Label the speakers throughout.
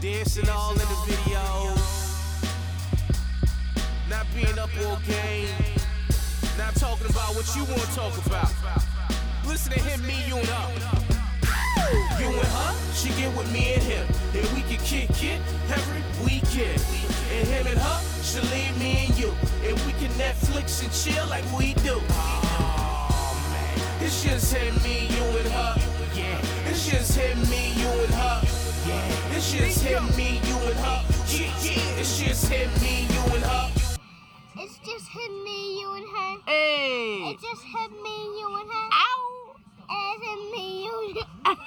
Speaker 1: Dancing all in the videos. Not being up all game. Not talking about what you want to talk about. Listen to him, me, you, and her. You and her, she get with me and him. And we can kick it every weekend. And him and her, she leave me and you. And we can Netflix and chill like we do. Oh, man. It's just him, me, you, and her. Yeah. It's just him, me, you, and her. Yeah. It's just him, me, you, and her. Yeah, yeah. It's just him, me, you, and her.
Speaker 2: It's just him, me, you, and her.
Speaker 3: Hey.
Speaker 2: It's just him, me, you, and her. Ow! It's him, me, you, and her.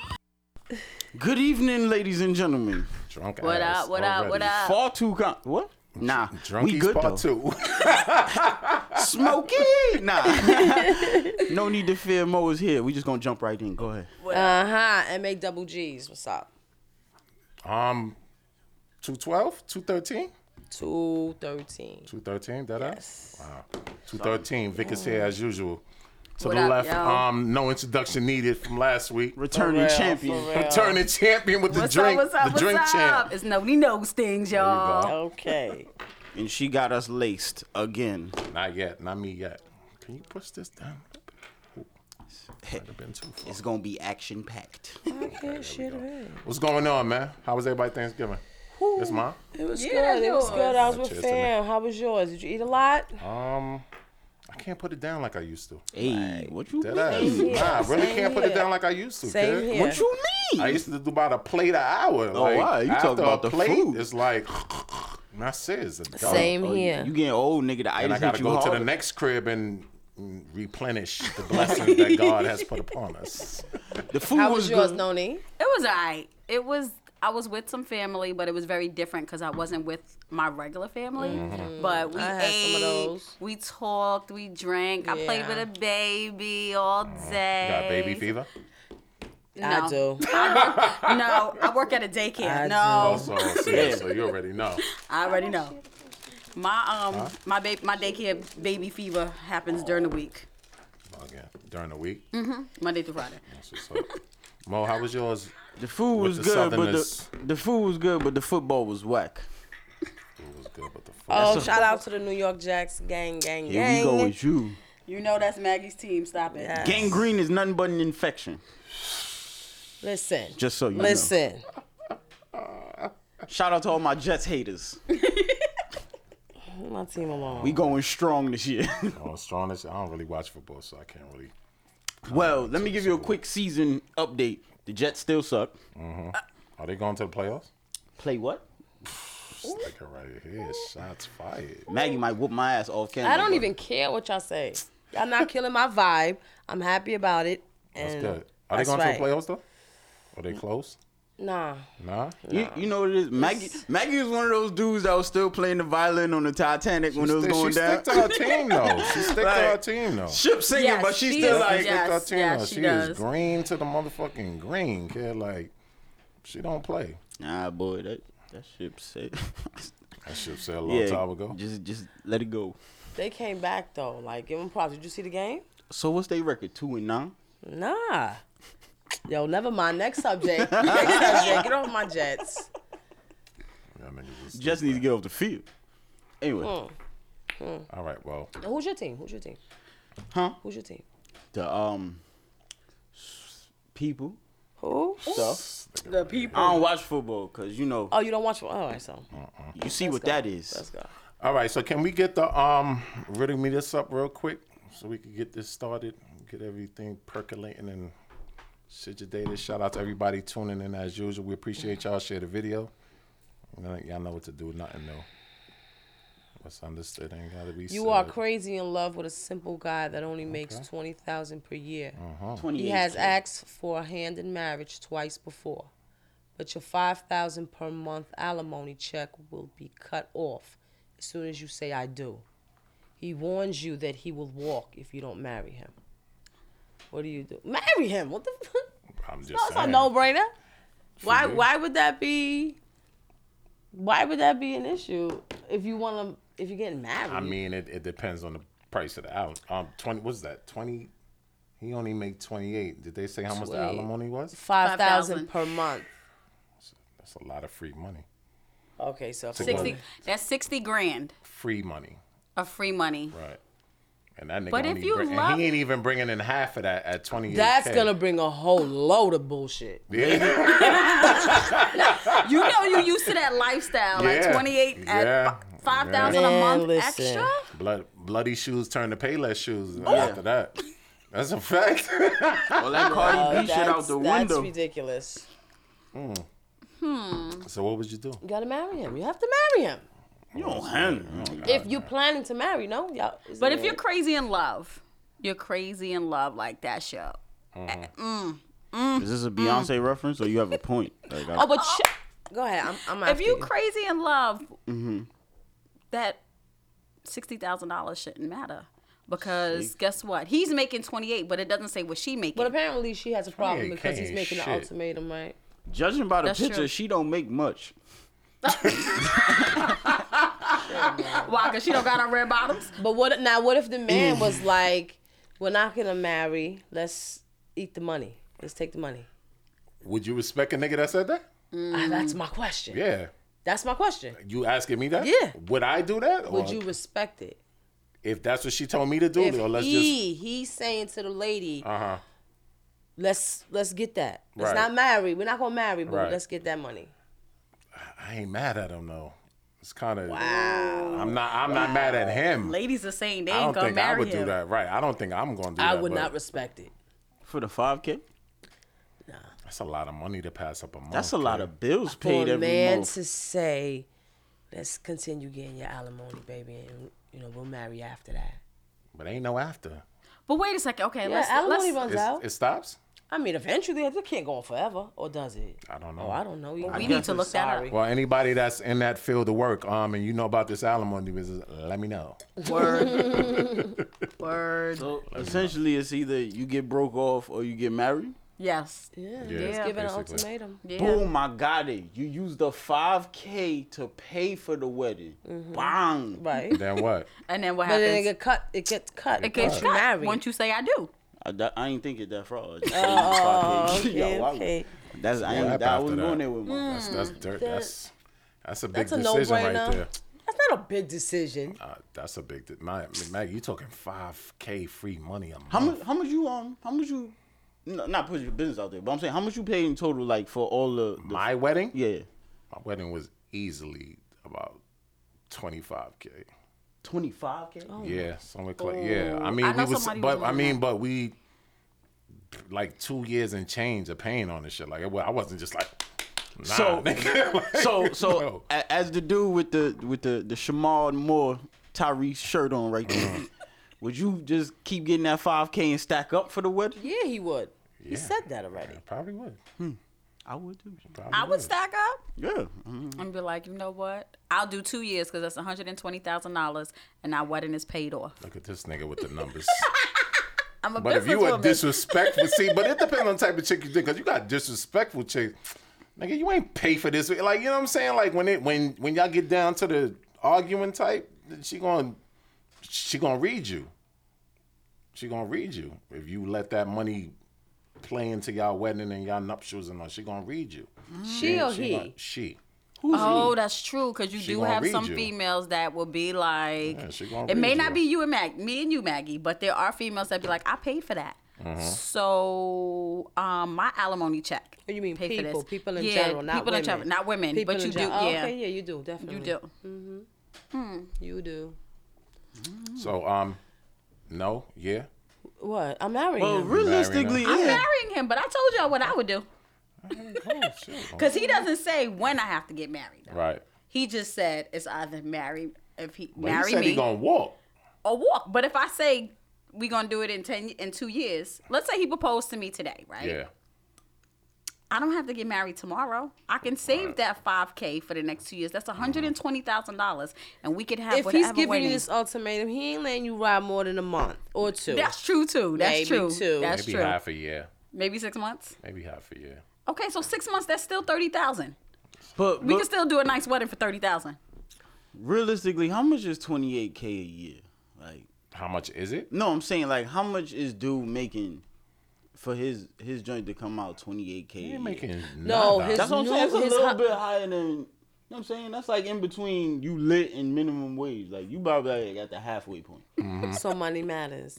Speaker 4: Good evening, ladies and gentlemen.
Speaker 5: Drunk
Speaker 3: What
Speaker 5: ass
Speaker 3: up? What up? What
Speaker 5: already.
Speaker 3: up?
Speaker 4: Fall two con- what? Nah,
Speaker 5: Drunkies
Speaker 4: we good
Speaker 5: part
Speaker 4: though.
Speaker 5: two.
Speaker 4: Smokey, nah. no need to fear. Mo is here. We just gonna jump right in. Go ahead.
Speaker 6: Uh huh. And make double G's. What's up?
Speaker 5: um, 212, 213,
Speaker 6: Two thirteen.
Speaker 5: 213. That ass. Wow. 213. Vic is
Speaker 6: Mm.
Speaker 5: here as usual. To
Speaker 3: What
Speaker 5: the
Speaker 3: up,
Speaker 5: left.
Speaker 3: yo?
Speaker 5: Um, no introduction needed from last week.
Speaker 4: Returning
Speaker 6: real,
Speaker 4: champion.
Speaker 6: for real.
Speaker 5: Returning champion with the
Speaker 3: What's
Speaker 5: drink.
Speaker 3: up? What's up?
Speaker 5: the
Speaker 3: What's
Speaker 5: drink
Speaker 3: up?
Speaker 5: champ.
Speaker 3: It's no, we knows things, y'all.
Speaker 6: Okay.
Speaker 4: And she got us laced again.
Speaker 5: Not yet. Not me yet. Can you push this down? Ooh, Might have been too far.
Speaker 4: It's gonna be action packed.
Speaker 6: okay. Shit. It
Speaker 5: What's going on, man? How was everybody Thanksgiving? It's mine.
Speaker 6: was
Speaker 3: Yeah,
Speaker 6: good. It
Speaker 3: yours.
Speaker 6: was good. I was with
Speaker 5: Cheers to me.
Speaker 6: fam. How was yours? Did you eat a lot?
Speaker 5: Um, I can't put it down like I used to.
Speaker 4: Hey, what you
Speaker 5: That ass.
Speaker 4: mean?
Speaker 5: Nah, I really
Speaker 6: Same
Speaker 5: can't put it
Speaker 6: here.
Speaker 5: down like I used to.
Speaker 6: Same
Speaker 5: kid.
Speaker 6: here.
Speaker 4: What you
Speaker 5: I
Speaker 4: mean?
Speaker 5: used to do about a plate an hour. Oh, like,
Speaker 4: wow, you talk
Speaker 5: after
Speaker 4: about
Speaker 5: a
Speaker 4: the
Speaker 5: plate,
Speaker 4: food.
Speaker 5: It's like, and that's it. It's a dog.
Speaker 6: Same
Speaker 4: Oh,
Speaker 6: here.
Speaker 4: You getting old, nigga? The
Speaker 5: And I
Speaker 4: itis
Speaker 5: got
Speaker 4: hit
Speaker 5: to
Speaker 4: you
Speaker 5: go to
Speaker 4: hard.
Speaker 5: the next crib and mm, replenish the blessings that God has put upon us.
Speaker 4: The food
Speaker 6: How
Speaker 4: was,
Speaker 6: was yours,
Speaker 4: good.
Speaker 6: Noni?
Speaker 3: It was alright. It was. I was with some family, but it was very different because I wasn't with my regular family.
Speaker 5: Mm-hmm.
Speaker 3: But we
Speaker 6: I had
Speaker 3: ate,
Speaker 6: some of those.
Speaker 3: we talked, we drank. I played
Speaker 6: Yeah.
Speaker 3: with a baby all day.
Speaker 5: Mm. Got baby fever.
Speaker 3: No.
Speaker 6: I do.
Speaker 3: No, I work at a daycare.
Speaker 6: I
Speaker 3: no,
Speaker 5: Also, Oh, so, yeah, so you already know.
Speaker 3: I already know. My um, my baby, my daycare baby fever happens during the week,
Speaker 5: Again, during the week.
Speaker 6: Mm-hmm.
Speaker 3: Monday through Friday.
Speaker 5: That's what's up. Mo, how was yours?
Speaker 4: The food
Speaker 5: With
Speaker 4: was
Speaker 5: the
Speaker 4: good, but the,
Speaker 5: Southerners.
Speaker 4: the food was good, but the football was whack.
Speaker 5: It was good, but the food.
Speaker 6: Oh, shout out to the New York Jacks gang, gang,
Speaker 4: Here
Speaker 6: gang.
Speaker 4: we go with you.
Speaker 3: You know that's Maggie's team. Stop it.
Speaker 6: Yes.
Speaker 4: Gangrene is nothing but an infection.
Speaker 6: Listen.
Speaker 4: Just so you know.
Speaker 6: Listen.
Speaker 4: Shout out to all my Jets haters.
Speaker 6: Leave My team alone.
Speaker 4: We going strong this year.
Speaker 5: Oh, strong as I don't really watch football, so I can't really.
Speaker 4: well, let me give you a quick season update. The Jets still suck.
Speaker 5: Mm-hmm. Are they going to the playoffs?
Speaker 4: Play what?
Speaker 5: Like it right here, shots fired.
Speaker 4: Maggie might whoop my ass off camera.
Speaker 6: I don't
Speaker 4: but
Speaker 6: even care what y'all say. Y'all not killing my vibe. I'm happy about it.
Speaker 5: That's
Speaker 6: And
Speaker 5: good. Are they
Speaker 6: that's
Speaker 5: going
Speaker 6: right.
Speaker 5: to the playoffs though? Are they close?
Speaker 6: Nah.
Speaker 5: Nah.
Speaker 4: You, you know what it is? Maggie Maggie is one of those dudes that was still playing the violin on the Titanic when it was
Speaker 5: She-
Speaker 4: going
Speaker 5: she
Speaker 4: down.
Speaker 5: stick to her team though. She stick
Speaker 4: Like,
Speaker 5: to her team though.
Speaker 4: Ship singing,
Speaker 3: Yes,
Speaker 4: but she's
Speaker 3: she
Speaker 4: still
Speaker 3: is.
Speaker 4: like,
Speaker 3: Yeah. Yes,
Speaker 5: Stick to her team,
Speaker 3: yes,
Speaker 5: though.
Speaker 3: she
Speaker 5: she is
Speaker 3: does.
Speaker 5: green to the motherfucking green, kid. Like she don't play.
Speaker 4: nah, boy, that that ship said.
Speaker 5: That ship said a long
Speaker 4: yeah,
Speaker 5: time ago.
Speaker 4: just just let it go.
Speaker 6: They came back though. Like, give them props. Did you see the game?
Speaker 4: So what's their record? Two and nine.
Speaker 6: Nah. Yo, never mind. Next subject. Next subject. Get off my jets.
Speaker 5: That nigga was-
Speaker 4: Jets needs to get off the field. Anyway,
Speaker 6: Oh,
Speaker 5: All right, well,
Speaker 6: And Hmm. Who's your team? Who's your team?
Speaker 4: Huh?
Speaker 6: Who's your team?
Speaker 4: the um people
Speaker 6: Who?
Speaker 4: stuff.
Speaker 3: The people.
Speaker 4: I don't watch football because you know
Speaker 6: Oh, you don't watch. All right, so
Speaker 5: Uh-uh.
Speaker 4: you see what that is.
Speaker 6: let's go.
Speaker 5: all right. So can we get the um riddle me this up real quick so we can get this started, get everything percolating and shit your data. Shout out to everybody tuning in as usual. We appreciate y'all. Share the video. Y'all- Y'all know what to do. Nothing new. What's understood ain't gotta be.
Speaker 6: You are
Speaker 5: said.
Speaker 6: crazy in love with a simple guy that only makes twenty thousand per year. He
Speaker 5: Uh-huh.
Speaker 4: 28.
Speaker 6: has asked for a hand in marriage twice before, but your five thousand per month alimony check will be cut off as soon as you say I do. He warns you that he will walk if you don't marry him. What do you do? Marry him? What the? Fuck?
Speaker 5: I'm just
Speaker 6: No, it's a
Speaker 5: saying.
Speaker 6: no brainer. Why? Why would that be? Why would that be an issue if you want to? If you're getting married?
Speaker 5: I mean, it, it depends on the price of the album. Um, twenty. What's that? Twenty. He only made twenty eight. Did they say how much the
Speaker 6: 28.
Speaker 5: alimony was?
Speaker 6: five thousand
Speaker 3: 5,000.
Speaker 6: per month.
Speaker 5: That's a lot of free money.
Speaker 6: Okay, so if a
Speaker 5: Sixty-
Speaker 3: Sixty.
Speaker 6: woman-
Speaker 3: That's sixty grand
Speaker 5: Free money,
Speaker 3: of free money.
Speaker 5: right? And that nigga
Speaker 3: But
Speaker 5: don't
Speaker 3: if
Speaker 5: even
Speaker 3: you
Speaker 5: bring, and
Speaker 3: love-
Speaker 5: he ain't even bringing in half of that at twenty.
Speaker 6: that's gonna bring a whole load of bullshit.
Speaker 5: yeah,
Speaker 3: You know you used to that lifestyle,
Speaker 5: Yeah.
Speaker 3: like twenty eight
Speaker 5: Yeah.
Speaker 3: at five thousand a
Speaker 6: Man,
Speaker 3: month
Speaker 6: listen.
Speaker 3: extra.
Speaker 5: blood, bloody shoes turn to payless shoes after that. That's a fact.
Speaker 4: All that Cardi B shit out the
Speaker 6: that's
Speaker 4: window.
Speaker 6: ridiculous.
Speaker 5: Hmm. so what would you do?
Speaker 6: You gotta marry him. You have to marry him.
Speaker 4: You don't hang. you don't-
Speaker 6: If you're planning to marry, no, y'all. is
Speaker 3: But
Speaker 6: it-
Speaker 3: if you're crazy in love, you're crazy in love like that show.
Speaker 5: Uh-huh.
Speaker 3: Mm,
Speaker 4: Is this a Beyonce reference or you have a point? Like, I,
Speaker 6: oh, but sh- go ahead. I'm, I'm
Speaker 3: If
Speaker 6: after
Speaker 3: you crazy in love,
Speaker 4: Mm-hmm.
Speaker 3: that sixty thousand dollars shouldn't matter because guess what? He's making twenty eight, but it doesn't say what she making.
Speaker 6: But apparently she has a problem
Speaker 5: 28K
Speaker 6: because he's
Speaker 5: ain't
Speaker 6: making an
Speaker 5: shit.
Speaker 6: ultimatum, right?
Speaker 4: judging by the
Speaker 3: That's
Speaker 4: picture,
Speaker 3: true.
Speaker 4: she don't make much.
Speaker 3: Why? Cause she don't got her red bottoms.
Speaker 6: But what now? What if the man was like, "We're not gonna marry. Let's eat the money. Let's take the money."
Speaker 5: Would you respect a nigga that said that?
Speaker 6: Ah, that's
Speaker 3: Mm.
Speaker 6: my question.
Speaker 5: Yeah.
Speaker 6: That's my question.
Speaker 5: You asking me that?
Speaker 6: Yeah.
Speaker 5: Would I do that?
Speaker 6: Would
Speaker 5: Or
Speaker 6: you respect it?
Speaker 5: If that's what she told me to do,
Speaker 6: If
Speaker 5: or let's just.
Speaker 6: he he's saying to the lady,
Speaker 5: Uh huh.
Speaker 6: "Let's let's get that. Let's
Speaker 5: Right.
Speaker 6: not marry. We're not gonna marry, but
Speaker 5: Right.
Speaker 6: let's get that money."
Speaker 5: I ain't mad at him though. It's kind of. Wow. I'm not. I'm not mad at him.
Speaker 3: Ladies are saying they
Speaker 5: I
Speaker 3: ain't
Speaker 5: don't
Speaker 3: gonna
Speaker 5: think I
Speaker 3: marry
Speaker 5: would do
Speaker 3: him.
Speaker 5: that. Right. I don't think I'm gonna do
Speaker 6: I
Speaker 5: that.
Speaker 6: would
Speaker 5: but
Speaker 6: not respect it.
Speaker 4: For the 5K?
Speaker 5: That's a lot of money to pass up a month.
Speaker 4: That's a lot
Speaker 5: kid.
Speaker 4: of bills
Speaker 6: For
Speaker 4: paid
Speaker 6: a
Speaker 4: every
Speaker 6: man
Speaker 4: month.
Speaker 6: to say, "Let's continue getting your alimony, baby, and you know we'll marry after that."
Speaker 5: But ain't no after.
Speaker 3: But wait a second. Okay,
Speaker 6: Yeah,
Speaker 3: let's
Speaker 6: alimony
Speaker 3: let's.
Speaker 6: runs
Speaker 5: It's,
Speaker 6: out.
Speaker 5: it stops.
Speaker 6: I mean, eventually it can't go on forever, or does it?
Speaker 5: I don't know.
Speaker 6: Oh, I don't know.
Speaker 3: we need to look that up.
Speaker 5: Well, anybody that's in that field of work, um, and you know about this alimony business, let me know.
Speaker 3: Word. Word.
Speaker 4: So
Speaker 5: Mm.
Speaker 4: essentially, it's either you get broke off or you get married.
Speaker 3: Yes.
Speaker 6: Yeah,
Speaker 5: Yeah,
Speaker 6: just give it an
Speaker 5: basically.
Speaker 6: ultimatum.
Speaker 3: Yeah.
Speaker 4: Boom, I got it. You used the 5K to pay for the wedding. Bang.
Speaker 6: Right.
Speaker 5: Then what?
Speaker 3: And then what
Speaker 6: But then it
Speaker 3: happens?
Speaker 6: get cut. It gets cut.
Speaker 3: it gets
Speaker 6: you
Speaker 3: cut
Speaker 6: married.
Speaker 3: once you say I do.
Speaker 4: I, that- I ain't think it that far. I just said it was 5K.
Speaker 6: okay,
Speaker 4: Yo, I-
Speaker 6: okay.
Speaker 4: That's I ain't
Speaker 5: What
Speaker 4: that, I
Speaker 5: after
Speaker 4: wasn't
Speaker 5: that?
Speaker 4: going there with my
Speaker 5: That's that's dirt. That's that's a big
Speaker 6: That's a
Speaker 5: decision right
Speaker 6: no-brainer.
Speaker 5: there.
Speaker 6: That's not a big decision.
Speaker 5: Uh, that's a big. Di- Mag- Maggie, you talking five k free money a month?
Speaker 4: How much? How much you um? How much you? n- Not put your business out there, but I'm saying how much you paid in total, like for all the, the
Speaker 5: My wedding?
Speaker 4: yeah,
Speaker 5: My wedding was easily about twenty five k.
Speaker 4: twenty five k.
Speaker 5: Yeah, somewhere close.
Speaker 4: Oh,
Speaker 5: Yeah, Oh I mean
Speaker 3: I know
Speaker 5: we was,
Speaker 3: somebody
Speaker 5: but
Speaker 3: was
Speaker 5: I
Speaker 3: on
Speaker 5: mean,
Speaker 3: that.
Speaker 5: but we like two years and change of pain on this shit. Like it, wa- I wasn't just like. Nah,
Speaker 4: So-
Speaker 5: nigga. Like,
Speaker 4: So so
Speaker 5: no.
Speaker 4: a, as the dude with the with the the Shamar Moore Tyree shirt on right
Speaker 5: Mm-hmm.
Speaker 4: there, would you just keep getting that five k and stack up for the wedding?
Speaker 6: Yeah, he would. He
Speaker 5: Yeah.
Speaker 6: said that already.
Speaker 5: I probably would.
Speaker 3: Hmm.
Speaker 4: I would do.
Speaker 5: Probably
Speaker 3: I would stack up
Speaker 4: Yeah, Mhm.
Speaker 3: and be like, you know what? I'll do two years because that's one hundred and twenty thousand dollars, and our wedding is paid off.
Speaker 5: Look at this nigga with the numbers.
Speaker 3: I'm a
Speaker 5: But if you a
Speaker 3: businesswoman.
Speaker 5: disrespectful, see, but it depends on the type of chick you did, because you got disrespectful chicks. Nigga, you ain't pay for this. Like, you know what I'm saying? Like when it when when y'all get down to the arguing type, then she gonna she gonna read you. She gonna read you. If you let that money play into y'all wedding and y'all nuptials and all, she gonna read you.
Speaker 6: She or
Speaker 5: she
Speaker 6: he?
Speaker 5: Gonna, she.
Speaker 3: oh, that's true because you
Speaker 5: She
Speaker 3: do
Speaker 5: gonna
Speaker 3: have
Speaker 5: read
Speaker 3: some
Speaker 5: you.
Speaker 3: females that will be like,
Speaker 5: Yeah, she gonna
Speaker 3: it may
Speaker 5: read
Speaker 3: not
Speaker 5: you.
Speaker 3: be you and Mag, me and you, Maggie, but there are females that be like, I paid for that.
Speaker 5: Mm-hmm.
Speaker 3: So um, my alimony check.
Speaker 6: What Oh, you mean
Speaker 3: Pay for
Speaker 6: people?
Speaker 3: this.
Speaker 6: People in
Speaker 3: Yeah,
Speaker 6: general, not
Speaker 3: people in
Speaker 6: women.
Speaker 3: general, not women,
Speaker 6: People
Speaker 3: but
Speaker 6: in
Speaker 3: you do,
Speaker 6: gen- oh,
Speaker 3: yeah.
Speaker 6: Okay, yeah, you do definitely. Mm-hmm.
Speaker 3: You do. Hmm.
Speaker 6: You do.
Speaker 5: So um no, yeah.
Speaker 6: What? I'm marrying
Speaker 5: Oh,
Speaker 4: well,
Speaker 6: him.
Speaker 4: realistically,
Speaker 5: Marrying
Speaker 3: I'm
Speaker 4: yeah.
Speaker 3: marrying him, but I told y'all what I would do
Speaker 5: Oh, shit.
Speaker 3: because he doesn't say when I have to get married. though.
Speaker 5: Right.
Speaker 3: He just said it's either marry if he
Speaker 5: But
Speaker 3: marry
Speaker 5: he said
Speaker 3: me
Speaker 5: he gonna walk.
Speaker 3: or walk. But if I say we gonna do it in ten in two years, let's say he proposed to me today, right?
Speaker 5: Yeah.
Speaker 3: I don't have to get married tomorrow. I can save that five k for the next two years. That's one hundred and twenty thousand dollars, and we could have
Speaker 6: If
Speaker 3: whatever
Speaker 6: he's giving
Speaker 3: wedding.
Speaker 6: you this ultimatum, he ain't letting you ride more than a month or two.
Speaker 3: That's true too. That's
Speaker 6: Maybe
Speaker 3: true.
Speaker 6: two.
Speaker 3: That's
Speaker 5: Maybe
Speaker 3: true.
Speaker 5: half a year.
Speaker 3: Maybe six months.
Speaker 5: Maybe half a year.
Speaker 3: Okay, so six months. That's still thirty thousand.
Speaker 4: but
Speaker 3: We
Speaker 4: look,
Speaker 3: can still do a nice wedding for thirty thousand.
Speaker 4: realistically, how much is twenty eight k a year? Like,
Speaker 5: How much is it?
Speaker 4: no, I'm saying like how much is dude making for his his joint to come out twenty eight k.
Speaker 5: He ain't making
Speaker 6: No,
Speaker 5: nada.
Speaker 6: his-
Speaker 4: That's what I'm
Speaker 6: No,
Speaker 4: saying. It's a
Speaker 6: his
Speaker 4: little
Speaker 6: hu-
Speaker 4: bit higher than. You know what I'm saying? That's like in between you lit and minimum wage. Like you probably like at the halfway point.
Speaker 6: So money matters.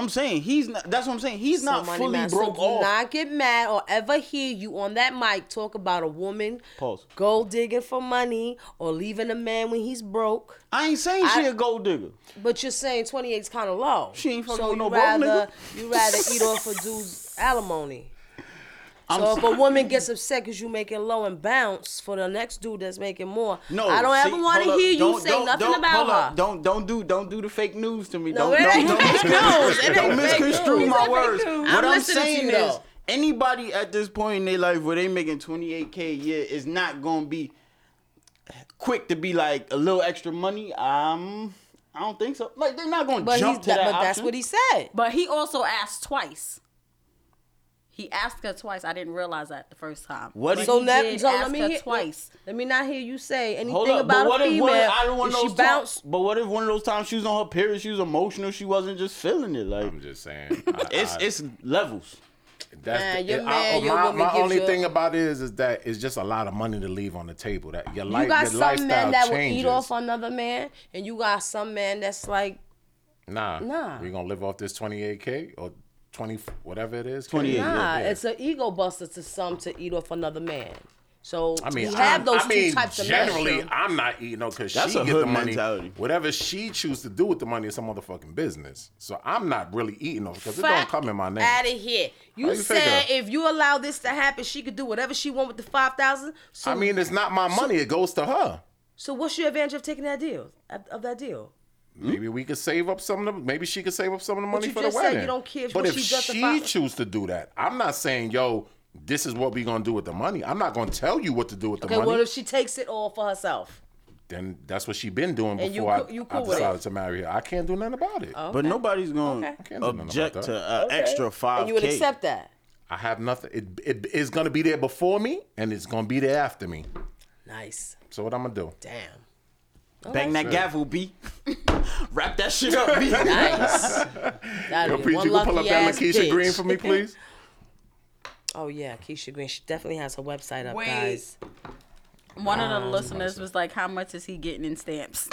Speaker 4: I'm saying he's not. That's what I'm saying. He's not
Speaker 6: Somebody
Speaker 4: fully
Speaker 6: mad.
Speaker 4: broke
Speaker 6: so
Speaker 4: off.
Speaker 6: Do not get mad or ever hear you on that mic talk about a woman
Speaker 4: Pause.
Speaker 6: gold digging for money or leaving a man when he's broke.
Speaker 4: I ain't saying she
Speaker 6: I-
Speaker 4: a gold digger.
Speaker 6: But you're saying 28 is kind of low.
Speaker 4: She ain't fucking
Speaker 6: so
Speaker 4: with
Speaker 6: you
Speaker 4: no broke
Speaker 6: rather you rather eat off a dude's alimony.
Speaker 4: I'm
Speaker 6: so if a woman gets upset because you making low and bounce for the next dude that's making more,
Speaker 4: No,
Speaker 6: I don't
Speaker 4: see,
Speaker 6: ever want to
Speaker 4: hold up.
Speaker 6: hear you
Speaker 4: Don't-
Speaker 6: say
Speaker 4: don't-
Speaker 6: nothing
Speaker 4: don't-
Speaker 6: about
Speaker 4: hold
Speaker 6: her.
Speaker 4: up. Don't don't do don't do the fake news to me.
Speaker 6: No,
Speaker 4: don't,
Speaker 6: it
Speaker 4: don't,
Speaker 6: ain't
Speaker 4: don't,
Speaker 6: fake news. It ain't
Speaker 4: don't
Speaker 6: fake
Speaker 4: misconstrue
Speaker 6: news.
Speaker 4: my
Speaker 6: It's not fake
Speaker 4: words.
Speaker 6: news. I'm
Speaker 4: What I'm
Speaker 6: listening to
Speaker 4: saying
Speaker 6: you,
Speaker 4: is,
Speaker 6: though.
Speaker 4: anybody at this point in their life where they making 28k a year is not gonna be quick to be like a little extra money. Um, I don't think so. Like they're not gonna
Speaker 6: but he's
Speaker 4: jump to
Speaker 6: that,
Speaker 4: that
Speaker 6: but that's
Speaker 4: option.
Speaker 6: what he said.
Speaker 3: But he also asked twice. He asked her twice. I didn't realize that the first time.
Speaker 4: What
Speaker 3: But
Speaker 4: did-
Speaker 6: So
Speaker 3: he
Speaker 6: let,
Speaker 3: did
Speaker 6: so
Speaker 3: ask
Speaker 6: let me
Speaker 3: her
Speaker 6: hear,
Speaker 3: twice.
Speaker 6: Let me not hear you say anything
Speaker 4: Hold up,
Speaker 6: about
Speaker 4: but what
Speaker 6: a
Speaker 4: if,
Speaker 6: female.
Speaker 4: what if I don't want
Speaker 6: if
Speaker 4: those
Speaker 6: she bounced,
Speaker 4: But what if one of those times she was on her period, she was emotional, she wasn't just feeling it. Like
Speaker 5: I'm just saying. I-
Speaker 4: it's
Speaker 5: I-
Speaker 4: it's levels.
Speaker 5: That's
Speaker 6: Man,
Speaker 5: the,
Speaker 6: your
Speaker 5: it- I-
Speaker 6: man,
Speaker 5: oh,
Speaker 6: your
Speaker 5: my,
Speaker 6: woman
Speaker 5: my
Speaker 6: gives
Speaker 5: only
Speaker 6: you-
Speaker 5: thing about it is, is that it's just a lot of money to leave on the table. That your life,
Speaker 6: you got
Speaker 5: your
Speaker 6: some
Speaker 5: lifestyle
Speaker 6: men that
Speaker 5: changes.
Speaker 6: will eat off another man, and you got some man that's like,
Speaker 5: nah,
Speaker 6: Nah.
Speaker 5: You gonna live off this 28k or 20 whatever it is?
Speaker 4: 28, Yeah,
Speaker 6: nah,
Speaker 5: yeah.
Speaker 6: it's an ego buster to some to eat off another man. So
Speaker 5: I mean,
Speaker 6: you
Speaker 5: I,
Speaker 6: have
Speaker 5: I
Speaker 6: those two
Speaker 5: mean,
Speaker 6: types of men.
Speaker 5: generally, I'm not eating no because she
Speaker 4: That's a
Speaker 5: get
Speaker 4: hood
Speaker 5: the money.
Speaker 4: mentality.
Speaker 5: Whatever she choose to do with the money is some motherfucking business. So I'm not really eating off because it don't
Speaker 6: Fuck
Speaker 5: come in my name.
Speaker 6: Out of here. You,
Speaker 5: How you
Speaker 6: said
Speaker 5: figure?
Speaker 6: if you allow this to happen, she could do whatever she want with the five thousand. So
Speaker 5: I mean, it's not my money. It goes to her.
Speaker 6: so what's your advantage of taking that deal of- of that deal?
Speaker 4: Hmm?
Speaker 5: Maybe we could save up some of the. Maybe she could save up some of the money
Speaker 6: you
Speaker 5: for
Speaker 6: just
Speaker 5: the
Speaker 6: said you
Speaker 5: wedding.
Speaker 6: don't care if
Speaker 5: but
Speaker 6: what
Speaker 5: if
Speaker 6: she
Speaker 5: she,
Speaker 6: does to father-
Speaker 5: choose to do that, I'm not saying yo, this is what we gonna do with the money. I'm not gonna tell you what to do with the
Speaker 6: Okay,
Speaker 5: money.
Speaker 6: what if she takes it all for herself?
Speaker 5: then that's what she been doing
Speaker 6: And you
Speaker 5: before
Speaker 6: coo-
Speaker 5: I,
Speaker 6: you
Speaker 5: I
Speaker 6: cool with
Speaker 5: decided
Speaker 6: it?
Speaker 5: to marry her. I can't do nothing about it.
Speaker 4: But nobody's
Speaker 6: Okay.
Speaker 4: gonna
Speaker 5: Can't do nothing about
Speaker 4: object to
Speaker 5: that.
Speaker 4: an extra five.
Speaker 6: And you would accept that?
Speaker 5: I have nothing. It, it it's gonna be there before me, and it's gonna be there after me.
Speaker 6: Nice.
Speaker 5: So what I'm gonna do?
Speaker 6: Damn.
Speaker 4: Bang that
Speaker 5: Sure.
Speaker 4: gavel, B. Wrap that shit up, B.
Speaker 6: Nice. That'd
Speaker 5: Yo,
Speaker 6: be
Speaker 5: Preach,
Speaker 6: one
Speaker 5: you can pull up
Speaker 6: lucky
Speaker 5: that
Speaker 6: ass
Speaker 5: Lakeisha
Speaker 6: bitch.
Speaker 5: Green for me, please.
Speaker 6: Oh yeah, Keisha Green. She definitely has her website up,
Speaker 3: Wait.
Speaker 6: guys.
Speaker 3: One
Speaker 4: Ah,
Speaker 3: of the listeners was like, "How much is he getting in stamps?"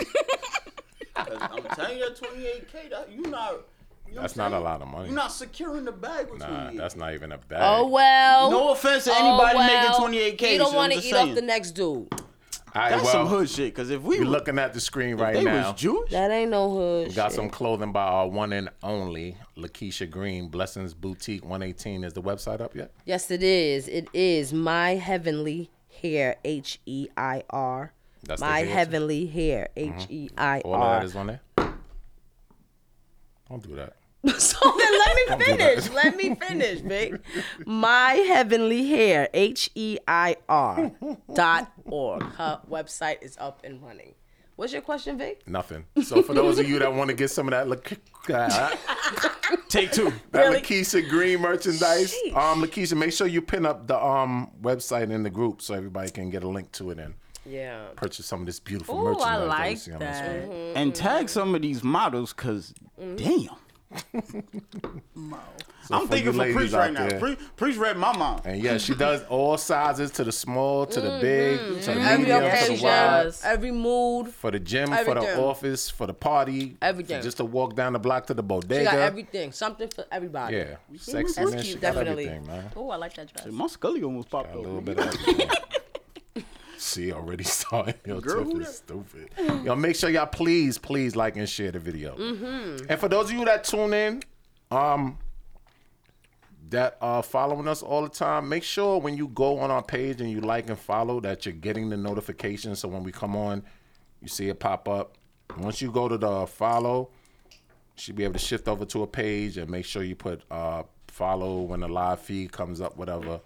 Speaker 4: I'm telling you, that 28k, that, you not. You know
Speaker 5: That's
Speaker 4: what I'm
Speaker 5: not a
Speaker 4: saying?
Speaker 5: lot of money.
Speaker 4: You're not securing the bag with
Speaker 5: Nah,
Speaker 4: 28.
Speaker 5: that's not even a bag.
Speaker 6: Oh well. Oh,
Speaker 4: No offense to anybody
Speaker 6: well.
Speaker 4: making 28k.
Speaker 6: You don't
Speaker 4: so
Speaker 6: want
Speaker 4: I'm
Speaker 6: to
Speaker 4: just
Speaker 6: eat
Speaker 4: saying.
Speaker 6: up the next dude.
Speaker 5: All right,
Speaker 4: That's
Speaker 5: well,
Speaker 4: some hood shit. Cause if we
Speaker 5: You're looking at the screen right
Speaker 4: they
Speaker 5: now.
Speaker 4: was Jewish.
Speaker 6: That ain't no hood.
Speaker 5: Got
Speaker 6: shit.
Speaker 5: some clothing by our one and only Lakeisha Green, Blessings Boutique 118. Is the website up yet?
Speaker 6: Yes, it is. It is my heavenly hair. H E I R.
Speaker 5: That's the
Speaker 6: My
Speaker 5: hair. Mm-hmm.
Speaker 6: heavenly hair. H E I
Speaker 5: All of that
Speaker 6: R.
Speaker 5: is on there. Don't do that.
Speaker 6: So then let me
Speaker 5: do
Speaker 6: finish. Let me finish, Vic. My Heavenly Hair, H E I R dot org. Her website is up and running. What's your question, Vic?
Speaker 5: Nothing. So for those of you that want to get some of that, La- that
Speaker 4: Take two.
Speaker 5: Lakeisha Green merchandise,
Speaker 6: Sheesh.
Speaker 5: um, Lakeisha, make sure you pin up the um website in the group so everybody can get a link to it and
Speaker 6: Yeah.
Speaker 5: purchase some of this beautiful
Speaker 3: Ooh,
Speaker 5: merchandise.
Speaker 3: I
Speaker 5: that we
Speaker 3: like
Speaker 5: see on the screen.
Speaker 3: that.
Speaker 4: Mm-hmm. and tag some of these models, cause
Speaker 6: Mm-hmm.
Speaker 4: damn.
Speaker 5: So
Speaker 4: I'm
Speaker 5: for
Speaker 4: thinking
Speaker 5: you
Speaker 4: for
Speaker 5: ladies
Speaker 4: Preach
Speaker 5: out
Speaker 4: right now.
Speaker 5: there-
Speaker 4: Pre- Preach read my mind.
Speaker 5: And yeah, she does all sizes to the small, to the big, to the
Speaker 6: Mm-hmm. Mm. Every
Speaker 5: medium, to the
Speaker 6: occasion,
Speaker 5: wide.
Speaker 3: was.
Speaker 6: every mood.
Speaker 5: For the gym, for
Speaker 6: Everything.
Speaker 5: the office, for the party,
Speaker 6: Everything.
Speaker 5: for just to walk down the block to the bodega.
Speaker 6: She got everything. Something for everybody. Mm-hmm.
Speaker 5: yeah, sexiness,
Speaker 6: cute,
Speaker 5: she got
Speaker 6: definitely.
Speaker 5: everything, man.
Speaker 3: oh, I like that dress.
Speaker 4: My scully almost popped
Speaker 5: A
Speaker 4: up.
Speaker 5: little bit of everything. See, already started. Yo,
Speaker 4: Girl,
Speaker 5: Tiff
Speaker 4: who
Speaker 5: is stupid. Yo, make sure y'all please, please like and share the video. And for those of you that tune in, um, that are following us all the time, make sure when you go on our page and you like and follow that you're getting the notifications. So when we come on, you see it pop up. Once you go to the follow, should be able to shift over to a page and make sure you put uh follow when the live feed comes up, whatever.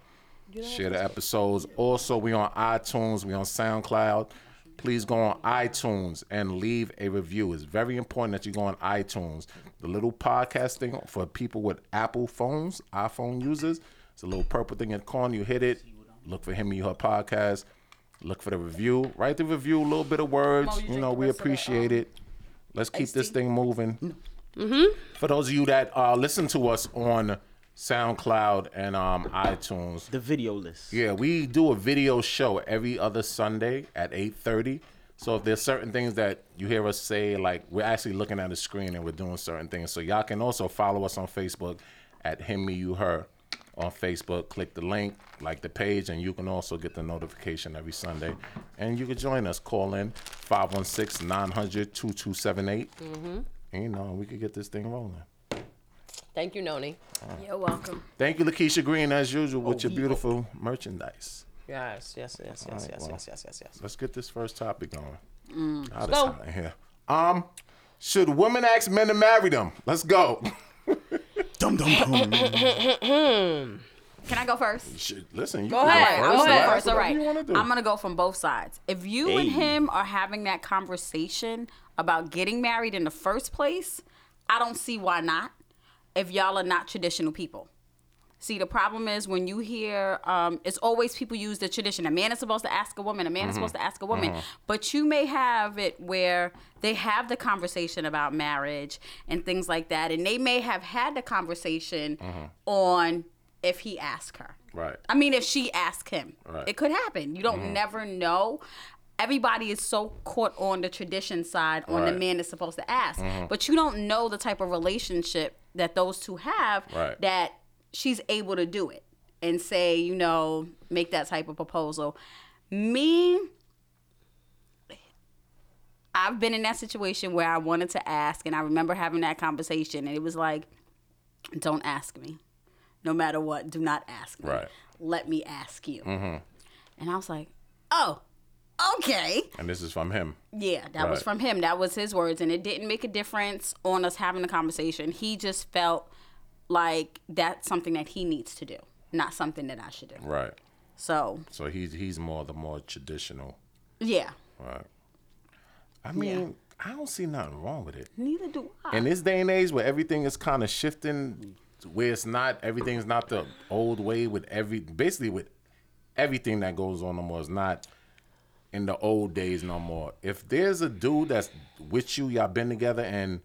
Speaker 5: Share the episodes. Also, we on iTunes, we on SoundCloud. Please go on iTunes and leave a review. It's very important that you go on iTunes. The little podcast thing for people with Apple phones, iPhone users. It's a little purple thing in the corner. You hit it. Look for him and her podcast. Look for the review. Write the review. A little bit of words.
Speaker 3: Mo, you
Speaker 5: you,
Speaker 3: drink
Speaker 5: know,
Speaker 3: the
Speaker 5: we
Speaker 3: rest of that, um,
Speaker 5: appreciate it. Let's keep this
Speaker 3: tea?
Speaker 5: thing moving. For those of you that uh, listen to us on SoundCloud, and um, iTunes.
Speaker 4: The video list.
Speaker 5: Yeah, we do a video show every other Sunday at 8:30. So if there's certain things that you hear us say, like we're actually looking at a screen and we're doing certain things. So y'all can also follow us on Facebook at Him Me You Her on Facebook. Click the link, like the page, and you can also get the notification every Sunday. And you can join us. Call in 516-900-2278.
Speaker 6: Mm-hmm.
Speaker 5: And, you know, we could get this thing rolling.
Speaker 6: Thank you, Noni.
Speaker 3: You're welcome.
Speaker 5: Thank you, Lakeisha Green, as usual, with your beautiful merchandise.
Speaker 6: Oh, Yes, yes, yes, yes, yes, yes, yes, yes, yes.
Speaker 5: Let's get this first topic going.
Speaker 3: Mm.
Speaker 5: Out of time here. Um, should women ask men to marry them? Let's go.
Speaker 4: Dum dum dum.
Speaker 5: Mm-hmm.
Speaker 3: Can I go first?
Speaker 5: Shit, Listen, you
Speaker 6: Go
Speaker 5: can first,
Speaker 6: ahead, go
Speaker 5: last,
Speaker 6: ahead.
Speaker 3: first, all
Speaker 5: whatever
Speaker 3: right.
Speaker 5: you wanna do.
Speaker 3: I'm gonna go from both sides. If you and
Speaker 4: Hey.
Speaker 3: him are having that conversation about getting married in the first place, I don't see why not. If y'all are not traditional people. See, the problem is when you hear, um, it's always people use the tradition. A man is supposed to ask a woman. A man
Speaker 5: Mm-hmm.
Speaker 3: is supposed to ask a woman. But you may have it where they have the conversation about marriage and things like that, and they may have had the conversation on if he asked her.
Speaker 5: Mm-hmm. Right.
Speaker 3: I mean, if she asked him,
Speaker 5: Right. Mm-hmm.
Speaker 3: it could happen. You don't never know. Everybody is so caught on the tradition side on the
Speaker 5: Right. Mm-hmm.
Speaker 3: man is supposed to ask, but you don't know the type of relationship that those two have
Speaker 5: Right.
Speaker 3: that she's able to do it and say, you know, make that type of proposal. Me, I've been in that situation where I wanted to ask, and I remember having that conversation, and it was like, don't ask me. No matter what, do not ask me.
Speaker 5: Right. Mm-hmm.
Speaker 3: Let me ask you. And I was like, oh, okay.
Speaker 5: And this is from him.
Speaker 3: Yeah, that was
Speaker 5: Right.
Speaker 3: from him. That was his words, and it didn't make a difference on us having the conversation. He just felt like that's something that he needs to do, not something that I should do.
Speaker 5: Right.
Speaker 3: So,
Speaker 5: So he's he's more the more traditional.
Speaker 3: yeah,
Speaker 5: Right. I mean, I don't see nothing wrong with it.
Speaker 3: neither do I.
Speaker 5: in this day and age where everything is kind of shifting to where it's not everything's not the old way with every basically with everything that goes on no more is not in the old days no more if there's a dude that's with you y'all been together and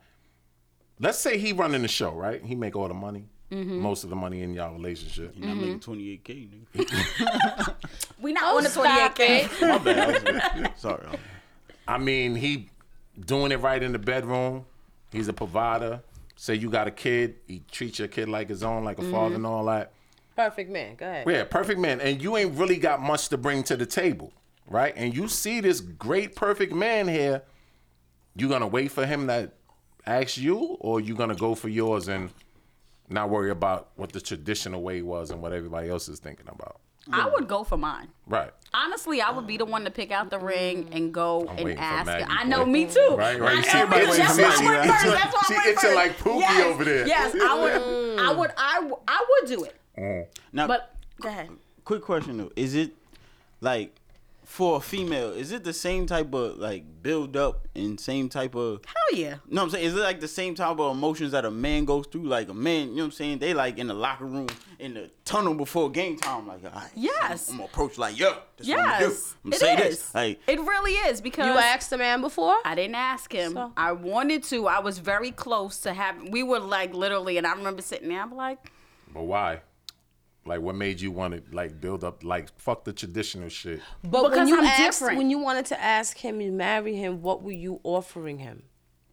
Speaker 5: let's say he running the show right he make all the money
Speaker 7: Mm-hmm.
Speaker 5: most of the money in y'all relationship
Speaker 4: I'm making 28k, nigga.
Speaker 3: we not on the 28
Speaker 4: My bad. Sorry. I'm-
Speaker 5: I mean, he doing it right in the bedroom. He's a provider. Say you got a kid, he treats your kid like his own, like a father and all that.
Speaker 6: Perfect man. Go ahead.
Speaker 5: Yeah, perfect man. And you ain't really got much to bring to the table, right? And you see this great perfect man here, you gonna wait for him to ask you, or you gonna go for yours and not worry about what the traditional way was and what everybody else is thinking about.
Speaker 3: I would go for mine.
Speaker 5: Right.
Speaker 3: Honestly, I would be the one to pick out the ring and go and
Speaker 5: waiting for
Speaker 3: ask.
Speaker 5: Maggie,
Speaker 3: it. I
Speaker 5: boy.
Speaker 3: know, me too.
Speaker 5: Right, right. You see
Speaker 3: I know,
Speaker 5: everybody
Speaker 3: me
Speaker 5: waiting
Speaker 3: too. That's
Speaker 5: for
Speaker 3: why
Speaker 5: Maggie,
Speaker 3: I went
Speaker 5: right?
Speaker 3: first. That's why I
Speaker 5: She
Speaker 3: went
Speaker 5: itching
Speaker 3: first.
Speaker 5: like Pookie
Speaker 3: yes,
Speaker 5: over there.
Speaker 3: Yes, I would.
Speaker 6: Mm.
Speaker 3: I would. I, w- I would do it.
Speaker 5: Mm.
Speaker 4: Now,
Speaker 3: But go ahead.
Speaker 4: quick question though: Is it like for a female? Is it the same type of like build up and same type of?
Speaker 3: Hell yeah.
Speaker 4: No, I'm saying is it like the same type of emotions that a man goes through? Like a man, you know what I'm saying? They like in the locker room, in the tunnel before game time. Like, all right,
Speaker 3: Yes.
Speaker 4: I'm, gonna approach like, yo, this is what I'm gonna do.
Speaker 3: Yes,
Speaker 4: I'm
Speaker 3: it
Speaker 4: gonna say
Speaker 3: is.
Speaker 4: this. Like,
Speaker 3: it really is because
Speaker 6: You asked the man before?
Speaker 3: I didn't ask him.
Speaker 6: So-
Speaker 3: I wanted to. I was very close to having. We were like literally, and I remember sitting there. I'm like,
Speaker 5: But why? Like, what made you want to like build up? Like, fuck the traditional shit.
Speaker 6: But when
Speaker 3: Because
Speaker 6: you
Speaker 3: I'm
Speaker 6: asked,
Speaker 3: different.
Speaker 6: when you wanted to ask him to marry him, what were you offering him?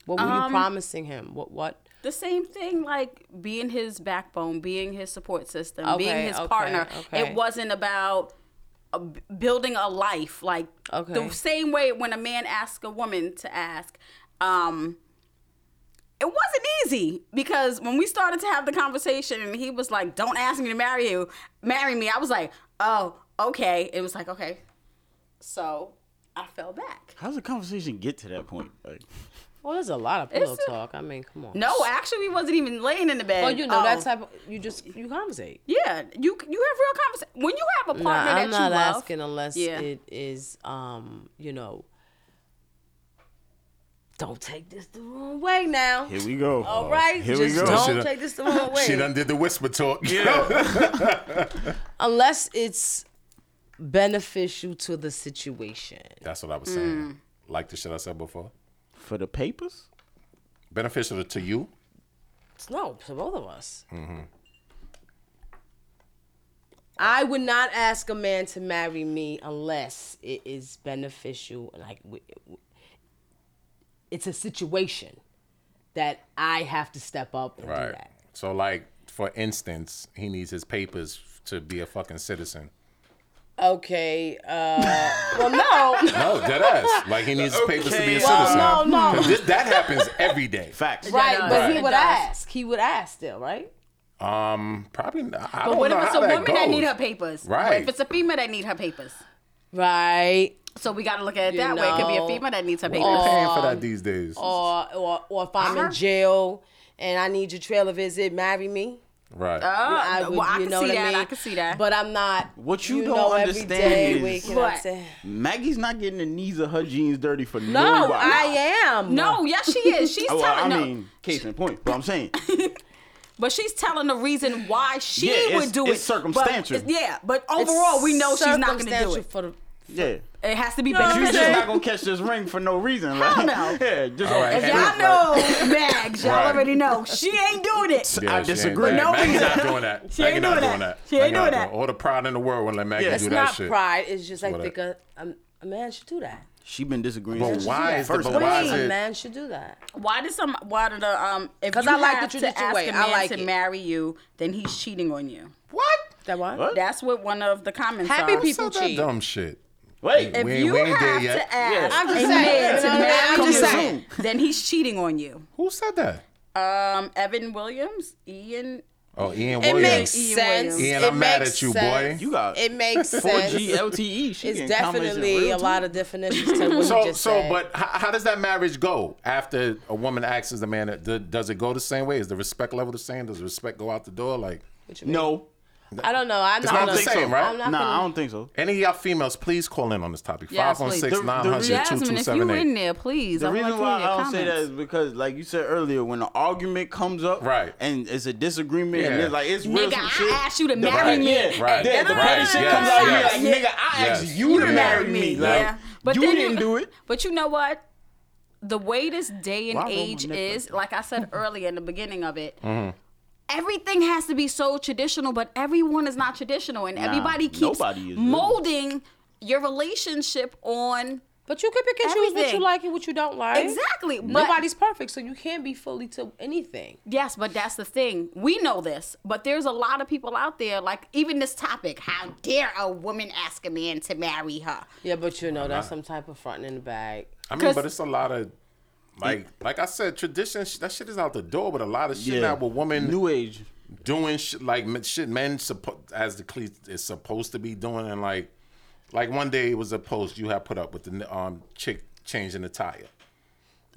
Speaker 6: What were
Speaker 3: Um,
Speaker 6: you promising him? What what?
Speaker 3: the same thing, like being his backbone, being his support system, being
Speaker 6: Okay,
Speaker 3: his
Speaker 6: okay,
Speaker 3: partner.
Speaker 6: okay.
Speaker 3: It wasn't about uh, b- building a life, like
Speaker 6: Okay.
Speaker 3: the same way when a man asks a woman to ask. Um, it wasn't easy because when we started to have the conversation and he was like, "Don't ask me to marry you, marry me," I was like, "Oh, okay." It was like, "Okay," so I fell back.
Speaker 4: how's the conversation get to that point? Like,
Speaker 6: Well, there's a lot of pillow
Speaker 3: It's a-
Speaker 6: talk. I mean, come on.
Speaker 3: No, actually, we wasn't even laying in the bed.
Speaker 6: Well, you know that
Speaker 3: Oh.
Speaker 6: type. Of, you just you conversate.
Speaker 3: Yeah, you you have real conversation when you have a
Speaker 6: Nah,
Speaker 3: partner that
Speaker 6: I'm not
Speaker 3: you love.
Speaker 6: asking unless
Speaker 3: Yeah.
Speaker 6: it is, um, you know. Don't take this the wrong way now.
Speaker 4: here we go.
Speaker 6: All right,
Speaker 4: here we
Speaker 6: just
Speaker 4: go.
Speaker 5: She
Speaker 6: don't
Speaker 5: done-
Speaker 6: take this the wrong way.
Speaker 5: She done did the whisper talk.
Speaker 6: unless it's beneficial to the situation.
Speaker 5: That's what I was saying.
Speaker 3: Mm.
Speaker 5: Like the shit I said before.
Speaker 4: For the papers,
Speaker 5: Beneficial to you.
Speaker 4: Mm-hmm.
Speaker 6: No, to both of us. I would not ask a man to marry me unless it is beneficial and like w- w- it's a situation that I have to step up and do
Speaker 5: Right.
Speaker 6: that.
Speaker 5: So like for instance, he needs his papers to be a fucking citizen.
Speaker 6: Okay. Uh, well, no.
Speaker 5: No, dead ass. Like he needs his papers to be a
Speaker 4: Okay,
Speaker 5: citizen.
Speaker 6: well, no, no.
Speaker 5: 'Cause this- that happens every day.
Speaker 4: Facts.
Speaker 6: right,
Speaker 3: does.
Speaker 6: but he
Speaker 3: It
Speaker 6: would
Speaker 3: does.
Speaker 6: ask. He would ask still, right?
Speaker 5: Um, probably. Not, I
Speaker 3: But
Speaker 5: don't
Speaker 3: what
Speaker 5: know
Speaker 3: if it's
Speaker 5: how
Speaker 3: a woman that
Speaker 5: goes.
Speaker 3: need her papers? What
Speaker 5: Right.
Speaker 3: if it's a female that need her papers?
Speaker 6: Right.
Speaker 3: So we got to look at it
Speaker 6: You
Speaker 3: that way. It could be a
Speaker 6: know.
Speaker 3: female that needs her
Speaker 5: Who
Speaker 3: papers.
Speaker 5: paying for
Speaker 3: um,
Speaker 5: that these days?
Speaker 6: Or or, or if I'm
Speaker 3: Uh-huh.
Speaker 6: in jail and I need your trailer visit, marry me.
Speaker 5: right.
Speaker 3: Oh,
Speaker 6: I would,
Speaker 3: well, I
Speaker 6: you
Speaker 3: can
Speaker 6: know
Speaker 3: see
Speaker 6: what
Speaker 3: that.
Speaker 6: I,
Speaker 3: I,
Speaker 6: mean?
Speaker 3: can see that.
Speaker 6: But I'm not.
Speaker 4: What you don't
Speaker 6: know, every
Speaker 4: understand
Speaker 6: day
Speaker 4: is-
Speaker 6: waking
Speaker 3: What?
Speaker 6: up to-
Speaker 4: Maggie's not getting the knees of her jeans dirty for no,
Speaker 6: No,
Speaker 4: nobody.
Speaker 6: I am.
Speaker 3: no, yes, she is. She's
Speaker 4: Oh, well,
Speaker 3: telling.
Speaker 4: I
Speaker 3: no,
Speaker 4: mean, case in point. But I'm saying,
Speaker 3: But she's telling the reason why she
Speaker 4: Yeah, it's-
Speaker 3: would do
Speaker 4: it's
Speaker 3: it.
Speaker 4: circumstantial.
Speaker 3: But, yeah, but
Speaker 6: It's
Speaker 3: overall, we know she's not going to do
Speaker 6: circumstantial
Speaker 3: it.
Speaker 6: For the,
Speaker 4: yeah.
Speaker 3: It has to be
Speaker 6: what I'm
Speaker 4: She's
Speaker 3: beneficial.
Speaker 4: just
Speaker 6: saying?
Speaker 4: not gonna catch this ring for no reason. Like,
Speaker 3: no.
Speaker 4: Yeah, just
Speaker 5: All right.
Speaker 4: off the
Speaker 5: If
Speaker 4: rip,
Speaker 3: Y'all
Speaker 4: like,
Speaker 3: know bags. Y'all
Speaker 5: Right.
Speaker 3: already know she ain't doing it.
Speaker 5: Yeah,
Speaker 4: I
Speaker 5: she ain't-
Speaker 4: disagree.
Speaker 5: Maggie-
Speaker 4: No
Speaker 5: Maggie's not doing that. She
Speaker 3: ain't
Speaker 5: not
Speaker 3: doing
Speaker 5: doing
Speaker 3: that.
Speaker 5: that.
Speaker 3: She ain't
Speaker 5: Maggie not
Speaker 3: doing
Speaker 5: doing
Speaker 3: that.
Speaker 5: All the pride in the world wouldn't let Maggie
Speaker 4: Yeah.
Speaker 5: do
Speaker 4: It's
Speaker 5: that
Speaker 6: not
Speaker 5: shit.
Speaker 6: pride. It's just I
Speaker 5: What
Speaker 6: think a, a a man should do that.
Speaker 4: She been disagreeing.
Speaker 5: But
Speaker 4: since
Speaker 5: why is the
Speaker 4: first
Speaker 5: but why is
Speaker 6: A
Speaker 5: it?
Speaker 6: man should do that.
Speaker 3: Why did some? Why did the um? If
Speaker 6: 'Cause
Speaker 3: you
Speaker 6: I like
Speaker 3: have
Speaker 6: it you
Speaker 3: to
Speaker 6: did your
Speaker 3: ask
Speaker 6: way.
Speaker 3: a
Speaker 6: I
Speaker 3: man
Speaker 6: like
Speaker 3: to
Speaker 6: it.
Speaker 3: marry you, then he's cheating on you.
Speaker 5: What?
Speaker 6: That what?
Speaker 4: What?
Speaker 3: That's what one of the comments
Speaker 6: Happy
Speaker 3: are.
Speaker 6: people
Speaker 5: So that
Speaker 6: cheat.
Speaker 5: dumb shit.
Speaker 4: Wait,
Speaker 3: If
Speaker 5: We ain't-
Speaker 3: you
Speaker 5: we ain't there
Speaker 3: have
Speaker 5: yet.
Speaker 3: to ask
Speaker 4: Yeah.
Speaker 3: a
Speaker 4: I'm
Speaker 6: just saying,
Speaker 3: man to
Speaker 6: you know what I mean?
Speaker 3: marry
Speaker 6: I'm just
Speaker 3: you,
Speaker 4: saying.
Speaker 3: then he's cheating on you.
Speaker 5: Who said that?
Speaker 3: Um, Evan Williams, Ian.
Speaker 5: Oh, Ian
Speaker 6: It makes
Speaker 5: Williams.
Speaker 3: Ian
Speaker 6: sense.
Speaker 5: Williams. Ian,
Speaker 6: It
Speaker 5: I'm mad
Speaker 6: makes
Speaker 5: at you, boy.
Speaker 6: sense.
Speaker 4: You got
Speaker 6: It makes
Speaker 4: 4G
Speaker 6: sense.
Speaker 4: LTE. She
Speaker 6: It's
Speaker 4: getting comments in
Speaker 6: definitely a
Speaker 4: real
Speaker 6: lot
Speaker 4: time.
Speaker 6: of definitions to what you
Speaker 5: So,
Speaker 6: just
Speaker 5: so,
Speaker 6: said.
Speaker 5: but how, how does that marriage go after a woman asks the man? that- th- Does it go the same way? Is the respect level the same? Does respect go out the door? Like
Speaker 4: No,
Speaker 6: I don't know. I'm
Speaker 5: It's
Speaker 6: not
Speaker 5: not the
Speaker 6: gonna-
Speaker 5: same, right?
Speaker 6: I'm not
Speaker 4: nah, I
Speaker 6: gonna-
Speaker 4: don't think so.
Speaker 5: any of y'all females, please call in on this topic.
Speaker 3: Yes, please.
Speaker 5: 516 900
Speaker 3: Jasmine, if you in
Speaker 5: 2278.
Speaker 3: there, please.
Speaker 4: The
Speaker 3: I
Speaker 4: reason
Speaker 3: want to
Speaker 4: why
Speaker 3: hear your
Speaker 4: I don't
Speaker 3: comments.
Speaker 4: say that is because, like you said earlier, when an argument comes up,
Speaker 5: Right.
Speaker 4: and it's a disagreement, and
Speaker 5: Yeah.
Speaker 4: it's like it's real
Speaker 3: Nigga,
Speaker 4: some
Speaker 3: I
Speaker 4: shit.
Speaker 3: asked you to
Speaker 4: The
Speaker 3: marry
Speaker 5: Right.
Speaker 3: me.
Speaker 4: Yeah,
Speaker 5: Right.
Speaker 4: The, the
Speaker 5: Right.
Speaker 4: petty shit
Speaker 5: Yes,
Speaker 4: comes out
Speaker 5: yes.
Speaker 4: here like, nigga, I
Speaker 5: Yes.
Speaker 4: asked you, to
Speaker 5: You
Speaker 4: marry
Speaker 5: married
Speaker 4: me.
Speaker 5: me,
Speaker 4: Like,
Speaker 5: yeah.
Speaker 4: you
Speaker 3: then
Speaker 4: didn't do it.
Speaker 3: But you know what? The way this day and
Speaker 4: Why roll my
Speaker 3: age
Speaker 4: neck like
Speaker 3: is, like I said earlier in the beginning of it,
Speaker 5: Mm-hmm.
Speaker 3: everything has to be so traditional, but everyone is not traditional, and everybody keeps
Speaker 4: nobody is really.
Speaker 3: molding your relationship on
Speaker 6: But you can pick and choose what
Speaker 3: Everything.
Speaker 6: you like and what you don't like.
Speaker 3: exactly. But
Speaker 6: Nobody's perfect, so you can't be fully to anything.
Speaker 3: Yes, but that's the thing. We know this, but there's a lot of people out there, like even this topic. How dare a woman ask a man to marry her?
Speaker 6: Yeah, but you know that's some type of fronting in the bag.
Speaker 5: I mean,
Speaker 3: 'Cause-
Speaker 5: but it's a lot of. Like, like I said, tradition sh- that shit is out the door. But a lot of shit now with women
Speaker 4: new age.
Speaker 5: doing shit like men- shit men suppo- as the cleat is supposed to be doing, and like, like one day it was a post you had put up with the n- um chick changing the tire.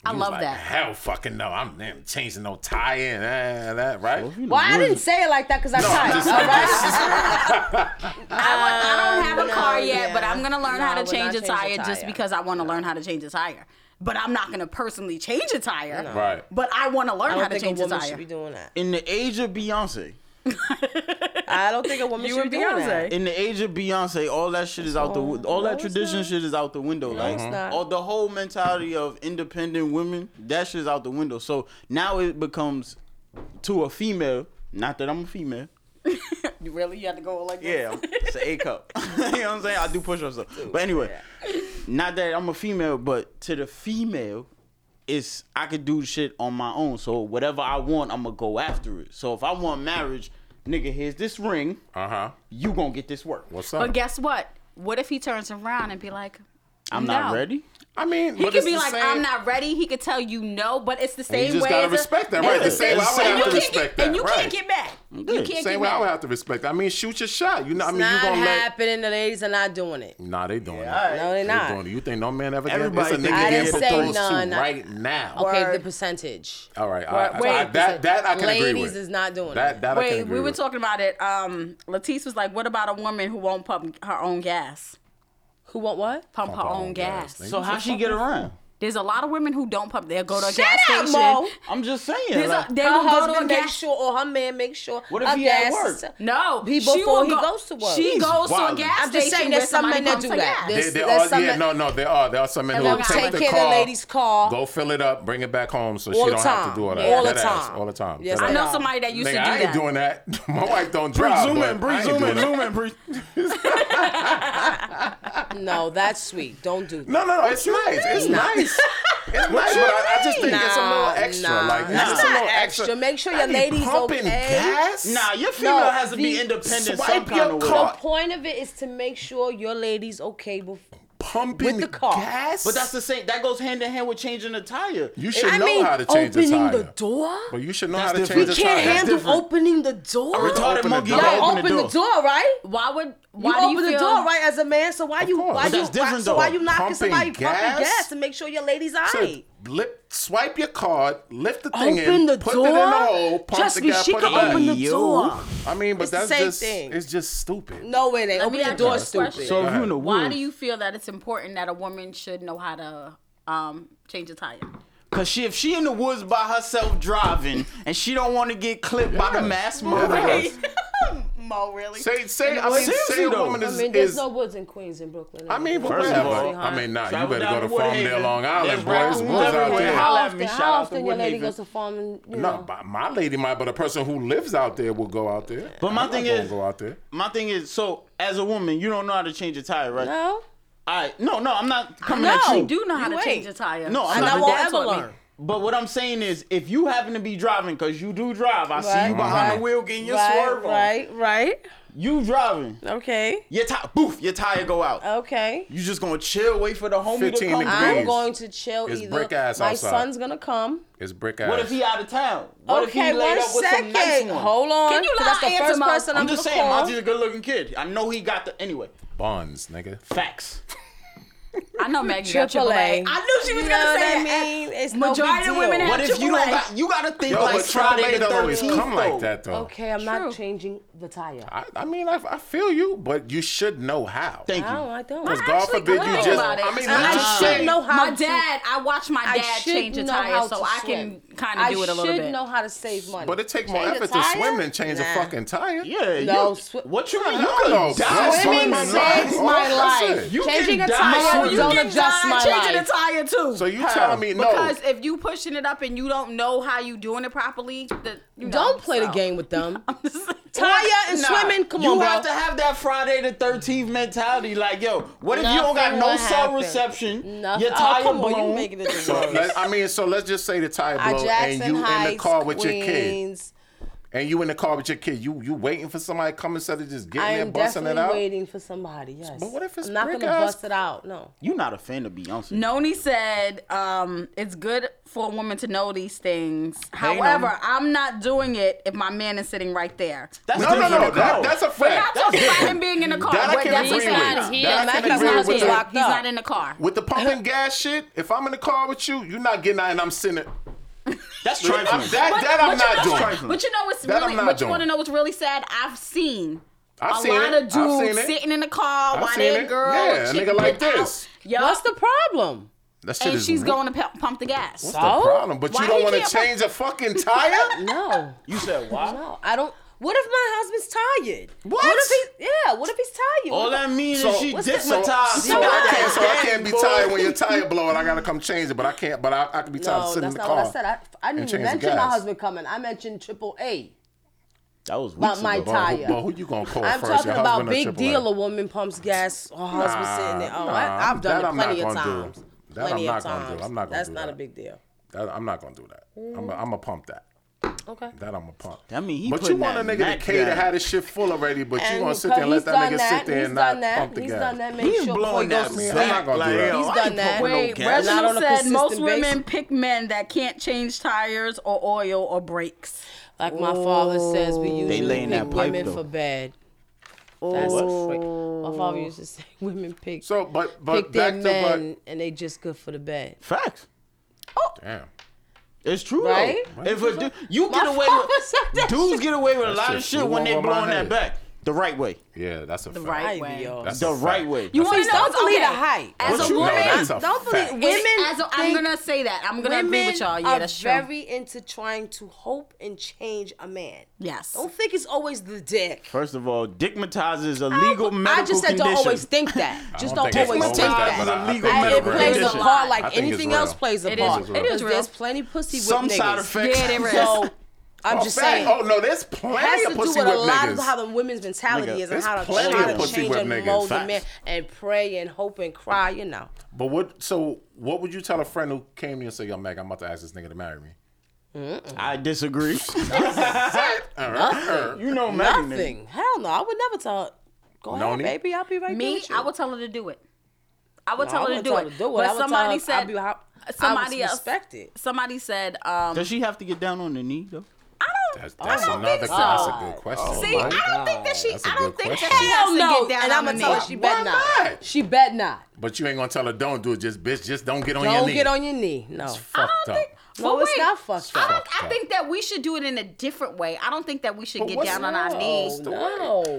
Speaker 3: I
Speaker 5: He was
Speaker 3: love
Speaker 5: like,
Speaker 3: that.
Speaker 5: Hell fucking no. I'm, damn changing no tie in and that, right?
Speaker 6: Well, I didn't say it like that because I'm tired.
Speaker 5: just-
Speaker 6: all right?
Speaker 3: I, want, I don't have a
Speaker 6: Um, no,
Speaker 3: car yet,
Speaker 6: yeah.
Speaker 3: but I'm gonna learn
Speaker 6: No, I
Speaker 3: how
Speaker 6: would
Speaker 3: to change a
Speaker 6: not
Speaker 3: tire,
Speaker 6: change a
Speaker 3: just
Speaker 6: tire.
Speaker 3: because I want to learn how to change a tire. But I'm not gonna personally change a tire.
Speaker 5: Right.
Speaker 3: But I want to learn
Speaker 6: I
Speaker 3: how
Speaker 6: don't
Speaker 3: to
Speaker 6: think a
Speaker 3: change a
Speaker 6: woman should
Speaker 3: tire.
Speaker 6: be doing that.
Speaker 4: In the age of Beyonce,
Speaker 6: I don't think a woman
Speaker 3: You
Speaker 6: should
Speaker 3: and
Speaker 6: be doing that.
Speaker 3: Beyonce.
Speaker 4: in the age of Beyonce, all that shit is out the wi- all that tradition shit is out the window. Like
Speaker 6: it's not.
Speaker 4: all the whole mentality of independent women, that shit is out the window. So now it becomes to a female. Not that I'm a female.
Speaker 3: You really? You had to go like
Speaker 4: Yeah,
Speaker 3: this?
Speaker 4: it's an A cup. you know what I'm saying? I do push ups. But anyway, not that I'm a female, but to the female, it's I could do shit on my own. So whatever I want, I'm gonna go after it. So if I want marriage, nigga, here's this ring.
Speaker 5: Uh huh.
Speaker 4: You gonna get this work.
Speaker 5: What's up?
Speaker 3: But guess what? What if he turns around and be like,
Speaker 4: I'm
Speaker 3: No.
Speaker 4: not ready.
Speaker 5: I mean,
Speaker 3: He could be like, I'm not ready. He could tell you no, but it's the same way.
Speaker 5: just gotta
Speaker 3: as a-
Speaker 5: respect that,
Speaker 3: it's
Speaker 5: right?
Speaker 4: The same- I would
Speaker 3: and
Speaker 4: have
Speaker 3: you
Speaker 4: to
Speaker 3: can't
Speaker 5: respect
Speaker 3: get,
Speaker 5: that,
Speaker 3: And you
Speaker 5: right.
Speaker 3: can't get back. You
Speaker 4: Yeah,
Speaker 3: can't get
Speaker 5: Same way I
Speaker 3: back.
Speaker 5: would have to respect. I mean, shoot your shot. You know, I mean, you
Speaker 6: not
Speaker 5: gonna let.
Speaker 6: happening. The ladies are not doing it.
Speaker 5: Nah, they doing it.
Speaker 6: No, they're
Speaker 5: They doing
Speaker 6: not.
Speaker 5: it. You think no man ever gets
Speaker 4: Everybody
Speaker 5: a
Speaker 4: think
Speaker 5: nigga
Speaker 4: I
Speaker 5: getting
Speaker 4: didn't say
Speaker 5: proposed
Speaker 6: none.
Speaker 5: to right now?
Speaker 6: Okay, the
Speaker 3: Word.
Speaker 6: percentage.
Speaker 5: All right, I, I,
Speaker 3: Wait,
Speaker 5: I, that that I can agree
Speaker 6: Ladies
Speaker 5: with.
Speaker 6: is not doing
Speaker 5: that
Speaker 6: it.
Speaker 5: that I can
Speaker 3: Wait,
Speaker 5: agree
Speaker 3: we were
Speaker 5: with.
Speaker 3: talking about it. Um, Latisse was like, "What about a woman who won't pump her own gas?
Speaker 6: Who want what?
Speaker 3: Pump, her own gas?"
Speaker 5: nigga.
Speaker 4: So how she get around?
Speaker 3: There's a lot of women who don't pump. They'll go to a
Speaker 6: Shut
Speaker 3: gas
Speaker 6: up,
Speaker 3: station.
Speaker 6: Mo.
Speaker 4: I'm just saying.
Speaker 3: There's a-
Speaker 4: like,
Speaker 3: they
Speaker 6: her
Speaker 3: will go to a
Speaker 6: husband make
Speaker 3: gas
Speaker 6: sure or her man make sure.
Speaker 4: What if
Speaker 6: a
Speaker 4: he at
Speaker 6: gas
Speaker 4: work?
Speaker 6: is-
Speaker 3: No,
Speaker 6: He-
Speaker 3: she
Speaker 6: before
Speaker 3: will
Speaker 6: he
Speaker 3: go-
Speaker 6: goes to work.
Speaker 3: She
Speaker 4: She's
Speaker 3: goes to a
Speaker 4: wildin'.
Speaker 3: gas
Speaker 6: I'm just
Speaker 3: station.
Speaker 6: saying there's
Speaker 3: where
Speaker 6: some
Speaker 3: somebody
Speaker 6: men that
Speaker 3: pumps
Speaker 6: do
Speaker 3: her
Speaker 6: that.
Speaker 3: gas.
Speaker 6: There's-
Speaker 5: There, there
Speaker 6: that's
Speaker 5: are, yeah,
Speaker 6: something-
Speaker 5: no, no, there are. There are some men who
Speaker 6: they'll
Speaker 5: will take
Speaker 6: take
Speaker 5: the
Speaker 6: care of the
Speaker 5: car,
Speaker 6: lady's car.
Speaker 5: go fill it up, bring it back home, so
Speaker 6: All
Speaker 5: she
Speaker 6: the
Speaker 5: don't have
Speaker 6: time.
Speaker 5: to do all that.
Speaker 6: Yeah. All the
Speaker 5: That ass,
Speaker 6: time.
Speaker 5: all the time.
Speaker 6: Yes,
Speaker 5: That
Speaker 3: I
Speaker 5: ass.
Speaker 3: know somebody that used
Speaker 5: Nigga,
Speaker 3: to do
Speaker 5: I ain't
Speaker 3: that.
Speaker 5: doing that. My wife don't
Speaker 4: Bree,
Speaker 5: drive.
Speaker 4: zoom
Speaker 5: but
Speaker 4: in, Bree,
Speaker 5: I ain't
Speaker 4: zoom
Speaker 5: doing
Speaker 4: in,
Speaker 5: that.
Speaker 4: zoom in, Bree.
Speaker 6: No, that's sweet. Don't do that.
Speaker 5: No, no, no. It's nice. It's
Speaker 6: mean?
Speaker 5: nice. It's nice, but I, I just think it's a little
Speaker 6: Nah,
Speaker 5: extra.
Speaker 6: nah.
Speaker 5: Like, it's
Speaker 6: Nah.
Speaker 5: just a little
Speaker 6: Not extra.
Speaker 5: extra.
Speaker 6: Make sure
Speaker 5: I
Speaker 6: your
Speaker 5: be
Speaker 6: lady's
Speaker 5: pumping
Speaker 6: okay.
Speaker 5: Gas?
Speaker 4: Nah, your female
Speaker 6: No,
Speaker 4: has to be
Speaker 6: the-
Speaker 4: independent some
Speaker 5: Swipe
Speaker 4: kind
Speaker 5: your
Speaker 4: of
Speaker 5: car.
Speaker 4: way.
Speaker 6: The point of it is to make sure your lady's okay before.
Speaker 5: Pumping
Speaker 6: With the car.
Speaker 5: gas.
Speaker 4: But that's the same. That goes hand in hand with changing the tire.
Speaker 5: You should
Speaker 6: I
Speaker 5: know
Speaker 6: mean,
Speaker 5: how to change the
Speaker 6: opening
Speaker 5: tire.
Speaker 6: the door.
Speaker 5: But you should know
Speaker 4: That's
Speaker 5: how to change
Speaker 4: different.
Speaker 5: the
Speaker 6: You
Speaker 4: It's
Speaker 6: can't
Speaker 5: tire. That's
Speaker 6: handle
Speaker 5: different.
Speaker 6: opening the door.
Speaker 5: Retarded
Speaker 4: Retarded
Speaker 5: open the
Speaker 4: monkey.
Speaker 5: door.
Speaker 4: gotta
Speaker 6: Y'all
Speaker 4: open
Speaker 6: open,
Speaker 4: the
Speaker 6: the,
Speaker 4: door.
Speaker 6: door. right?
Speaker 3: Why would
Speaker 6: You
Speaker 3: why do you
Speaker 6: open the
Speaker 3: feel,
Speaker 6: door right as a man. So why
Speaker 5: Of
Speaker 6: you
Speaker 5: course.
Speaker 6: why
Speaker 5: But
Speaker 6: you
Speaker 4: that's
Speaker 6: why,
Speaker 4: different,
Speaker 6: so why
Speaker 4: though.
Speaker 6: you knocking
Speaker 5: Pumping
Speaker 6: somebody
Speaker 5: gas?
Speaker 6: pumping gas to make sure your lady's
Speaker 5: So
Speaker 6: alright?
Speaker 5: lip, swipe your card, lift the thing
Speaker 6: Open
Speaker 5: in,
Speaker 6: the
Speaker 5: put
Speaker 6: door.
Speaker 5: it in the hole, pump
Speaker 6: Trust
Speaker 5: the
Speaker 6: me,
Speaker 5: gas,
Speaker 6: she
Speaker 5: put
Speaker 6: can
Speaker 5: it back.
Speaker 6: open the
Speaker 4: Yo.
Speaker 6: door.
Speaker 5: I mean, but
Speaker 6: It's the
Speaker 5: that's
Speaker 6: same
Speaker 5: just
Speaker 6: thing.
Speaker 5: it's just stupid.
Speaker 6: No, it ain't.
Speaker 3: Let me
Speaker 6: Open the
Speaker 3: ask
Speaker 6: door,
Speaker 3: you a question.
Speaker 6: stupid.
Speaker 4: So if you in the
Speaker 3: why do
Speaker 4: woods,
Speaker 3: you feel that it's important that a woman should know how to um change a tire?
Speaker 4: cause she if she in the woods by herself driving and she don't want to get clipped by the
Speaker 5: Yes. Yes.
Speaker 4: mass murderer,
Speaker 3: Mo, really?
Speaker 5: Say, say, I
Speaker 4: what?
Speaker 5: mean, say a
Speaker 4: Seriously,
Speaker 5: woman
Speaker 4: though.
Speaker 5: is.
Speaker 6: I mean, there's
Speaker 5: is-
Speaker 6: no woods in Queens and Brooklyn.
Speaker 5: I mean, but
Speaker 4: First of
Speaker 5: whatever.
Speaker 4: all,
Speaker 5: I mean, nah, you
Speaker 4: travel
Speaker 5: better
Speaker 4: down
Speaker 5: go to
Speaker 4: to
Speaker 5: Farmdale,
Speaker 4: Woodhaven.
Speaker 5: Long Island,
Speaker 4: There's
Speaker 5: boys.
Speaker 4: rock
Speaker 5: Woods out
Speaker 4: everywhere.
Speaker 5: there.
Speaker 4: Holla
Speaker 6: how
Speaker 4: at me,
Speaker 6: often,
Speaker 4: shout
Speaker 6: how
Speaker 4: out to
Speaker 6: often your lady
Speaker 4: Woodhaven.
Speaker 6: goes to farm? And, you
Speaker 5: No,
Speaker 6: know.
Speaker 5: but my lady might, but a person who lives out there will go out there.
Speaker 4: But my
Speaker 5: I'm not
Speaker 4: thing
Speaker 5: gonna
Speaker 4: is-
Speaker 5: go out there.
Speaker 4: my thing is so as a woman you don't know how to change a tire, right?
Speaker 6: no.
Speaker 4: All right, no, no, I'm not coming
Speaker 3: No,
Speaker 4: at
Speaker 3: you
Speaker 4: you.
Speaker 3: do know how
Speaker 6: You
Speaker 3: to
Speaker 6: ain't.
Speaker 3: change a tire.
Speaker 4: No, I'm
Speaker 6: And
Speaker 4: not
Speaker 6: I
Speaker 4: the
Speaker 6: won't
Speaker 4: dad
Speaker 6: ever
Speaker 3: taught me.
Speaker 6: learn.
Speaker 4: But what I'm saying is, if you happen to be driving, cause you do drive, I see you
Speaker 6: Right,
Speaker 4: behind
Speaker 6: right,
Speaker 4: the wheel getting your
Speaker 6: right,
Speaker 4: swerve on.
Speaker 6: Right, right.
Speaker 4: You driving,
Speaker 6: Okay,
Speaker 4: your tire, boof, your tire go out.
Speaker 6: okay.
Speaker 4: You just gonna chill, wait for the homie to
Speaker 5: 15
Speaker 4: come.
Speaker 5: degrees.
Speaker 6: I'm
Speaker 5: Please.
Speaker 6: going to chill
Speaker 5: It's
Speaker 6: either.
Speaker 5: brick ass
Speaker 6: My
Speaker 5: outside.
Speaker 6: son's gonna come.
Speaker 5: It's brick ass.
Speaker 4: What if he out of town? What if
Speaker 6: okay,
Speaker 4: he laid
Speaker 6: one
Speaker 4: up with some nice
Speaker 6: second.
Speaker 4: one?
Speaker 6: Hold on.
Speaker 3: Can you
Speaker 6: 'cause
Speaker 3: lie,
Speaker 6: That's the
Speaker 3: Aunt
Speaker 6: first
Speaker 3: Mo?
Speaker 6: person I'm,
Speaker 4: I'm just
Speaker 6: gonna
Speaker 4: saying,
Speaker 6: call.
Speaker 4: Monty's a good-looking kid. I know he got the anyway.
Speaker 5: Buns, nigga.
Speaker 4: Facts.
Speaker 3: I know Maggie got
Speaker 6: Triple A.
Speaker 3: AAA. I knew she was
Speaker 6: You
Speaker 3: gonna
Speaker 6: know
Speaker 3: say
Speaker 6: what I
Speaker 3: that.
Speaker 6: mean? It's no
Speaker 3: Majority
Speaker 6: big
Speaker 3: of
Speaker 6: deal.
Speaker 3: women have
Speaker 4: What if you
Speaker 3: AAA.
Speaker 4: don't got? You gotta think
Speaker 5: Yo,
Speaker 4: like
Speaker 5: but Triple
Speaker 4: Friday
Speaker 5: A
Speaker 4: the
Speaker 5: don't always
Speaker 4: thirteenth.
Speaker 5: come like that though.
Speaker 6: Okay, I'm
Speaker 3: True.
Speaker 6: not changing the tire.
Speaker 5: I, I mean, I, I feel you, but you should know how.
Speaker 4: Thank
Speaker 6: I
Speaker 4: you.
Speaker 6: don't. I don't.
Speaker 5: Because
Speaker 6: I
Speaker 5: God
Speaker 6: actually
Speaker 5: forbid
Speaker 6: don't
Speaker 5: you
Speaker 6: know
Speaker 5: just.
Speaker 6: about it.
Speaker 5: I mean,
Speaker 6: And
Speaker 5: let's
Speaker 6: I
Speaker 5: just
Speaker 6: should
Speaker 5: say,
Speaker 6: know how
Speaker 3: my
Speaker 6: to-
Speaker 3: dad, I watch my
Speaker 6: I
Speaker 3: dad
Speaker 6: should
Speaker 3: change a
Speaker 6: know
Speaker 3: tire,
Speaker 6: how
Speaker 3: so
Speaker 6: to
Speaker 3: I
Speaker 6: swim.
Speaker 3: can kind of do it a little
Speaker 6: I
Speaker 3: bit.
Speaker 6: should know how to save money.
Speaker 5: But it takes more
Speaker 6: Change a
Speaker 5: effort to
Speaker 6: tire?
Speaker 5: swim than change a
Speaker 6: Nah.
Speaker 5: fucking tire.
Speaker 4: Yeah.
Speaker 6: No,
Speaker 4: you-
Speaker 6: swi-
Speaker 4: what you mean? You
Speaker 5: Hell
Speaker 4: could
Speaker 5: no,
Speaker 4: die
Speaker 5: bro.
Speaker 4: swimming.
Speaker 6: Swimming
Speaker 5: Swimming
Speaker 6: saves
Speaker 5: sucks.
Speaker 6: my
Speaker 5: That's
Speaker 6: life.
Speaker 5: it.
Speaker 4: You
Speaker 6: Changing
Speaker 4: can
Speaker 6: a
Speaker 4: die
Speaker 6: tire
Speaker 4: swimming.
Speaker 6: don't
Speaker 4: You can
Speaker 6: adjust my
Speaker 3: changing
Speaker 6: life.
Speaker 3: a tire too.
Speaker 5: So you telling me no?
Speaker 3: Because if you pushing it up and you don't know how you doing it properly, the, you know,
Speaker 6: Don't play the
Speaker 3: so.
Speaker 6: game with them.
Speaker 3: I'm just saying.
Speaker 6: Tire and swimming, come
Speaker 4: you
Speaker 6: on,
Speaker 4: have
Speaker 6: bro.
Speaker 4: to have that Friday the thirteenth mentality. Like, yo, what if you don't got
Speaker 6: Nothing
Speaker 4: no
Speaker 6: will
Speaker 4: cell
Speaker 6: happen.
Speaker 4: reception?
Speaker 6: Nothing-
Speaker 4: Your
Speaker 6: oh,
Speaker 4: tire
Speaker 6: come on, you
Speaker 4: blown.
Speaker 6: making it
Speaker 5: So let, I mean, so let's just say the tire
Speaker 6: At
Speaker 5: blow, and
Speaker 6: Jackson
Speaker 5: you in the
Speaker 6: Heights,
Speaker 5: car with your kid,
Speaker 6: Queens.
Speaker 5: and you in the car with your kid. You you waiting for somebody to come instead of just
Speaker 6: I
Speaker 5: getting there,
Speaker 6: am
Speaker 5: busting it
Speaker 6: definitely
Speaker 5: out.
Speaker 6: waiting for somebody. Yes.
Speaker 5: But what if it's
Speaker 6: I'm not gonna
Speaker 5: brick-ass-
Speaker 6: bust it out. No.
Speaker 4: You not a fan of Beyonce?
Speaker 3: Noni said um, it's good for a woman to know these things.
Speaker 4: Hey,
Speaker 3: However,
Speaker 4: Noni.
Speaker 3: I'm not doing it if my man is sitting right there.
Speaker 4: That's
Speaker 5: No, no,
Speaker 4: different.
Speaker 5: no. That, that's a
Speaker 3: We're not
Speaker 5: fact.
Speaker 3: talking about him being in the car.
Speaker 5: That I
Speaker 3: We're-
Speaker 5: can
Speaker 3: that's
Speaker 5: agree
Speaker 3: he's
Speaker 5: with.
Speaker 3: not
Speaker 5: That
Speaker 3: here.
Speaker 5: I can
Speaker 3: He's not
Speaker 5: agree with
Speaker 3: here.
Speaker 5: that.
Speaker 3: He's not in the car.
Speaker 5: With the pumping gas shit, if I'm in the car with you, you're not getting out, and I'm sitting. there.
Speaker 4: That's
Speaker 5: I'm-
Speaker 4: trifling.
Speaker 5: That, that I'm
Speaker 3: but
Speaker 5: not
Speaker 3: you know,
Speaker 5: doing.
Speaker 4: doing.
Speaker 3: But you know what's
Speaker 5: That I'm
Speaker 3: really,
Speaker 5: not
Speaker 3: but you
Speaker 5: doing.
Speaker 3: want to know what's really sad? I've seen
Speaker 5: I've
Speaker 3: a
Speaker 5: seen
Speaker 3: lot
Speaker 5: it.
Speaker 3: of
Speaker 5: I've seen
Speaker 3: dudes
Speaker 5: it.
Speaker 3: sitting in the car
Speaker 5: I've
Speaker 3: while
Speaker 5: seen
Speaker 3: their
Speaker 5: it.
Speaker 3: girl
Speaker 5: Yeah, a
Speaker 3: chick
Speaker 5: nigga like
Speaker 3: get out.
Speaker 5: this.
Speaker 3: Yo,
Speaker 6: What's the problem? Oh.
Speaker 5: That shit
Speaker 3: and
Speaker 5: is
Speaker 3: she's
Speaker 5: weak.
Speaker 3: going to p- pump the gas.
Speaker 5: What's the problem? But
Speaker 3: Why
Speaker 5: you don't
Speaker 3: he
Speaker 5: want to
Speaker 3: can't pump-
Speaker 5: change a fucking tire?
Speaker 6: No.
Speaker 4: You said why?
Speaker 6: No. I don't. What if my husband's tired?
Speaker 5: What?
Speaker 6: What if he's yeah? What if he's tired?
Speaker 4: All
Speaker 6: What
Speaker 4: that means
Speaker 5: So,
Speaker 4: is she
Speaker 5: what's
Speaker 6: the-
Speaker 4: digmatized.
Speaker 5: so,
Speaker 4: She
Speaker 5: so,
Speaker 4: got
Speaker 5: I
Speaker 4: that
Speaker 5: can't, so I
Speaker 4: gas,
Speaker 5: can't be
Speaker 4: boy.
Speaker 5: tired when your tire blow and I gotta come change it, but I can't. But I, I could be
Speaker 6: the-
Speaker 5: tired
Speaker 6: no,
Speaker 5: sitting
Speaker 6: that's
Speaker 5: in the
Speaker 6: not
Speaker 5: car.
Speaker 6: what I said. I, I didn't
Speaker 5: and
Speaker 6: even
Speaker 5: change the
Speaker 6: mention my
Speaker 5: gas.
Speaker 6: husband coming. I mentioned Triple A.
Speaker 4: That was weeks
Speaker 6: About my
Speaker 4: ago.
Speaker 5: Well, who,
Speaker 6: Tire.
Speaker 5: well, who you gonna call
Speaker 6: I'm
Speaker 5: first?
Speaker 6: talking
Speaker 5: your
Speaker 6: about
Speaker 5: husband or
Speaker 6: big
Speaker 5: AAA?
Speaker 6: deal. A woman pumps gas, her husband sitting there. Oh,
Speaker 5: nah,
Speaker 6: I, have done
Speaker 5: that
Speaker 6: it
Speaker 5: I'm not
Speaker 6: plenty of
Speaker 5: gonna do.
Speaker 6: times.
Speaker 5: That I'm
Speaker 6: plenty
Speaker 5: not
Speaker 6: of
Speaker 5: gonna do.
Speaker 6: times.
Speaker 5: I'm not gonna
Speaker 6: That's
Speaker 5: do
Speaker 6: not
Speaker 5: that.
Speaker 6: a big deal.
Speaker 5: That, I'm not gonna do that. I'm gonna I'm pump that.
Speaker 6: Okay.
Speaker 5: That I'm gonna pump.
Speaker 4: That mean he
Speaker 5: but you
Speaker 4: putting
Speaker 5: want a
Speaker 4: that
Speaker 5: nigga
Speaker 4: Mac
Speaker 5: to cater
Speaker 4: down.
Speaker 5: had his shit full already, but you gonna
Speaker 6: because
Speaker 5: sit there and let
Speaker 6: he's
Speaker 5: that
Speaker 6: done
Speaker 5: nigga
Speaker 6: that,
Speaker 5: sit there
Speaker 6: he's
Speaker 5: and
Speaker 6: done
Speaker 5: not
Speaker 6: that,
Speaker 5: pump the
Speaker 6: he's
Speaker 5: gas.
Speaker 6: done that. Make
Speaker 4: He's
Speaker 6: sure
Speaker 4: blowing
Speaker 6: before he
Speaker 4: that
Speaker 6: goes to
Speaker 5: man.
Speaker 6: sleep.
Speaker 5: I'm not gonna do
Speaker 4: Like,
Speaker 5: that.
Speaker 4: yo,
Speaker 5: He's
Speaker 4: I
Speaker 6: done
Speaker 4: ain't
Speaker 6: that.
Speaker 4: pumping no
Speaker 3: Wait,
Speaker 4: gas.
Speaker 6: Reginald Not on
Speaker 3: Reginald
Speaker 6: a
Speaker 3: said most
Speaker 6: consistent
Speaker 3: women
Speaker 6: basis.
Speaker 3: pick men that can't change tires or oil or brakes.
Speaker 6: Like my father says, we usually
Speaker 4: laying
Speaker 6: pick
Speaker 4: that pipe,
Speaker 6: women
Speaker 4: though.
Speaker 6: for bad. That's straight. My father used to say women pick
Speaker 5: Oh. So, but but
Speaker 6: pick their
Speaker 5: back to
Speaker 6: men
Speaker 5: but
Speaker 6: and they just good for the bed.
Speaker 4: Facts.
Speaker 5: damn.
Speaker 4: It's true,
Speaker 6: Right?
Speaker 4: Though. If a dude, you get away
Speaker 6: father said
Speaker 4: with
Speaker 6: that
Speaker 4: dudes get away with a lot
Speaker 5: shit
Speaker 4: of shit
Speaker 5: flew
Speaker 4: when they
Speaker 5: over my
Speaker 4: blowing that
Speaker 5: head.
Speaker 4: back. the right way.
Speaker 5: Yeah, that's a the fact.
Speaker 3: right
Speaker 6: Ay,
Speaker 3: way.
Speaker 6: Dios.
Speaker 5: That's
Speaker 4: The
Speaker 5: a
Speaker 4: right
Speaker 5: fact.
Speaker 4: way.
Speaker 3: You
Speaker 6: Please
Speaker 3: want to know?
Speaker 6: don't believe
Speaker 3: okay.
Speaker 6: the hype.
Speaker 3: As
Speaker 4: What
Speaker 3: a
Speaker 4: you know,
Speaker 3: woman,
Speaker 5: that's a
Speaker 6: Don't believe
Speaker 5: fact.
Speaker 6: women.
Speaker 3: It's- as a- I'm
Speaker 6: think-
Speaker 3: gonna say that. I'm gonna agree with y'all. Yeah,
Speaker 6: are
Speaker 3: that's true.
Speaker 6: very into trying to hope and change a man.
Speaker 3: yes.
Speaker 6: Don't think it's always the dick.
Speaker 4: First of all, digmatized is a legal medical
Speaker 6: I just said
Speaker 4: condition.
Speaker 6: don't always think that. Just
Speaker 5: don't
Speaker 6: don't,
Speaker 5: think it's
Speaker 6: always
Speaker 5: always
Speaker 6: think
Speaker 5: that,
Speaker 6: that.
Speaker 5: but I- I think
Speaker 6: I- it
Speaker 5: it's
Speaker 6: plays
Speaker 5: real.
Speaker 6: a part
Speaker 4: I
Speaker 5: think
Speaker 6: like
Speaker 5: it's
Speaker 6: anything
Speaker 5: real.
Speaker 6: else plays a
Speaker 3: It is
Speaker 6: part.
Speaker 5: real. It
Speaker 3: is real.
Speaker 6: There's plenty pussy with
Speaker 4: Some
Speaker 6: niggas.
Speaker 4: side effects.
Speaker 3: Yeah, there is.
Speaker 6: So I'm
Speaker 5: Oh,
Speaker 6: just
Speaker 5: fact.
Speaker 6: saying.
Speaker 5: Oh no, there's
Speaker 6: It has
Speaker 5: plenty
Speaker 6: to
Speaker 5: of
Speaker 6: do with
Speaker 5: pussy
Speaker 6: a
Speaker 5: whip
Speaker 6: lot
Speaker 5: niggas.
Speaker 6: of how the women's mentality
Speaker 4: Nigga,
Speaker 6: is and
Speaker 5: there's
Speaker 6: how to
Speaker 5: plenty
Speaker 6: try
Speaker 5: of
Speaker 6: to
Speaker 5: pussy
Speaker 6: change
Speaker 5: whip
Speaker 6: and
Speaker 5: niggas.
Speaker 6: mold the
Speaker 4: Facts.
Speaker 6: man and pray and hope and cry, you know.
Speaker 5: But what? So what would you tell a friend who came to you and said, "Yo, Mac, I'm about to ask this nigga to marry me"?
Speaker 4: I disagree. you know, Mac,
Speaker 6: Nothing. Hell no. I would never tell her, go ahead,
Speaker 5: Noni?
Speaker 6: baby. I'll be right there
Speaker 3: Me,
Speaker 6: with you.
Speaker 3: I would tell her to do it. I would
Speaker 6: No,
Speaker 3: tell
Speaker 6: I
Speaker 3: her to
Speaker 6: wouldn't
Speaker 3: do
Speaker 6: tell
Speaker 3: it.
Speaker 6: her to do it. I
Speaker 3: But
Speaker 6: would
Speaker 3: somebody
Speaker 6: tell her, I'd
Speaker 3: said
Speaker 6: be how- I
Speaker 3: somebody
Speaker 6: would
Speaker 3: else
Speaker 6: respect it.
Speaker 3: Somebody said, um,
Speaker 4: Does she have to get down on the knee though?
Speaker 5: That's, that's
Speaker 3: don't
Speaker 5: another.
Speaker 3: think so.
Speaker 5: That's a good question.
Speaker 3: "See, I don't
Speaker 4: Oh,
Speaker 3: think that she.
Speaker 5: Oh, That's a
Speaker 3: I don't
Speaker 5: good
Speaker 3: think
Speaker 5: question.
Speaker 3: that she
Speaker 6: Hell
Speaker 3: has
Speaker 6: no.
Speaker 3: to get down
Speaker 6: and
Speaker 3: on
Speaker 6: I'm
Speaker 3: the
Speaker 6: gonna tell
Speaker 3: knee.
Speaker 6: her she bet not.
Speaker 5: not?
Speaker 6: She bet not.
Speaker 5: But you ain't gonna tell her don't do it. Just bitch, just don't get on your
Speaker 6: Don't
Speaker 5: knee.
Speaker 6: get on your knee. No.
Speaker 5: Fucked up.
Speaker 6: No,
Speaker 3: But
Speaker 6: it's
Speaker 3: wait,
Speaker 6: not fucked
Speaker 3: I
Speaker 6: up.
Speaker 3: don't. I think that we should do it in a different way. I don't think that we should
Speaker 5: But
Speaker 3: get
Speaker 5: what's
Speaker 3: down on our
Speaker 5: wrong?
Speaker 3: knees.
Speaker 6: No.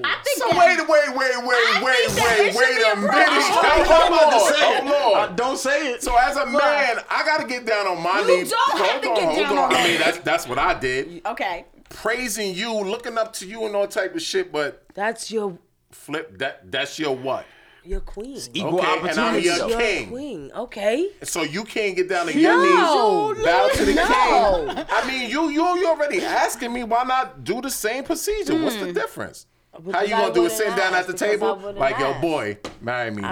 Speaker 3: I think
Speaker 5: So
Speaker 3: that,
Speaker 5: wait, wait, wait, wait,
Speaker 3: think
Speaker 5: wait,
Speaker 3: that it
Speaker 5: wait,
Speaker 3: should
Speaker 5: wait
Speaker 3: be a
Speaker 5: a minute.
Speaker 3: problem.
Speaker 4: I was
Speaker 5: Hold
Speaker 4: about to say
Speaker 5: on,
Speaker 4: it.
Speaker 5: hold on.
Speaker 4: Uh, don't say it.
Speaker 5: So as a man, I gotta get down on my
Speaker 3: You
Speaker 5: knees.
Speaker 3: don't have
Speaker 5: Hold
Speaker 3: to
Speaker 5: on,
Speaker 3: get
Speaker 5: hold
Speaker 3: down on
Speaker 5: I
Speaker 3: me.
Speaker 5: mean, that's that's what I did.
Speaker 3: Okay.
Speaker 5: Praising you, looking up to you, and all type of shit. But
Speaker 6: That's your
Speaker 5: flip that. That's your what?
Speaker 6: your queen.
Speaker 4: Equal
Speaker 5: Okay, and I'm
Speaker 4: opportunity.
Speaker 5: your
Speaker 4: though.
Speaker 5: kid. king.
Speaker 6: Queen. Okay.
Speaker 5: So you can't get down on your knees, bow to the king. I mean, you you you already asking me why not do the same procedure? What's the difference? How
Speaker 6: Because
Speaker 5: you
Speaker 6: Hmm. I
Speaker 5: gonna do it?
Speaker 6: wouldn't
Speaker 5: Sitting down
Speaker 6: ask,
Speaker 5: at the
Speaker 6: because I
Speaker 5: table,
Speaker 6: wouldn't
Speaker 5: like yo,
Speaker 6: ask.
Speaker 5: boy, marry me,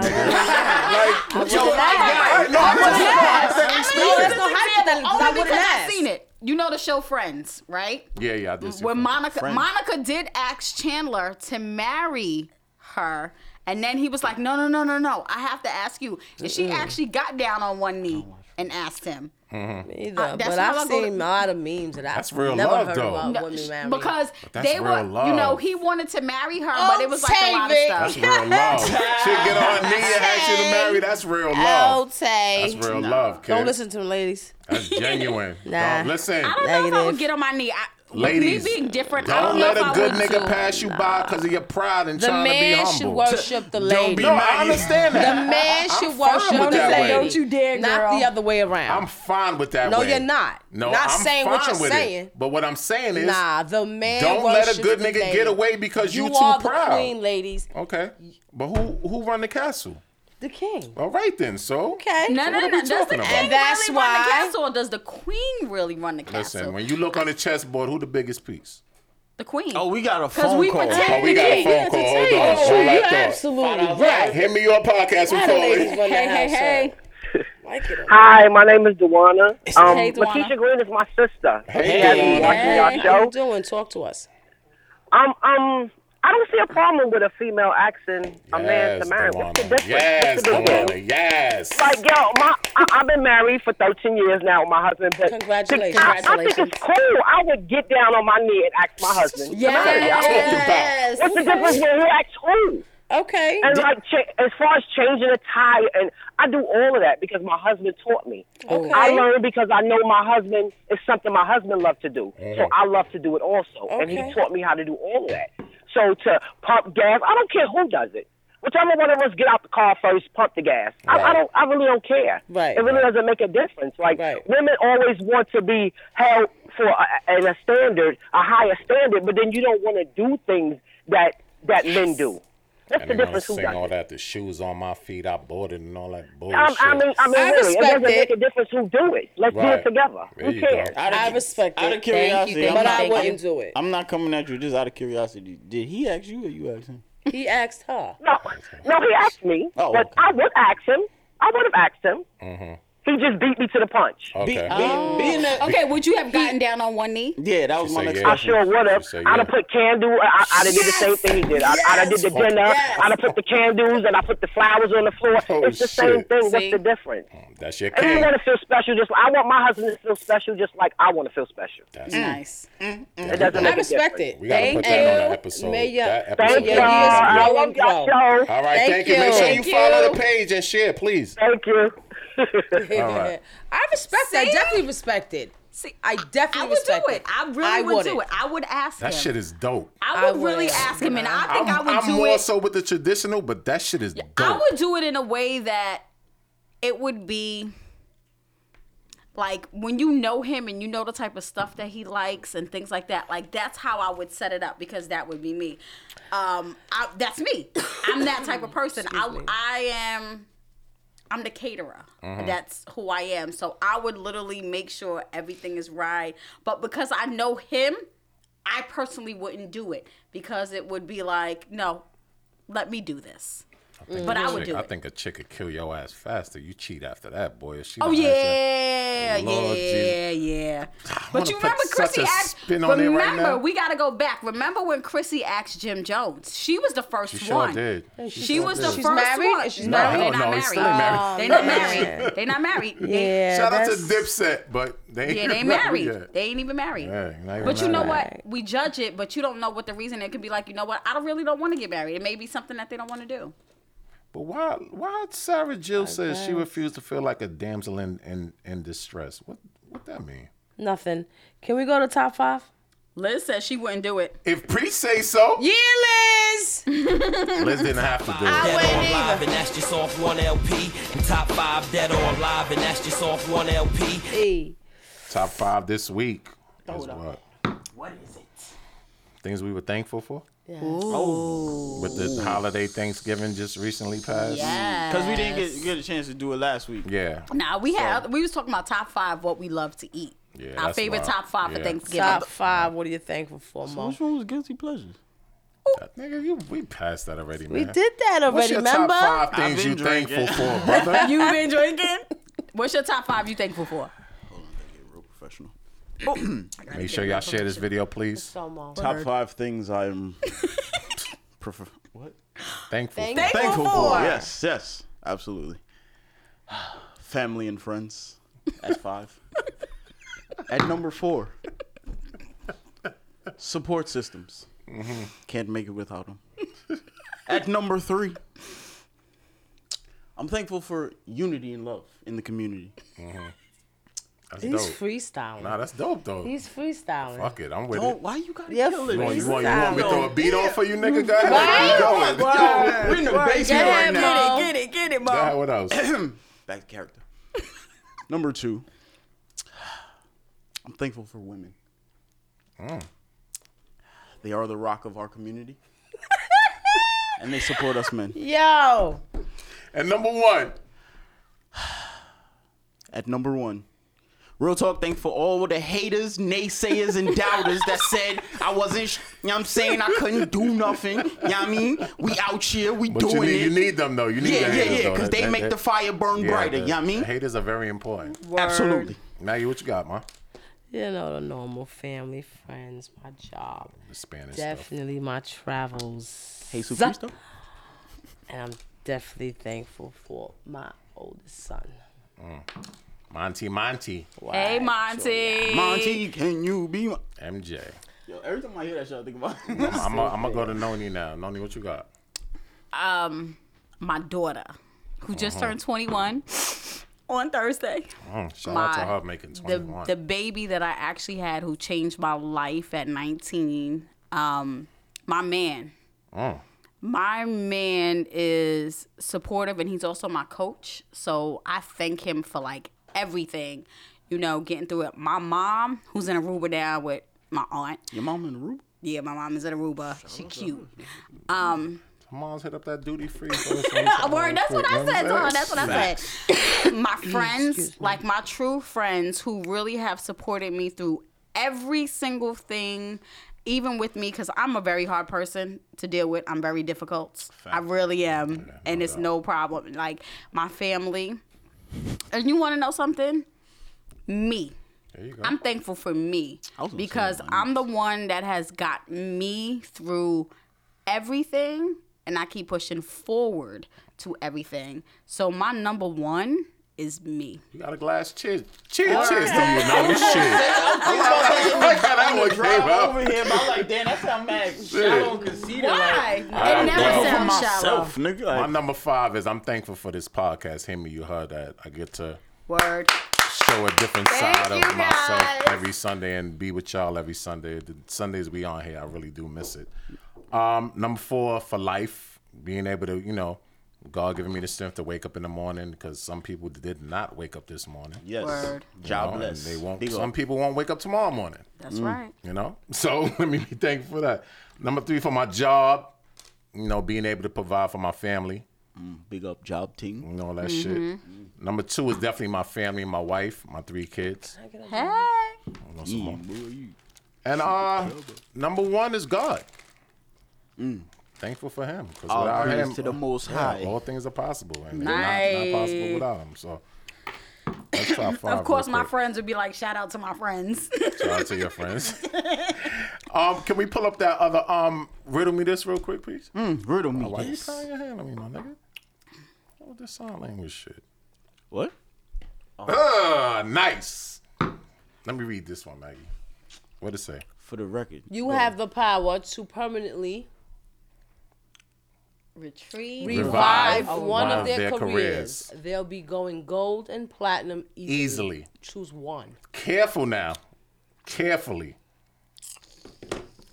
Speaker 5: nigga. like yo,
Speaker 6: ask.
Speaker 5: I- I- no, I'm just-
Speaker 3: Yes.
Speaker 5: that's
Speaker 3: I mean,
Speaker 5: very
Speaker 6: that's
Speaker 5: expensive.
Speaker 6: no
Speaker 3: this
Speaker 6: hype
Speaker 3: example,
Speaker 6: that- that I
Speaker 3: only
Speaker 6: wouldn't
Speaker 3: because
Speaker 6: ask.
Speaker 3: I've seen it. You know the show Friends, right?
Speaker 5: Yeah, yeah, I did. see
Speaker 3: When
Speaker 5: that.
Speaker 3: Monica
Speaker 4: Friends.
Speaker 3: Monica did ask Chandler to marry her, and then he was like, "No, no, no, no, no. I have to ask you." And she actually got down on one knee and asked him.
Speaker 6: Either.
Speaker 3: Uh, that's
Speaker 6: but
Speaker 3: how I
Speaker 6: I've
Speaker 3: go to-
Speaker 6: seen a lot of memes that
Speaker 5: That's
Speaker 6: I've
Speaker 5: real
Speaker 6: never
Speaker 5: love,
Speaker 6: heard
Speaker 5: though.
Speaker 6: about
Speaker 5: No,
Speaker 6: women marrying.
Speaker 3: Because
Speaker 5: that's
Speaker 3: they were,
Speaker 5: real love.
Speaker 3: you know, he wanted to marry her, but it was like a lot of
Speaker 6: Octavia.
Speaker 5: That's
Speaker 3: stuff.
Speaker 5: real love. she get on her knee and ask you to marry. That's real love.
Speaker 6: Oh.
Speaker 5: That's
Speaker 6: Okay.
Speaker 5: real love, kid.
Speaker 6: Don't listen to them, ladies.
Speaker 5: That's genuine.
Speaker 6: Nah.
Speaker 5: Don't listen.
Speaker 3: I don't know if I would
Speaker 6: Negative.
Speaker 3: get on my knee. I, with
Speaker 5: Ladies,
Speaker 3: me being different,
Speaker 5: don't
Speaker 3: I don't
Speaker 5: let
Speaker 3: know if
Speaker 5: a
Speaker 3: I
Speaker 5: good
Speaker 3: would
Speaker 5: nigga
Speaker 3: too.
Speaker 5: pass you by because of your pride and
Speaker 6: The
Speaker 5: trying
Speaker 6: man
Speaker 5: to be
Speaker 6: should
Speaker 5: humble.
Speaker 6: worship the
Speaker 5: Don't
Speaker 6: lady.
Speaker 5: be
Speaker 6: No,
Speaker 5: mad.
Speaker 6: I
Speaker 5: I understand that.
Speaker 6: The man
Speaker 5: I'm
Speaker 6: should
Speaker 5: fine
Speaker 6: worship
Speaker 5: with
Speaker 6: the
Speaker 5: that
Speaker 6: lady.
Speaker 5: way.
Speaker 3: Don't you dare, girl.
Speaker 6: Not the other way around.
Speaker 5: I'm fine with that.
Speaker 6: No,
Speaker 5: way.
Speaker 6: you're not.
Speaker 5: No,
Speaker 6: Not
Speaker 5: I'm
Speaker 6: saying what
Speaker 5: fine
Speaker 6: you're
Speaker 5: with it.
Speaker 6: saying.
Speaker 5: But what I'm saying is,
Speaker 6: nah, the man.
Speaker 5: don't let a
Speaker 6: worships
Speaker 5: good
Speaker 6: the
Speaker 5: nigga
Speaker 6: lady.
Speaker 5: get away because you,
Speaker 6: You
Speaker 5: too
Speaker 6: are the
Speaker 5: proud.
Speaker 6: queen, ladies.
Speaker 5: Okay, but who who run the castle?
Speaker 6: The king.
Speaker 5: All right then. So
Speaker 6: Okay.
Speaker 3: No,
Speaker 5: What
Speaker 3: no,
Speaker 5: are
Speaker 3: no.
Speaker 5: we
Speaker 3: Does the
Speaker 5: talking
Speaker 3: king
Speaker 5: about?
Speaker 6: And that's
Speaker 3: really
Speaker 6: why-
Speaker 3: run the castle, or does the queen really run the castle?
Speaker 5: listen, when you look on the chessboard, who the biggest piece?
Speaker 3: the queen.
Speaker 4: Oh, we got a
Speaker 3: Because
Speaker 4: phone
Speaker 3: we
Speaker 4: call.
Speaker 3: pretend-
Speaker 5: Oh, we got a phone call. Hold on.
Speaker 6: Oh,
Speaker 5: Hold
Speaker 6: you're
Speaker 5: that thought.
Speaker 6: absolutely right.
Speaker 5: Hit me your podcast
Speaker 6: Why the ladies
Speaker 5: before.
Speaker 6: run the
Speaker 3: hey, hey,
Speaker 6: household?
Speaker 3: hey.
Speaker 6: Like it or
Speaker 8: Hi, my name is Dewana. Um,
Speaker 3: Hey, Dewana.
Speaker 8: Lakeisha Green is my sister.
Speaker 5: Hey,
Speaker 8: she
Speaker 5: Dewana.
Speaker 8: has been watching
Speaker 6: Hey,
Speaker 8: y'all
Speaker 6: how you
Speaker 8: show.
Speaker 6: doing? Talk to us.
Speaker 8: Um, um, I don't see a problem with a female asking a man
Speaker 5: Yes,
Speaker 8: to marry. What's the
Speaker 5: Dewana.
Speaker 8: difference?
Speaker 5: Yes,
Speaker 8: What's the difference?
Speaker 5: Dewana. Yes.
Speaker 8: Like, yo, my, I, I've been married for 13 years now with my husband, but
Speaker 6: Congratulations.
Speaker 8: I, I think it's cool. I would get down on my knee and ask my husband. to marry.
Speaker 5: I'm talking about.
Speaker 8: What's the difference when he asks who?
Speaker 6: Okay.
Speaker 8: And like, cha- as far as changing a tire, and I do all of that because my husband taught me.
Speaker 6: Okay.
Speaker 8: I learned because I know my husband is something my husband loved to do, so I love to do it also, and he
Speaker 6: Okay.
Speaker 8: taught me how to do all of that. So to pump gas, I don't care who does it. Whichever one of us get out the car first, pump the gas. I, I
Speaker 5: Right.
Speaker 8: don't. I really don't care.
Speaker 6: Right.
Speaker 8: It really doesn't make a difference. Like
Speaker 6: Right.
Speaker 8: women always want to be held for a, in a standard, a higher standard, but then you don't want to do things that that men do. What's
Speaker 5: And
Speaker 8: the
Speaker 5: they're gonna
Speaker 8: difference? Who
Speaker 5: sing
Speaker 8: does
Speaker 5: all
Speaker 8: it?
Speaker 5: that. The shoes on my feet, I bought it, and all that bullshit.
Speaker 8: I, I mean, I mean,
Speaker 6: I
Speaker 8: really, it
Speaker 6: respect
Speaker 8: doesn't
Speaker 6: it.
Speaker 8: make a difference who do it. Let's do
Speaker 5: Right.
Speaker 8: it together.
Speaker 5: There
Speaker 8: Who
Speaker 5: you go.
Speaker 8: cares?
Speaker 4: Out
Speaker 6: I
Speaker 4: cu-
Speaker 6: respect
Speaker 4: Out
Speaker 6: it.
Speaker 4: of
Speaker 6: Thank you,
Speaker 4: curiosity,
Speaker 6: thank you.
Speaker 4: I'm
Speaker 6: But
Speaker 4: not,
Speaker 6: I
Speaker 4: I'm-
Speaker 6: wouldn't do it.
Speaker 4: I'm not coming at you. Just out of curiosity, did he ask you or you asked him?
Speaker 6: He asked her.
Speaker 8: No, no, he asked me,
Speaker 4: Oh,
Speaker 8: but
Speaker 4: okay.
Speaker 8: I would ask him. I would have asked him. He just beat me to the punch.
Speaker 5: Mm-hmm. Okay.
Speaker 4: Be- be- being that,
Speaker 3: Okay, would you have gotten down on one knee?
Speaker 4: yeah, that was
Speaker 5: She
Speaker 4: my
Speaker 5: said
Speaker 4: next
Speaker 5: yeah.
Speaker 8: I
Speaker 4: question.
Speaker 8: sure would
Speaker 5: You
Speaker 8: have.
Speaker 5: say
Speaker 8: I'd have
Speaker 5: yeah.
Speaker 8: put candle. I, I, I'd have did the same thing he did. I, I'd have did the dinner. I'd have put the candles and I put the flowers on the floor.
Speaker 5: Oh,
Speaker 8: it's the same
Speaker 5: shit.
Speaker 8: thing. What's
Speaker 6: See?
Speaker 8: the difference?
Speaker 5: Hmm, That's your
Speaker 8: I
Speaker 5: king.
Speaker 8: want to feel special. Just I want my husband to feel special, just like I want to feel special.
Speaker 5: That's
Speaker 3: Mm. Nice.
Speaker 8: It doesn't
Speaker 6: I
Speaker 8: make a
Speaker 6: respect
Speaker 8: difference.
Speaker 6: it.
Speaker 5: We gotta
Speaker 6: Thank
Speaker 5: put
Speaker 6: you.
Speaker 5: that on the episode.
Speaker 6: May your,
Speaker 5: That episode
Speaker 8: Thank
Speaker 6: may
Speaker 5: Yeah,
Speaker 6: your
Speaker 8: y'all.
Speaker 5: yeah,
Speaker 6: years
Speaker 5: yeah.
Speaker 8: I
Speaker 6: grow
Speaker 8: love
Speaker 6: and
Speaker 8: y'all
Speaker 6: grow.
Speaker 8: show.
Speaker 5: All right,
Speaker 6: Thank
Speaker 5: thank, you. Make
Speaker 6: you.
Speaker 5: sure you
Speaker 6: Thank
Speaker 5: follow
Speaker 6: you.
Speaker 5: the page and share, please.
Speaker 8: Thank you.
Speaker 5: All right.
Speaker 6: I respect that.
Speaker 3: See?
Speaker 6: Definitely respect it.
Speaker 3: See,
Speaker 6: I definitely
Speaker 3: I would
Speaker 6: respect
Speaker 3: do it.
Speaker 6: it.
Speaker 3: I really
Speaker 6: I
Speaker 3: would do
Speaker 6: wouldn't.
Speaker 3: it. I would ask
Speaker 5: That
Speaker 3: him.
Speaker 5: shit is dope.
Speaker 3: I
Speaker 6: I
Speaker 3: would really
Speaker 6: would.
Speaker 3: ask him, and I think
Speaker 5: I'm,
Speaker 3: i would
Speaker 5: I'm
Speaker 3: do
Speaker 5: more
Speaker 3: it.
Speaker 5: so with the traditional, but that shit is dope.
Speaker 3: I would do it in a way that it would be like when you know him and you know the type of stuff that he likes and things like that. Like that's how I would set it up because that would be me. Um, I, that's me. I'm that type of person. I I am. I'm the caterer. That's who I am. So I would literally make sure everything is right. But because I know him, I personally wouldn't do it because it would be like, no, let me do this. But I would
Speaker 5: Chick-
Speaker 3: do
Speaker 5: I
Speaker 3: it.
Speaker 5: think a chick could kill your ass faster. You cheat after that, boy. If she
Speaker 3: Oh
Speaker 5: don't ask you-
Speaker 3: yeah,
Speaker 5: Lord
Speaker 3: yeah, yeah. But
Speaker 5: wanna
Speaker 3: you
Speaker 5: put
Speaker 3: remember
Speaker 5: such
Speaker 3: Chrissy
Speaker 5: a
Speaker 3: asked.
Speaker 5: spin on it right
Speaker 3: Remember,
Speaker 5: now.
Speaker 3: we gotta go back. Remember when Chrissy asked Jim Jones? She was the first
Speaker 5: She sure
Speaker 3: one.
Speaker 5: did.
Speaker 3: She,
Speaker 5: sure
Speaker 3: was
Speaker 5: did.
Speaker 3: the
Speaker 6: She's
Speaker 3: first
Speaker 6: married?
Speaker 3: one.
Speaker 6: Is she No, married?
Speaker 3: They're
Speaker 5: no,
Speaker 3: not
Speaker 5: he's
Speaker 3: married.
Speaker 5: still married.
Speaker 3: They're not
Speaker 6: man.
Speaker 3: married. They're not married. They-
Speaker 6: Yeah.
Speaker 5: Shout out to
Speaker 6: that's-
Speaker 5: Dipset, but they ain't
Speaker 3: Yeah, they
Speaker 5: even
Speaker 3: married.
Speaker 5: yet.
Speaker 3: They ain't even married.
Speaker 5: Yeah, not even
Speaker 3: But you know
Speaker 5: married.
Speaker 3: what? We judge it, but you don't know what the reason. It could be like, you know what? I don't really don't want to get married. It may be something that they don't want to do.
Speaker 5: But why? Why Sarah Jill says she refused to feel like a damsel in in, in distress? What what that mean?
Speaker 6: Nothing. Can we go to top five?
Speaker 3: Liz says she wouldn't do it.
Speaker 5: If Priest say so,
Speaker 6: Yeah, Liz.
Speaker 5: Liz didn't have to do it.
Speaker 9: Dead
Speaker 6: wouldn't
Speaker 9: or
Speaker 6: either.
Speaker 9: Alive, and that's just off one LP. And top five, Dead or Alive, and that's just off one LP.
Speaker 6: Hey.
Speaker 5: Top five this week is what
Speaker 9: What is it?
Speaker 5: things we were thankful for
Speaker 6: Yes. Oh,
Speaker 5: with the holiday Thanksgiving just recently passed.
Speaker 4: Because we didn't get, get a chance to do it last week.
Speaker 5: Yeah,
Speaker 3: Nah, we had we was talking about top five what we love to eat.
Speaker 5: Yeah,
Speaker 3: Our
Speaker 5: that's
Speaker 3: favorite
Speaker 5: wild.
Speaker 3: top five for
Speaker 5: Yeah.
Speaker 3: Thanksgiving.
Speaker 6: Top five. What are you thankful for, Mo?
Speaker 4: Which one was guilty pleasures?
Speaker 5: That- nigga, you we passed that already, man.
Speaker 6: We did that already.
Speaker 5: What's your
Speaker 6: remember?
Speaker 5: top five
Speaker 4: I've
Speaker 5: things you
Speaker 4: been
Speaker 5: thankful
Speaker 4: drinking.
Speaker 5: for, brother?
Speaker 3: You been drinking? What's your top five you thankful for?
Speaker 4: Hold on, gotta get real professional.
Speaker 5: Make sure y'all share this video, please.
Speaker 6: So, Mo.
Speaker 4: Top five things I'm prefer- what?
Speaker 5: Thankful.
Speaker 6: Thank-
Speaker 5: for.
Speaker 4: thankful for.
Speaker 6: for.
Speaker 4: Yes, yes, absolutely. Family and friends at five. at number four, support systems. Can't make it without them. at number three, I'm thankful for unity and love in the community.
Speaker 5: Mm-hmm. That's
Speaker 6: He's
Speaker 5: dope.
Speaker 6: freestyling.
Speaker 5: Nah, that's dope though.
Speaker 6: He's freestyling.
Speaker 5: Fuck it, I'm with
Speaker 4: Oh,
Speaker 5: it.
Speaker 4: why you gotta
Speaker 6: Yeah,
Speaker 4: kill it?
Speaker 5: You want, you want, you
Speaker 6: freestyle.
Speaker 5: want me to throw a beat on for you, nigga? Go ahead. keep going. Go
Speaker 4: Yo, we in the basement
Speaker 6: ahead,
Speaker 4: right now.
Speaker 6: Mo.
Speaker 3: Get it, get it,
Speaker 5: ahead,
Speaker 3: Mo.
Speaker 5: what else?
Speaker 4: Back to character. Number two, I'm thankful for women.
Speaker 5: Mm.
Speaker 4: They are the rock of our community, and they support us men.
Speaker 6: Yo.
Speaker 5: And number one,
Speaker 4: At number one, real talk. Thank for all the haters, naysayers, and doubters that said I wasn't. Sh- you know what I'm saying I couldn't do nothing. You know what I mean? We out here, we
Speaker 5: but
Speaker 4: doing
Speaker 5: you need,
Speaker 4: it.
Speaker 5: you need them though. You need
Speaker 4: yeah,
Speaker 5: the
Speaker 4: yeah,
Speaker 5: haters,
Speaker 4: yeah,
Speaker 5: though.
Speaker 4: because
Speaker 5: That-
Speaker 4: they
Speaker 5: that-
Speaker 4: make
Speaker 5: that-
Speaker 4: the fire burn
Speaker 5: yeah,
Speaker 4: brighter.
Speaker 5: the-
Speaker 4: You know what I mean?
Speaker 5: the Haters are very important.
Speaker 4: Absolutely.
Speaker 5: Now, you what you got, ma?
Speaker 6: You know the normal family, friends, my job,
Speaker 5: The Spanish stuff.
Speaker 6: definitely my travels,
Speaker 4: Hey, Superstar.
Speaker 6: and I'm definitely thankful for my oldest son.
Speaker 5: Mm. Monty, Monty,
Speaker 3: Hey,
Speaker 6: Why?
Speaker 3: Monty.
Speaker 4: Monty, can you be? My-
Speaker 5: MJ.
Speaker 4: Yo, every time I hear that shit, I think about.
Speaker 5: I'm gonna go to Noni now. Noni, what you got?
Speaker 3: Um, my daughter, who just
Speaker 5: Uh-huh.
Speaker 3: turned 21 on Thursday.
Speaker 5: Mm, shout out to
Speaker 3: My-
Speaker 5: her making
Speaker 3: the
Speaker 5: 21.
Speaker 3: the baby that I actually had who changed my life at 19. Um, my man,
Speaker 5: Mm.
Speaker 3: my man is supportive and he's also my coach. So I thank him for like everything, you know, getting through it. My mom, who's in Aruba now with my aunt.
Speaker 4: Your mom in the room?
Speaker 3: Yeah, my mom is in Aruba. She cute. Um,
Speaker 5: Mom's hit up that duty free.
Speaker 3: Word,
Speaker 5: Word,
Speaker 3: that's what I said. Dawn, that's what I said. my friends, like my true friends, who really have supported me through every single thing, even with me, because I'm a very hard person to deal with. I'm very difficult. I really am, and it's no problem. Like my family, and you want to know something? Me.
Speaker 5: There you go.
Speaker 3: I'm thankful for me
Speaker 4: was gonna say
Speaker 3: because I'm the one that has got me through everything and I keep pushing forward to everything. So my number one is me.
Speaker 5: You got a glass cheers. Cheers, cheers to you, no shit. I got that one came out.
Speaker 4: over here, but I'm like, damn, that sound mad shallow and conceited.
Speaker 3: Why?
Speaker 5: I love
Speaker 3: it never sounds shallow.
Speaker 4: Myself, nigga.
Speaker 5: My
Speaker 4: Like,
Speaker 5: number five is I'm thankful for this podcast. Him and you heard that I get to
Speaker 3: Word.
Speaker 5: show a different
Speaker 2: Thank
Speaker 5: side
Speaker 2: you,
Speaker 5: of myself
Speaker 2: guys.
Speaker 5: every Sunday and be with y'all every Sunday. The Sundays we on here, I really do miss it. Um, number four for life, being able to, you know, God giving me the strength to wake up in the morning because some people did not wake up this morning. you
Speaker 4: Yes.
Speaker 3: Word.
Speaker 5: know,
Speaker 4: Job
Speaker 5: and
Speaker 4: bless.
Speaker 5: They won't.
Speaker 4: Big Mm.
Speaker 5: Some
Speaker 4: up.
Speaker 5: people won't wake up tomorrow morning.
Speaker 3: That's right.
Speaker 5: You know, so let me be thankful for that. Number three for my job, you know, being able to provide for my family.
Speaker 4: Mm, Big up job team.
Speaker 5: and all that
Speaker 3: Mm-hmm.
Speaker 5: shit. Number two is definitely my family, my wife, my three kids.
Speaker 3: Hey.
Speaker 4: Yeah, boy.
Speaker 5: And uh, number one is God. Thankful for him. 'cause
Speaker 4: Mm. All
Speaker 5: without
Speaker 4: praise
Speaker 5: him,
Speaker 4: to the Most
Speaker 5: yeah,
Speaker 4: High.
Speaker 5: all things are possible. And they're not, not possible
Speaker 3: Nice.
Speaker 5: without him. So that's top five.
Speaker 3: Of course,
Speaker 5: real
Speaker 3: my
Speaker 5: quick.
Speaker 3: friends would be like, shout out to my friends.
Speaker 5: Shout out to your friends. um, can we pull up that other um riddle me this real quick, please?
Speaker 4: Mm, Riddle me
Speaker 5: Why
Speaker 4: this.
Speaker 5: you crying your hand on me, my nigga? What this sign language shit?
Speaker 4: What?
Speaker 5: Ah, nice. Let me read this one, Maggie. What it say?
Speaker 4: For the record.
Speaker 6: You have the power to permanently
Speaker 3: Retrieve.
Speaker 6: revive
Speaker 5: Revive
Speaker 6: one of their careers. They'll be going gold and platinum easily.
Speaker 5: Easily.
Speaker 6: Choose one.
Speaker 5: Careful now. Carefully.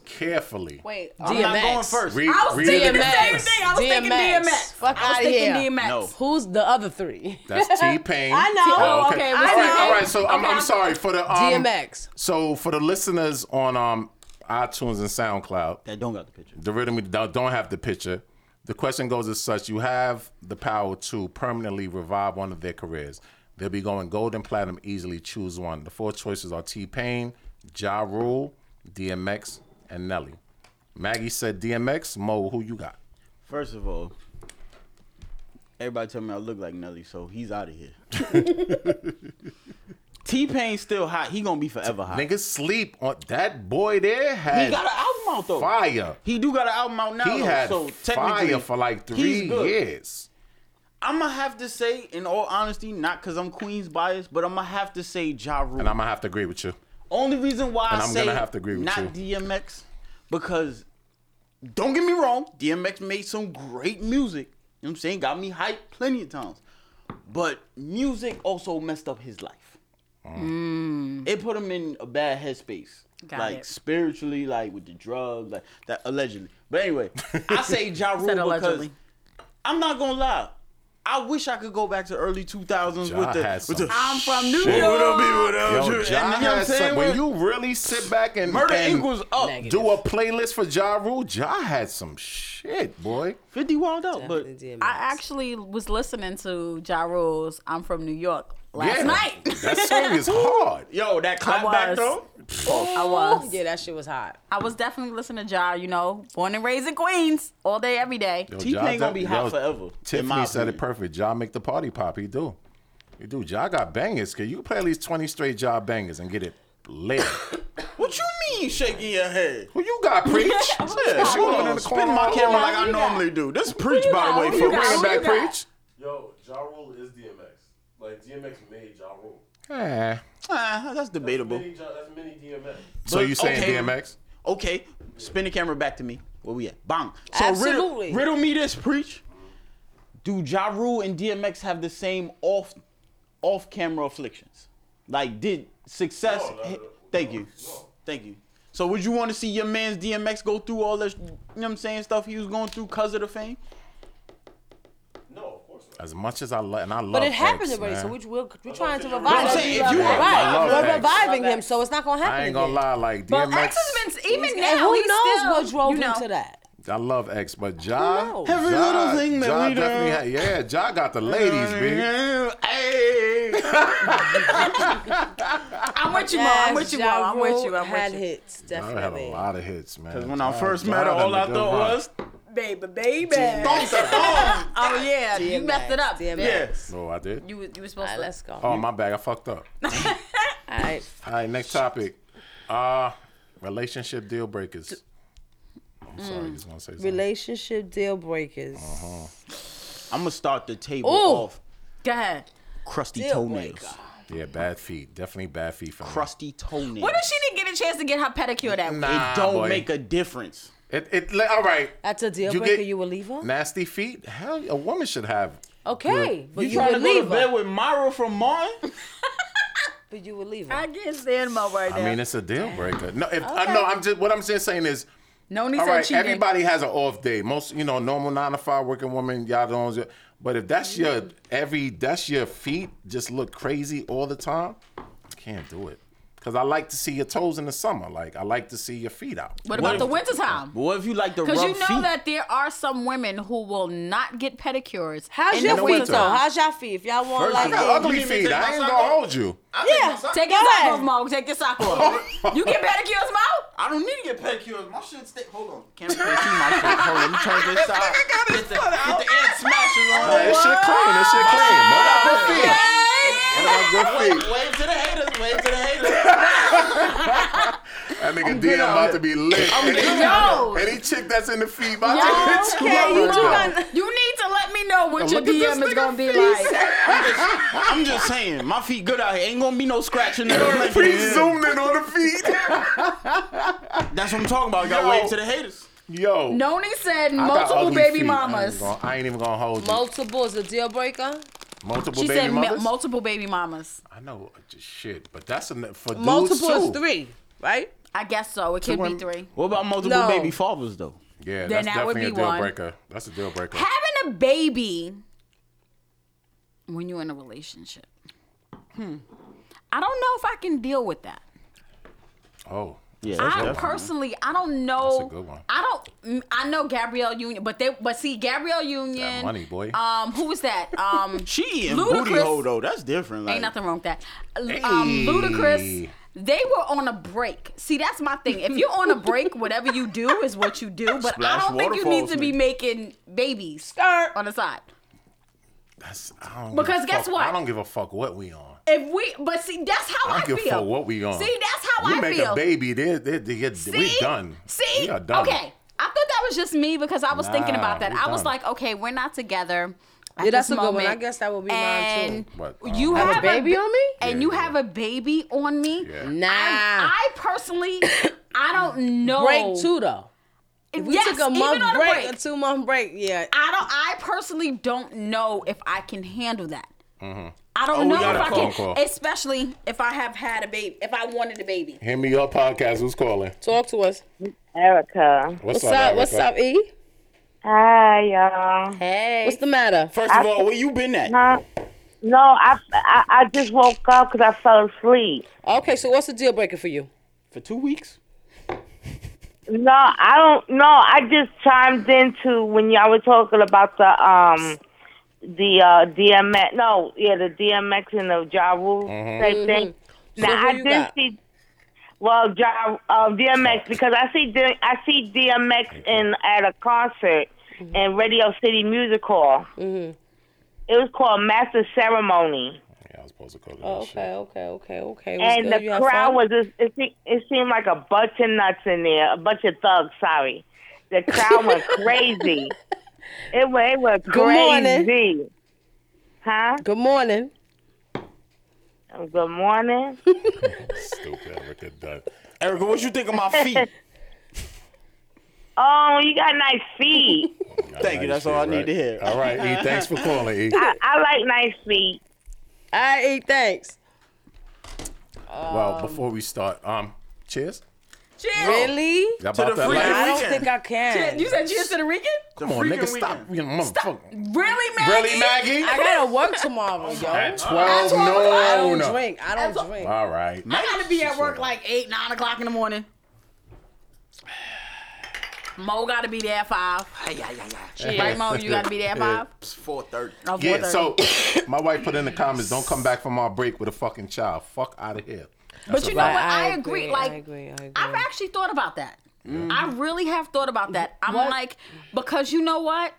Speaker 5: Carefully.
Speaker 3: Wait.
Speaker 6: DMX.
Speaker 4: I'm going first.
Speaker 5: Read,
Speaker 3: I was
Speaker 5: read it
Speaker 3: thinking the
Speaker 5: again.
Speaker 3: same thing. I was thinking
Speaker 6: DMX.
Speaker 3: DMX.
Speaker 6: Fuck
Speaker 3: I was
Speaker 6: outta
Speaker 3: thinking
Speaker 6: here.
Speaker 3: DMX.
Speaker 4: No.
Speaker 6: Who's the other three?
Speaker 5: That's T Pain.
Speaker 6: I know.
Speaker 3: Oh, okay.
Speaker 5: All
Speaker 3: What's
Speaker 5: right,
Speaker 3: that?
Speaker 5: all right. So I'm,
Speaker 3: Okay,
Speaker 5: I'm
Speaker 3: I'm-
Speaker 5: sorry for the um,
Speaker 6: DMX.
Speaker 5: So for the listeners on um iTunes and SoundCloud,
Speaker 4: That don't got the picture.
Speaker 5: the rhythm we don't don't have the picture. The question goes as such: You have the power to permanently revive one of their careers. They'll be going gold and platinum easily. Choose one. The four choices are T Pain, Ja Rule, DMX, and Nelly. Maggie said DMX. Mo, who you got?
Speaker 4: First of all, everybody tell me I look like Nelly, so he's out of here. T Pain's still hot. He gonna be forever hot.
Speaker 5: Niggas sleep on that boy there. Had
Speaker 4: He got an album out though.
Speaker 5: fire.
Speaker 4: He do got an album out now.
Speaker 5: He
Speaker 4: though,
Speaker 5: had
Speaker 4: so technically,
Speaker 5: fire for like three
Speaker 4: he's good.
Speaker 5: years.
Speaker 4: I'm gonna have to say, in all honesty, not because I'm Queens biased, but I'm gonna have to say Ja Rule.
Speaker 5: And I'm gonna have to agree with you.
Speaker 4: Only reason why
Speaker 5: And
Speaker 4: I
Speaker 5: I'm
Speaker 4: say
Speaker 5: gonna have to agree with
Speaker 4: not
Speaker 5: you.
Speaker 4: DMX because don't get me wrong, DMX made some great music. You know what I'm saying? Got me hyped plenty of times. But music also messed up his life. It put him in a bad headspace.
Speaker 3: Got
Speaker 4: like
Speaker 3: it.
Speaker 4: spiritually, like with the drugs, like that allegedly. But anyway, I say Ja Rule
Speaker 3: Said
Speaker 4: because
Speaker 3: allegedly.
Speaker 4: I'm not gonna lie. I wish I could go back to early 2000s
Speaker 5: Ja
Speaker 4: with the,
Speaker 5: had
Speaker 4: with
Speaker 5: some
Speaker 4: the I'm from New
Speaker 5: shit.
Speaker 4: York.
Speaker 5: What up,
Speaker 4: Yo,
Speaker 5: Yo, Ja
Speaker 4: Ja had
Speaker 5: had
Speaker 4: some-
Speaker 5: some, when you really sit back and
Speaker 4: Murder
Speaker 5: and
Speaker 4: equals up.
Speaker 5: do a playlist for Ja Rule, Ja had some shit, boy.
Speaker 4: 50 wild out, but
Speaker 6: DMX.
Speaker 3: I actually was listening to Ja Rule's I'm from New York last
Speaker 5: yeah,
Speaker 3: night.
Speaker 5: that song is hard.
Speaker 4: yo, that clap
Speaker 3: was.
Speaker 4: back though.
Speaker 3: I was.
Speaker 6: Yeah, that shit was hot.
Speaker 3: I was definitely listening to Ja, you know, born and raised in Queens, all day, every day.
Speaker 5: Yo,
Speaker 4: T-Pain
Speaker 5: Ja-
Speaker 4: gonna be hot
Speaker 5: yo,
Speaker 4: forever, in
Speaker 5: Tiffany
Speaker 4: my
Speaker 5: said it
Speaker 4: opinion.
Speaker 5: perfect. Ja make the party pop. He do. He do. Ja got bangers. Cause you can play at least twenty straight Ja bangers and get it lit.
Speaker 4: What you mean shaking your head?
Speaker 5: Who you got, preach?
Speaker 4: Yeah,
Speaker 5: she
Speaker 4: hold
Speaker 5: woman in
Speaker 4: on.
Speaker 5: the
Speaker 4: Spin
Speaker 5: corner.
Speaker 4: my
Speaker 5: Who
Speaker 4: camera
Speaker 5: you
Speaker 4: like
Speaker 5: got?
Speaker 4: I normally do. This preach, by the way,
Speaker 3: Who
Speaker 5: You
Speaker 3: you got?
Speaker 4: folks.
Speaker 5: bringing
Speaker 3: Who you
Speaker 5: back
Speaker 3: got?
Speaker 5: preach?
Speaker 7: Yo, Ja Rule is DMX. Like DMX made Ja Rule.
Speaker 5: Yeah.
Speaker 4: Ah, that's debatable.
Speaker 7: Many Ja- that's many DMX.
Speaker 5: So
Speaker 4: But,
Speaker 5: you saying
Speaker 4: okay.
Speaker 5: DMX?
Speaker 4: Okay, spin the camera back to me. Where we at? Bang. So
Speaker 6: Absolutely.
Speaker 4: Riddle, riddle me this, preach. Do Ja Rule and DMX have the same off off camera afflictions? Like, did success? hit- thank you, thank you. So would you want to see your man's DMX go through all this? You know what I'm saying? Stuff he was going through because of the fame.
Speaker 7: No, of course not.
Speaker 5: As much as I love, and I love.
Speaker 6: But it happened
Speaker 5: X,
Speaker 6: already,
Speaker 5: man.
Speaker 6: so we, we're, we're trying to revive
Speaker 4: I'm
Speaker 6: him.
Speaker 4: saying if you
Speaker 5: Yeah, I
Speaker 6: right.
Speaker 5: love
Speaker 6: We're
Speaker 5: X.
Speaker 6: reviving him, so it's not going to happen
Speaker 5: I ain't gonna
Speaker 6: again.
Speaker 5: lie, like
Speaker 3: But
Speaker 5: DMX.
Speaker 3: X has been, even now,
Speaker 6: And who
Speaker 3: he's
Speaker 6: knows
Speaker 3: still,
Speaker 6: what drove
Speaker 3: you know,
Speaker 6: him to that?
Speaker 5: I love X, but Ja,
Speaker 6: Who knows?
Speaker 4: Every
Speaker 5: Ja,
Speaker 4: little thing that
Speaker 5: ja
Speaker 4: we
Speaker 5: definitely
Speaker 4: do.
Speaker 5: had- yeah, Ja got the ladies, bitch.
Speaker 4: Hey.
Speaker 3: I'm with you, Mo.
Speaker 6: Yes,
Speaker 3: I'm with you, Mo.
Speaker 6: Ja
Speaker 3: I'm with you.
Speaker 6: Rule
Speaker 3: I'm
Speaker 6: had
Speaker 3: with you.
Speaker 6: hits,
Speaker 5: I had
Speaker 6: definitely.
Speaker 5: a lot of hits, man.
Speaker 4: When I
Speaker 5: Ja-
Speaker 4: first
Speaker 5: Ja
Speaker 4: met her,
Speaker 5: done
Speaker 4: all
Speaker 5: the
Speaker 4: I
Speaker 5: good
Speaker 4: thought
Speaker 5: run.
Speaker 4: was
Speaker 3: Baby, baby.
Speaker 4: thump the thumb.
Speaker 3: Oh, yeah. You
Speaker 6: DMX,
Speaker 3: messed it up.
Speaker 6: DMX.
Speaker 3: Yeah.
Speaker 4: Yes.
Speaker 5: No, I did.
Speaker 3: You, was- you were supposed
Speaker 6: All right,
Speaker 3: to.
Speaker 6: let's go.
Speaker 5: Oh, my bad. I fucked up. All
Speaker 6: All right.
Speaker 5: right, next topic. Uh relationship deal breakers. I'm sorry, you just want to say something.
Speaker 6: Mm.
Speaker 5: Um,
Speaker 6: Relationship deal breakers.
Speaker 5: Uh-huh.
Speaker 4: I'm gonna start the table
Speaker 6: Ooh.
Speaker 4: off.
Speaker 3: Go ahead.
Speaker 4: Crusty
Speaker 6: Deal
Speaker 4: toenails.
Speaker 6: breaker.
Speaker 5: yeah, bad feet. Definitely bad feet for me.
Speaker 4: Crusty toenails.
Speaker 3: What if she didn't get a chance to get her pedicure that week?
Speaker 5: Nah,
Speaker 4: It don't
Speaker 5: boy.
Speaker 4: make a difference.
Speaker 5: It, it, all right.
Speaker 6: That's a deal
Speaker 5: You
Speaker 6: breaker.
Speaker 5: get-
Speaker 6: you will leave her?
Speaker 5: Nasty feet? Hell, a woman should have
Speaker 6: Okay, but
Speaker 4: You
Speaker 6: you,
Speaker 4: trying to
Speaker 6: would
Speaker 4: go to
Speaker 6: leave
Speaker 4: bed
Speaker 6: her.
Speaker 4: with Myra from Martin?
Speaker 6: But you would leave her.
Speaker 3: I can't stand my word.
Speaker 5: I mean, it's a deal breaker. No, if uh, no, I'm just what I'm just saying is,
Speaker 3: no need
Speaker 5: all
Speaker 3: to
Speaker 5: right,
Speaker 3: cheating.
Speaker 5: everybody has an off day. Most, you know, normal nine to five working woman, y'all don't. But if that's your every, that's your feet just look crazy all the time. Can't do it because I like to see your toes in the summer. Like I like to see your feet out.
Speaker 3: What about
Speaker 4: if-
Speaker 3: the wintertime?
Speaker 4: But what if you like the rough
Speaker 3: Because you know
Speaker 4: feet?
Speaker 3: that there are some women who will not get pedicures.
Speaker 6: How's
Speaker 3: in
Speaker 6: your
Speaker 3: the
Speaker 6: feet
Speaker 3: winter.
Speaker 6: though? How's your feet? If y'all want
Speaker 5: I
Speaker 6: like
Speaker 5: got
Speaker 6: it.
Speaker 5: ugly
Speaker 4: You mean
Speaker 5: feet.
Speaker 4: take
Speaker 5: I
Speaker 4: my
Speaker 5: ain't
Speaker 4: sock
Speaker 5: gonna
Speaker 4: off?
Speaker 5: hold you.
Speaker 6: Yeah,
Speaker 3: Take your
Speaker 6: go
Speaker 3: sock off,
Speaker 6: ahead.
Speaker 3: Mo. Take your sock off. you get pedicures, Mo?
Speaker 4: I don't need to get pedicures. My shit stay. Hold on. Can't see my shit. Hold on. Let me turn this out. Get the, get the ant smashes on.
Speaker 5: That shit clean. That shit clean. Mo got good feet. Mo got good feet.
Speaker 4: Wave to the haters. Wave to the haters.
Speaker 5: That nigga DM about to be lit. Any-
Speaker 3: Yo.
Speaker 5: Any chick that's in the feed about
Speaker 3: Yo,
Speaker 5: to get
Speaker 6: okay, you
Speaker 5: two
Speaker 6: do
Speaker 5: hours.
Speaker 6: got-
Speaker 3: You need to let me know what your
Speaker 5: look at this
Speaker 3: DM is
Speaker 5: nigga
Speaker 3: gonna be like.
Speaker 4: I'm just, I'm just saying. My feet good out here. Ain't gonna be no scratching. and
Speaker 5: Yo,
Speaker 4: nothing.
Speaker 5: Pre zoomed in on the feet.
Speaker 4: That's what I'm talking about. Got
Speaker 5: Yo.
Speaker 4: wave to the haters.
Speaker 5: Yo.
Speaker 3: Noni said
Speaker 5: I got
Speaker 3: multiple
Speaker 5: ugly
Speaker 3: baby
Speaker 5: feet.
Speaker 3: mamas.
Speaker 5: I ain't, gonna, I ain't even gonna hold you.
Speaker 6: Multiple is a deal breaker.
Speaker 5: Multiple
Speaker 3: She
Speaker 5: baby
Speaker 3: said ma-
Speaker 5: mothers.
Speaker 3: multiple baby mamas.
Speaker 5: I know uh, just shit, but that's enough for dudes
Speaker 6: Multiple
Speaker 5: too.
Speaker 6: is three, right?
Speaker 3: I guess so. It could be
Speaker 5: women-
Speaker 3: three.
Speaker 4: What about multiple
Speaker 6: No.
Speaker 4: baby fathers though?
Speaker 5: Yeah,
Speaker 3: Then
Speaker 5: that's
Speaker 3: that would
Speaker 5: definitely a
Speaker 3: be
Speaker 5: deal
Speaker 3: one.
Speaker 5: breaker. That's a deal breaker.
Speaker 3: Having a baby when you're in a relationship. Hmm. I don't know if I can deal with that.
Speaker 5: Oh,
Speaker 4: Yeah.
Speaker 3: I
Speaker 5: definitely.
Speaker 3: personally, I don't
Speaker 5: that's a
Speaker 3: know.
Speaker 5: good one.
Speaker 3: I don't. mm, I know Gabrielle Union, but they, but see Gabrielle Union.
Speaker 5: That money, boy.
Speaker 3: Um, who was that? Um,
Speaker 4: She eating
Speaker 3: Ludacris-
Speaker 4: booty hole though. That's different. Like,
Speaker 3: ain't nothing wrong with that. L- Um,
Speaker 5: Hey.
Speaker 3: Ludacris. They were on a break. See, that's my thing. If you're on a break, whatever you do is what you do. But
Speaker 4: Splash
Speaker 3: I don't think you need
Speaker 4: waterfalls,
Speaker 3: to be
Speaker 4: nigga.
Speaker 3: making babies
Speaker 6: Skirt.
Speaker 3: on the side.
Speaker 5: That's I don't
Speaker 3: Because
Speaker 5: give a
Speaker 3: guess
Speaker 5: fuck.
Speaker 3: what?
Speaker 5: I don't give a fuck what we on.
Speaker 3: If we, but see, that's how
Speaker 5: I
Speaker 3: I,
Speaker 5: don't give a
Speaker 3: feel.
Speaker 5: fuck what we on.
Speaker 3: See, that's how
Speaker 5: you
Speaker 3: I
Speaker 5: make
Speaker 3: feel.
Speaker 5: a baby, they're, they're, they're,
Speaker 3: See?
Speaker 5: we're done.
Speaker 3: See?
Speaker 5: we are done.
Speaker 3: Okay. I thought that was just me because I was thinking
Speaker 5: Nah,
Speaker 3: about that.
Speaker 5: we
Speaker 3: I was
Speaker 5: done.
Speaker 3: like, okay, we're not together. At
Speaker 6: Yeah, that's
Speaker 3: this
Speaker 6: a good one.
Speaker 3: moment,
Speaker 6: I guess that would be mine, too.
Speaker 3: and
Speaker 5: But, um,
Speaker 3: you
Speaker 5: Have
Speaker 3: have,
Speaker 5: a
Speaker 6: baby
Speaker 3: ba-
Speaker 6: on me?
Speaker 3: and
Speaker 5: Yeah,
Speaker 3: you
Speaker 5: yeah.
Speaker 3: have a baby on me.
Speaker 5: Yeah.
Speaker 3: I'm-
Speaker 6: Nah.
Speaker 3: I personally, I don't know.
Speaker 6: Break two though. If we
Speaker 3: yes,
Speaker 6: took a
Speaker 3: even
Speaker 6: month
Speaker 3: on a
Speaker 6: break,
Speaker 3: break.
Speaker 6: a two month break, yeah.
Speaker 3: I don't. I personally don't know if I can handle that. I
Speaker 5: Oh,
Speaker 3: don't
Speaker 5: we
Speaker 3: know
Speaker 5: got
Speaker 3: if
Speaker 5: a
Speaker 3: I
Speaker 5: phone
Speaker 3: can,
Speaker 5: call.
Speaker 3: especially if I have had a baby. If I wanted a baby,
Speaker 5: Hit me up, podcast. Who's calling?
Speaker 6: Talk to us.
Speaker 2: Erica.
Speaker 5: What's,
Speaker 6: What's up? What's
Speaker 5: Erica?
Speaker 6: up, E?
Speaker 2: Hi, y'all.
Speaker 6: Hey. What's the matter?
Speaker 4: First of all, where you been at?
Speaker 2: Huh? No, I, I I just woke up because I fell asleep.
Speaker 6: Okay, so what's the deal breaker for you?
Speaker 4: For two weeks?
Speaker 2: No, I don't. No, I just chimed into when y'all were talking about the um the uh DMX. No, yeah, the DMX and the Ja Rule type
Speaker 5: Mm-hmm.
Speaker 2: thing.
Speaker 6: Mm-hmm. So
Speaker 2: Now
Speaker 6: who
Speaker 2: I
Speaker 6: you
Speaker 2: did
Speaker 6: got?
Speaker 2: see. Well, ja, uh, DMX because I see D- I see DMX in at a concert
Speaker 6: Mm-hmm.
Speaker 2: in Radio City Music Hall. It was called Master Ceremony,
Speaker 5: Yeah, I was supposed to call.
Speaker 6: Oh,
Speaker 5: Oh,
Speaker 6: okay, okay, okay, okay. What's
Speaker 2: and
Speaker 6: good? You
Speaker 2: the
Speaker 6: have
Speaker 2: crowd
Speaker 6: fun?
Speaker 2: was just, it, se- it seemed like a bunch of nuts in there, a bunch of thugs. Sorry, the crowd went crazy. It went it went
Speaker 6: Good morning.
Speaker 2: crazy. Huh? Oh,
Speaker 6: Good morning.
Speaker 2: Good morning.
Speaker 5: Stupid Erica Dunn.
Speaker 4: Erica, what you think of my feet?
Speaker 2: Oh, you got nice feet.
Speaker 4: Thank you. That's all I need to hear.
Speaker 5: All right, E. Thanks for calling, E.
Speaker 2: I, I like nice feet.
Speaker 6: I eat thanks. Uh,
Speaker 5: well, before we start, um, cheers.
Speaker 6: Really?
Speaker 5: Y'all
Speaker 4: To
Speaker 5: about
Speaker 4: the
Speaker 5: that
Speaker 4: free-
Speaker 5: life?
Speaker 6: I don't
Speaker 4: Weekend.
Speaker 6: think I can.
Speaker 3: you said you're Puerto Rican.
Speaker 5: Come on,
Speaker 4: freaking
Speaker 5: nigga, stop. You motherfucker.
Speaker 3: Really, man?
Speaker 5: Really, Maggie?
Speaker 6: I gotta work tomorrow, yo.
Speaker 5: At
Speaker 3: That's what
Speaker 6: I
Speaker 5: twelve, no,
Speaker 6: don't
Speaker 5: no.
Speaker 6: drink. I don't drink.
Speaker 5: All right.
Speaker 3: I gotta be at work like eight, nine o'clock in the morning. Mo gotta be there at five. Right, Mo, you gotta be there at five.
Speaker 4: It's 4:30.
Speaker 3: Oh,
Speaker 5: Yeah.
Speaker 3: 4:30.
Speaker 5: So, my wife put in the comments, "Don't come back from our break with a fucking child. Fuck out of here."
Speaker 3: but you know
Speaker 6: Right,
Speaker 3: what? I,
Speaker 6: I
Speaker 3: agree.
Speaker 6: agree,
Speaker 3: Like,
Speaker 6: I agree, I agree. Mm.
Speaker 3: have actually thought about that. I really have thought about that. I'm
Speaker 6: What?
Speaker 3: like, because you know what?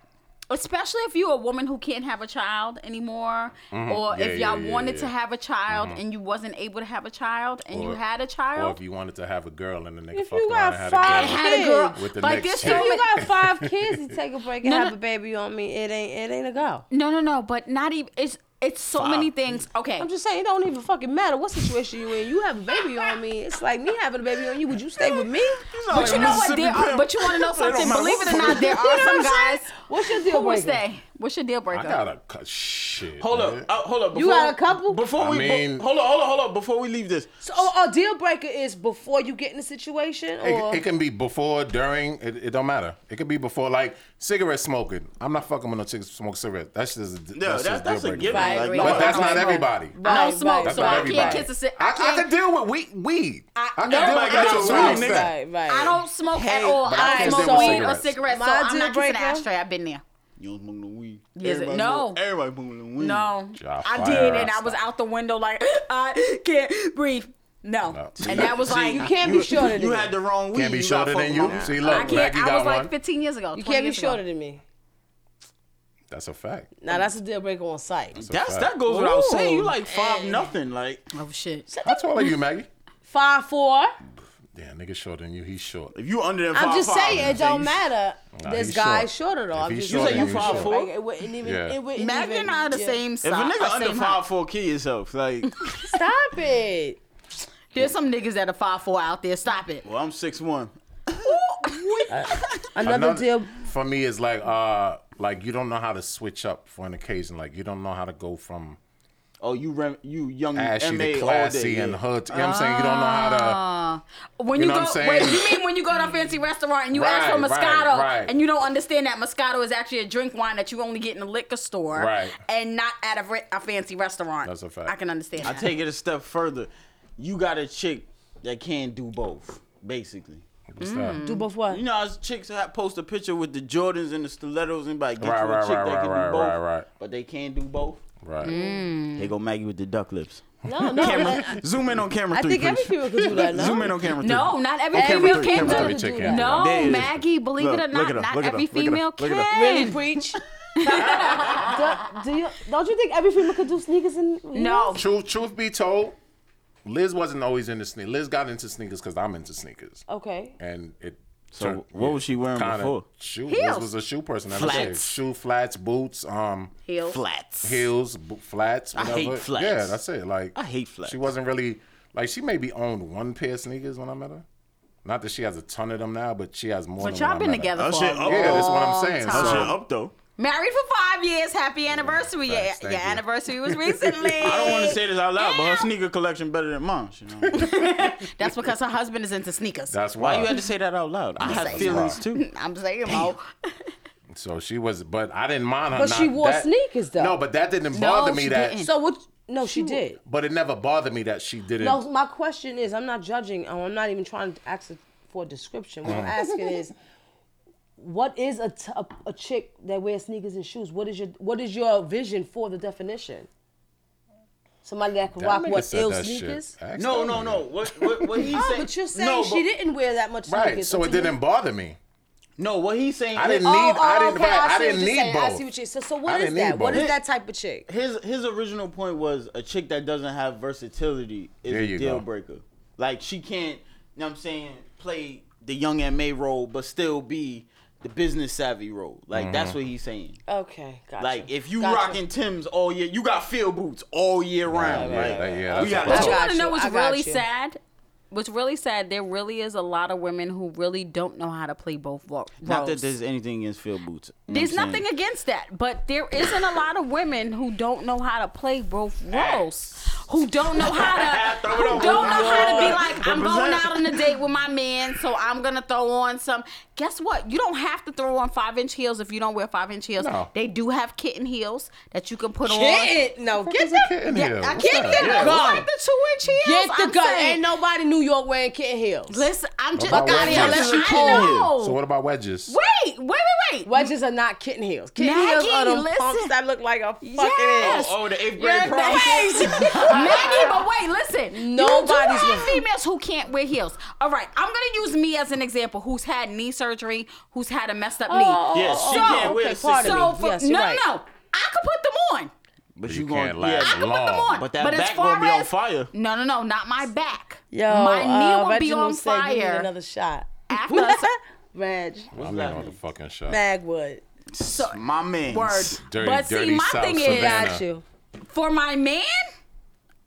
Speaker 3: Especially if you're a woman who can't have a child anymore,
Speaker 6: Mm-hmm.
Speaker 3: or
Speaker 5: Yeah,
Speaker 3: if
Speaker 5: yeah,
Speaker 3: y'all
Speaker 5: yeah,
Speaker 3: wanted
Speaker 5: yeah.
Speaker 3: to have a child and you wasn't able to have a child and you
Speaker 5: Or-
Speaker 3: had a
Speaker 5: Or
Speaker 3: child,
Speaker 5: if you wanted to have a girl and the nigga
Speaker 6: If
Speaker 5: fucked
Speaker 6: you
Speaker 5: around and
Speaker 6: got
Speaker 5: had
Speaker 6: five
Speaker 5: a girl.
Speaker 3: had a girl.
Speaker 5: With the
Speaker 3: like
Speaker 5: next
Speaker 3: there's
Speaker 5: chick.
Speaker 3: so
Speaker 6: If you
Speaker 3: many
Speaker 6: got five kids, you take a break and
Speaker 3: No,
Speaker 6: have
Speaker 3: no.
Speaker 6: a baby on me. It ain't. It ain't a go.
Speaker 3: No, no, no, but not even. It's it's so many things. Okay,
Speaker 6: I'm just saying, it don't even fucking matter what situation you in. You have a baby on me. It's like me having a baby on you. Would you stay with me?
Speaker 3: but you know what? There are, but you want to know something? Believe it or not, there are some guys
Speaker 6: What's your deal
Speaker 3: who will
Speaker 6: breaker?
Speaker 3: stay. What's your deal breaker?
Speaker 5: I got a cut. Shit.
Speaker 4: Hold
Speaker 5: man.
Speaker 4: up, uh, hold up.
Speaker 6: You
Speaker 4: before-
Speaker 6: got a couple?
Speaker 4: Before
Speaker 5: I
Speaker 4: we be-
Speaker 5: mean-
Speaker 4: hold up, hold up, hold up. Before we leave this,
Speaker 6: So oh, a deal breaker is before you get in the situation, or
Speaker 5: It, it can be before, during. It, it don't matter. It could be before, like cigarette smoking. I'm not fucking with no chick smoke cigarette. That's just a,
Speaker 4: no,
Speaker 5: that's,
Speaker 4: that's
Speaker 5: just
Speaker 4: that's a
Speaker 5: deal
Speaker 4: given.
Speaker 5: breaker.
Speaker 6: Right,
Speaker 4: Like,
Speaker 6: agree.
Speaker 4: no,
Speaker 5: But that's
Speaker 4: I
Speaker 5: not
Speaker 4: don't smoke.
Speaker 5: everybody.
Speaker 3: I
Speaker 6: Right,
Speaker 3: don't smoke,
Speaker 6: right.
Speaker 5: That's
Speaker 3: so
Speaker 5: not
Speaker 3: I
Speaker 5: everybody.
Speaker 3: can't kiss a cig.
Speaker 5: I, I can deal with weed. Weed. I, can deal
Speaker 3: nobody
Speaker 5: with that to a certain
Speaker 4: don't smoke
Speaker 5: extent.
Speaker 6: right, right.
Speaker 3: I don't smoke at all.
Speaker 5: but I
Speaker 3: I
Speaker 5: can't
Speaker 3: don't smoke
Speaker 5: stand with
Speaker 3: weed or
Speaker 5: cigarettes.
Speaker 3: cigarettes, so
Speaker 6: My
Speaker 3: I'm
Speaker 6: deal
Speaker 3: not kissing an
Speaker 6: breaker?
Speaker 3: ashtray. I've been there.
Speaker 4: You don't smoke no weed.
Speaker 3: Yes,
Speaker 4: Everybody
Speaker 3: no.
Speaker 4: smoke- everybody smoking weed.
Speaker 3: No,
Speaker 5: Dry
Speaker 3: I
Speaker 5: fire,
Speaker 3: did, and I
Speaker 5: Rasta.
Speaker 3: was out the window like I can't breathe. No,
Speaker 5: No.
Speaker 3: and that was like
Speaker 6: you can't be shorter than
Speaker 4: You
Speaker 6: me.
Speaker 4: had the wrong weed.
Speaker 5: Can't be
Speaker 4: got
Speaker 5: shorter than
Speaker 4: fucked
Speaker 5: you.
Speaker 4: wrong.
Speaker 5: See,
Speaker 3: I
Speaker 5: look,
Speaker 3: can't.
Speaker 5: Maggie
Speaker 3: I
Speaker 5: got
Speaker 3: was
Speaker 5: one.
Speaker 3: like 15 years ago. 20
Speaker 6: you can't be
Speaker 3: years ago.
Speaker 6: shorter than me.
Speaker 5: That's a fact.
Speaker 6: Now that's a deal breaker on site.
Speaker 4: That's
Speaker 5: fact.
Speaker 4: that goes without
Speaker 6: Ooh.
Speaker 4: saying. You like five nothing. Like
Speaker 3: Oh shit!
Speaker 5: How tall are you, Maggie?
Speaker 6: Five four.
Speaker 5: Yeah, nigga shorter than you. He's short.
Speaker 4: if you under that
Speaker 6: I'm
Speaker 4: five,
Speaker 6: just
Speaker 4: five,
Speaker 6: saying
Speaker 4: you
Speaker 6: it don't
Speaker 4: you-
Speaker 6: matter.
Speaker 5: Nah,
Speaker 6: this
Speaker 5: he's
Speaker 6: guy's
Speaker 5: short.
Speaker 6: shorter though.
Speaker 5: If
Speaker 6: I'm
Speaker 5: he's
Speaker 6: just
Speaker 5: short,
Speaker 4: You say you
Speaker 5: he's
Speaker 4: five
Speaker 5: short.
Speaker 4: four?
Speaker 6: Like, it wouldn't even.
Speaker 5: Yeah.
Speaker 6: It wouldn't
Speaker 3: Maggie
Speaker 6: even,
Speaker 3: and I are the
Speaker 6: yeah.
Speaker 3: same
Speaker 4: If
Speaker 3: size.
Speaker 4: a nigga
Speaker 3: uh,
Speaker 4: under
Speaker 3: same
Speaker 4: five
Speaker 3: height.
Speaker 4: four, kill yourself. Like,
Speaker 6: Stop it.
Speaker 3: there's some niggas that are five four out there. Stop it.
Speaker 4: well, I'm six one.
Speaker 6: Another, deal.
Speaker 5: for me is like uh like you don't know how to switch up for an occasion. Like you don't know how to go from
Speaker 4: Oh, you rem- you young
Speaker 5: ashy
Speaker 4: MA
Speaker 5: to
Speaker 4: all day.
Speaker 5: classy
Speaker 4: yeah.
Speaker 5: and hood. You know what I'm saying? You don't know
Speaker 6: Ah.
Speaker 5: how
Speaker 3: Uh, When
Speaker 5: You
Speaker 3: you,
Speaker 5: know
Speaker 3: go,
Speaker 5: what I'm
Speaker 3: wait,
Speaker 5: saying?
Speaker 3: you mean when you go to a fancy restaurant and you ask
Speaker 5: Right,
Speaker 3: for Moscato
Speaker 5: right, right.
Speaker 3: and you don't understand that Moscato is actually a drink wine that you only get in a liquor store
Speaker 5: Right.
Speaker 3: and not at a, re- a fancy restaurant.
Speaker 5: That's a fact.
Speaker 3: I can understand
Speaker 4: I
Speaker 3: that.
Speaker 4: take it a step further. You got a chick that can do both, basically.
Speaker 5: to what's that?
Speaker 3: Mm.
Speaker 6: Do both what?
Speaker 4: You know, as chicks have post a picture with the Jordans and the stilettos and like get
Speaker 5: Right,
Speaker 4: you a
Speaker 5: right,
Speaker 4: chick
Speaker 5: right,
Speaker 4: that can
Speaker 5: right,
Speaker 4: do
Speaker 5: right,
Speaker 4: both,
Speaker 5: right, right.
Speaker 4: but they can't do both.
Speaker 5: Right.
Speaker 3: Mm.
Speaker 4: They go Maggie with the duck lips.
Speaker 6: No, no.
Speaker 4: Camera, zoom in on camera
Speaker 6: I
Speaker 4: three,
Speaker 6: think every
Speaker 4: please.
Speaker 6: female could do that. No?
Speaker 4: Zoom in on camera three.
Speaker 3: No, not every
Speaker 6: Okay,
Speaker 3: female
Speaker 6: but-
Speaker 3: can
Speaker 6: but
Speaker 3: do
Speaker 6: every
Speaker 3: it.
Speaker 6: chick
Speaker 5: can do
Speaker 3: No,
Speaker 4: that. Yeah.
Speaker 3: Maggie, believe
Speaker 4: Look,
Speaker 3: it or
Speaker 4: look
Speaker 3: not,
Speaker 4: it up,
Speaker 3: not
Speaker 4: look it
Speaker 3: every
Speaker 4: up, look it
Speaker 3: female
Speaker 4: up, look it up.
Speaker 3: can.
Speaker 6: Really preach. do, do you don't you think every female could do sneakers and heels?
Speaker 3: No.
Speaker 5: Truth truth be told, Liz wasn't always into sneakers. Liz got into sneakers because I'm into sneakers.
Speaker 6: Okay.
Speaker 5: And it
Speaker 4: So what was she wearing before?
Speaker 5: Shoe. Liz
Speaker 3: Heels.
Speaker 5: was a shoe person. I
Speaker 4: Flats.
Speaker 5: Shoe flats, boots, um,
Speaker 3: Heels.
Speaker 4: Flats.
Speaker 5: heels, bo- flats.
Speaker 4: I
Speaker 5: Whatever.
Speaker 4: hate flats.
Speaker 5: Yeah, that's it. Like
Speaker 4: I hate flats.
Speaker 5: She wasn't really like she maybe owned one pair of sneakers when I met her. Not that she has a ton of them now, but she has more.
Speaker 3: But
Speaker 5: than when
Speaker 3: y'all
Speaker 5: I
Speaker 3: been
Speaker 5: met her.
Speaker 3: together
Speaker 4: That
Speaker 3: for
Speaker 4: shit
Speaker 3: a
Speaker 4: up.
Speaker 5: Yeah, that's what
Speaker 3: long
Speaker 5: I'm saying.
Speaker 3: time.
Speaker 4: That shit
Speaker 5: So-
Speaker 4: up though.
Speaker 3: Married for five years. Happy anniversary. Yeah,
Speaker 5: Thanks,
Speaker 3: your
Speaker 5: thank you.
Speaker 3: anniversary was recently.
Speaker 4: I don't want to say this out loud, but her sneaker collection better than mine. You know?
Speaker 3: That's because her husband is into sneakers.
Speaker 5: That's why.
Speaker 4: Why you had to say that out loud? I have
Speaker 5: saying.
Speaker 4: feelings too.
Speaker 3: I'm saying, Mo.
Speaker 5: So she was, but I didn't mind her.
Speaker 6: But
Speaker 5: not-
Speaker 6: she wore
Speaker 5: that-
Speaker 6: sneakers, though.
Speaker 5: No, but that didn't bother me.
Speaker 3: she
Speaker 5: That,
Speaker 3: didn't.
Speaker 6: So what? No, she did.
Speaker 5: but it never bothered me that she didn't.
Speaker 6: No, my question is, I'm not judging. and I'm not even trying to ask for a description. What I'm
Speaker 5: Uh-huh.
Speaker 6: asking is, what is a, t- a a chick that wears sneakers and shoes? What is your what is your vision for the definition? Somebody that can
Speaker 5: That
Speaker 6: rock
Speaker 5: nigga
Speaker 6: what
Speaker 5: said
Speaker 6: ill
Speaker 5: that shit.
Speaker 6: sneakers.
Speaker 5: Ask
Speaker 4: No,
Speaker 5: that
Speaker 4: no,
Speaker 5: nigga.
Speaker 4: no. Oh, What what what he
Speaker 6: Oh,
Speaker 4: saying?
Speaker 6: but you're saying
Speaker 4: no,
Speaker 6: she didn't wear that much sneakers.
Speaker 5: Right, so
Speaker 6: What
Speaker 5: it
Speaker 6: do you-
Speaker 5: didn't bother me.
Speaker 4: No, what he's saying.
Speaker 5: I didn't
Speaker 6: Oh,
Speaker 5: need.
Speaker 6: oh,
Speaker 5: I didn't.
Speaker 6: okay,
Speaker 5: right, I,
Speaker 6: see what
Speaker 5: didn't
Speaker 6: you're
Speaker 5: need
Speaker 6: saying.
Speaker 5: both.
Speaker 6: I see what you so. So
Speaker 5: I
Speaker 6: what is
Speaker 5: didn't need
Speaker 6: that? What
Speaker 5: both.
Speaker 6: is that type of chick?
Speaker 4: his his original point was a chick that doesn't have versatility is
Speaker 5: There you
Speaker 4: a deal
Speaker 5: go.
Speaker 4: breaker. Like she can't, you know what I'm saying, play the young MA role but still be the business savvy role. Like that's
Speaker 5: Mm-hmm.
Speaker 4: what he's saying.
Speaker 6: Okay, gotcha.
Speaker 4: Like if you
Speaker 6: Gotcha.
Speaker 4: rocking Tim's all year, you got field boots all year round.
Speaker 5: yeah,
Speaker 4: like,
Speaker 5: that- yeah, that's
Speaker 4: we gotta
Speaker 5: what
Speaker 3: But you
Speaker 4: talk.
Speaker 6: got
Speaker 3: want to know
Speaker 6: you.
Speaker 3: what's
Speaker 6: I got
Speaker 3: really
Speaker 6: you.
Speaker 3: sad? What's really sad? There really is a lot of women who really don't know how to play both ro- roles.
Speaker 4: Not that there's anything against field boots. you know
Speaker 3: There's
Speaker 4: what I'm
Speaker 3: nothing
Speaker 4: saying?
Speaker 3: against that, but there isn't a lot of women who don't know how to play both roles. Who don't know how to
Speaker 4: Throw it
Speaker 3: who
Speaker 4: on.
Speaker 3: don't know how to be like, I'm going
Speaker 4: Represent.
Speaker 3: out on a date with my man, so I'm gonna throw on some. Guess what? You don't have to throw on five inch heels if you don't wear five inch heels.
Speaker 5: No.
Speaker 3: They do have kitten heels that you can put on.
Speaker 6: Get it? No, get
Speaker 5: There's a
Speaker 6: the
Speaker 5: kid in here.
Speaker 3: I
Speaker 5: What's
Speaker 3: get
Speaker 5: that?
Speaker 3: the
Speaker 5: Yeah.
Speaker 3: gun. Like the two inch heels.
Speaker 6: get the
Speaker 3: I'm
Speaker 6: gun.
Speaker 3: saying.
Speaker 6: Ain't nobody in New York wearing kitten heels.
Speaker 3: Listen, I'm just
Speaker 5: What about
Speaker 3: out here.
Speaker 5: wedges?
Speaker 3: Unless you
Speaker 4: I
Speaker 3: cool.
Speaker 4: know.
Speaker 5: So what about wedges?
Speaker 3: Wait, wait, wait, wait.
Speaker 6: Wedges are not kitten heels. Kitten
Speaker 3: Maggie,
Speaker 6: heels are them
Speaker 3: listen.
Speaker 6: pumps that look like a fucking
Speaker 3: Yes.
Speaker 6: ass.
Speaker 4: Oh, the eighth
Speaker 6: You're
Speaker 4: grade prom.
Speaker 6: crazy.
Speaker 3: Maggie, but wait, listen.
Speaker 6: Nobody's
Speaker 3: Nobody's you do have
Speaker 6: with-
Speaker 3: females who can't wear heels. All right, I'm gonna use me as an example. Who's had knee surgery? Who's had a messed up knee?
Speaker 6: Oh,
Speaker 4: Yes,
Speaker 6: oh,
Speaker 4: she
Speaker 6: oh,
Speaker 4: can't wear
Speaker 6: okay,
Speaker 4: the
Speaker 6: pardon
Speaker 4: six-
Speaker 3: So
Speaker 6: me.
Speaker 3: for,
Speaker 6: yes, you're
Speaker 3: no,
Speaker 6: right.
Speaker 3: no, I could put them on.
Speaker 4: But
Speaker 5: You
Speaker 4: you going
Speaker 5: can't last
Speaker 3: I could put them
Speaker 5: Long.
Speaker 3: on.
Speaker 4: But that
Speaker 3: as
Speaker 4: back
Speaker 3: far
Speaker 4: gonna be on
Speaker 3: as-
Speaker 4: fire.
Speaker 3: No, no, no, not my back.
Speaker 6: Yo,
Speaker 3: my knee
Speaker 6: uh,
Speaker 3: will be
Speaker 6: Reginald
Speaker 3: on
Speaker 6: said you need
Speaker 3: fire.
Speaker 6: Another shot.
Speaker 3: After us-
Speaker 6: Reg,
Speaker 5: I'm in on the fucking shot.
Speaker 6: Magwood.
Speaker 4: My man.
Speaker 3: Word.
Speaker 5: Dirty,
Speaker 3: but see,
Speaker 5: dirty
Speaker 3: my
Speaker 5: South
Speaker 3: thing is,
Speaker 5: Savannah.
Speaker 6: Got you.
Speaker 3: for my man,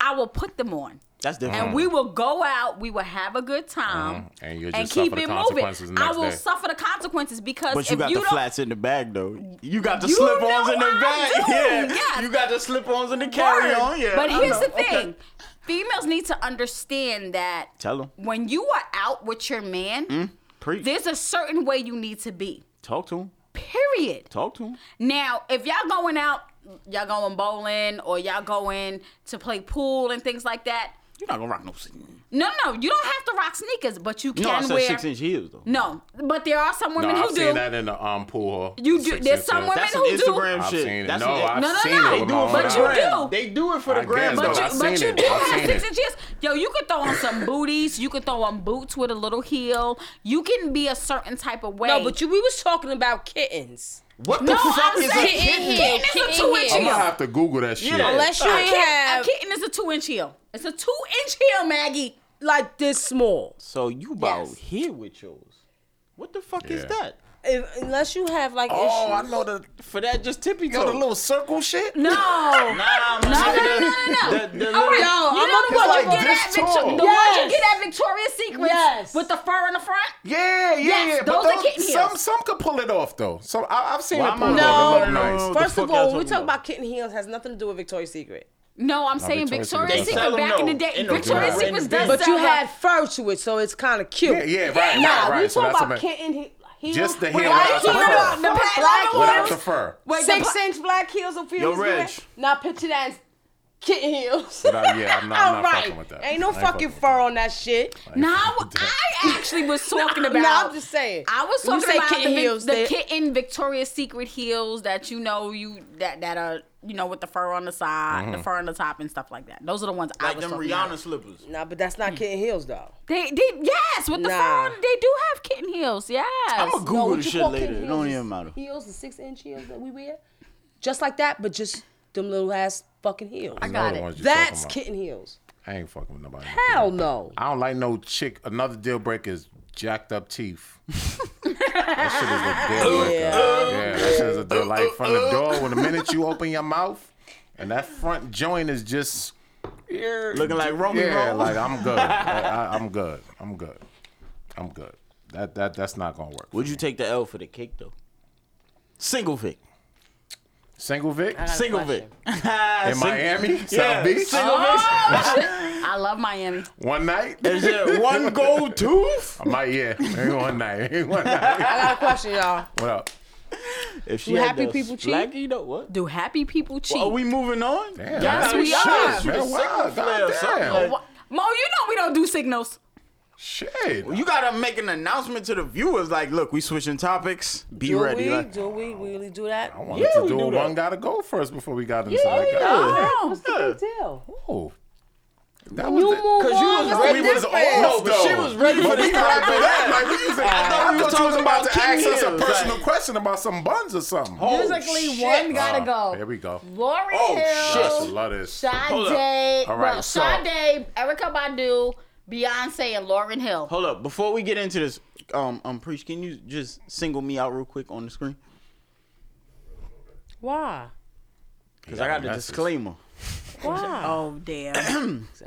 Speaker 3: I will put them on.
Speaker 4: That's different.
Speaker 3: and we will go out. We will have a good time
Speaker 5: Mhm. Uh-huh. And you'll just
Speaker 3: keep
Speaker 5: suffer
Speaker 3: it
Speaker 5: the
Speaker 3: moving.
Speaker 5: consequences the
Speaker 3: I
Speaker 5: next
Speaker 3: will
Speaker 5: day.
Speaker 3: suffer the consequences because
Speaker 4: But you
Speaker 3: if
Speaker 4: got
Speaker 3: you
Speaker 4: the
Speaker 3: don't,
Speaker 4: flats in the bag though. You got the
Speaker 3: You
Speaker 4: slip-ons
Speaker 3: know
Speaker 4: in the
Speaker 3: I
Speaker 4: bag.
Speaker 3: do,
Speaker 4: Yeah.
Speaker 3: yes.
Speaker 4: You got the slip-ons in the carry-on. Yeah.
Speaker 3: But
Speaker 5: Oh,
Speaker 4: I
Speaker 3: here's
Speaker 4: know.
Speaker 3: the
Speaker 4: Okay.
Speaker 3: thing: females need to understand that
Speaker 4: Tell them.
Speaker 3: when you are out with your man,
Speaker 5: Mm,
Speaker 4: Preach.
Speaker 3: there's a certain way you need to be.
Speaker 4: Talk to him.
Speaker 3: Period.
Speaker 4: Talk to him.
Speaker 3: Now, if y'all going out, y'all going bowling or y'all going to play pool and things like that.
Speaker 4: You're not gonna rock no sneakers.
Speaker 3: No, no, you don't have to rock sneakers, but you can
Speaker 4: No, I said
Speaker 3: wear
Speaker 4: six-inch heels though.
Speaker 3: No, but there are some
Speaker 5: No,
Speaker 3: women
Speaker 5: I've
Speaker 3: who
Speaker 5: seen
Speaker 3: do.
Speaker 5: that in the um pool.
Speaker 3: You do-
Speaker 5: Six
Speaker 3: there's
Speaker 5: inches.
Speaker 3: some women
Speaker 4: That's an
Speaker 3: who do.
Speaker 4: Instagram
Speaker 5: I've
Speaker 4: shit.
Speaker 5: seen it.
Speaker 4: That's
Speaker 5: no,
Speaker 4: an,
Speaker 5: I've
Speaker 3: No, no,
Speaker 5: seen
Speaker 3: no.
Speaker 5: it.
Speaker 4: they
Speaker 5: with
Speaker 4: do
Speaker 5: my
Speaker 4: it
Speaker 5: own
Speaker 4: for
Speaker 3: But
Speaker 5: eyes.
Speaker 4: the
Speaker 3: you
Speaker 4: gram.
Speaker 3: do.
Speaker 4: They do it for
Speaker 5: I
Speaker 4: the gram.
Speaker 5: guess,
Speaker 4: though.
Speaker 3: But
Speaker 5: I've
Speaker 3: you, but
Speaker 5: seen
Speaker 3: you
Speaker 5: it.
Speaker 3: do
Speaker 5: I've
Speaker 3: have
Speaker 5: seen
Speaker 3: six
Speaker 5: it.
Speaker 3: inches. Yo, you could throw on some booties. You could throw on boots with a little heel. You can be a certain type of way.
Speaker 6: No, but you we was talking about kittens.
Speaker 4: What
Speaker 3: No,
Speaker 4: the fuck
Speaker 3: I'm
Speaker 4: is
Speaker 3: saying
Speaker 4: a
Speaker 3: kitten,
Speaker 4: kitten?
Speaker 6: Kitten
Speaker 3: is a
Speaker 6: here,
Speaker 3: two
Speaker 6: kitten
Speaker 3: inch
Speaker 6: here.
Speaker 5: I'm
Speaker 3: heel.
Speaker 5: gonna have to Google that shit.
Speaker 4: Yeah.
Speaker 6: Unless you
Speaker 3: a,
Speaker 6: ain't
Speaker 3: kitten, a
Speaker 6: have
Speaker 3: kitten is a two inch heel. It's a two inch heel, Maggie.
Speaker 6: like this small.
Speaker 4: So you about
Speaker 3: Yes.
Speaker 4: here with yours. What the fuck is
Speaker 5: Yeah.
Speaker 4: that?
Speaker 6: If- unless you have like
Speaker 4: Oh, I
Speaker 6: issues.
Speaker 4: know the for that just tippy toe.
Speaker 5: circle shit.
Speaker 3: No. no,
Speaker 4: Nah,
Speaker 3: no, no, no, no.
Speaker 4: The, the
Speaker 3: All
Speaker 4: little-
Speaker 3: right.
Speaker 6: Yo,
Speaker 3: you know
Speaker 6: I'm
Speaker 3: the one
Speaker 5: like
Speaker 3: you get
Speaker 5: this
Speaker 3: at
Speaker 5: tall.
Speaker 3: Victoria, the one
Speaker 6: Yes.
Speaker 3: you get at Victoria's Secret
Speaker 6: Yes.
Speaker 3: with the fur in the front.
Speaker 5: Yeah, yeah,
Speaker 3: Yes,
Speaker 5: yeah.
Speaker 3: those
Speaker 5: But
Speaker 3: are kitten heels.
Speaker 5: some some could pull it off though. So I, I've seen
Speaker 4: Why
Speaker 5: it
Speaker 4: am
Speaker 5: pull
Speaker 4: I-
Speaker 5: it off. It look
Speaker 4: No, no,
Speaker 5: nice.
Speaker 4: no, no.
Speaker 6: First
Speaker 4: the
Speaker 6: of
Speaker 4: fuck
Speaker 6: all,
Speaker 4: y'all
Speaker 6: when we
Speaker 4: talking
Speaker 6: talk
Speaker 4: about?
Speaker 6: about kitten heels has nothing to do with Victoria's Secret.
Speaker 3: No, I'm saying
Speaker 5: Victoria's
Speaker 3: Victoria's
Speaker 5: Secret
Speaker 4: does
Speaker 3: Secret
Speaker 4: that.
Speaker 3: back in the day.
Speaker 4: Ain't no
Speaker 3: Victoria's
Speaker 4: difference.
Speaker 3: Secret does
Speaker 6: But
Speaker 3: sell
Speaker 6: you had fur to it, so it's kind of cute.
Speaker 5: Yeah, yeah, right,
Speaker 6: Nah,
Speaker 5: right, right.
Speaker 6: we
Speaker 5: So
Speaker 6: talk
Speaker 5: that's
Speaker 6: about
Speaker 5: a bit-
Speaker 6: kitten he- heels.
Speaker 5: Just the heel
Speaker 6: black
Speaker 5: without the
Speaker 6: heels,
Speaker 5: fur.
Speaker 6: the black
Speaker 3: Without
Speaker 5: Without the
Speaker 6: ones,
Speaker 5: fur.
Speaker 3: Wait, the
Speaker 6: Six
Speaker 3: pu-
Speaker 6: inch black heels or
Speaker 4: Yo,
Speaker 6: heels.
Speaker 4: Reg.
Speaker 6: Now picture that as kitten heels.
Speaker 5: Without- yeah, I'm not- I'm
Speaker 6: All
Speaker 5: not
Speaker 6: right.
Speaker 5: fucking with that.
Speaker 6: Ain't no
Speaker 5: I ain't fucking
Speaker 6: fucking
Speaker 5: with
Speaker 6: fur on that shit.
Speaker 3: No, I actually was talking about.
Speaker 6: No, I'm just saying.
Speaker 3: I was
Speaker 6: When
Speaker 3: talking
Speaker 6: you say
Speaker 3: about
Speaker 6: kitten
Speaker 3: the, Vic-
Speaker 6: heels,
Speaker 3: the
Speaker 6: they-
Speaker 3: kitten Victoria's Secret heels that you know you that that are you know with the fur on the side,
Speaker 6: Mm-hmm.
Speaker 3: the fur on the top, and stuff like that. Those are the ones I
Speaker 4: Like
Speaker 3: was
Speaker 4: them
Speaker 3: talking
Speaker 4: Rihanna
Speaker 3: about.
Speaker 4: slippers.
Speaker 6: Nah, but that's not kitten heels though.
Speaker 3: They, they yes, with the
Speaker 6: Nah.
Speaker 3: fur, on, they do have kitten heels. Yes,
Speaker 4: I'ma Google
Speaker 6: No, what
Speaker 4: the
Speaker 6: you
Speaker 4: shit
Speaker 6: call
Speaker 4: later.
Speaker 6: kitten
Speaker 4: It don't
Speaker 6: heels
Speaker 4: even
Speaker 6: is
Speaker 4: matter.
Speaker 6: Heels, the six inch heels that we wear, just like that, but just them little ass fucking heels.
Speaker 5: I
Speaker 3: got it.
Speaker 6: That's kitten heels.
Speaker 5: I ain't fucking with nobody.
Speaker 6: Hell no.
Speaker 5: I don't like no chick. Another deal breaker is jacked up teeth. that shit is a deal breaker. Yeah, that shit is a
Speaker 4: Uh,
Speaker 5: deal. Like from the door, when the minute you open your mouth, and that front joint is just
Speaker 4: Looking like Roman
Speaker 5: yeah,
Speaker 4: Roll.
Speaker 5: like I'm good. Like, I, I'm good. I'm good. I'm good. That that that's not gonna work.
Speaker 4: Would you take the L for the cake though? Single Vic.
Speaker 5: Single Vic
Speaker 4: Single Vic.
Speaker 6: question.
Speaker 5: in Miami, South
Speaker 4: Yeah,
Speaker 5: Beach,
Speaker 4: Single
Speaker 3: I love Miami.
Speaker 5: one night.
Speaker 4: Is it one gold tooth?
Speaker 5: I might yeah, maybe one night, maybe one night.
Speaker 6: I got a question, y'all.
Speaker 5: What up?
Speaker 4: If she
Speaker 6: Do
Speaker 4: had
Speaker 6: happy
Speaker 4: the
Speaker 6: people cheat?
Speaker 4: Blackie, though, what?
Speaker 3: Do happy people cheat?
Speaker 4: Are we moving on?
Speaker 5: Oh, Damn,
Speaker 3: Yes, we
Speaker 5: shit,
Speaker 3: are.
Speaker 5: Man,
Speaker 4: Single
Speaker 5: wow,
Speaker 4: flare or
Speaker 5: goddamn.
Speaker 4: something like-
Speaker 3: Wha- Mo, you know we don't do signals.
Speaker 5: Shit.
Speaker 4: You gotta make an announcement to the viewers. Like, look, we switching topics. Be
Speaker 6: Do
Speaker 4: ready.
Speaker 6: we?
Speaker 4: Like,
Speaker 6: do we really do that?
Speaker 5: I wanted
Speaker 4: Yeah,
Speaker 5: to
Speaker 4: we
Speaker 5: do,
Speaker 4: do
Speaker 5: a
Speaker 4: that.
Speaker 5: one gotta go first before we got inside.
Speaker 4: yeah.
Speaker 6: What's the big deal?
Speaker 5: Oh. That
Speaker 6: You
Speaker 5: was
Speaker 6: move
Speaker 5: the-
Speaker 6: on.
Speaker 4: Cause you was
Speaker 6: What's
Speaker 4: ready-
Speaker 6: the
Speaker 4: we was
Speaker 6: difference?
Speaker 4: No, but she was ready for
Speaker 5: But we
Speaker 4: this
Speaker 5: wrapped
Speaker 4: topic.
Speaker 5: it up. Like, we was, I thought
Speaker 4: we
Speaker 5: we
Speaker 4: was
Speaker 5: was,
Speaker 4: talking
Speaker 5: about
Speaker 4: about
Speaker 5: to ask
Speaker 4: King
Speaker 5: us a
Speaker 4: Hills,
Speaker 5: personal
Speaker 4: like-
Speaker 5: question about some buns or something.
Speaker 3: Musically, one gotta
Speaker 5: Oh,
Speaker 3: go.
Speaker 5: Here we go.
Speaker 3: Lauren
Speaker 4: Oh,
Speaker 3: Hill.
Speaker 5: Gosh, I love this.
Speaker 4: up.
Speaker 5: All
Speaker 3: Sade, well,
Speaker 5: right, so-
Speaker 3: Sade, Erica Badu, Beyonce, and Lauren Hill.
Speaker 4: Hold up. Before we get into this, um, um, preach. Can you just single me out real quick on the screen?
Speaker 6: Why?
Speaker 4: Cause I got a
Speaker 5: Messages.
Speaker 4: disclaimer.
Speaker 6: Why?
Speaker 3: Oh damn!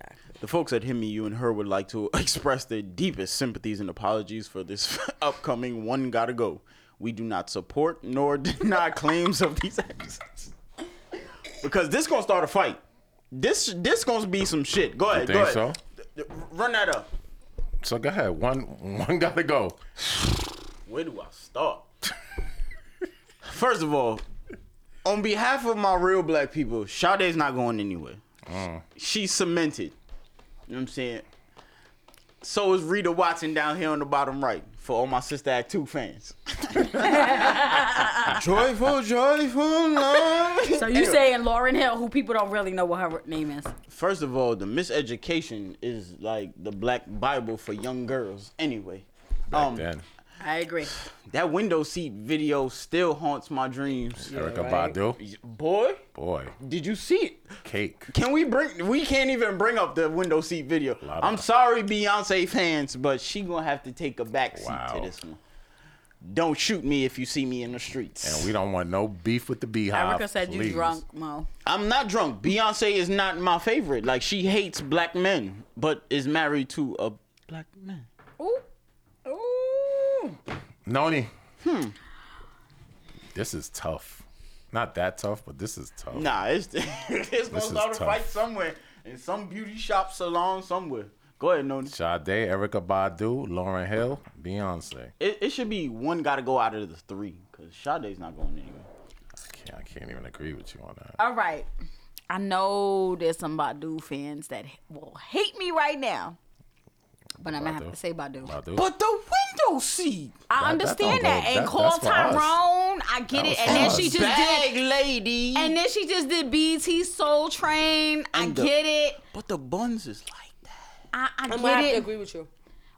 Speaker 4: The folks at Himmy, you and her would like to express their deepest sympathies and apologies for this upcoming one gotta go. We do not support nor deny claims of these actions because this gonna start a fight. This this gonna be some shit. Go ahead.
Speaker 5: think
Speaker 4: go
Speaker 5: so?
Speaker 4: ahead. Run that up.
Speaker 5: So go ahead. One one gotta go.
Speaker 4: Where do I start? First of all, on behalf of my real black people, Sade's not going anywhere. Mm. She's cemented. You know what I'm saying? So is Rita Watson down here on the bottom right for all my Sister Act 2 fans. joyful, joyful love.
Speaker 3: So you saying Lauren Hill, who people don't really know what her name is?
Speaker 4: First of all, the miseducation is like the black Bible for young girls anyway. um,
Speaker 5: Then
Speaker 3: I agree.
Speaker 4: That window seat video still haunts my dreams.
Speaker 5: Erica
Speaker 6: right.
Speaker 5: Badu.
Speaker 4: Boy,
Speaker 5: Boy,
Speaker 4: did you see it?
Speaker 5: cake.
Speaker 4: Can we bring? We can't even bring up the window seat video.
Speaker 5: Lot of-
Speaker 4: I'm sorry, Beyonce fans, but she gonna have to take a back seat
Speaker 5: Wow.
Speaker 4: to this one. Don't shoot me if you see me in the streets.
Speaker 5: And we don't want no beef with the
Speaker 4: Ah,
Speaker 5: beehive.
Speaker 3: Erica said you
Speaker 5: please.
Speaker 3: drunk, Mo.
Speaker 4: I'm not drunk. Beyonce is not my favorite. Like she hates black men, but is married to a black man.
Speaker 3: Ooh. Ooh.
Speaker 5: Noni. Hmm. This is tough. Not that tough, but this is tough.
Speaker 4: Nah, it's it's gonna
Speaker 5: Oh. is
Speaker 4: start a
Speaker 5: tough.
Speaker 4: fight somewhere in some beauty shop salon somewhere. Go ahead, Noni.
Speaker 5: Sade, Erica Badu, Lauren Hill, Beyonce.
Speaker 4: It, it should be one got to go out of the three because Sade's not going anywhere.
Speaker 5: I can't, I can't even agree with you on that.
Speaker 3: All right. I know there's some Badu fans that will hate me right now, but I'm gonna have
Speaker 5: Badu.
Speaker 3: to say Badu.
Speaker 5: Badu.
Speaker 4: But the window seat.
Speaker 3: I
Speaker 5: That- that
Speaker 3: understand
Speaker 5: don't
Speaker 3: that,
Speaker 5: go-
Speaker 3: and
Speaker 5: that-
Speaker 3: call
Speaker 5: that's for us.
Speaker 3: Tyrone. I get
Speaker 5: That
Speaker 3: it.
Speaker 5: was
Speaker 3: And
Speaker 5: for
Speaker 3: then
Speaker 5: us.
Speaker 3: she just
Speaker 4: Bag
Speaker 3: did.
Speaker 4: lady.
Speaker 3: And then she just did BT Soul Train. I
Speaker 4: And the-
Speaker 3: get it.
Speaker 4: but the buns is like that.
Speaker 3: I, I
Speaker 6: I'm gonna
Speaker 3: get
Speaker 6: have to
Speaker 3: it.
Speaker 6: agree with you.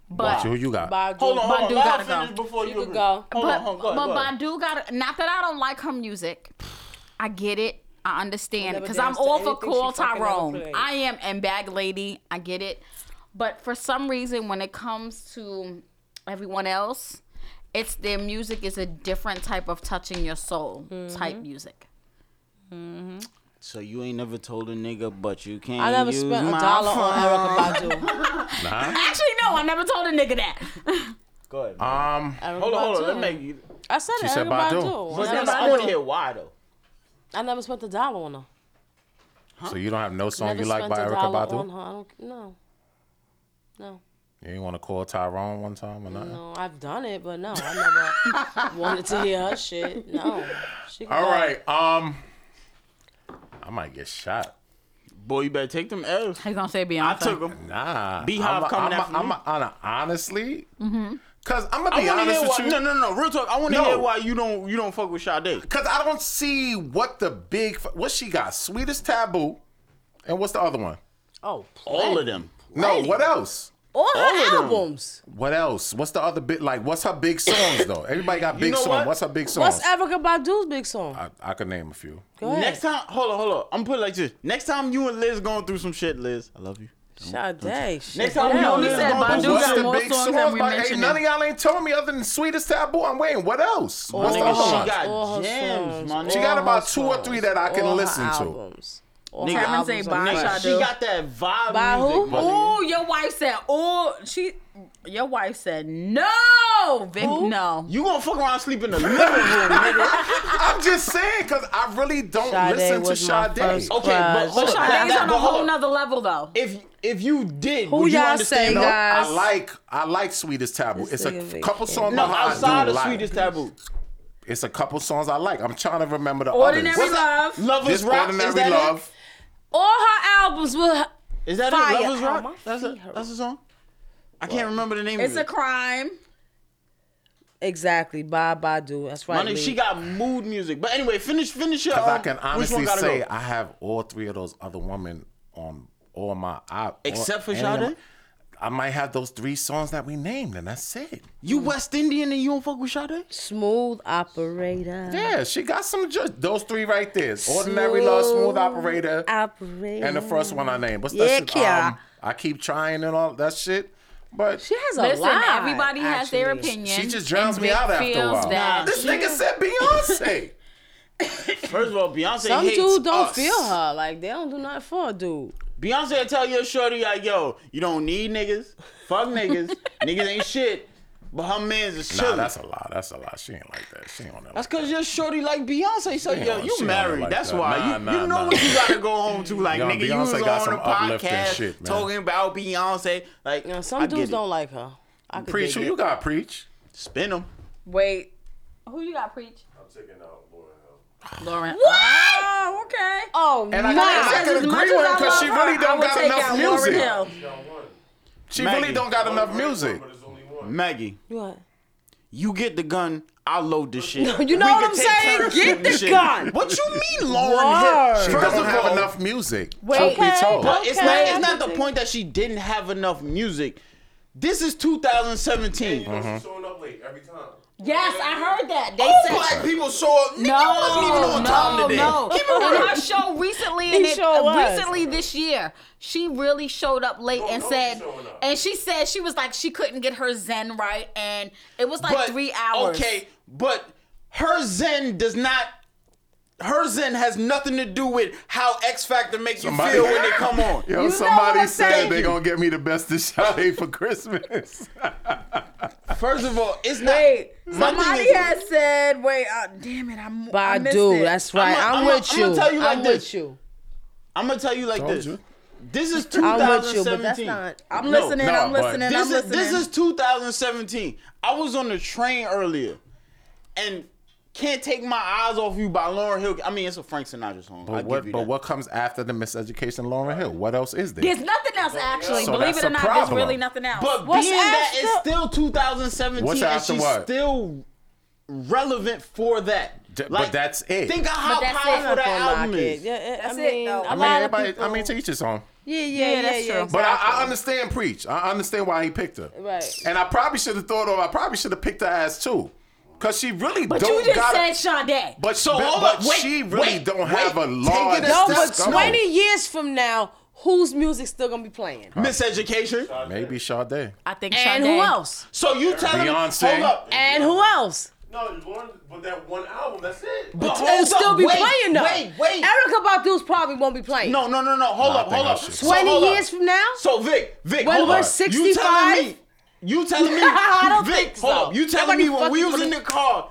Speaker 5: But
Speaker 3: But
Speaker 5: who you got?
Speaker 6: Badu.
Speaker 4: Hold on, hold on.
Speaker 3: Badu
Speaker 4: Let her
Speaker 3: gotta
Speaker 4: finish
Speaker 3: go.
Speaker 4: Before you,
Speaker 6: You could
Speaker 4: agree.
Speaker 6: go.
Speaker 3: but,
Speaker 4: Hold on, hold on. Go ahead,
Speaker 3: but
Speaker 4: go ahead.
Speaker 3: Badu got not that I don't like her music. I get it. I understand
Speaker 6: Never
Speaker 3: because I'm
Speaker 6: danced to
Speaker 3: all for
Speaker 6: anything she
Speaker 3: Cool
Speaker 6: fucking ever
Speaker 3: Tyrone.
Speaker 6: played.
Speaker 3: I am and Bag Lady. I get it. But for some reason, when it comes to everyone else, it's their music is a different type of touching your soul
Speaker 6: Mm-hmm.
Speaker 3: type music.
Speaker 4: So you ain't never told a nigga, but you can't.
Speaker 6: I never
Speaker 4: use
Speaker 6: spent a
Speaker 4: my
Speaker 6: dollar
Speaker 4: phone.
Speaker 6: on Erica Badu.
Speaker 3: Actually, no, I never told a nigga that.
Speaker 4: Go ahead.
Speaker 5: Um,
Speaker 6: Erica
Speaker 4: hold on, hold on.
Speaker 6: Badu.
Speaker 4: Let me make you.
Speaker 6: I said
Speaker 5: She
Speaker 6: Erica
Speaker 5: said Badu.
Speaker 6: Badu.
Speaker 4: But
Speaker 6: I,
Speaker 4: that's,
Speaker 6: never,
Speaker 4: I want to hear why though.
Speaker 6: I never spent a dollar on her.
Speaker 5: so you don't have no song
Speaker 6: never
Speaker 5: you like
Speaker 6: spent
Speaker 5: by
Speaker 6: a
Speaker 5: Erica
Speaker 6: dollar
Speaker 5: Badu?
Speaker 6: on her. I don't no. No.
Speaker 5: You ain't want to call Tyrone one time or nothing?
Speaker 6: No, I've done it, but no, I never wanted to hear her shit. No. She can
Speaker 5: All
Speaker 6: go.
Speaker 5: right. Um, I might get shot.
Speaker 4: Boy, you better take them L's.
Speaker 3: He's gonna say Beyonce.
Speaker 4: I took them.
Speaker 5: Nah.
Speaker 4: Beehive
Speaker 5: I'ma-
Speaker 4: coming
Speaker 5: I'ma-
Speaker 4: after me.
Speaker 5: I'ma- I'ma- honestly,
Speaker 6: Mm-hmm.
Speaker 5: because I'm gonna be
Speaker 4: I want
Speaker 5: honest
Speaker 4: to hear
Speaker 5: with
Speaker 4: why.
Speaker 5: you.
Speaker 4: No, no, no. Real talk. I want to
Speaker 5: No.
Speaker 4: hear why you don't you don't fuck with Sade.
Speaker 5: Cause I don't see what the big f- what she got. Sweetest taboo, and what's the other one?
Speaker 6: Oh,
Speaker 4: All of them.
Speaker 5: No, what else?
Speaker 6: all
Speaker 4: all of
Speaker 6: her
Speaker 4: them.
Speaker 6: albums.
Speaker 5: What else? What's the other bit? Like, what's her big songs though? Everybody got big
Speaker 4: know
Speaker 5: song.
Speaker 4: what?
Speaker 5: What's her big songs?
Speaker 6: What's Erica Badu's big song?
Speaker 5: I, I could name a few.
Speaker 6: Go ahead.
Speaker 4: Next time, hold on, hold on. I'm put it like this. Next time you and Liz going through some shit, Liz, I love you.
Speaker 6: Sade. Shit.
Speaker 4: Next time
Speaker 6: Yeah,
Speaker 4: you and
Speaker 3: only
Speaker 4: Liz
Speaker 3: said
Speaker 4: going
Speaker 5: But
Speaker 4: through
Speaker 3: Badu
Speaker 4: some
Speaker 5: what's
Speaker 3: got
Speaker 5: the
Speaker 3: more
Speaker 5: big
Speaker 3: songs
Speaker 5: songs?
Speaker 3: than we
Speaker 5: But, hey,
Speaker 3: mentioned
Speaker 5: none of
Speaker 3: it.
Speaker 5: y'all ain't told me other than Sweetest Taboo. I'm waiting. What else?
Speaker 4: My
Speaker 5: What's the
Speaker 4: nigga,
Speaker 5: other
Speaker 4: she
Speaker 5: one?
Speaker 6: All
Speaker 4: got
Speaker 6: her
Speaker 4: gems,
Speaker 6: songs,
Speaker 4: my
Speaker 6: all
Speaker 4: nigga.
Speaker 5: She got
Speaker 6: her
Speaker 5: about two or three
Speaker 6: songs,
Speaker 5: that I can
Speaker 6: all her
Speaker 5: listen to.
Speaker 6: albums. All her
Speaker 4: Nigga,
Speaker 3: Terrence
Speaker 6: albums
Speaker 3: ain't
Speaker 6: are
Speaker 3: buying Sade.
Speaker 6: fresh.
Speaker 4: She got that vibe
Speaker 6: By who?
Speaker 4: music, my nigga.
Speaker 3: Oh, your wife said, "Oh, she." Your wife said, "No, Vic, no."
Speaker 4: You gonna fuck around and sleep in the living room, nigga.
Speaker 5: I'm just saying because I really don't
Speaker 6: Sade
Speaker 5: listen to
Speaker 6: was my
Speaker 5: Sade.
Speaker 6: first
Speaker 4: Okay, but hold
Speaker 6: crush.
Speaker 4: on.
Speaker 3: Things on a
Speaker 4: But hold
Speaker 3: whole
Speaker 4: on.
Speaker 3: nother level, though.
Speaker 4: If if you did,
Speaker 6: Who
Speaker 4: would you
Speaker 6: y'all
Speaker 4: understand?
Speaker 6: say
Speaker 5: No, I
Speaker 6: guys.
Speaker 5: like I like Sweetest Taboo. it's
Speaker 6: This
Speaker 5: a
Speaker 6: nigga
Speaker 5: couple
Speaker 6: vacation.
Speaker 5: songs.
Speaker 4: No,
Speaker 5: I do
Speaker 4: outside of
Speaker 5: like.
Speaker 4: Sweetest Taboo.
Speaker 5: It's a couple songs I like. I'm trying to remember the
Speaker 3: Ordinary
Speaker 5: others.
Speaker 3: Love.
Speaker 4: Lovers
Speaker 5: This
Speaker 4: Rock. Is
Speaker 5: ordinary
Speaker 4: that
Speaker 5: love.
Speaker 6: All her albums were.
Speaker 4: It? Is that
Speaker 6: Fire.
Speaker 4: it? Lovers
Speaker 6: Ow,
Speaker 4: Rock?
Speaker 6: my
Speaker 4: that's,
Speaker 6: feet
Speaker 4: a,
Speaker 6: hurt.
Speaker 4: that's a song? I can't remember the name
Speaker 3: It's
Speaker 4: of
Speaker 3: a
Speaker 4: it.
Speaker 3: crime.
Speaker 6: Exactly, Bob Badu. That's right.
Speaker 4: My nigga,
Speaker 6: Lee.
Speaker 4: she got mood music. But anyway, finish finish your
Speaker 5: Because I
Speaker 4: um,
Speaker 5: can
Speaker 4: which one
Speaker 5: honestly
Speaker 4: gotta
Speaker 5: say
Speaker 4: go?
Speaker 5: I have all three of those other women on all my op.
Speaker 4: Except for
Speaker 5: any of
Speaker 4: Sade?
Speaker 5: my- I might have those three songs that we named, and that's it.
Speaker 4: you West Indian and you don't fuck with Sade?
Speaker 6: Smooth operator.
Speaker 4: Uh-huh.
Speaker 5: Yeah, she got some. Ju- those three right there: ordinary love, smooth operator,
Speaker 6: Operator.
Speaker 5: and the first one I named. What's that
Speaker 6: Yeah,
Speaker 5: shit?
Speaker 6: Kiara.
Speaker 5: Um, I keep trying and all that shit, but
Speaker 6: She has a
Speaker 3: Listen,
Speaker 6: lot.
Speaker 3: everybody has their
Speaker 6: actually.
Speaker 3: opinion.
Speaker 5: She just drowns
Speaker 3: and
Speaker 5: me
Speaker 3: Vic
Speaker 5: out after a
Speaker 3: feels
Speaker 5: while.
Speaker 3: that-
Speaker 5: this nigga said Beyonce.
Speaker 4: First of all, Beyonce
Speaker 6: Some
Speaker 4: hates
Speaker 6: dudes don't
Speaker 4: us.
Speaker 6: feel her. Like they don't do nothing for a dude.
Speaker 4: Beyonce will tell your shorty like, yo, you don't need niggas. Fuck niggas. niggas ain't shit. But her man's is
Speaker 5: nah,
Speaker 4: chilling.
Speaker 5: that's a lot. That's a lot. She ain't like that. She ain't on that.
Speaker 4: That's cause your shorty like Beyonce, so
Speaker 5: She
Speaker 4: yo,
Speaker 5: don't-
Speaker 4: you
Speaker 5: she don't
Speaker 4: married.
Speaker 5: like
Speaker 4: That's
Speaker 5: that.
Speaker 4: why
Speaker 5: Nah,
Speaker 4: you,
Speaker 5: nah,
Speaker 4: you know
Speaker 5: nah.
Speaker 4: what you gotta go home to. Like
Speaker 5: Yo,
Speaker 4: nigga, you was
Speaker 5: Beyonce got
Speaker 4: on
Speaker 5: some
Speaker 4: the
Speaker 5: uplifting
Speaker 4: podcast
Speaker 5: shit, man.
Speaker 4: talking about Beyonce. Like
Speaker 6: You know, some
Speaker 4: I get
Speaker 6: dudes
Speaker 4: it.
Speaker 6: don't like her. I could
Speaker 5: preach. Who
Speaker 6: dig
Speaker 5: you
Speaker 6: it.
Speaker 5: got? Preach.
Speaker 4: spin them.
Speaker 3: Wait, who you got, preach?
Speaker 7: I'm taking out Lauren Hill.
Speaker 3: Lauren. What? Oh, okay.
Speaker 6: Oh,
Speaker 5: And I,
Speaker 6: nah.
Speaker 5: I,
Speaker 3: says
Speaker 5: could
Speaker 3: as
Speaker 5: agree
Speaker 3: much
Speaker 5: with
Speaker 3: as
Speaker 5: her
Speaker 3: I
Speaker 5: because she
Speaker 3: love
Speaker 5: really
Speaker 3: her,
Speaker 5: don't
Speaker 3: I would
Speaker 5: got
Speaker 3: take
Speaker 5: enough
Speaker 3: out Lauryn
Speaker 5: music.
Speaker 3: Hill.
Speaker 7: She got one.
Speaker 5: She
Speaker 4: Maggie.
Speaker 5: really don't got enough music.
Speaker 7: But there's only one.
Speaker 4: Maggie,
Speaker 6: You what?
Speaker 4: you get the gun. I load this shit.
Speaker 6: you know
Speaker 4: We
Speaker 6: what
Speaker 4: can
Speaker 6: I'm
Speaker 4: take
Speaker 6: saying?
Speaker 4: turns
Speaker 6: Get
Speaker 4: shooting
Speaker 6: the
Speaker 4: shit.
Speaker 6: gun.
Speaker 4: What you mean, Lauren
Speaker 6: Word.
Speaker 4: Hill?
Speaker 5: She
Speaker 4: First
Speaker 5: don't
Speaker 4: of
Speaker 5: have
Speaker 4: all,
Speaker 5: enough music.
Speaker 6: Wait,
Speaker 5: truth be
Speaker 6: okay.
Speaker 5: told.
Speaker 4: But it's
Speaker 6: Okay,
Speaker 4: not
Speaker 6: I
Speaker 4: it's not
Speaker 6: can
Speaker 4: the
Speaker 6: see.
Speaker 4: point that she didn't have enough music. This is 2017. Mm-hmm.
Speaker 7: You know she's showing up late. every time.
Speaker 3: Yes, I heard that. They
Speaker 4: All
Speaker 3: said
Speaker 4: Oh, black people show up. Nigga,
Speaker 3: No,
Speaker 4: you wasn't even on
Speaker 3: no,
Speaker 4: time today.
Speaker 3: no.
Speaker 4: Keep it
Speaker 3: In
Speaker 4: real.
Speaker 3: her show recently, and
Speaker 6: He
Speaker 3: it, uh,
Speaker 6: sure was.
Speaker 3: recently this year, she really showed up late and
Speaker 7: no,
Speaker 3: said,
Speaker 7: she's showing up.
Speaker 3: and she said she was like she couldn't get her zen right, and it was like
Speaker 4: But,
Speaker 3: three hours.
Speaker 4: Okay, but her zen does not. Her zen has nothing to do with how X Factor makes
Speaker 5: Somebody-
Speaker 4: you feel when they come on.
Speaker 5: Yo,
Speaker 3: know what
Speaker 5: somebody
Speaker 3: I'm
Speaker 5: said
Speaker 3: saying?
Speaker 5: they gonna get me the best of Sade for Christmas.
Speaker 4: First of all, it's not.
Speaker 3: Wait,
Speaker 4: My thing
Speaker 3: somebody
Speaker 4: is-
Speaker 3: had said, wait, uh, damn it, I'm. I missed
Speaker 6: Badu,
Speaker 3: it.
Speaker 6: that's right.
Speaker 4: I'ma-
Speaker 6: I'm,
Speaker 4: I'ma-
Speaker 6: with you.
Speaker 4: I'ma tell you like
Speaker 6: I'm
Speaker 4: this.
Speaker 6: with you.
Speaker 4: I'm gonna tell you like
Speaker 5: Told
Speaker 4: this.
Speaker 5: you.
Speaker 4: This is
Speaker 6: I'm with you,
Speaker 4: 2017.
Speaker 6: but that's not.
Speaker 3: I'm
Speaker 4: No,
Speaker 3: listening.
Speaker 5: no,
Speaker 3: I'm
Speaker 5: but-
Speaker 3: listening.
Speaker 4: This
Speaker 3: I'm
Speaker 4: is
Speaker 3: listening.
Speaker 4: this is 2017. I was on the train earlier, and can't take my eyes off you by Lauren Hill. I mean, it's a Frank Sinatra song. I
Speaker 5: But what? But what comes after the miseducation, Lauren Hill? What else is there?
Speaker 3: There's nothing else actually.
Speaker 5: So
Speaker 3: Believe
Speaker 5: that's
Speaker 3: it or
Speaker 5: a
Speaker 3: not, there's
Speaker 5: problem.
Speaker 3: really nothing else.
Speaker 4: But
Speaker 6: What's
Speaker 4: being that
Speaker 6: after-
Speaker 4: it's still 2017
Speaker 5: What's
Speaker 4: and
Speaker 5: after
Speaker 4: she's
Speaker 5: what?
Speaker 4: still relevant for that.
Speaker 5: D- but that's it.
Speaker 4: Think of how
Speaker 3: But that's it.
Speaker 4: powerful
Speaker 3: I'm not
Speaker 4: that
Speaker 6: Gonna knock
Speaker 4: album
Speaker 6: it.
Speaker 4: is.
Speaker 6: Yeah, it-
Speaker 3: That's
Speaker 6: I
Speaker 3: it,
Speaker 6: mean,
Speaker 3: though.
Speaker 6: a
Speaker 3: I
Speaker 5: I mean,
Speaker 6: lot of
Speaker 5: everybody.
Speaker 6: people-
Speaker 5: I mean, to each his own.
Speaker 6: yeah, yeah, yeah,
Speaker 3: that's
Speaker 6: yeah,
Speaker 3: true.
Speaker 5: But
Speaker 6: exactly.
Speaker 5: I, I understand preach. I understand why he picked her.
Speaker 6: Right.
Speaker 5: And I probably should have thought of. I probably should have picked her ass too, cause she really
Speaker 3: But
Speaker 5: don't
Speaker 3: you just
Speaker 5: got.
Speaker 3: said
Speaker 5: a-
Speaker 3: Sade.
Speaker 5: but
Speaker 4: So,
Speaker 5: but,
Speaker 4: hold
Speaker 5: but
Speaker 4: up, wait,
Speaker 5: she really
Speaker 4: wait,
Speaker 5: don't
Speaker 4: wait.
Speaker 5: have a
Speaker 4: Take
Speaker 5: large.
Speaker 4: it a
Speaker 6: no,
Speaker 4: That's-
Speaker 6: but
Speaker 4: that's- come on.
Speaker 6: 20 years from now, whose music's still gonna be playing?
Speaker 4: Miseducation.
Speaker 5: Maybe Sade.
Speaker 3: I think
Speaker 6: And
Speaker 3: Sade.
Speaker 6: who else?
Speaker 4: So you telling
Speaker 5: Beyonce.
Speaker 4: me? Hold up.
Speaker 6: And who else?
Speaker 7: No, Lauren, but that one album, that's it.
Speaker 4: But
Speaker 6: It'll
Speaker 4: hold
Speaker 6: still
Speaker 4: up,
Speaker 6: be
Speaker 4: wait,
Speaker 6: playing though.
Speaker 4: Wait, wait.
Speaker 6: Erica Badu's probably won't be playing.
Speaker 4: No, no, no, no. Hold
Speaker 5: Nah, I
Speaker 4: up,
Speaker 5: think
Speaker 4: hold
Speaker 5: I
Speaker 4: up.
Speaker 5: should.
Speaker 4: So,
Speaker 6: 20
Speaker 4: hold up.
Speaker 6: years from now?
Speaker 4: So Vic, Vic,
Speaker 6: When
Speaker 4: hold
Speaker 6: we're
Speaker 4: up. You telling
Speaker 6: 65?
Speaker 4: me? You telling me?
Speaker 6: I don't
Speaker 4: Vic,
Speaker 6: think so.
Speaker 4: hold up. You telling
Speaker 6: Nobody
Speaker 4: me when we
Speaker 6: fucking
Speaker 4: was in the car?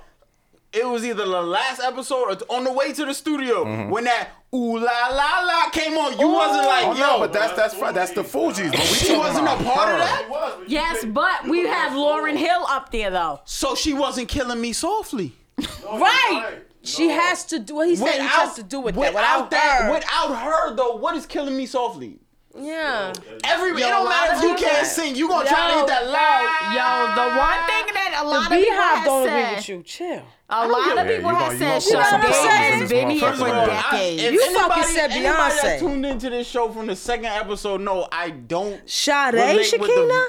Speaker 4: It was either the last episode or on the way to the studio
Speaker 5: Mm-hmm.
Speaker 4: when that ooh la la la came on. You wasn't like
Speaker 5: Oh
Speaker 4: yo,
Speaker 5: no, but that's that's fine. that's the Fuji's. But we
Speaker 4: She
Speaker 5: talking
Speaker 4: wasn't
Speaker 5: about
Speaker 4: a part of
Speaker 5: her.
Speaker 4: that?
Speaker 7: It was, but you
Speaker 3: Yes,
Speaker 7: picked-
Speaker 3: but
Speaker 7: you
Speaker 3: we
Speaker 7: picked
Speaker 3: have
Speaker 7: that
Speaker 3: Lauren
Speaker 7: song.
Speaker 3: Hill up there though.
Speaker 4: so she wasn't killing me softly.
Speaker 7: No, you're
Speaker 6: Right. She
Speaker 7: No.
Speaker 6: has to do what he said. He has to do with that. Without her.
Speaker 4: without her though, what is killing me softly?
Speaker 6: yeah.
Speaker 4: Everybody, it
Speaker 6: a
Speaker 4: don't
Speaker 6: lot
Speaker 4: matter
Speaker 6: of
Speaker 4: if you
Speaker 6: people-
Speaker 4: can't sing. You gonna try to hit that loud?
Speaker 3: Yo, the one thing that a lot
Speaker 6: The
Speaker 3: of people
Speaker 6: Beehive
Speaker 3: have
Speaker 6: don't
Speaker 3: said,
Speaker 6: agree with you. Chill.
Speaker 3: a lot of
Speaker 5: Yeah,
Speaker 3: people
Speaker 5: you
Speaker 3: have
Speaker 5: gonna- you
Speaker 3: said
Speaker 5: gonna
Speaker 6: put some
Speaker 3: Sade
Speaker 6: problems
Speaker 3: has
Speaker 6: in
Speaker 3: been
Speaker 5: this
Speaker 3: here for
Speaker 5: motherfucker, bro. I-
Speaker 3: decades.
Speaker 6: You fucking said
Speaker 4: anybody
Speaker 6: Beyonce.
Speaker 4: that tuned into this show from the second episode, no, I don't.
Speaker 6: Sade,
Speaker 4: relate with the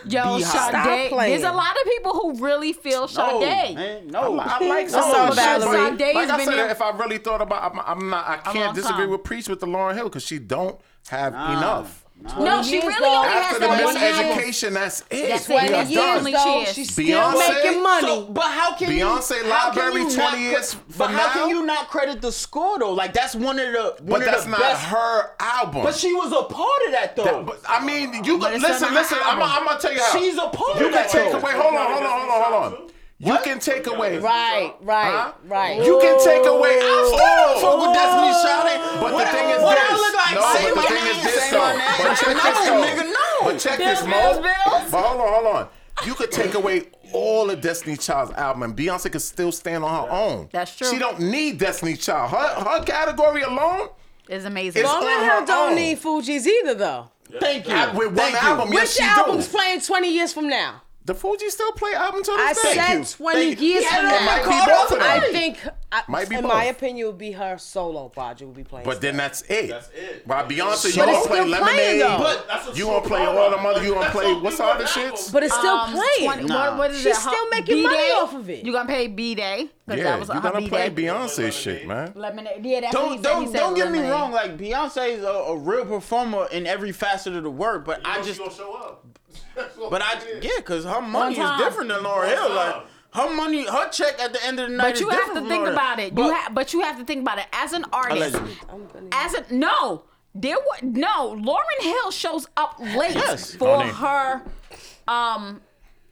Speaker 6: Shakina?
Speaker 3: Yo,
Speaker 4: Beehive.
Speaker 6: Stop
Speaker 3: Sade.
Speaker 6: playing.
Speaker 3: There's a lot of people who really feel
Speaker 4: No,
Speaker 3: Sade.
Speaker 4: man, no.
Speaker 5: I like
Speaker 6: What's
Speaker 5: some
Speaker 6: up,
Speaker 5: of the shit,
Speaker 6: Valerie?
Speaker 5: but
Speaker 3: Days
Speaker 5: Like I
Speaker 3: been
Speaker 5: said,
Speaker 3: here-
Speaker 5: if I really thought about, I'm, I'm not. I
Speaker 3: long
Speaker 5: can't disagree
Speaker 3: time.
Speaker 5: with Preach with the Lauren Hill because she don't have enough.
Speaker 3: No, she
Speaker 6: Years
Speaker 3: really
Speaker 6: though.
Speaker 3: only
Speaker 5: After
Speaker 3: has
Speaker 5: the
Speaker 3: that one album.
Speaker 5: miseducation, that's it.
Speaker 3: That's
Speaker 5: We
Speaker 3: it.
Speaker 5: are
Speaker 3: Years
Speaker 5: done.
Speaker 3: only
Speaker 6: though,
Speaker 3: cheers.
Speaker 6: she's
Speaker 5: Beyonce?
Speaker 6: still making money.
Speaker 4: So, but how can you-
Speaker 5: Beyonce
Speaker 4: how can
Speaker 5: library 20
Speaker 4: you not cre-
Speaker 5: years from
Speaker 4: But how can
Speaker 5: now?
Speaker 4: you not credit the score though? Like that's one of the one
Speaker 5: But
Speaker 4: of
Speaker 5: that's
Speaker 4: the
Speaker 5: not
Speaker 4: best.
Speaker 5: her album.
Speaker 4: But she was a part of that though.
Speaker 5: That- but, I mean, you
Speaker 3: But
Speaker 5: can
Speaker 3: it's
Speaker 5: listen,
Speaker 3: on her
Speaker 5: listen. I'm,
Speaker 3: album.
Speaker 5: I'm gonna tell you how.
Speaker 4: She's a part
Speaker 5: You
Speaker 4: of
Speaker 5: can
Speaker 4: that
Speaker 5: take
Speaker 4: though.
Speaker 5: away. Hold on, hold on, hold on, hold on. You can take away.
Speaker 6: Right, right, right.
Speaker 5: You can take away. I
Speaker 4: don't fuck with Destiny's Child. eh?
Speaker 5: But
Speaker 4: What
Speaker 5: the
Speaker 4: I-
Speaker 5: thing is
Speaker 4: what I
Speaker 5: this.
Speaker 4: look like?
Speaker 5: no,
Speaker 4: Say
Speaker 5: but
Speaker 4: my
Speaker 5: the thing
Speaker 4: name,
Speaker 5: is this
Speaker 4: say
Speaker 5: though.
Speaker 4: my name.
Speaker 5: But check
Speaker 4: No,
Speaker 5: this though.
Speaker 4: nigga, no.
Speaker 5: But check this,
Speaker 3: Bills,
Speaker 5: Mo.
Speaker 3: bills, bills.
Speaker 5: But hold on, hold on. You could take away all of Destiny Child's album, and Beyonce could still stand on her own.
Speaker 3: That's true.
Speaker 5: She don't need Destiny Child. Her her category alone.
Speaker 3: It's amazing.
Speaker 5: It's
Speaker 6: Lauren
Speaker 5: on
Speaker 6: Hill
Speaker 5: her
Speaker 6: don't
Speaker 5: own.
Speaker 6: need Fuji's either though.
Speaker 4: Thank you.
Speaker 5: I- with one
Speaker 4: Thank you.
Speaker 5: album, yes,
Speaker 6: Which
Speaker 5: she
Speaker 6: album's
Speaker 5: do.
Speaker 6: playing 20 years from now?
Speaker 5: The Fuji still play album to
Speaker 6: I
Speaker 5: this day.
Speaker 6: said 20
Speaker 5: you.
Speaker 6: years from
Speaker 5: it
Speaker 6: now.
Speaker 5: might be both of them.
Speaker 6: I think, I,
Speaker 5: Might be
Speaker 6: in my
Speaker 5: both.
Speaker 6: opinion, it would be her solo project would be playing.
Speaker 5: But then that's it.
Speaker 7: That's it.
Speaker 5: By Beyonce, you
Speaker 6: But
Speaker 5: gonna
Speaker 6: it's
Speaker 5: play
Speaker 6: still playing,
Speaker 5: Lemonade.
Speaker 6: though.
Speaker 5: But
Speaker 7: That's a
Speaker 5: you
Speaker 7: true
Speaker 5: gonna play
Speaker 7: product.
Speaker 5: all the mother. You gonna
Speaker 7: That's
Speaker 5: play
Speaker 7: what
Speaker 5: what's the
Speaker 7: people
Speaker 5: other
Speaker 7: not
Speaker 5: shits?
Speaker 6: but it's still playing.
Speaker 3: 20 Um, what, what is
Speaker 6: She's
Speaker 3: it? Her-
Speaker 6: still making
Speaker 3: B-Day?
Speaker 6: money off of it.
Speaker 3: You gonna pay B Day?
Speaker 5: yeah,
Speaker 3: that was
Speaker 5: you
Speaker 3: her
Speaker 5: gonna play
Speaker 3: B-Day.
Speaker 5: Beyonce shit, man.
Speaker 3: Lemonade. Yeah, that's what he
Speaker 4: Don't
Speaker 3: said. He
Speaker 4: don't
Speaker 3: said
Speaker 4: don't get me
Speaker 3: lemonade.
Speaker 4: wrong. Like Beyonce is a, a real performer in every facet of the word, but I
Speaker 7: I
Speaker 4: just
Speaker 7: just gonna show up.
Speaker 4: But I yeah, cause her money is
Speaker 3: time.
Speaker 4: different than Lauryn Hill. Like her money, her check at the end of the night.
Speaker 3: But you
Speaker 4: is
Speaker 3: have
Speaker 4: different
Speaker 3: to think
Speaker 4: from Lauryn.
Speaker 3: about it. you ha- but you have to think about it as an artist.
Speaker 4: Allegedly.
Speaker 3: As a no, there wa no. Lauren Hill shows up late
Speaker 4: Yes.
Speaker 3: for
Speaker 5: Don't they?
Speaker 3: her, um,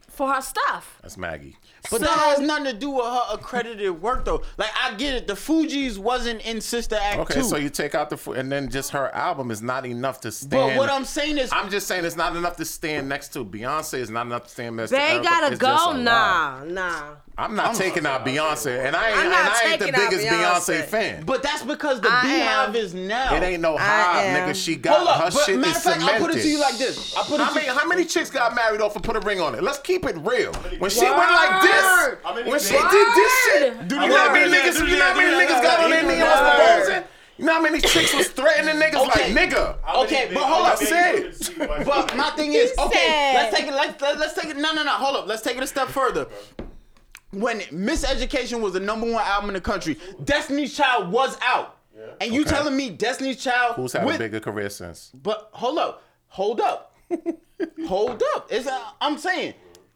Speaker 3: for her stuff.
Speaker 5: That's Maggie.
Speaker 4: But that has nothing to do with her accredited work though. Like I get it. The Fugees wasn't in Sister Act
Speaker 5: Okay,
Speaker 4: two.
Speaker 5: so you take out the fu- and then just her album is not enough to stand.
Speaker 4: but what I'm saying is,
Speaker 5: I'm just saying it's not enough to stand next to. Beyonce is not enough to stand next to.
Speaker 6: They
Speaker 5: Erica.
Speaker 6: gotta
Speaker 5: It's just
Speaker 6: go.
Speaker 5: a lot.
Speaker 6: Nah, nah.
Speaker 5: I'm not taking out Beyonce, and I ain't,
Speaker 6: I'm
Speaker 5: and
Speaker 6: not
Speaker 5: I ain't the
Speaker 6: taking out
Speaker 5: biggest
Speaker 6: Beyonce.
Speaker 5: Beyonce fan.
Speaker 4: but that's because the
Speaker 6: I
Speaker 4: Beehive
Speaker 6: am-
Speaker 4: is now.
Speaker 5: It ain't no
Speaker 6: I
Speaker 5: hive,
Speaker 6: am-
Speaker 5: nigga. She got
Speaker 4: Hold up.
Speaker 5: her
Speaker 4: But
Speaker 5: shit
Speaker 4: matter
Speaker 5: is
Speaker 4: of fact,
Speaker 5: cemented.
Speaker 4: I put it to you like this. I put it
Speaker 5: How
Speaker 4: to
Speaker 5: many,
Speaker 4: you.
Speaker 5: how many chicks got married off and put a ring on it? Let's keep it real. When she went
Speaker 7: Word.
Speaker 5: like
Speaker 7: How
Speaker 5: this,
Speaker 7: many
Speaker 5: when she
Speaker 7: did-
Speaker 5: did this shit,
Speaker 4: Do
Speaker 5: you
Speaker 4: the
Speaker 5: know how many
Speaker 4: word.
Speaker 5: niggas,
Speaker 4: Do
Speaker 5: you
Speaker 4: the
Speaker 5: know how many
Speaker 4: word.
Speaker 5: niggas got on their
Speaker 4: Do the
Speaker 5: knee and was
Speaker 4: word.
Speaker 5: proposing? You know how many chicks was threatening niggas like
Speaker 4: Okay.
Speaker 5: nigga?
Speaker 7: How many
Speaker 4: Okay,
Speaker 7: big-
Speaker 4: but hold
Speaker 7: how
Speaker 4: up,
Speaker 7: many
Speaker 5: say
Speaker 7: big
Speaker 5: it.
Speaker 7: you can see while
Speaker 4: But
Speaker 7: she's
Speaker 4: my thing is,
Speaker 6: He
Speaker 4: okay,
Speaker 6: said-
Speaker 4: let's take it. Let's, let's take it. No, no, no. Hold up. Let's take it a step further. when Miseducation was the number one album in the country, Destiny's Child was out. And you
Speaker 5: Okay.
Speaker 4: telling me Destiny's Child
Speaker 5: Who's had
Speaker 4: with-
Speaker 5: a bigger career since?
Speaker 4: But hold up, hold up, hold up. It's uh, I'm saying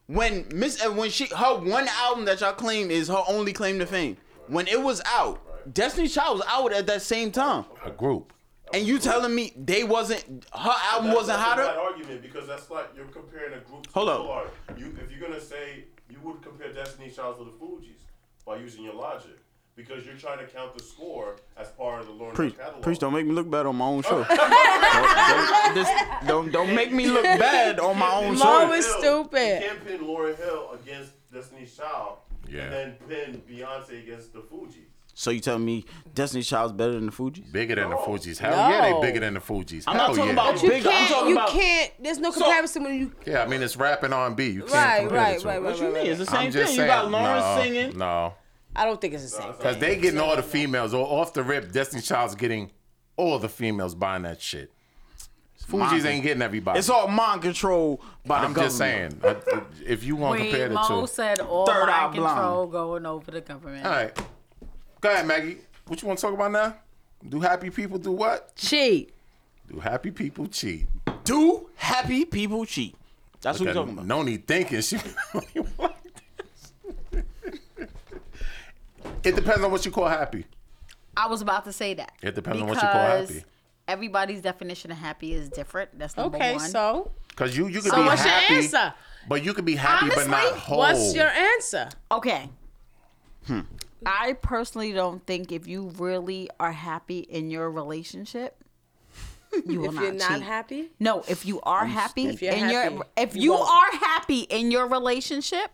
Speaker 4: when Miss uh, when she her one album that y'all claim is her only claim to fame. When it was out, Destiny Child was out at that same time,
Speaker 5: A group.
Speaker 4: and you telling me they wasn't her album
Speaker 7: That- oh,
Speaker 4: wasn't
Speaker 7: that's a bad
Speaker 4: hotter?
Speaker 7: argument because that's like you're comparing a group to
Speaker 4: Hold
Speaker 7: a
Speaker 4: up.
Speaker 7: full art. You, if you're gonna say you would compare Destiny Child to the Fugees by using your logic because you're trying to count the score as part of the Lauren Hill catalog.
Speaker 4: make me look bad on my own show. don't, don't make me look bad on my own
Speaker 6: Lauren
Speaker 7: Hill,
Speaker 6: was stupid.
Speaker 7: You can't pin Lauren Hill against Destiny Child
Speaker 5: Yeah.
Speaker 7: and then pin Beyonce against the Fugees.
Speaker 4: So you telling me Destiny Child's better than the Fugees?
Speaker 5: Bigger than the Fugees. Hell yeah,
Speaker 6: No.
Speaker 5: they bigger than the Fugees.
Speaker 4: I'm
Speaker 5: Hell
Speaker 4: not talking
Speaker 5: yeah.
Speaker 4: about
Speaker 6: You
Speaker 4: big. I'm
Speaker 6: can't.
Speaker 4: talking
Speaker 6: You
Speaker 4: about
Speaker 6: can't. There's no comparison when you.
Speaker 5: Yeah, I mean it's rap and R and B. You can't
Speaker 6: Right,
Speaker 5: compare
Speaker 6: right,
Speaker 5: the two.
Speaker 6: right, right,
Speaker 4: What you
Speaker 6: right,
Speaker 4: mean? It's
Speaker 6: right.
Speaker 4: the
Speaker 5: I'm
Speaker 4: same
Speaker 5: just
Speaker 4: thing.
Speaker 5: saying,
Speaker 4: you got Lauren
Speaker 5: no,
Speaker 4: singing.
Speaker 5: No,
Speaker 6: I don't think it's the same.
Speaker 5: because they getting all the females or off the rip. Destiny Child's getting all the females buying that shit. Fugees
Speaker 4: mine.
Speaker 5: ain't getting everybody.
Speaker 4: It's all mind control by the
Speaker 5: I'm
Speaker 4: government.
Speaker 5: just saying, I- if you want to compare
Speaker 3: Wait,
Speaker 5: the
Speaker 3: Mo
Speaker 5: two,
Speaker 3: said all
Speaker 4: Third eye
Speaker 3: mind
Speaker 4: blind.
Speaker 3: control going over the government.
Speaker 5: all right. Go ahead, Maggie. What you want to talk about now? Do happy people do what?
Speaker 6: Cheat.
Speaker 5: Do happy people cheat?
Speaker 4: Do happy people cheat? That's what we're talking about.
Speaker 5: Noni thinking she. it depends on what you call happy.
Speaker 3: I was about to say that.
Speaker 5: It depends on what you call happy.
Speaker 3: Because Everybody's definition of happy is different. That's number
Speaker 6: Okay,
Speaker 3: one.
Speaker 6: so
Speaker 5: Cause you you could
Speaker 6: So
Speaker 5: be
Speaker 6: what's your
Speaker 5: happy,
Speaker 6: answer?
Speaker 5: but you could be happy but not
Speaker 3: Honestly,
Speaker 5: whole. Hmm.
Speaker 6: what's your answer?
Speaker 3: Okay. I personally don't think if you really are happy in your relationship, you will
Speaker 6: if
Speaker 3: not
Speaker 6: you're not
Speaker 3: cheat.
Speaker 6: happy,
Speaker 3: No, if you are happy
Speaker 6: you're
Speaker 3: in your
Speaker 6: happy,
Speaker 3: if
Speaker 6: you
Speaker 3: you
Speaker 6: won't.
Speaker 3: are happy in your relationship,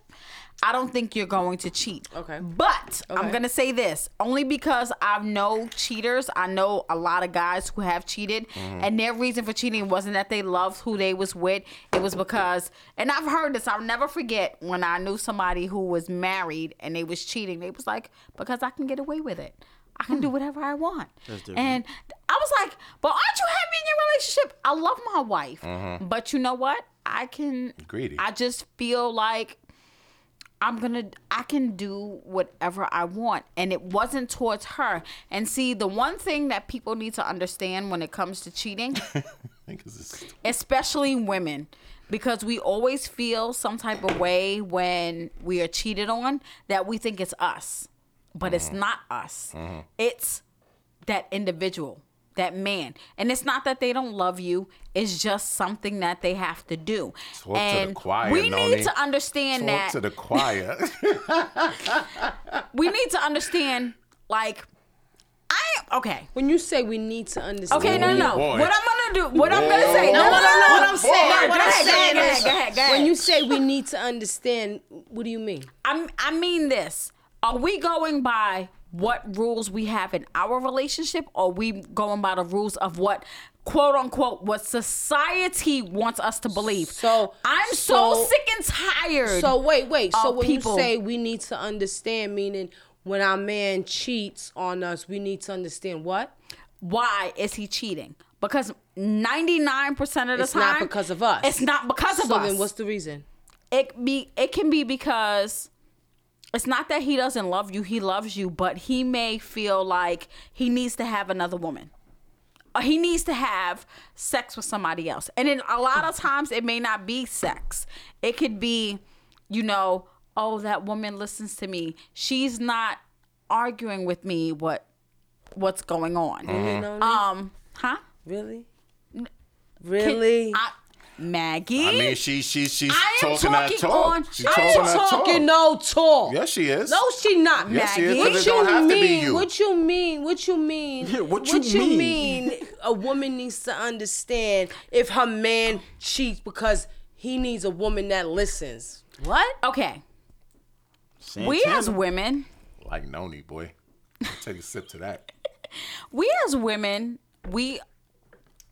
Speaker 3: I don't think you're going to cheat.
Speaker 6: Okay.
Speaker 3: But I'm
Speaker 6: Okay.
Speaker 3: gonna say this only because I know cheaters. I know a lot of guys who have cheated,
Speaker 6: Mm-hmm.
Speaker 3: and their reason for cheating wasn't that they loved who they was with. It was because, and I've heard this. I'll never forget when I knew somebody who was married and they was cheating. They was like, because I can get away with it. I can
Speaker 6: Hmm.
Speaker 3: do whatever I want. And I was like, but aren't you happy in your relationship? I love my wife. But you know what? I can
Speaker 5: Greedy.
Speaker 3: I just feel like I'm gonna I can do whatever I want. And it wasn't towards her. And see, the one thing that people need to understand when it comes to cheating
Speaker 5: I think it's just-
Speaker 3: especially women because we always feel some type of way when we are cheated on that we think it's us but it's
Speaker 6: Mm-hmm.
Speaker 5: Mm-hmm.
Speaker 3: not us it's that individual that man and it's not that they don't love you it's just something that they have to do
Speaker 5: Talk to the
Speaker 3: and
Speaker 5: choir,
Speaker 3: we
Speaker 5: Noni.
Speaker 3: need to understand
Speaker 5: Talk
Speaker 3: that
Speaker 5: to the choir.
Speaker 3: we need to understand like i okay
Speaker 6: when you say we need to understand,
Speaker 3: Okay, no, no, no.
Speaker 5: boy.
Speaker 3: What I'm gonna do? What I'm gonna say? No, no, no, no. What I'm saying?
Speaker 6: Boy.
Speaker 3: No,
Speaker 6: What
Speaker 3: go
Speaker 6: I'm
Speaker 3: ahead, go ahead,
Speaker 6: saying
Speaker 3: go ahead,
Speaker 6: is-
Speaker 3: go ahead, go ahead.
Speaker 6: When you say we need to understand, what do you mean?
Speaker 3: I'm, I mean this. Are we going by what rules we have in our relationship, or we going by the rules of what? "Quote unquote," what society wants us to believe.
Speaker 6: So-
Speaker 3: I'm so,
Speaker 6: so-
Speaker 3: sick and tired.
Speaker 6: So wait, wait. So
Speaker 3: of
Speaker 6: when
Speaker 3: people.
Speaker 6: you say we need to understand, meaning when our man cheats on us, we need to understand what?
Speaker 3: why is he cheating? Because 99 percent of the
Speaker 6: It's
Speaker 3: time,
Speaker 6: not because of us.
Speaker 3: It's not because of
Speaker 6: so
Speaker 3: us.
Speaker 6: then, what's the reason?
Speaker 3: it be it can be because it's not that he doesn't love you he loves you but he may feel like he needs to have another woman or he needs to have sex with somebody else and then a lot of times it may not be sex it could be you know oh that woman listens to me she's not arguing with me what what's going on
Speaker 6: You know,
Speaker 3: um huh
Speaker 6: really, really.
Speaker 3: I, maggie
Speaker 5: I mean, she she she's
Speaker 3: I am
Speaker 5: talking that
Speaker 3: talking
Speaker 5: talk.
Speaker 3: on-
Speaker 5: she's
Speaker 3: I am
Speaker 5: talking that talk.
Speaker 6: Talking no talk.
Speaker 5: Yes, she is.
Speaker 6: No, she not.
Speaker 5: yes, she is.
Speaker 3: Maggie.
Speaker 5: 'cause
Speaker 6: What
Speaker 5: it don't have
Speaker 6: you
Speaker 5: to be
Speaker 6: mean?
Speaker 5: you.
Speaker 6: What you mean? What you mean?
Speaker 4: Yeah, what you mean?
Speaker 6: mean? A woman needs to understand if her man cheats because he needs a woman that listens.
Speaker 3: what okay we as women
Speaker 5: like Noni, boy. Take a sip to that.
Speaker 3: we as women, we,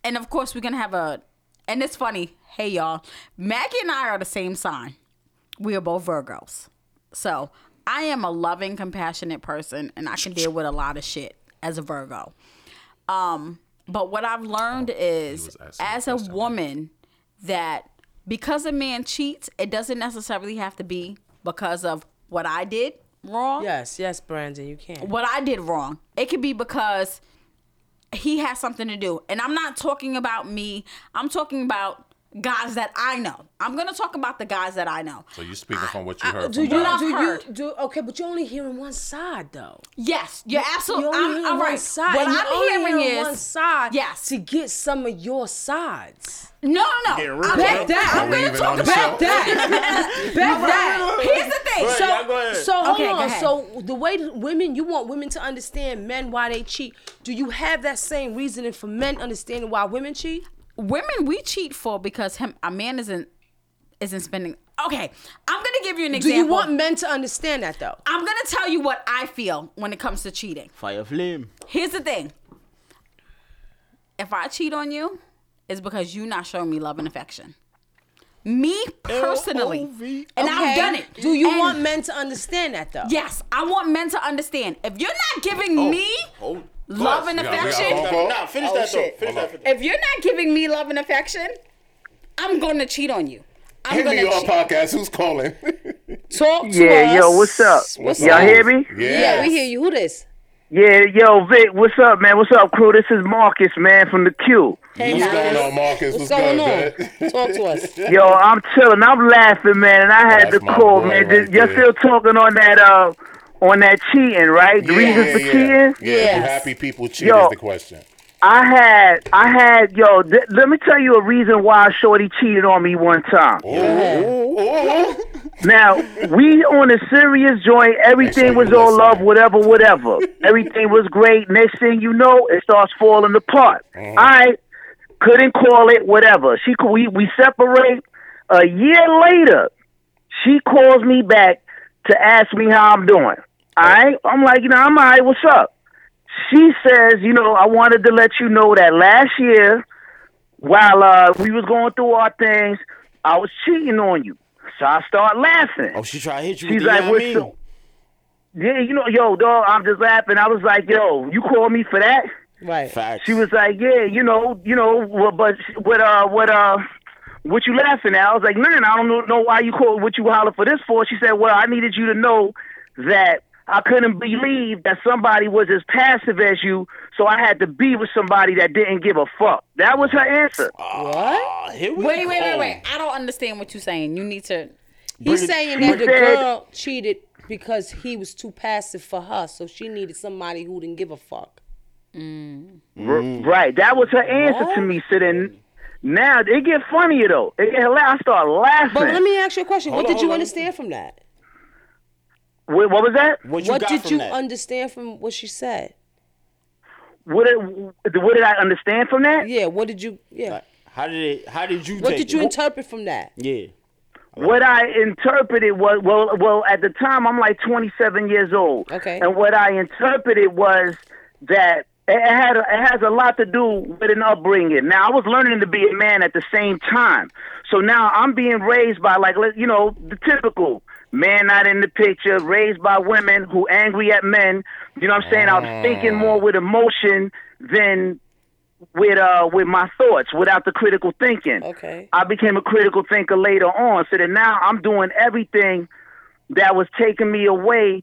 Speaker 3: and of course we're gonna have a, and it's funny. Hey y'all, Maggie and I are the same sign. We are both Virgos, so I am a loving, compassionate person, and I can deal with a lot of shit as a Virgo. Um, but what I've learned is,
Speaker 5: Oh, was asking
Speaker 3: as
Speaker 5: the
Speaker 3: a
Speaker 5: first time.
Speaker 3: woman, that because a man cheats, it doesn't necessarily have to be because of what I did wrong.
Speaker 6: Yes, yes, Brandon, you can.
Speaker 3: What I did wrong. It could be because he has something to do. And I'm not talking about me. I'm talking about guys that I know. I'm going to talk about the guys that I know.
Speaker 5: So you speaking from what you heard?
Speaker 6: Do
Speaker 5: from
Speaker 6: you
Speaker 5: Dom.
Speaker 3: I've
Speaker 6: do you
Speaker 3: heard.
Speaker 6: do okay? But you're only hearing one side though.
Speaker 3: Yes, you're absolutely.
Speaker 6: You're only
Speaker 3: I'm,
Speaker 6: hearing
Speaker 3: all
Speaker 6: one
Speaker 3: right.
Speaker 6: side.
Speaker 3: What
Speaker 6: and you're
Speaker 3: I'm
Speaker 6: only
Speaker 3: hearing
Speaker 6: hearing
Speaker 3: is
Speaker 6: one side.
Speaker 3: Yes.
Speaker 6: to get some of your sides.
Speaker 3: No, no, no. I'm,
Speaker 6: Back that.
Speaker 3: I'm
Speaker 5: We
Speaker 3: going
Speaker 5: even
Speaker 3: to talk
Speaker 5: on the
Speaker 3: about
Speaker 5: show.
Speaker 6: that. Back that.
Speaker 3: Here's the thing.
Speaker 4: Right,
Speaker 3: So,
Speaker 4: y'all go ahead.
Speaker 6: So hold
Speaker 3: Okay, go
Speaker 6: on.
Speaker 3: ahead.
Speaker 6: So the way that women, you want women to understand men why they cheat. Do you have that same reasoning for men understanding why women cheat?
Speaker 3: women we cheat for because him a man isn't isn't spending. Okay, I'm gonna give you an
Speaker 6: Do
Speaker 3: example.
Speaker 6: you want men to understand that though?
Speaker 3: I'm gonna tell you what I feel when it comes to cheating.
Speaker 4: Fire flame.
Speaker 3: Here's the thing. If I cheat on you, it's because you not showing me love and affection. Me personally,
Speaker 4: L.O.V..
Speaker 3: and I've
Speaker 6: Okay.
Speaker 3: done it.
Speaker 6: Do you
Speaker 3: And
Speaker 6: want men to understand that though?
Speaker 3: Yes, I want men to understand. If you're not
Speaker 4: Oh,
Speaker 3: giving
Speaker 5: Oh.
Speaker 3: me
Speaker 4: Hold.
Speaker 3: love and
Speaker 5: we got- we got
Speaker 3: affection,
Speaker 5: phone call.
Speaker 4: Nah, finish that though. Finish that.
Speaker 3: if you're not giving me love and affection, I'm going to cheat on you. I'm
Speaker 5: Hit
Speaker 3: going
Speaker 5: me
Speaker 3: to
Speaker 5: on
Speaker 3: cheat.
Speaker 5: podcast. Who's calling?
Speaker 6: Talk to
Speaker 10: Yeah,
Speaker 6: us.
Speaker 10: yo, what's up?
Speaker 6: What's
Speaker 10: Y'all
Speaker 6: up?
Speaker 10: hear me?
Speaker 6: Yeah,
Speaker 5: Yeah.
Speaker 6: we hear you. Who this?
Speaker 10: Yeah, yo, Vic, what's up, man? What's up, crew? This is Marcus, man, from the Q.
Speaker 6: Hey,
Speaker 5: What's
Speaker 6: Marcus.
Speaker 5: going on, Marcus?
Speaker 6: What's
Speaker 5: What's,
Speaker 6: going
Speaker 5: good,
Speaker 6: on?
Speaker 5: man?
Speaker 6: Talk to us.
Speaker 10: Yo, I'm chilling. I'm laughing, man. And I had
Speaker 5: That's
Speaker 10: to
Speaker 5: my
Speaker 10: call,
Speaker 5: boy
Speaker 10: man.
Speaker 5: right
Speaker 10: You're
Speaker 5: there.
Speaker 10: still talking on that, uh, on that cheating, right? The reasons for
Speaker 5: yeah.
Speaker 10: cheating.
Speaker 5: Yeah,
Speaker 6: Yes.
Speaker 5: do happy people cheat
Speaker 10: Yo.
Speaker 5: is the question.
Speaker 10: I had, I had, yo. Th- let me tell you a reason why Shorty cheated on me one time.
Speaker 5: Ooh, ooh, ooh, ooh.
Speaker 10: Now we on a serious joint.
Speaker 5: sure
Speaker 10: Everything
Speaker 5: you
Speaker 10: was all
Speaker 5: listen.
Speaker 10: love, whatever, whatever. Everything was great. Next thing you know, it starts falling apart. I couldn't call it whatever. She cou- we we separate. A year later, she calls me back to ask me how I'm doing. All right, I'm like, you know, I'm all right. What's up? She says, you know, I wanted to let you know that last year while uh, we was going through our things, I was cheating on you. So I start laughing.
Speaker 4: Oh, she tried to hit you with
Speaker 10: She's
Speaker 4: the
Speaker 10: like,
Speaker 4: yeah, I
Speaker 10: what's
Speaker 4: mean.
Speaker 10: the- Yeah, you know, yo, dog, I'm just laughing. I was like, yo, you called me for that?
Speaker 6: Right.
Speaker 4: Facts.
Speaker 10: She was like, yeah, you know, you know, wha- but what, uh, what, uh, what you laughing at? I was like, no, no, no, I don't know, know why you called, what you holler for this for. She said, well, I needed you to know that I couldn't believe that somebody was as passive as you, so I had to be with somebody that didn't give a fuck. That was her answer.
Speaker 4: Ah, here we
Speaker 3: Wait,
Speaker 4: go.
Speaker 3: wait, wait, wait.
Speaker 5: Oh.
Speaker 3: I don't understand what you're saying. You need to.
Speaker 6: He's
Speaker 4: Bring it-
Speaker 6: saying that the
Speaker 10: But then-
Speaker 6: girl cheated because he was too passive for her, so she needed somebody who didn't give a fuck. Mm.
Speaker 10: R-
Speaker 4: Mm.
Speaker 10: Right. That was her answer to me. So then, now it get funnier though. It get hilarious. I start laughing.
Speaker 6: But let me ask you a question. what
Speaker 4: on,
Speaker 6: did you
Speaker 4: hold on.
Speaker 6: understand from that?
Speaker 10: Wait, what was that?
Speaker 4: What you
Speaker 6: What
Speaker 4: got
Speaker 6: did
Speaker 4: from
Speaker 6: you
Speaker 4: that?
Speaker 6: understand from what she said?
Speaker 10: What did, what did I understand from that?
Speaker 6: Yeah, what did you yeah.
Speaker 4: Like, how did it? How did you?
Speaker 6: What
Speaker 4: take
Speaker 6: did you
Speaker 4: it?
Speaker 6: interpret from that?
Speaker 4: yeah.
Speaker 10: What I interpreted was well, well at the time I'm like 27 years old.
Speaker 6: Okay.
Speaker 10: And what I interpreted was that it had it has a lot to do with an upbringing. Now I was learning to be a man at the same time, so now I'm being raised by like let- you know the typical man not in the picture, raised by women who angry at men. You know what I'm saying? I'm thinking more with emotion than with uh with my thoughts without the critical thinking.
Speaker 6: Okay.
Speaker 10: I became a critical thinker later on. So that now I'm doing everything that was taking me away,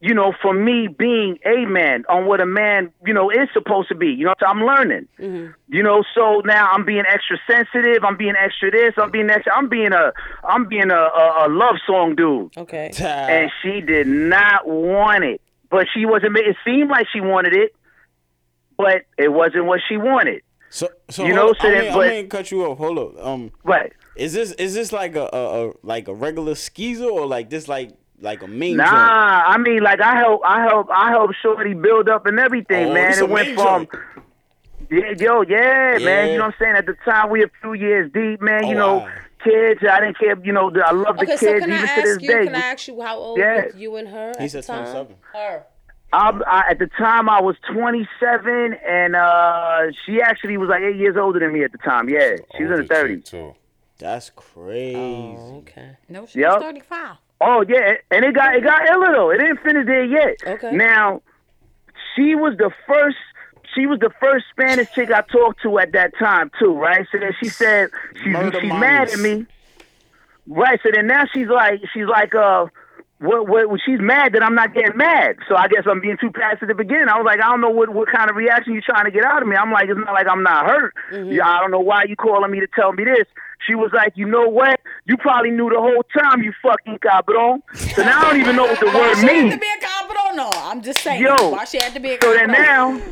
Speaker 10: you know, from me being a man on what a man, you know, is supposed to be. You know, so I'm learning.
Speaker 5: Mm-hmm.
Speaker 10: You know, so now I'm being extra sensitive. I'm being extra this. I'm being extra. I'm being a. I'm being a a, a love song dude.
Speaker 6: Okay.
Speaker 4: Time.
Speaker 10: And she did not want it, but she wasn't. ma- It seemed like she wanted it, but it wasn't what she wanted.
Speaker 4: So, so
Speaker 10: you
Speaker 4: hold
Speaker 10: know,
Speaker 4: up.
Speaker 10: so
Speaker 4: I
Speaker 10: then-
Speaker 4: mean,
Speaker 10: but-
Speaker 4: I mean, cut you off. Hold up. Um,
Speaker 10: But
Speaker 4: is this is this like a, a, a like a regular skeezer or like this like like a main
Speaker 10: Nah,
Speaker 4: joint?
Speaker 10: I mean, like I help, I help, I help Shorty build up and everything,
Speaker 4: Oh,
Speaker 10: man.
Speaker 4: this a
Speaker 10: It went
Speaker 4: main
Speaker 10: from,
Speaker 4: joint.
Speaker 10: yeah, yo, yeah, man.
Speaker 4: Yeah.
Speaker 10: You know what I'm saying? At the time, we a few years deep, man. You
Speaker 4: Oh,
Speaker 10: know,
Speaker 4: wow.
Speaker 10: kids. I didn't care. You know, the- I love the
Speaker 6: Okay,
Speaker 10: kids
Speaker 6: so can I
Speaker 10: even to this
Speaker 6: ask you?
Speaker 10: day.
Speaker 6: Can I ask you how old
Speaker 10: Yeah.
Speaker 6: was you and her?
Speaker 4: He
Speaker 6: at
Speaker 4: said
Speaker 6: the time?
Speaker 4: 27.
Speaker 6: Her.
Speaker 10: I, I, at the time, I was 27, and uh, she actually was like eight years older than me at the time. Yeah, she was in
Speaker 5: Older
Speaker 10: her
Speaker 5: chick,
Speaker 10: 30s.
Speaker 5: too.
Speaker 4: That's crazy.
Speaker 6: Oh, Okay.
Speaker 3: No, she's
Speaker 10: Yep.
Speaker 3: 35.
Speaker 10: Oh yeah, and it got it got iller though. It didn't finish there yet.
Speaker 6: Okay.
Speaker 10: Now, she was the first. She was the first Spanish chick I talked to at that time too, right? So then she said she's
Speaker 4: Murder
Speaker 10: she's
Speaker 4: mamas.
Speaker 10: mad at me, right? So then now she's like she's like uh what, what, she's mad that I'm not getting mad. So I guess I'm being too passive again. I was like, I don't know what, what kind of reaction you're trying to get out of me. I'm like, it's not like I'm not hurt.
Speaker 3: Mm-hmm.
Speaker 10: Yeah, I don't know why you calling me to tell me this. She was like, you know what? You probably knew the whole time, you fucking cabron. So now I don't even know what the
Speaker 3: Why
Speaker 10: word
Speaker 3: she had
Speaker 10: means.
Speaker 3: to be a cop or no? I'm just saying.
Speaker 10: Yo,
Speaker 3: why she had to be a
Speaker 10: So
Speaker 3: cop or
Speaker 10: then
Speaker 3: no?
Speaker 10: now,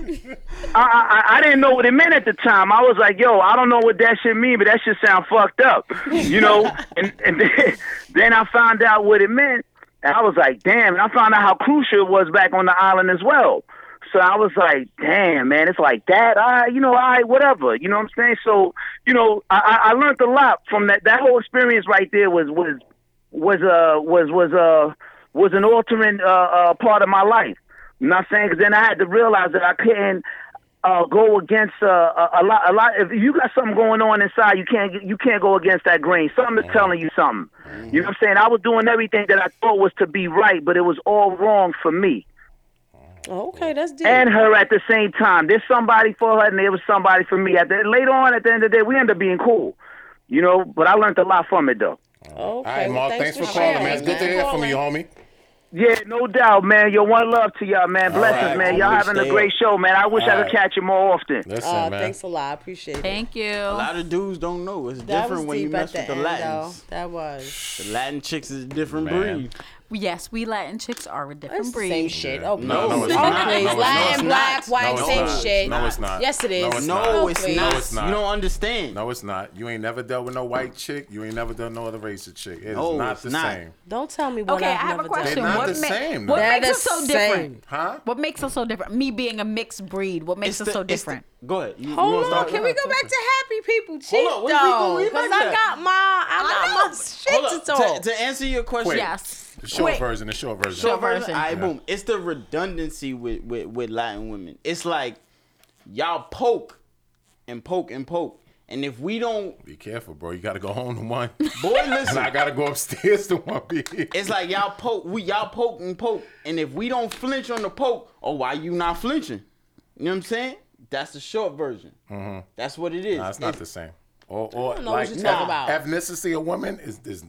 Speaker 10: I, I I- I didn't know what it meant at the time. I was like, yo, I don't know what that shit mean, but that shit sound fucked up, you know. and and then, then I found out what it meant, and I was like, damn. And I found out how crucial it was back on the island as well. So I was like, damn, man, it's like that. I, you know, I, whatever. You know what I'm saying? So, you know, I, I I learned a lot from that. That whole experience right there was was was uh was was uh was an altering uh, uh part of my life. You know what I'm saying? 'Cause then I had to realize that I couldn't uh go against uh, a, a lot a lot. If you got something going on inside, you can't you can't go against that grain. Something
Speaker 5: Mm.
Speaker 10: is telling you something. You know what I'm saying? I was doing everything that I thought was to be right, but it was all wrong for me
Speaker 6: Oh, Okay, that's deep.
Speaker 10: and her at the same time. There's somebody for her, and there was somebody for me. At the, later on, at the end of the day, we end up being cool, you know. But I learned a lot from it, though.
Speaker 4: Oh.
Speaker 6: okay.
Speaker 5: All right, Ma,
Speaker 6: well,
Speaker 5: thanks, for
Speaker 6: sharing.
Speaker 5: calling, man. It's good to hear from you, homie.
Speaker 10: Yeah, no doubt, man. Yo, one love to y'all, man. Blessings,
Speaker 4: right,
Speaker 10: man.
Speaker 4: homie,
Speaker 10: Y'all having
Speaker 4: stay
Speaker 10: a great
Speaker 4: up.
Speaker 10: show, man. I wish
Speaker 5: All
Speaker 10: I could
Speaker 5: right.
Speaker 10: catch you more often.
Speaker 5: Listen,
Speaker 6: Uh,
Speaker 5: man.
Speaker 6: thank thanks a lot. I appreciate it.
Speaker 3: Thank you.
Speaker 4: A lot of dudes don't know. It's
Speaker 6: that was
Speaker 4: different when
Speaker 6: deep
Speaker 4: you mess
Speaker 6: at
Speaker 4: with
Speaker 6: the,
Speaker 4: the
Speaker 6: end,
Speaker 4: Latins.
Speaker 6: though. That was.
Speaker 4: The Latin chicks is a different
Speaker 5: Man.
Speaker 4: breed.
Speaker 3: Yes, we Latin chicks are a different
Speaker 6: It's the
Speaker 3: breed.
Speaker 6: same shit. Oh, please.
Speaker 5: No, no, it's
Speaker 6: oh,
Speaker 5: not.
Speaker 6: please.
Speaker 5: No, it's
Speaker 6: Latin,
Speaker 5: not. It's
Speaker 6: black,
Speaker 4: not.
Speaker 6: white,
Speaker 5: No, it's
Speaker 6: same
Speaker 5: not.
Speaker 6: shit.
Speaker 5: No, it's not.
Speaker 6: Yes, it is.
Speaker 5: No, it's not.
Speaker 4: No, it's
Speaker 6: please.
Speaker 4: not.
Speaker 5: No, it's not.
Speaker 4: You don't understand.
Speaker 5: No, it's not. You ain't never dealt with no white chick. You ain't never done no other race of chick. It is
Speaker 4: No,
Speaker 5: not
Speaker 4: Oh, it's
Speaker 5: the
Speaker 4: not.
Speaker 5: same.
Speaker 6: Don't tell me what
Speaker 3: Okay, I
Speaker 6: I've
Speaker 3: have a
Speaker 6: never done.
Speaker 3: question.
Speaker 5: not
Speaker 3: What,
Speaker 5: the same,
Speaker 3: what
Speaker 5: though.
Speaker 6: They're
Speaker 3: makes
Speaker 6: the
Speaker 3: us so
Speaker 6: same.
Speaker 3: different?
Speaker 5: Huh?
Speaker 3: What makes us so different? Me being a mixed breed. What makes us so
Speaker 4: it's the-
Speaker 3: different?
Speaker 4: go ahead. You, you
Speaker 6: Hold
Speaker 4: wanna
Speaker 6: on,
Speaker 4: start?
Speaker 6: can we go back to happy people? Cheat
Speaker 4: Hold on, we- we- we- we
Speaker 6: because
Speaker 4: like
Speaker 6: I
Speaker 4: that.
Speaker 6: got my, I
Speaker 3: I
Speaker 6: got
Speaker 3: know.
Speaker 6: my shit
Speaker 4: Hold
Speaker 6: to
Speaker 4: up.
Speaker 6: talk.
Speaker 4: To, to answer your question,
Speaker 5: Wait.
Speaker 3: Oh. Yes.
Speaker 5: The short
Speaker 3: Quick.
Speaker 5: version, the short version.
Speaker 3: Short version.
Speaker 4: All right, boom. It's the redundancy with, with with Latin women. It's like y'all poke and poke and poke, and if we don't,
Speaker 5: Be careful, bro. You got to go home to one.
Speaker 4: boy,
Speaker 5: and I
Speaker 4: listen.
Speaker 5: got to go upstairs to one. B.
Speaker 4: It's like y'all poke, we y'all poke and poke, and if we don't flinch on the poke, oh why you not flinching? You know what I'm saying? That's the short version. That's what it is.
Speaker 5: Mm-hmm. Nah, it's not the
Speaker 4: It's,
Speaker 5: same. Or, or
Speaker 6: don't know what
Speaker 5: like
Speaker 6: you're talking
Speaker 5: nah,
Speaker 6: about.
Speaker 5: ethnicity of women is, is,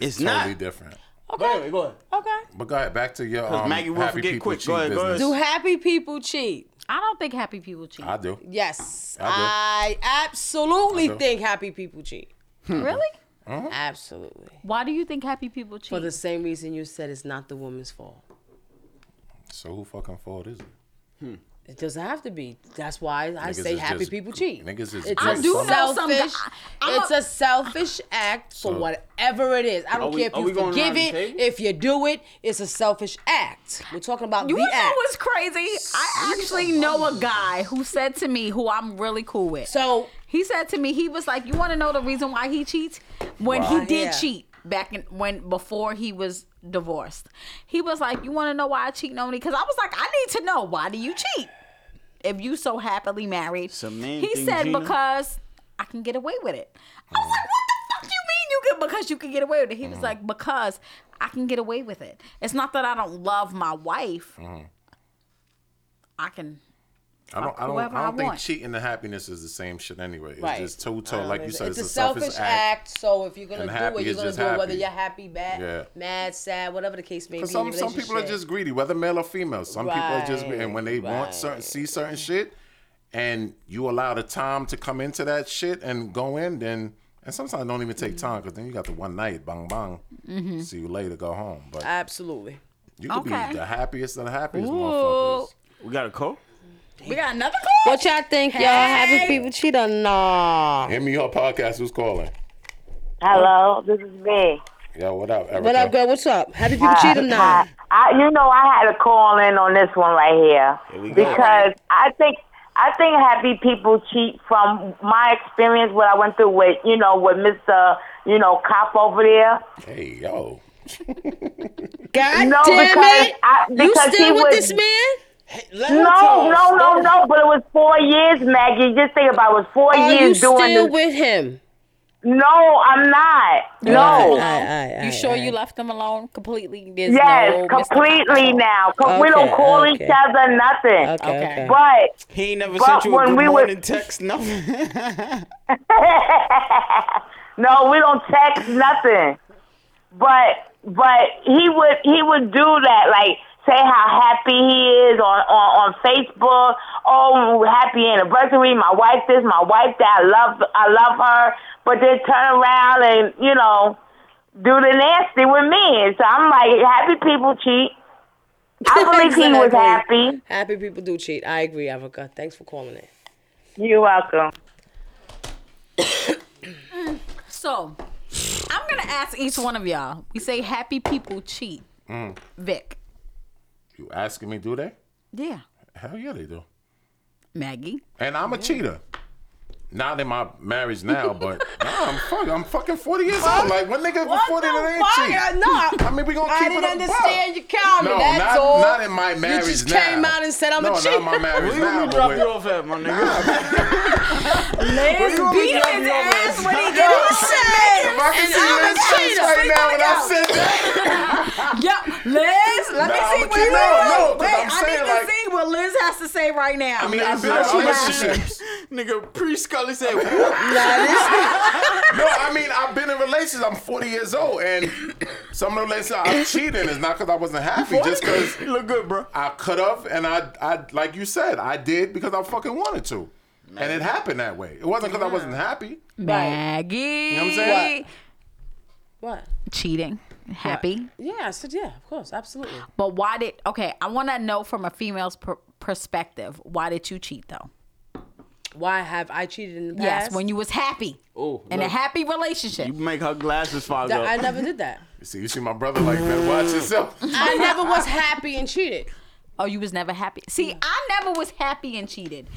Speaker 4: it's
Speaker 5: totally
Speaker 4: not.
Speaker 5: different.
Speaker 4: But anyway, go ahead.
Speaker 6: Okay.
Speaker 5: But go ahead, back to your
Speaker 4: 'Cause
Speaker 5: um,
Speaker 4: Maggie will
Speaker 5: happy
Speaker 4: forget
Speaker 5: people
Speaker 4: quick.
Speaker 5: cheat
Speaker 4: Go ahead, go
Speaker 5: business.
Speaker 6: Do happy people cheat?
Speaker 3: I don't think happy people cheat.
Speaker 5: I do.
Speaker 6: Yes,
Speaker 5: I
Speaker 6: I, absolutely
Speaker 5: I do. Uh-huh.
Speaker 6: think happy people cheat.
Speaker 3: Hmm. really?
Speaker 6: Absolutely.
Speaker 3: Why do you think happy people cheat?
Speaker 6: For the same reason you said it's not the woman's fault.
Speaker 5: So who fucking fault is it?
Speaker 6: It doesn't have to be. That's why I
Speaker 5: Niggas
Speaker 6: say
Speaker 5: is
Speaker 6: happy
Speaker 5: just-
Speaker 6: people cheat.
Speaker 5: niggas is
Speaker 6: it's
Speaker 5: I
Speaker 6: a
Speaker 5: do know
Speaker 3: some
Speaker 6: selfish.
Speaker 3: guy- I'm
Speaker 6: it's
Speaker 3: a-
Speaker 6: a selfish act for
Speaker 5: So-
Speaker 6: whatever it is. I don't
Speaker 4: Are we-
Speaker 6: care if
Speaker 4: are
Speaker 6: you
Speaker 4: we going around
Speaker 6: forgive
Speaker 4: the
Speaker 6: it,
Speaker 4: table?
Speaker 6: if you do it. It's a selfish act. We're talking about
Speaker 3: You
Speaker 6: the
Speaker 3: wanna know
Speaker 6: act.
Speaker 3: what's crazy? I actually know a guy who said to me, who I'm really cool with.
Speaker 6: So-
Speaker 3: he said to me, he was like, "You want to know the reason why he cheats? When he did
Speaker 6: Yeah.
Speaker 3: cheat back in when before he was divorced, he was like, "You want to know why I cheat, Noni? Because I was like, I need to know why do you cheat if you so happily married?
Speaker 4: a man
Speaker 3: he
Speaker 4: thing,
Speaker 3: said
Speaker 4: Gina.
Speaker 3: because I can get away with it. I was like, what the fuck you mean you can because you can get away with it? He
Speaker 6: Uh-huh.
Speaker 3: was like because. I can get away with it. It's not that I don't love my wife.
Speaker 5: mm-hmm.
Speaker 3: I can.
Speaker 5: I don't, I don't,
Speaker 3: whoever
Speaker 5: I
Speaker 3: I
Speaker 5: don't think
Speaker 3: want.
Speaker 5: cheating and happiness is the same shit anyway. It's
Speaker 6: Right.
Speaker 5: just toe toe, like you said,
Speaker 6: it's,
Speaker 5: it's,
Speaker 6: a selfish, act. So if you're gonna
Speaker 5: And
Speaker 6: do
Speaker 5: happy
Speaker 6: it, you're
Speaker 5: is
Speaker 6: gonna
Speaker 5: just
Speaker 6: do it whether
Speaker 5: happy.
Speaker 6: you're happy, bad,
Speaker 5: Yeah.
Speaker 6: mad, sad, whatever the case may be.
Speaker 5: But
Speaker 6: in
Speaker 5: some
Speaker 6: a
Speaker 5: some people are
Speaker 6: relationship.
Speaker 5: just greedy, whether male or female. Some people are just, and when they want certain, see certain shit, and you allow the time to come into that shit and go in, then and sometimes don't even take time because then you got the one night, bang bang,
Speaker 6: Mm-hmm.
Speaker 5: see you later, go home. But
Speaker 6: Uh, absolutely.
Speaker 5: you could
Speaker 3: Okay.
Speaker 5: be the happiest of the happiest
Speaker 3: Ooh.
Speaker 5: motherfuckers.
Speaker 4: We got a call.
Speaker 3: We got another call.
Speaker 6: What y'all think? Y'all happy people cheat or nah?
Speaker 5: Hit me your podcast. Who's calling?
Speaker 2: Hello, this is me.
Speaker 5: Yo, what up, Erica?
Speaker 6: What up, girl? What's up? Happy people cheat or nah?
Speaker 2: I, I, you know, I had to call in on this one right here,
Speaker 4: we go.
Speaker 2: because I think I think happy people cheat from my experience. What I went through with you know with Mister you know cop over there.
Speaker 5: Hey, yo.
Speaker 6: God
Speaker 2: No,
Speaker 6: damn
Speaker 2: because
Speaker 6: it!
Speaker 2: I-
Speaker 6: you
Speaker 2: because he
Speaker 6: still with
Speaker 2: was-
Speaker 6: this man?
Speaker 4: Let her
Speaker 2: No,
Speaker 4: talk.
Speaker 2: no, no, no. But it was four years, Maggie. Just think about it. it was four
Speaker 6: Are you
Speaker 2: years
Speaker 6: still
Speaker 2: doing this.
Speaker 6: with him?
Speaker 2: no, I'm not. No.
Speaker 3: you sure you left them alone completely? There's
Speaker 2: Yes,
Speaker 3: no Mr.
Speaker 2: completely
Speaker 3: Pop.
Speaker 2: now. 'cause we don't
Speaker 6: Okay,
Speaker 2: call
Speaker 6: okay.
Speaker 2: each other nothing.
Speaker 6: Okay, okay.
Speaker 2: But
Speaker 4: He ain't never
Speaker 2: But
Speaker 4: sent you a
Speaker 2: when
Speaker 4: good
Speaker 2: we were-
Speaker 4: morning text. Nothing.
Speaker 2: no, we don't text nothing. But but he would he would do that, like say how happy he is on on, on Facebook. Oh, happy anniversary! My wife this, my wife that. I love I love her. But then turn around and you know do the nasty with me. And so I'm like, happy people cheat. I believe he was
Speaker 6: Exactly.
Speaker 2: happy.
Speaker 6: Happy people do cheat. I agree, Erica. Thanks for calling it.
Speaker 2: You're welcome.
Speaker 3: Mm, So, I'm gonna ask each one of y'all. We say happy people cheat. Vic.
Speaker 5: Mm, You asking me, do they?
Speaker 3: Yeah.
Speaker 5: Hell yeah, they do.
Speaker 3: Maggie.
Speaker 5: And I'm a cheater. Not in my marriage now, but nah, I'm fucking, I'm fucking 40 years old. Like one nigga for 40 that ain't
Speaker 4: Uh,
Speaker 5: cheat.
Speaker 6: No,
Speaker 5: I mean, we gonna
Speaker 6: I
Speaker 5: keep
Speaker 6: didn't
Speaker 5: it a buck.
Speaker 6: understand your comment.
Speaker 5: No,
Speaker 6: that's
Speaker 5: not,
Speaker 6: all.
Speaker 5: not in my marriage
Speaker 6: You just
Speaker 5: now.
Speaker 6: came out and said I'm
Speaker 5: no,
Speaker 6: a cheater.
Speaker 5: not my marriage
Speaker 4: Where you
Speaker 5: now.
Speaker 4: want me
Speaker 5: but
Speaker 4: to drop
Speaker 5: with-
Speaker 4: you off at, my nigga?
Speaker 6: Let's
Speaker 4: you
Speaker 6: beat his
Speaker 4: always love me
Speaker 6: ass when he
Speaker 4: over
Speaker 6: get
Speaker 5: Yo,
Speaker 6: upset.
Speaker 5: If I can
Speaker 6: And
Speaker 5: see
Speaker 6: I'm a
Speaker 5: this face
Speaker 6: cheater.
Speaker 5: right now when I
Speaker 6: Freak
Speaker 5: said that,
Speaker 3: Yo, Liz,
Speaker 5: Nah,
Speaker 3: let me see
Speaker 5: I'm
Speaker 3: what Liz.
Speaker 5: kidding. No, no, 'cause
Speaker 3: wait,
Speaker 5: I'm
Speaker 3: I
Speaker 5: saying,
Speaker 3: need to
Speaker 5: like-
Speaker 3: see what Liz has to say right now.
Speaker 5: I mean, I've been
Speaker 4: I'm
Speaker 5: in
Speaker 4: cheating.
Speaker 5: relationships.
Speaker 4: nigga, pre Scully said, what?
Speaker 5: No, I mean, I've been in relationships. I'm 40 years old, and some of the relationships I'm cheating is not because I wasn't happy, just because
Speaker 4: You look good, bro.
Speaker 5: I could have, and I, I, like you said, I did because I fucking wanted to, and it happened that way. It wasn't because I wasn't happy.
Speaker 3: Maggie.
Speaker 5: know what I'm saying?
Speaker 6: What?
Speaker 3: Cheating. Happy.
Speaker 6: Yeah, I said yeah, of course, absolutely.
Speaker 3: But why did, okay, I wanna know from a female's per- perspective, why did you cheat though?
Speaker 6: Why have I cheated in the past?
Speaker 3: Yes, when you was happy.
Speaker 4: Oh,
Speaker 3: in a
Speaker 4: look.
Speaker 3: happy relationship.
Speaker 4: You make her glasses fog
Speaker 6: Th- I
Speaker 4: up.
Speaker 6: never did that.
Speaker 5: You see, you see my brother like that. Watch yourself.
Speaker 6: I never was happy and cheated.
Speaker 3: Oh, you was never happy. See, I never was happy and cheated.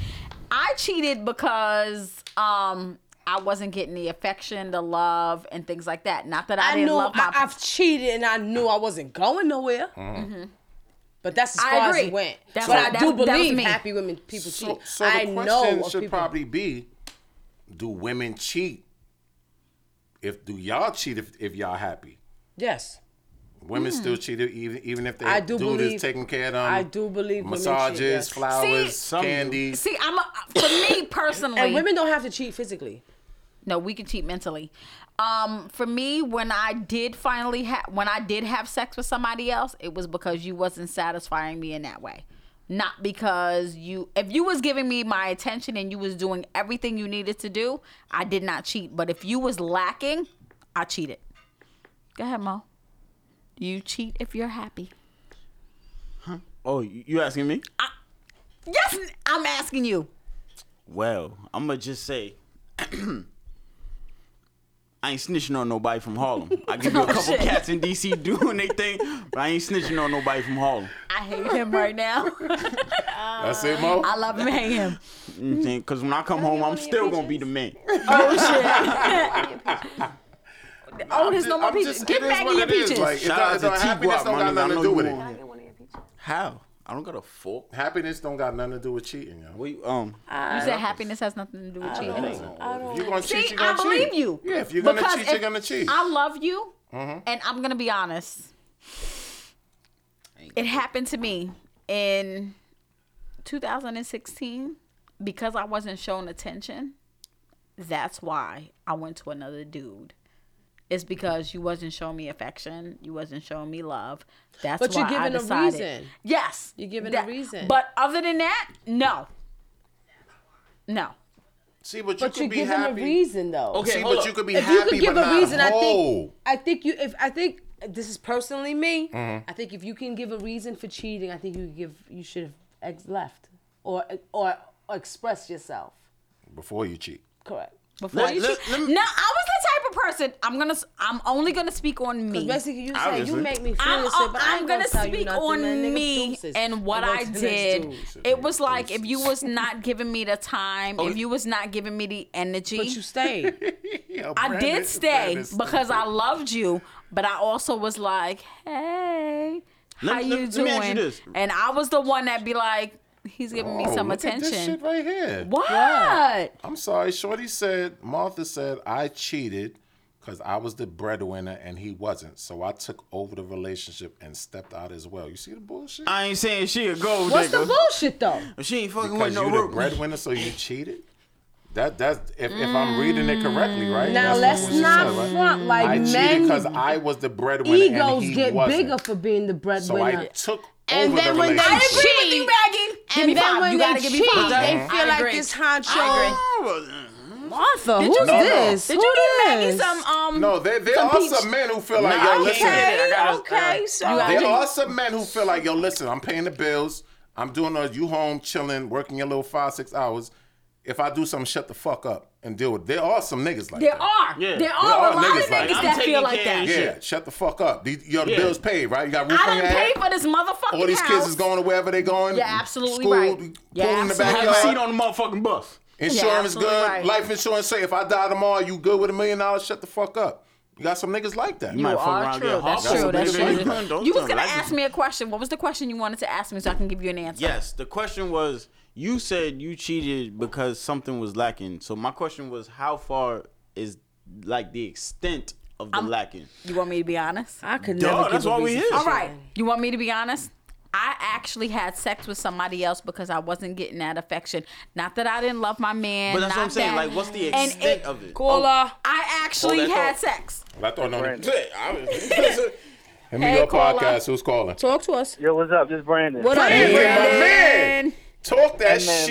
Speaker 3: I cheated because um I wasn't getting the affection, the love, and things like that. Not that I,
Speaker 6: I
Speaker 3: didn't
Speaker 6: knew
Speaker 3: love
Speaker 6: I,
Speaker 3: my
Speaker 6: I've cheated and I knew I wasn't going nowhere.
Speaker 5: Mm-hmm.
Speaker 6: But that's as
Speaker 3: Mm-hmm. I
Speaker 6: far as
Speaker 3: agree.
Speaker 6: it went.
Speaker 3: That's
Speaker 6: but
Speaker 3: what-
Speaker 6: I
Speaker 3: that
Speaker 6: do
Speaker 3: was- that was
Speaker 6: believe
Speaker 3: me.
Speaker 6: happy women people
Speaker 5: So,
Speaker 6: cheat.
Speaker 5: so the
Speaker 6: I know
Speaker 5: question
Speaker 6: of
Speaker 5: should
Speaker 6: people.
Speaker 5: probably be: Do women cheat? If do y'all cheat if, if y'all happy?
Speaker 6: yes,
Speaker 5: Women still cheat even even if they
Speaker 6: Hmm. I do
Speaker 5: dude
Speaker 6: believe-
Speaker 5: is taking care of them.
Speaker 6: I do believe women cheat,
Speaker 5: massages,
Speaker 6: yes.
Speaker 5: flowers,
Speaker 3: See-
Speaker 4: Some do.
Speaker 5: candy.
Speaker 3: See, I'm a, for me personally.
Speaker 6: and women don't have to cheat physically.
Speaker 3: no, we can cheat mentally. Um, for me, when I did finally ha- when I did have sex with somebody else, it was because you wasn't satisfying me in that way. Not because you if you was giving me my attention and you was doing everything you needed to do, I did not cheat. But if you was lacking, I cheated. Go ahead, Mo. You cheat if you're happy.
Speaker 4: Oh, you you asking me?
Speaker 3: Yes, I'm asking you.
Speaker 4: Well, I'm gonna just say, I ain't snitching on nobody from Harlem. I give
Speaker 6: Oh,
Speaker 4: you a couple
Speaker 3: shit.
Speaker 4: cats in DC doing they thing, but I ain't snitching on nobody from Harlem.
Speaker 3: I hate him right now.
Speaker 5: That's it, Mo.
Speaker 3: I love him, hate him.
Speaker 4: Because when I come home, I'm still gonna be the man.
Speaker 3: Oh, there's no more
Speaker 5: I'm
Speaker 3: peaches.
Speaker 5: just-
Speaker 3: Give
Speaker 5: it is
Speaker 3: Maggie
Speaker 5: what
Speaker 3: your
Speaker 5: it is.
Speaker 3: peaches.
Speaker 5: Like, it
Speaker 4: Shout
Speaker 5: don't-
Speaker 4: out
Speaker 5: it
Speaker 4: to
Speaker 5: don't- happiness
Speaker 4: T-Guap,
Speaker 5: don't
Speaker 4: my
Speaker 5: got
Speaker 4: nigga. I
Speaker 5: nothing to
Speaker 4: know
Speaker 5: do
Speaker 4: you
Speaker 5: with it.
Speaker 4: want it. How? I don't got a fork.
Speaker 5: Happiness don't got nothing to do with cheating, yo.
Speaker 4: Wait, um,
Speaker 6: Uh,
Speaker 3: You said happiness has nothing to do with cheating.
Speaker 5: If you're gonna
Speaker 3: See,
Speaker 5: cheat, you're
Speaker 3: I
Speaker 5: gonna
Speaker 3: believe
Speaker 5: cheat.
Speaker 3: you.
Speaker 5: Yeah, if you're gonna
Speaker 3: Because
Speaker 5: cheat,
Speaker 3: if
Speaker 5: you're gonna cheat.
Speaker 3: I love you,
Speaker 4: Mm-hmm.
Speaker 3: and I'm gonna be honest. It happened to me in 2016 because I wasn't shown attention. That's why I went to another dude. It's because you wasn't showing me affection, you wasn't showing me love. That's
Speaker 6: But
Speaker 3: why
Speaker 6: you're
Speaker 3: I
Speaker 6: giving a
Speaker 3: decided.
Speaker 6: reason.
Speaker 3: Yes,
Speaker 6: You're giving a reason.
Speaker 3: But other than that, no, no.
Speaker 5: See, but you
Speaker 6: But
Speaker 5: could
Speaker 6: you're
Speaker 5: be
Speaker 6: giving
Speaker 5: happy.
Speaker 6: a reason though.
Speaker 4: Okay,
Speaker 5: See,
Speaker 4: hold
Speaker 5: but
Speaker 4: up.
Speaker 5: you could be
Speaker 6: if
Speaker 5: happy,
Speaker 6: you could give
Speaker 5: but
Speaker 6: a reason,
Speaker 5: not
Speaker 6: I think
Speaker 5: whole.
Speaker 6: I think you if I think this is personally me.
Speaker 5: Mm-hmm.
Speaker 6: I think if you can give a reason for cheating, I think you give you should have ex- left or or, or expressed yourself.
Speaker 5: Before you cheat.
Speaker 6: Correct.
Speaker 3: before
Speaker 4: Let-
Speaker 3: you
Speaker 4: let-
Speaker 3: cheat.
Speaker 4: let me-
Speaker 3: no, I was the type of person. I'm gonna. s- I'm only gonna speak on me.
Speaker 6: Basically, you say you
Speaker 4: Obviously.
Speaker 6: make me feel
Speaker 3: I'm,
Speaker 6: this shit, but I
Speaker 3: I'm
Speaker 6: ain't
Speaker 3: gonna
Speaker 6: tell you
Speaker 3: speak
Speaker 6: nothing,
Speaker 3: on
Speaker 6: man. Nigga,
Speaker 3: me
Speaker 6: deuces.
Speaker 3: and what
Speaker 6: go
Speaker 3: I
Speaker 6: to the next
Speaker 3: did.
Speaker 6: dude.
Speaker 3: It was like if you was not giving me the time,
Speaker 4: Oh,
Speaker 3: if you was not giving me the energy.
Speaker 6: But you stayed.
Speaker 5: Yeah,
Speaker 3: I
Speaker 5: Brandon-
Speaker 3: did stay
Speaker 5: Brandon's
Speaker 3: because I
Speaker 5: stupid.
Speaker 3: loved you, but I also was like, hey,
Speaker 4: Let
Speaker 3: how
Speaker 4: me-
Speaker 3: you
Speaker 4: let- let me ask you
Speaker 3: doing?
Speaker 4: this.
Speaker 3: And I was the one that be like, he's giving me
Speaker 5: Oh,
Speaker 3: some
Speaker 5: look at this
Speaker 3: attention.
Speaker 5: shit right here.
Speaker 3: What?
Speaker 5: I'm sorry, Shorty said Martha said I cheated because I was the breadwinner and he wasn't, so I took over the relationship and stepped out as well. You see the bullshit?
Speaker 4: I ain't saying she a gold
Speaker 6: What's the
Speaker 4: digger.
Speaker 6: bullshit though?
Speaker 4: she ain't fucking with
Speaker 5: Because
Speaker 4: no
Speaker 5: you the
Speaker 4: work.
Speaker 5: breadwinner, so you cheated. That that's if, if I'm reading it correctly, right?
Speaker 6: Mm. Now
Speaker 5: That's
Speaker 6: let's
Speaker 5: what she
Speaker 6: not
Speaker 5: right?
Speaker 6: front like
Speaker 5: I
Speaker 6: men-
Speaker 5: because I was the breadwinner. and
Speaker 6: Egos
Speaker 5: he
Speaker 6: get
Speaker 5: wasn't.
Speaker 6: bigger for being the
Speaker 5: So
Speaker 6: breadwinner.
Speaker 5: I took
Speaker 6: and
Speaker 5: over
Speaker 6: then
Speaker 5: the
Speaker 6: when they
Speaker 5: relationship.
Speaker 6: cheat,
Speaker 3: with you, Maggie. Give me
Speaker 6: and then
Speaker 3: five.
Speaker 6: when
Speaker 3: You
Speaker 6: they
Speaker 3: gotta give me
Speaker 6: cheat,
Speaker 3: five.
Speaker 6: they
Speaker 3: I
Speaker 6: feel like
Speaker 3: agree.
Speaker 6: this honcho.
Speaker 3: I agree.
Speaker 6: Martha, who's
Speaker 3: you
Speaker 5: get-
Speaker 6: this?
Speaker 3: Did
Speaker 6: Who
Speaker 3: you give Maggie
Speaker 6: this?
Speaker 3: some um?
Speaker 5: No, there, there
Speaker 3: Some
Speaker 5: are
Speaker 3: peach-
Speaker 5: some men who feel like,
Speaker 4: I
Speaker 5: yo,
Speaker 4: can't.
Speaker 5: listen.
Speaker 4: I
Speaker 6: Okay,
Speaker 4: gotta-
Speaker 6: okay, so
Speaker 5: There are some men who feel like, yo, listen, I'm paying the bills. I'm doing a you home, chilling, working your little five, six hours. If I do something, shut the fuck up and deal with it. There are some niggas like
Speaker 3: There
Speaker 5: that.
Speaker 3: are.
Speaker 4: Yeah.
Speaker 3: There
Speaker 5: There
Speaker 3: are
Speaker 5: are
Speaker 3: a lot of
Speaker 5: niggas like
Speaker 3: niggas
Speaker 5: that.
Speaker 4: I'm
Speaker 3: that
Speaker 4: taking
Speaker 3: feel like
Speaker 4: care
Speaker 3: that.
Speaker 4: of
Speaker 5: Yeah, shut the fuck up. The, yo, the
Speaker 4: Yeah.
Speaker 5: bills paid, right? You got roof
Speaker 3: I
Speaker 5: on your
Speaker 3: done
Speaker 5: head.
Speaker 3: paid for this motherfucking
Speaker 5: All these
Speaker 3: house.
Speaker 5: kids is going to wherever they going.
Speaker 3: You're absolutely
Speaker 5: School,
Speaker 3: right.
Speaker 5: Pool
Speaker 3: You're
Speaker 5: in the
Speaker 3: absolutely
Speaker 5: backyard.
Speaker 4: Have a seat on the motherfucking bus.
Speaker 3: You're
Speaker 5: Insurance
Speaker 3: absolutely
Speaker 5: good.
Speaker 3: right.
Speaker 5: Life insurance say if I die tomorrow, you good with a million dollars, shut the fuck up. You got some niggas like that.
Speaker 4: You might fuck
Speaker 3: are
Speaker 4: around and
Speaker 3: true.
Speaker 4: get
Speaker 3: That's
Speaker 4: hard.
Speaker 5: true.
Speaker 4: That's
Speaker 5: That's
Speaker 4: a big
Speaker 5: true.
Speaker 4: man. Don't
Speaker 3: You was
Speaker 4: tell
Speaker 3: gonna
Speaker 4: Like,
Speaker 3: ask me a question. What was the question you wanted to ask me so I can give you an answer?
Speaker 4: Yes, the question was you said you cheated because something was lacking. So my question was how far is like the extent of the lacking?
Speaker 3: You want me to be honest?
Speaker 6: I could
Speaker 4: Duh,
Speaker 6: never.
Speaker 4: that's
Speaker 6: give a
Speaker 4: why we
Speaker 6: reason.
Speaker 4: here.
Speaker 3: All right. You want me to be honest? I actually had sex with somebody else because I wasn't getting that affection. Not that I didn't love my man.
Speaker 4: But that's what
Speaker 3: not
Speaker 4: I'm saying.
Speaker 3: that-
Speaker 4: Like what's the
Speaker 3: and
Speaker 4: extent
Speaker 3: it-
Speaker 4: of it?
Speaker 6: Caller.
Speaker 3: I actually
Speaker 4: Hold that
Speaker 3: had
Speaker 4: thought.
Speaker 3: sex.
Speaker 5: I thought no. Hit
Speaker 4: Hey,
Speaker 5: me
Speaker 3: Hey,
Speaker 5: up
Speaker 3: caller.
Speaker 5: podcast. Who's calling?
Speaker 6: Talk to us.
Speaker 11: Yo, what's up? This is Brandon.
Speaker 6: What up,
Speaker 5: Hey,
Speaker 6: Brandon?
Speaker 5: my man. Talk that
Speaker 11: Hey, man,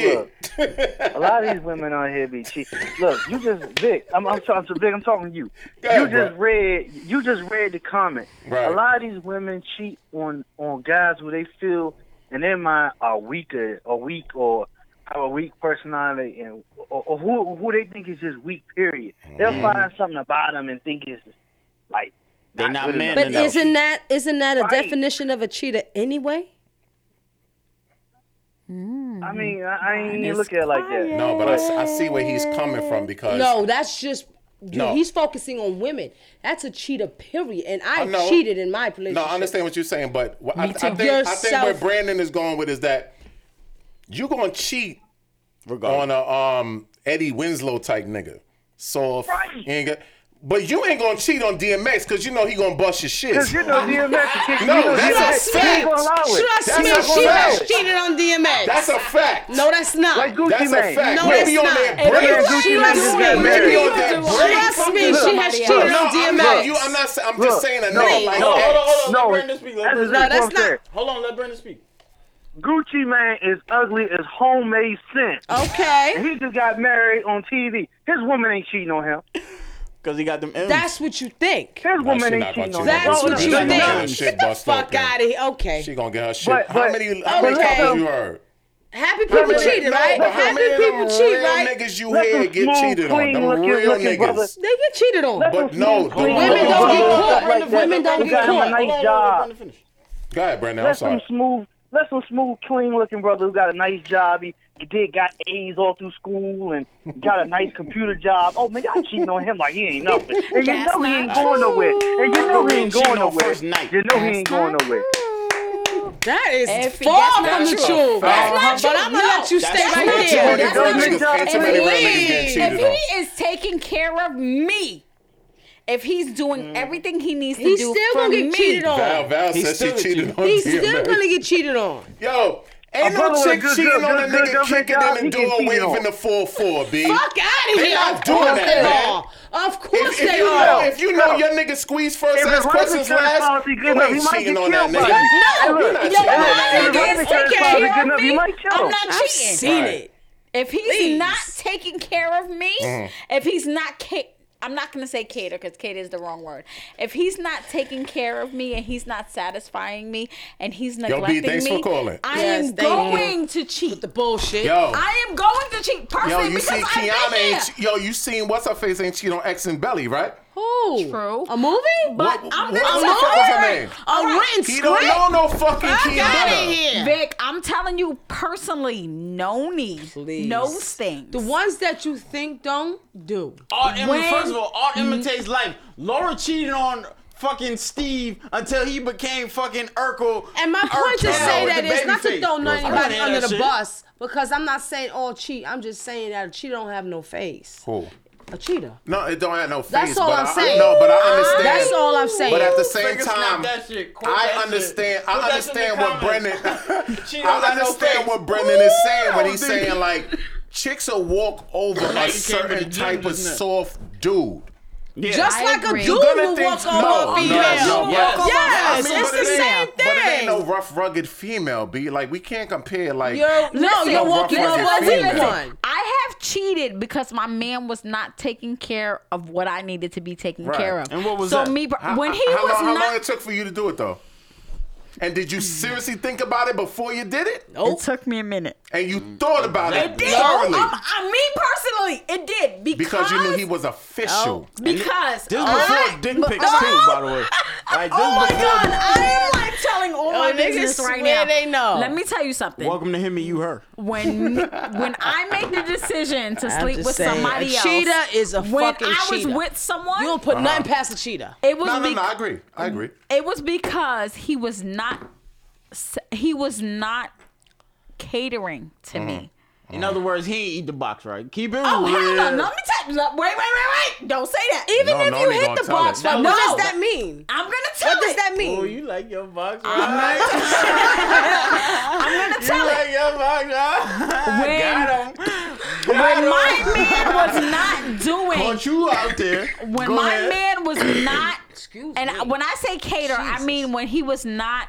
Speaker 5: shit.
Speaker 11: A lot of these women on here be cheating. Look, you just Vic. I'm, I'm talking to Vic. I'm talking to you.
Speaker 5: Go ahead,
Speaker 11: you just
Speaker 5: bro.
Speaker 11: read. You just read the comment.
Speaker 5: Right.
Speaker 11: A lot of these women cheat on on guys who they feel in their mind are weaker, or weak, or have a weak personality, and or, or who who they think is just weak. Period. They'll
Speaker 5: Mm-hmm.
Speaker 11: find something about them and think it's like
Speaker 4: They're not
Speaker 11: good
Speaker 4: man
Speaker 11: enough.
Speaker 6: But
Speaker 4: No, no.
Speaker 6: isn't that isn't that a
Speaker 11: Right.
Speaker 6: definition of a cheater anyway?
Speaker 11: I mean, I, I ain't even look at it like that.
Speaker 5: No, but I, s- I see where he's coming from because
Speaker 6: No, that's just. you-
Speaker 5: No.
Speaker 6: He's focusing on women. That's a cheater, period. And I,
Speaker 5: I know.
Speaker 6: cheated in my relationship.
Speaker 5: No, I understand what you're saying, but what I, I
Speaker 6: Me too.
Speaker 5: think, I think where
Speaker 6: Yourself.
Speaker 5: Brandon is going with is that you're gonna cheat on
Speaker 4: Regardless.
Speaker 5: a um Eddie Winslow type nigga. So if
Speaker 11: Right.
Speaker 5: you ain't got, but you ain't gonna cheat on DMX because you know he gonna bust your shit.
Speaker 11: Cause you know DMX kick you
Speaker 5: No,
Speaker 11: know
Speaker 5: that's
Speaker 11: DMX,
Speaker 5: a
Speaker 11: he ain't
Speaker 5: fact.
Speaker 11: gonna allow it.
Speaker 6: Trust
Speaker 5: That's
Speaker 6: me,
Speaker 5: not
Speaker 6: she
Speaker 5: right.
Speaker 6: has cheated on DMX.
Speaker 5: That's a fact.
Speaker 6: no, that's not.
Speaker 11: Like Gucci
Speaker 5: that's
Speaker 11: Mane.
Speaker 5: a fact.
Speaker 6: No,
Speaker 5: Maybe
Speaker 6: that's
Speaker 5: on
Speaker 6: not.
Speaker 5: that
Speaker 6: Everybody
Speaker 5: break.
Speaker 6: Gucci
Speaker 5: Maybe
Speaker 6: Mane just got
Speaker 5: Maybe
Speaker 6: married.
Speaker 5: on that break.
Speaker 6: Trust me, she has cheated
Speaker 5: No,
Speaker 6: on
Speaker 5: I'm,
Speaker 6: DMX.
Speaker 5: not- you, I'm not. sa- I'm just
Speaker 11: Look,
Speaker 5: saying that.
Speaker 11: no,
Speaker 5: nigga like
Speaker 4: Hold on,
Speaker 5: that.
Speaker 4: hold on, hold on.
Speaker 11: No,
Speaker 4: Let Brandon speak. Let
Speaker 11: That's
Speaker 4: Brandon
Speaker 11: exactly
Speaker 6: No,
Speaker 11: what I'm
Speaker 6: that's
Speaker 11: saying.
Speaker 6: not-
Speaker 4: speak. Hold on, let Brandon speak.
Speaker 11: Gucci Man is ugly as homemade sin. And
Speaker 6: Okay.
Speaker 11: he just got married on TV. His woman ain't cheating on him.
Speaker 4: Because he got them M's.
Speaker 6: That's what you think.
Speaker 11: His
Speaker 5: No,
Speaker 11: woman
Speaker 5: she
Speaker 11: ain't
Speaker 5: not gonna
Speaker 11: cheating on
Speaker 5: cheat
Speaker 11: him.
Speaker 6: That's
Speaker 5: on
Speaker 6: what
Speaker 5: him.
Speaker 6: you
Speaker 5: She gonna get her
Speaker 6: think.
Speaker 5: shit
Speaker 6: Get the
Speaker 5: bust
Speaker 6: fuck
Speaker 5: open.
Speaker 6: out of here. Okay.
Speaker 5: She gonna get her shit.
Speaker 11: But-
Speaker 5: how
Speaker 11: but-
Speaker 5: many? How many
Speaker 6: Okay.
Speaker 5: times you heard?
Speaker 6: Happy people
Speaker 11: Look,
Speaker 6: cheated,
Speaker 5: No,
Speaker 6: right?
Speaker 5: but how
Speaker 6: Happy
Speaker 5: many of them
Speaker 6: people cheat,
Speaker 5: real
Speaker 6: right?
Speaker 5: niggas you
Speaker 11: Let
Speaker 5: hear
Speaker 11: them
Speaker 5: get
Speaker 11: smooth,
Speaker 5: cheated on?
Speaker 11: clean
Speaker 5: Them
Speaker 11: looking-
Speaker 5: real
Speaker 11: looking brother.
Speaker 5: niggas.
Speaker 6: They get cheated on.
Speaker 11: Let
Speaker 5: But
Speaker 11: them
Speaker 5: no,
Speaker 11: smooth,
Speaker 5: the
Speaker 11: clean
Speaker 5: women
Speaker 11: looking
Speaker 5: don't get
Speaker 11: brothers
Speaker 6: caught,
Speaker 11: like
Speaker 6: the
Speaker 11: that.
Speaker 6: women don't
Speaker 11: Who
Speaker 6: get
Speaker 11: got him
Speaker 6: caught.
Speaker 11: a
Speaker 4: Hold
Speaker 11: nice
Speaker 4: on, hold on,
Speaker 11: job.
Speaker 4: let Brandon finish.
Speaker 5: Go ahead, Brandon. I'm
Speaker 11: Let some
Speaker 5: sorry.
Speaker 11: smooth, let some smooth, clean looking brother who got a nice job. He, he did got A's all through school and got a nice computer job. Oh man, y'all cheating on him like he ain't nothing. And you know he ain't going nowhere. And you know he ain't
Speaker 4: Cheating
Speaker 11: going
Speaker 4: on
Speaker 11: nowhere.
Speaker 4: first night.
Speaker 11: You know he ain't going nowhere.
Speaker 6: That is
Speaker 3: If he-
Speaker 6: far
Speaker 3: that's
Speaker 6: from
Speaker 3: not
Speaker 6: the
Speaker 3: true.
Speaker 6: truth.
Speaker 3: That's not
Speaker 6: But
Speaker 3: true.
Speaker 6: I'm gonna
Speaker 3: No.
Speaker 6: let you
Speaker 4: That's
Speaker 6: stay
Speaker 4: not
Speaker 6: right
Speaker 4: true.
Speaker 5: Too
Speaker 6: there.
Speaker 5: many
Speaker 6: That's
Speaker 5: real
Speaker 6: not
Speaker 5: niggas-
Speaker 6: true.
Speaker 5: can't too many real niggas getting
Speaker 6: Please.
Speaker 5: cheated
Speaker 3: if
Speaker 5: on.
Speaker 3: he is taking care of me, if he's
Speaker 5: Mm.
Speaker 3: doing everything he needs to
Speaker 6: He's
Speaker 3: do
Speaker 6: still
Speaker 3: for
Speaker 6: gonna get
Speaker 3: me,
Speaker 6: cheated
Speaker 5: Val,
Speaker 6: on.
Speaker 5: Val
Speaker 4: He's
Speaker 5: said she
Speaker 4: still
Speaker 5: cheated on
Speaker 6: He's
Speaker 5: DMX.
Speaker 6: still gonna get cheated on.
Speaker 5: Yo, ain't
Speaker 11: brother
Speaker 5: no
Speaker 11: with
Speaker 5: chick
Speaker 11: good-
Speaker 5: cheating
Speaker 11: good-
Speaker 5: on a
Speaker 11: good-
Speaker 5: nigga
Speaker 11: good
Speaker 5: kicking
Speaker 11: job,
Speaker 5: them and
Speaker 11: he can
Speaker 5: doing
Speaker 11: cheat
Speaker 5: waving
Speaker 11: on.
Speaker 5: the 4-4, B.
Speaker 6: Fuck out of
Speaker 5: They
Speaker 6: here.
Speaker 5: not
Speaker 6: Of
Speaker 5: doing
Speaker 6: course
Speaker 5: that,
Speaker 6: they
Speaker 5: man.
Speaker 6: are. Of course
Speaker 5: If, if
Speaker 6: they
Speaker 5: you know,
Speaker 6: are.
Speaker 5: if you know your nigga squeeze first,
Speaker 11: If it
Speaker 5: ask
Speaker 11: wasn't
Speaker 5: questions
Speaker 11: Terrence
Speaker 5: last,
Speaker 11: Policy,
Speaker 5: you
Speaker 11: good enough,
Speaker 5: ain't
Speaker 11: he might
Speaker 5: cheating
Speaker 11: get
Speaker 5: on that
Speaker 11: killed by
Speaker 5: nigga.
Speaker 11: it.
Speaker 5: You're
Speaker 3: No,
Speaker 5: not
Speaker 3: you're
Speaker 5: cheating
Speaker 3: not
Speaker 5: on that
Speaker 11: If it
Speaker 5: nigga.
Speaker 11: wasn't
Speaker 3: against
Speaker 11: Terrence
Speaker 3: taking care
Speaker 11: Policy, good
Speaker 3: of
Speaker 11: enough,
Speaker 3: me.
Speaker 11: he might kill
Speaker 3: I'm
Speaker 11: him.
Speaker 3: not
Speaker 6: I've
Speaker 3: cheating.
Speaker 6: seen
Speaker 5: Right.
Speaker 6: it.
Speaker 3: If he's
Speaker 6: Please.
Speaker 3: not taking care of me,
Speaker 5: Mm-hmm.
Speaker 3: if he's not ca- I'm not going to say cater because cater is the wrong word. If he's not taking care of me and he's not satisfying me and he's
Speaker 5: B,
Speaker 3: neglecting
Speaker 5: thanks for
Speaker 3: me,
Speaker 5: calling.
Speaker 3: I
Speaker 6: Yes,
Speaker 3: am
Speaker 6: thank you.
Speaker 3: going to cheat.
Speaker 6: With the bullshit.
Speaker 5: Yo.
Speaker 3: I am going to cheat
Speaker 5: Yo,
Speaker 3: personally
Speaker 5: you
Speaker 3: because
Speaker 5: see
Speaker 3: I've
Speaker 5: Kiana
Speaker 3: been
Speaker 5: ain't
Speaker 3: there.
Speaker 5: yo, you seen what's her face ain't cheat on X and Belly, right?
Speaker 6: Who?
Speaker 3: True.
Speaker 6: A movie?
Speaker 3: But
Speaker 5: What-
Speaker 3: I'm
Speaker 5: what-
Speaker 3: gonna
Speaker 5: what the
Speaker 3: tell
Speaker 5: fuck was her
Speaker 3: her.
Speaker 5: name?
Speaker 6: A written
Speaker 5: He
Speaker 6: script?
Speaker 5: don't know no fucking
Speaker 6: Fuck out of
Speaker 5: Kiana.
Speaker 6: here.
Speaker 3: Vic, I'm telling you personally, noni
Speaker 6: Please.
Speaker 3: knows things.
Speaker 6: The ones that you think don't do.
Speaker 4: Art imi-
Speaker 3: When-
Speaker 4: first of all, art imitates life. Laura cheated on fucking Steve until he became fucking Urkel.
Speaker 6: And my point to
Speaker 4: Urkel
Speaker 6: say
Speaker 4: with
Speaker 6: that
Speaker 4: the
Speaker 6: is
Speaker 4: baby
Speaker 6: not to
Speaker 4: face.
Speaker 6: throw
Speaker 4: I don't
Speaker 6: anybody
Speaker 4: hear
Speaker 6: under
Speaker 4: that
Speaker 6: the
Speaker 4: shit.
Speaker 6: bus because I'm not saying all cheat. I'm just saying that a cheater don't have no face.
Speaker 5: Cool.
Speaker 6: A cheater.
Speaker 5: No, it don't have no face.
Speaker 6: That's all
Speaker 5: but
Speaker 6: I'm
Speaker 5: I-
Speaker 6: saying.
Speaker 5: No, but I understand.
Speaker 6: That's all I'm saying.
Speaker 5: But at the same
Speaker 4: Finger snap
Speaker 5: time,
Speaker 4: that shit. Quote that
Speaker 5: I
Speaker 4: shit.
Speaker 5: understand.
Speaker 4: Put
Speaker 5: I
Speaker 4: that shit in
Speaker 5: understand
Speaker 4: the
Speaker 5: what
Speaker 4: comments.
Speaker 5: Brendan.
Speaker 4: She don't
Speaker 5: I
Speaker 4: got no
Speaker 5: understand
Speaker 4: face.
Speaker 5: what Brendan is saying when
Speaker 4: Ooh,
Speaker 5: he's
Speaker 4: dude.
Speaker 5: saying like Chicks will walk over a
Speaker 4: Like you came to the
Speaker 5: certain
Speaker 4: gym
Speaker 5: type of
Speaker 4: just now.
Speaker 5: soft dude.
Speaker 4: Yeah.
Speaker 6: Just
Speaker 3: I
Speaker 6: like
Speaker 3: agree.
Speaker 6: a dude
Speaker 5: Gonna
Speaker 6: will
Speaker 5: think-
Speaker 6: walk over
Speaker 5: no,
Speaker 6: a female.
Speaker 5: no, no,
Speaker 6: Walk
Speaker 4: yes.
Speaker 6: over-
Speaker 4: Yes,
Speaker 5: I mean,
Speaker 6: it's
Speaker 5: but
Speaker 6: the
Speaker 5: it
Speaker 6: same
Speaker 5: ain't- But it ain't
Speaker 6: thing.
Speaker 5: no rough, rugged female, B. Like, we can't compare, like,
Speaker 6: You're, no,
Speaker 3: Listen,
Speaker 6: you're
Speaker 5: no,
Speaker 6: walking
Speaker 5: rough
Speaker 6: over a
Speaker 5: rugged
Speaker 6: weak
Speaker 5: female.
Speaker 6: one.
Speaker 3: I have cheated because my man was not taking care of what I needed to be taken
Speaker 5: Right.
Speaker 3: care of.
Speaker 4: And what was
Speaker 3: so
Speaker 4: that?
Speaker 3: me
Speaker 5: How-
Speaker 3: when he
Speaker 5: how,
Speaker 3: was
Speaker 5: long,
Speaker 3: not
Speaker 5: How long it took for you to do it, though? And did you seriously think about it before you did it?
Speaker 3: It took me a minute.
Speaker 5: And you thought about it,
Speaker 3: It did.
Speaker 5: thoroughly
Speaker 3: Um, I- me personally, it did Oh,
Speaker 5: because you knew he was official.
Speaker 3: Because
Speaker 4: This
Speaker 3: all
Speaker 4: before
Speaker 3: right,
Speaker 4: dick
Speaker 3: but-
Speaker 4: pics too,
Speaker 3: oh,
Speaker 4: by the way. Like this
Speaker 6: Oh my
Speaker 4: before-
Speaker 6: God, I am like telling all
Speaker 3: Oh,
Speaker 6: my
Speaker 3: niggas
Speaker 6: business
Speaker 3: right
Speaker 6: right
Speaker 3: now.
Speaker 6: now. They know.
Speaker 3: Let me tell you something.
Speaker 4: Welcome to him and you her.
Speaker 3: when when I make the decision to
Speaker 6: I'm
Speaker 3: sleep
Speaker 6: just
Speaker 3: with
Speaker 6: saying,
Speaker 3: somebody
Speaker 6: a
Speaker 3: else,
Speaker 6: cheater is a
Speaker 3: when
Speaker 6: fucking
Speaker 3: I was
Speaker 6: cheater.
Speaker 3: with someone,
Speaker 6: You don't put nothing past a cheetah.
Speaker 3: it was
Speaker 5: Uh-huh. No, no,
Speaker 3: bec- Mm.
Speaker 5: no. I agree. I agree.
Speaker 3: it was because he was not s- he was not catering to me.
Speaker 4: Mm-hmm. In other words, he ain't eat the box right. Keep it
Speaker 3: Oh
Speaker 4: real.
Speaker 3: hell no! Let me tell. no, Wait, wait, wait, wait! Don't say that. Even
Speaker 5: No,
Speaker 3: if
Speaker 5: no,
Speaker 3: you
Speaker 5: they
Speaker 3: hit
Speaker 5: gonna
Speaker 3: the
Speaker 5: tell
Speaker 3: box,
Speaker 5: it.
Speaker 3: but
Speaker 6: What
Speaker 3: no,
Speaker 6: does that mean?
Speaker 3: I'm gonna tell
Speaker 6: What does
Speaker 3: it.
Speaker 6: that
Speaker 4: Oh,
Speaker 6: mean?
Speaker 4: you like your box right?
Speaker 3: I'm gonna
Speaker 4: you
Speaker 3: tell it.
Speaker 4: like your box right?
Speaker 3: When-
Speaker 4: Got him. Got him.
Speaker 3: My man was not doing.
Speaker 4: Caught you out there.
Speaker 3: When
Speaker 4: Go
Speaker 3: my
Speaker 4: ahead.
Speaker 3: man was not
Speaker 6: Excuse
Speaker 3: And I-
Speaker 6: me.
Speaker 3: when I say cater, I mean when he was not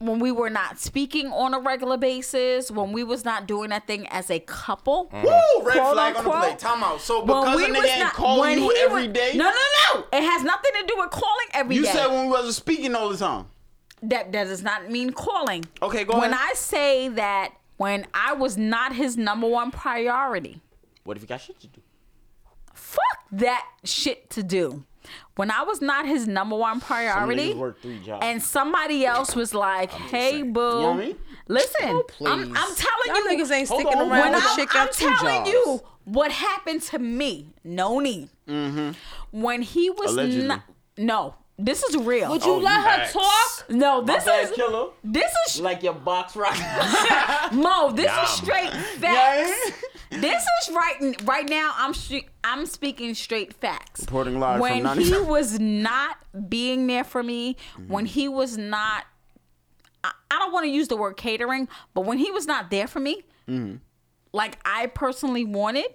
Speaker 3: when we were not speaking on a regular basis, when we was not doing that thing as a couple.
Speaker 4: Mm. Woo, red
Speaker 3: Quote,
Speaker 4: flag on
Speaker 3: unquote.
Speaker 4: the plate. Time out. So
Speaker 3: When
Speaker 4: because
Speaker 3: we
Speaker 4: a nigga
Speaker 3: was
Speaker 4: ain't
Speaker 3: not- when
Speaker 4: calling you
Speaker 3: he
Speaker 4: every
Speaker 3: was-
Speaker 4: day.
Speaker 3: No, no, no. It has nothing to do with calling every day.
Speaker 4: You said when we wasn't speaking all the time.
Speaker 3: that that does not mean calling.
Speaker 4: Okay, go
Speaker 3: When
Speaker 4: ahead.
Speaker 3: I say that when I was not his number one priority.
Speaker 4: What if you got shit to do?
Speaker 3: Fuck that shit to do. When I was not his number one priority,
Speaker 4: niggas work three jobs.
Speaker 3: and somebody else was like, "Hey, boo,
Speaker 4: what I mean? Oh,
Speaker 3: listen, I'm, I'm telling
Speaker 6: Y'all
Speaker 3: you,
Speaker 6: niggas ain't
Speaker 4: Hold
Speaker 6: sticking
Speaker 4: on,
Speaker 6: around
Speaker 3: when
Speaker 6: with
Speaker 3: I'm,
Speaker 6: chick
Speaker 3: I'm
Speaker 6: got two
Speaker 3: telling
Speaker 6: jobs.
Speaker 3: you what happened to me, Noni, when he was
Speaker 4: Mm-hmm. Allegedly.
Speaker 3: not, no, this is real. Oh,
Speaker 6: Would you let her
Speaker 5: facts.
Speaker 6: talk?
Speaker 3: no, this
Speaker 4: bad,
Speaker 3: is
Speaker 4: killer.
Speaker 3: this is
Speaker 4: Like your box right.
Speaker 3: Mo, this is straight facts.
Speaker 4: Yeah.
Speaker 3: This is right right now. I'm stre- I'm speaking straight facts.
Speaker 4: Reporting live from
Speaker 3: When
Speaker 4: 90
Speaker 3: he was not being there for me, when he was not, I, I don't want to use the word catering, but when he was not there for me,
Speaker 4: Mm-hmm.
Speaker 3: like I personally wanted,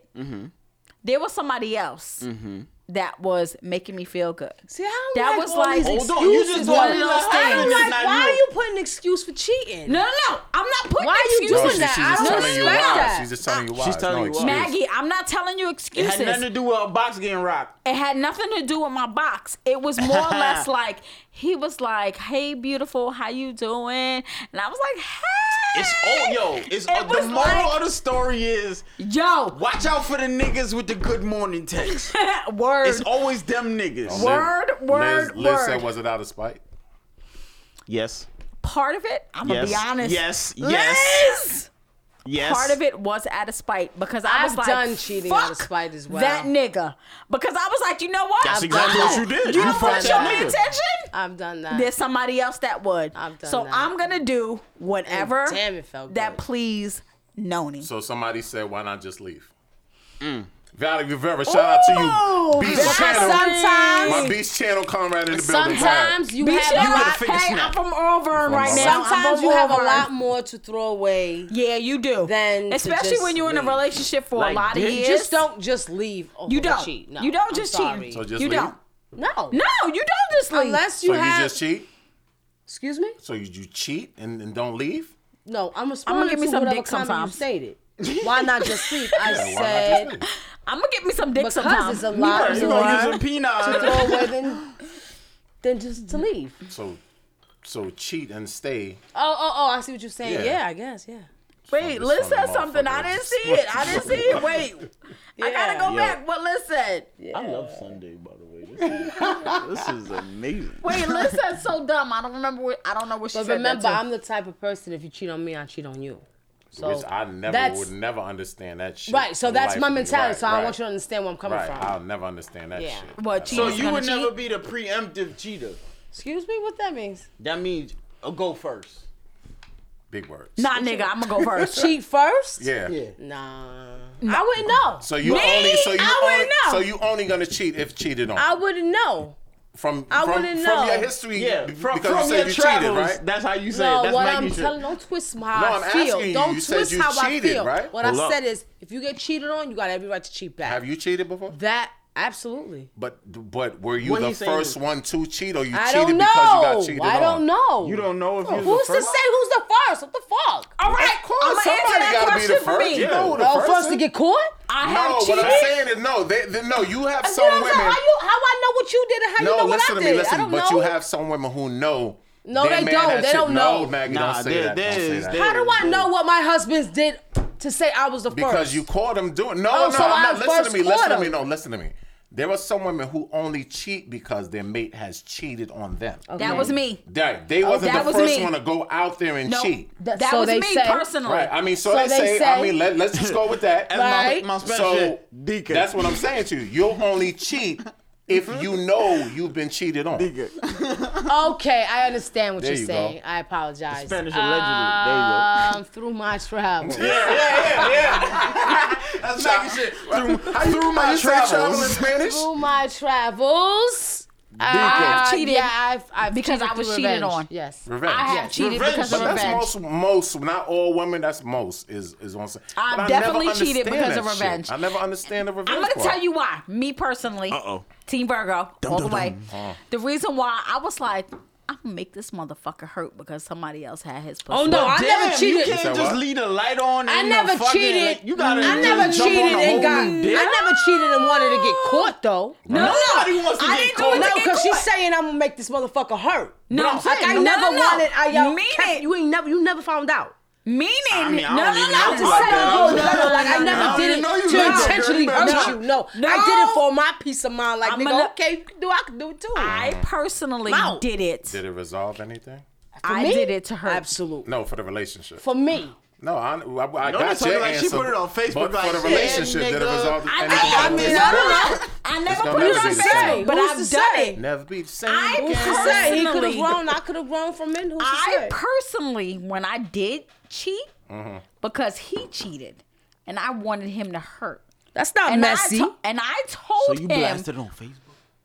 Speaker 3: there was somebody else
Speaker 4: Mm-hmm.
Speaker 3: that was making me feel good.
Speaker 6: See, I don't
Speaker 3: That
Speaker 6: like
Speaker 3: was
Speaker 6: all
Speaker 3: like-
Speaker 6: these
Speaker 4: Hold on, you
Speaker 6: excuses.
Speaker 4: just
Speaker 6: One of
Speaker 4: wanted
Speaker 6: those
Speaker 4: to hide
Speaker 6: things.
Speaker 4: it,
Speaker 6: Like,
Speaker 4: not
Speaker 6: why
Speaker 4: you.
Speaker 6: are you putting an excuse for cheating?
Speaker 3: No, no, no. I'm not putting
Speaker 6: Why are you
Speaker 5: No,
Speaker 3: excuses.
Speaker 6: doing
Speaker 5: she-
Speaker 6: that?
Speaker 5: she's
Speaker 6: I
Speaker 5: just
Speaker 6: don't
Speaker 5: telling you
Speaker 6: respect
Speaker 5: why.
Speaker 6: that.
Speaker 5: She's just telling you why.
Speaker 4: She's
Speaker 5: It's
Speaker 4: telling
Speaker 5: no
Speaker 4: you why.
Speaker 5: excuse.
Speaker 3: Maggie, I'm not telling you
Speaker 4: It
Speaker 3: excuses.
Speaker 4: had nothing to do with a box getting rocked.
Speaker 3: it had nothing to do with my box. It was more or less like he was like, "Hey, beautiful, how you doing?" And I was like, "Hey."
Speaker 4: It's all yo. It's
Speaker 3: It
Speaker 4: uh, the
Speaker 3: was
Speaker 4: moral
Speaker 3: like-
Speaker 4: of the story is
Speaker 3: yo
Speaker 4: watch out for the niggas with the good morning text.
Speaker 3: word
Speaker 4: it's always them niggas.
Speaker 5: Liz-
Speaker 3: word word
Speaker 5: Liz, Liz
Speaker 3: word.
Speaker 5: said, was it out of spite?
Speaker 4: Yes.
Speaker 3: part of it. I'm gonna
Speaker 4: Yes.
Speaker 3: be honest.
Speaker 4: Yes. Yes. Yes.
Speaker 3: Part of it was out of spite because I
Speaker 6: I've
Speaker 3: was like,
Speaker 6: done cheating out of
Speaker 3: "Fuck
Speaker 6: spite as well."
Speaker 3: That nigga, because I was like, you know what?
Speaker 4: That's
Speaker 3: I've
Speaker 4: exactly
Speaker 3: done
Speaker 4: what you
Speaker 3: that.
Speaker 4: did.
Speaker 3: You,
Speaker 4: You
Speaker 3: don't
Speaker 4: fucked
Speaker 3: want your
Speaker 4: that
Speaker 3: man
Speaker 4: nigga.
Speaker 3: attention.
Speaker 6: I've done that.
Speaker 3: There's somebody else that would.
Speaker 6: I've done
Speaker 3: so
Speaker 6: that.
Speaker 3: I'm gonna do whatever.
Speaker 6: And damn, it felt
Speaker 3: that
Speaker 6: good.
Speaker 3: please Noni.
Speaker 5: So somebody said, why not just leave?
Speaker 6: Mm.
Speaker 5: Valerie Rivera, shout out to you. Beast Channel. My
Speaker 6: sometimes,
Speaker 5: Beast Channel comrade in the building.
Speaker 6: sometimes you
Speaker 3: Bitch,
Speaker 6: have
Speaker 3: you
Speaker 6: a
Speaker 3: gotta
Speaker 6: lot.
Speaker 4: figure
Speaker 3: Hey,
Speaker 4: this out.
Speaker 3: I'm from Old Vernon right now. I'm
Speaker 6: Sometimes
Speaker 3: from
Speaker 6: you
Speaker 3: Old
Speaker 6: have a
Speaker 3: Vernon.
Speaker 6: lot more to throw away.
Speaker 3: Yeah, you do.
Speaker 6: than to
Speaker 3: especially
Speaker 6: just
Speaker 3: when you're in a
Speaker 6: leave.
Speaker 3: relationship for a
Speaker 4: Like,
Speaker 3: lot of
Speaker 4: you
Speaker 3: years.
Speaker 6: You just don't just leave. Over
Speaker 3: You don't.
Speaker 6: Cheat. No,
Speaker 3: you don't
Speaker 6: I'm
Speaker 3: just
Speaker 6: sorry.
Speaker 3: cheat.
Speaker 5: So just
Speaker 3: you
Speaker 5: leave?
Speaker 3: don't.
Speaker 6: No.
Speaker 3: No, you don't just leave.
Speaker 6: Unless you
Speaker 5: So you
Speaker 6: have.
Speaker 5: just cheat?
Speaker 6: excuse me.
Speaker 5: So you, you cheat and, and don't leave?
Speaker 6: No, I'm responding
Speaker 3: give me
Speaker 6: to
Speaker 3: some
Speaker 6: whatever
Speaker 3: dick
Speaker 6: comment
Speaker 3: sometimes.
Speaker 6: you stated. Why not just sleep? I
Speaker 5: Yeah, why not just
Speaker 6: said
Speaker 5: leave?
Speaker 3: I'm gonna get me some dick
Speaker 6: because
Speaker 3: sometime.
Speaker 6: it's a lot
Speaker 4: You gonna use
Speaker 6: more
Speaker 4: a
Speaker 6: to
Speaker 4: peanut?
Speaker 6: throw away than than just
Speaker 3: Mm.
Speaker 6: to leave.
Speaker 5: So, so cheat and stay.
Speaker 6: Oh, oh, oh! I see what you're saying.
Speaker 5: Yeah.
Speaker 6: Yeah, I guess. Yeah.
Speaker 3: Wait,
Speaker 5: This
Speaker 3: Liz said
Speaker 5: fucking
Speaker 3: something. I
Speaker 5: motherfucker
Speaker 3: didn't
Speaker 5: is-
Speaker 3: see it. I didn't see it. Wait, I gotta
Speaker 6: Yeah.
Speaker 3: go back. What Liz said.
Speaker 4: I love Sunday, by the way. This is, this is amazing.
Speaker 3: Wait, Liz said so dumb. Um, I don't remember. What, I don't know what she
Speaker 6: But
Speaker 3: said.
Speaker 6: remember,
Speaker 3: that to.
Speaker 6: I'm the type of person. If you cheat on me, I cheat on you. So
Speaker 5: Which I never
Speaker 6: that's-
Speaker 5: would never understand that shit.
Speaker 6: Right. So
Speaker 5: in
Speaker 6: that's
Speaker 5: life.
Speaker 6: my mentality.
Speaker 5: Right,
Speaker 6: so I
Speaker 5: right,
Speaker 6: want you to understand where I'm coming
Speaker 5: Right.
Speaker 6: from.
Speaker 5: I'll never understand that
Speaker 6: Yeah.
Speaker 5: shit.
Speaker 3: What,
Speaker 5: That's all.
Speaker 4: So
Speaker 3: He's
Speaker 4: you
Speaker 3: gonna
Speaker 4: would never
Speaker 3: cheat?
Speaker 4: be the preemptive cheater.
Speaker 6: Excuse me. What that means?
Speaker 4: That means uh, go first.
Speaker 5: big words.
Speaker 3: Nah, nigga, I'm gonna go first.
Speaker 6: Cheat first?
Speaker 5: Yeah.
Speaker 6: Nah. I wouldn't know.
Speaker 5: So you
Speaker 6: Me?
Speaker 5: only so you
Speaker 6: I wouldn't
Speaker 5: only
Speaker 6: know.
Speaker 5: so you only gonna cheat if cheated on.
Speaker 6: I wouldn't know.
Speaker 5: From
Speaker 6: I
Speaker 5: from,
Speaker 6: wouldn't
Speaker 5: from
Speaker 6: know.
Speaker 5: your history,
Speaker 4: Yeah,
Speaker 5: b-
Speaker 4: from,
Speaker 5: because
Speaker 4: from
Speaker 5: you said
Speaker 4: your
Speaker 5: you
Speaker 4: travels.
Speaker 5: cheated, right?
Speaker 4: That's how you say it.
Speaker 6: No,
Speaker 4: That's
Speaker 6: what
Speaker 4: Nike
Speaker 6: I'm
Speaker 4: shit.
Speaker 6: telling, don't twist how
Speaker 5: No,
Speaker 6: I
Speaker 5: I'm
Speaker 6: feel.
Speaker 5: asking you.
Speaker 6: Don't
Speaker 5: You said
Speaker 6: twist
Speaker 5: you
Speaker 6: how
Speaker 5: cheated,
Speaker 6: I feel.
Speaker 5: right?
Speaker 6: What
Speaker 5: Hold
Speaker 6: I
Speaker 5: up.
Speaker 6: said is, if you get cheated on, you got every right to cheat back.
Speaker 5: Have you cheated before?
Speaker 6: That absolutely.
Speaker 5: But but were you
Speaker 4: What
Speaker 5: the
Speaker 4: he saying
Speaker 5: first
Speaker 4: is-
Speaker 5: one to cheat, or you
Speaker 6: I
Speaker 5: cheated
Speaker 6: don't know.
Speaker 5: because you got cheated
Speaker 6: I
Speaker 5: on?
Speaker 6: don't know.
Speaker 4: You don't know if you
Speaker 6: Who's
Speaker 4: was
Speaker 6: to
Speaker 4: the
Speaker 6: say
Speaker 4: first.
Speaker 6: who's the first? What the fuck?
Speaker 3: All right,
Speaker 5: Of course,
Speaker 3: I'ma answer
Speaker 5: somebody
Speaker 3: that
Speaker 5: gotta be the
Speaker 3: question for
Speaker 5: first.
Speaker 3: me.
Speaker 5: You know who the
Speaker 6: No,
Speaker 5: first
Speaker 6: first to
Speaker 5: is.
Speaker 6: get caught?
Speaker 3: I
Speaker 5: No,
Speaker 3: have
Speaker 5: what
Speaker 3: cheated.
Speaker 5: I'm saying is no. They, they- no, you have
Speaker 6: You know what
Speaker 5: some
Speaker 6: I'm
Speaker 5: women.
Speaker 6: saying? How, you, how I know what you did and
Speaker 5: no,
Speaker 6: how you know what
Speaker 5: listen
Speaker 6: I
Speaker 5: to
Speaker 6: did?
Speaker 5: me, listen.
Speaker 6: I don't
Speaker 5: but
Speaker 6: know.
Speaker 5: you have some women who know.
Speaker 6: No,
Speaker 5: their
Speaker 6: they
Speaker 5: man
Speaker 6: don't.
Speaker 5: has
Speaker 6: They
Speaker 5: shit-
Speaker 6: don't
Speaker 5: no,
Speaker 6: know.
Speaker 5: Maggie,
Speaker 4: Nah,
Speaker 5: don't say
Speaker 4: there-
Speaker 5: that. Don't
Speaker 4: there
Speaker 5: say
Speaker 4: is-
Speaker 5: that.
Speaker 4: there-
Speaker 6: how do I know what my husband's did to say I was the first?
Speaker 5: Because you called him doing. No,
Speaker 6: Oh,
Speaker 5: no,
Speaker 6: so
Speaker 5: I'm
Speaker 6: I
Speaker 5: not. Listen to
Speaker 6: first
Speaker 5: me. Listen to
Speaker 6: caught
Speaker 5: me.
Speaker 6: him.
Speaker 5: No, listen to me. There are some women who only cheat because their mate has cheated on them.
Speaker 3: That was me.
Speaker 5: They, they wasn't
Speaker 3: that
Speaker 5: the
Speaker 3: was
Speaker 5: first
Speaker 3: me.
Speaker 5: one to go out there and
Speaker 3: No,
Speaker 5: cheat.
Speaker 6: That-
Speaker 3: that
Speaker 6: so
Speaker 3: was
Speaker 6: they
Speaker 3: me
Speaker 6: say-
Speaker 3: personally.
Speaker 5: Right. I mean, so,
Speaker 6: So
Speaker 5: let's
Speaker 6: they
Speaker 5: say,
Speaker 6: say-
Speaker 5: I mean, let, let's just go with that.
Speaker 4: That's my-
Speaker 6: Right.
Speaker 4: my special
Speaker 5: So
Speaker 4: shit. Deacon.
Speaker 5: that's what I'm saying to you. You'll only cheat if you know you've been cheated on.
Speaker 6: Okay, I understand what
Speaker 5: There
Speaker 6: you're
Speaker 5: you go.
Speaker 6: saying. I apologize.
Speaker 4: Spanish allegedly.
Speaker 6: Um, through my travels.
Speaker 5: Yeah, yeah, yeah. That's
Speaker 4: There you go. shit. Through, through
Speaker 5: How
Speaker 4: my
Speaker 5: you say travel in
Speaker 4: travels.
Speaker 5: Spanish?
Speaker 6: Through my travels.
Speaker 4: Deacon.
Speaker 6: uh,
Speaker 3: cheated
Speaker 6: Yeah, I've, I've
Speaker 3: because
Speaker 6: cheated
Speaker 3: I was
Speaker 6: through
Speaker 3: cheated
Speaker 6: revenge.
Speaker 3: on.
Speaker 6: Yes.
Speaker 5: Revenge.
Speaker 3: I have cheated
Speaker 4: Revenge,
Speaker 3: because
Speaker 5: But
Speaker 3: of
Speaker 5: that's
Speaker 3: revenge.
Speaker 5: most, most, not all women. That's most is is on.
Speaker 3: I've
Speaker 5: But I
Speaker 3: definitely
Speaker 5: never
Speaker 3: cheated
Speaker 5: understand
Speaker 3: because of
Speaker 5: that shit.
Speaker 3: revenge.
Speaker 5: I never understand the revenge.
Speaker 3: I'm gonna
Speaker 5: part.
Speaker 3: tell you why. Me personally,
Speaker 4: Uh-oh.
Speaker 3: Team Virgo, all the
Speaker 4: dum,
Speaker 3: way.
Speaker 4: dum.
Speaker 3: The reason why I was like, I'm gonna make this motherfucker hurt because somebody else had his pussy.
Speaker 6: Oh no, I
Speaker 4: Damn,
Speaker 6: never
Speaker 4: You
Speaker 6: cheated.
Speaker 4: can't
Speaker 5: said
Speaker 4: just
Speaker 5: what?
Speaker 4: leave the light on.
Speaker 6: I
Speaker 4: in the
Speaker 6: never
Speaker 4: fucking-
Speaker 6: cheated.
Speaker 4: You gotta.
Speaker 6: I
Speaker 4: just
Speaker 6: never
Speaker 4: jump on
Speaker 6: cheated
Speaker 4: the
Speaker 6: and
Speaker 4: whole
Speaker 6: got.
Speaker 4: new dick.
Speaker 6: I never cheated and wanted to get caught though. No, no,
Speaker 4: Nobody wants to
Speaker 3: I
Speaker 4: get
Speaker 3: didn't do
Speaker 4: caught.
Speaker 3: it to
Speaker 6: no,
Speaker 3: get
Speaker 6: because she's
Speaker 3: caught.
Speaker 6: saying I'm gonna make this motherfucker hurt.
Speaker 3: No, I'm
Speaker 6: like
Speaker 3: saying,
Speaker 6: I
Speaker 3: no,
Speaker 6: never
Speaker 3: no, no.
Speaker 6: wanted. I yo,
Speaker 3: Mean
Speaker 6: kept-
Speaker 3: it.
Speaker 6: you ain't never, you never found out.
Speaker 3: Meaning,
Speaker 4: I mean, I
Speaker 3: no,
Speaker 4: don't
Speaker 3: no,
Speaker 4: even
Speaker 3: no,
Speaker 4: know
Speaker 3: no,
Speaker 4: you like
Speaker 3: no,
Speaker 4: that.
Speaker 3: no,
Speaker 4: I
Speaker 6: Oh
Speaker 4: don't
Speaker 3: no, no,
Speaker 6: no,
Speaker 4: even
Speaker 6: no,
Speaker 3: no,
Speaker 6: like I
Speaker 3: no,
Speaker 6: never
Speaker 3: no.
Speaker 6: did
Speaker 4: even
Speaker 6: it
Speaker 4: know you
Speaker 6: to
Speaker 4: like that,
Speaker 6: intentionally
Speaker 4: girl. You
Speaker 6: hurt
Speaker 4: better
Speaker 6: you.
Speaker 4: not.
Speaker 6: No,
Speaker 3: No.
Speaker 6: I did it for my peace of mind. Like
Speaker 3: I'm
Speaker 6: nigga,
Speaker 3: gonna-
Speaker 6: okay, you can do, I can do it too.
Speaker 3: I personally
Speaker 6: Mouth.
Speaker 3: did it.
Speaker 5: Did it resolve anything?
Speaker 3: I
Speaker 6: me?
Speaker 3: did it to her.
Speaker 6: Absolutely.
Speaker 5: No, for the relationship.
Speaker 6: For me,
Speaker 5: no, I, I, I got
Speaker 4: that's what
Speaker 5: your
Speaker 4: like, she
Speaker 5: answer,
Speaker 4: put it on Facebook,
Speaker 5: But
Speaker 4: like,
Speaker 5: for the
Speaker 4: yeah,
Speaker 5: relationship, did it
Speaker 4: nigga.
Speaker 5: resolve
Speaker 3: I,
Speaker 5: anything?
Speaker 3: I, I
Speaker 5: It's
Speaker 3: mean,
Speaker 5: gonna
Speaker 3: I don't know. I never
Speaker 5: gonna
Speaker 3: put it
Speaker 5: never
Speaker 3: on
Speaker 5: be the same.
Speaker 3: Facebook, but
Speaker 6: Who's
Speaker 3: I've
Speaker 6: to
Speaker 3: done
Speaker 6: say?
Speaker 3: it.
Speaker 5: Never be the same.
Speaker 3: I
Speaker 5: again.
Speaker 6: who's to say he could have
Speaker 3: Personally.
Speaker 6: grown? I could have grown from men. Who's to
Speaker 3: I
Speaker 6: say?
Speaker 3: personally, when I did cheat,
Speaker 4: Mm-hmm.
Speaker 3: because he cheated, and I wanted him to hurt.
Speaker 6: That's not
Speaker 3: And
Speaker 6: messy.
Speaker 3: I to- and I told
Speaker 4: So Oh, you
Speaker 3: him
Speaker 4: blasted Oh, on Facebook.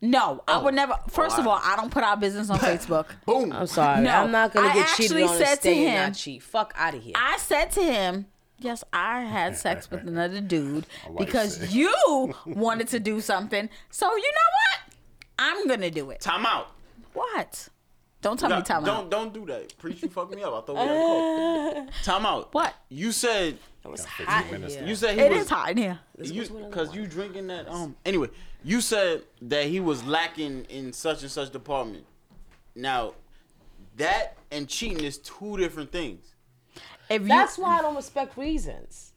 Speaker 3: no. I would never. First of all, I don't put out business on Facebook.
Speaker 4: Boom.
Speaker 6: I'm sorry.
Speaker 3: No,
Speaker 6: I'm not gonna
Speaker 3: I
Speaker 6: get
Speaker 3: actually
Speaker 6: cheated on
Speaker 3: said
Speaker 6: and
Speaker 3: to
Speaker 6: stay and
Speaker 3: him-
Speaker 6: not cheat. Fuck out of here.
Speaker 3: I said to him, "Yes, I had sex with another dude
Speaker 5: wife said.
Speaker 3: because you wanted to do something. So you know what? I'm gonna do it.
Speaker 4: Time out.
Speaker 3: What? Don't tell me
Speaker 4: Nah,
Speaker 3: time
Speaker 4: don't
Speaker 3: out.
Speaker 4: don't do that. Preach, you fucked me up. I thought we had a call. Time out.
Speaker 3: What?
Speaker 4: You said you said he
Speaker 3: It
Speaker 4: was
Speaker 3: is hot in here.
Speaker 4: because you drinking that. Um. Anyway, you said that he was lacking in such and such department. Now, that and cheating is two different things.
Speaker 3: If you
Speaker 6: That's why I don't respect reasons.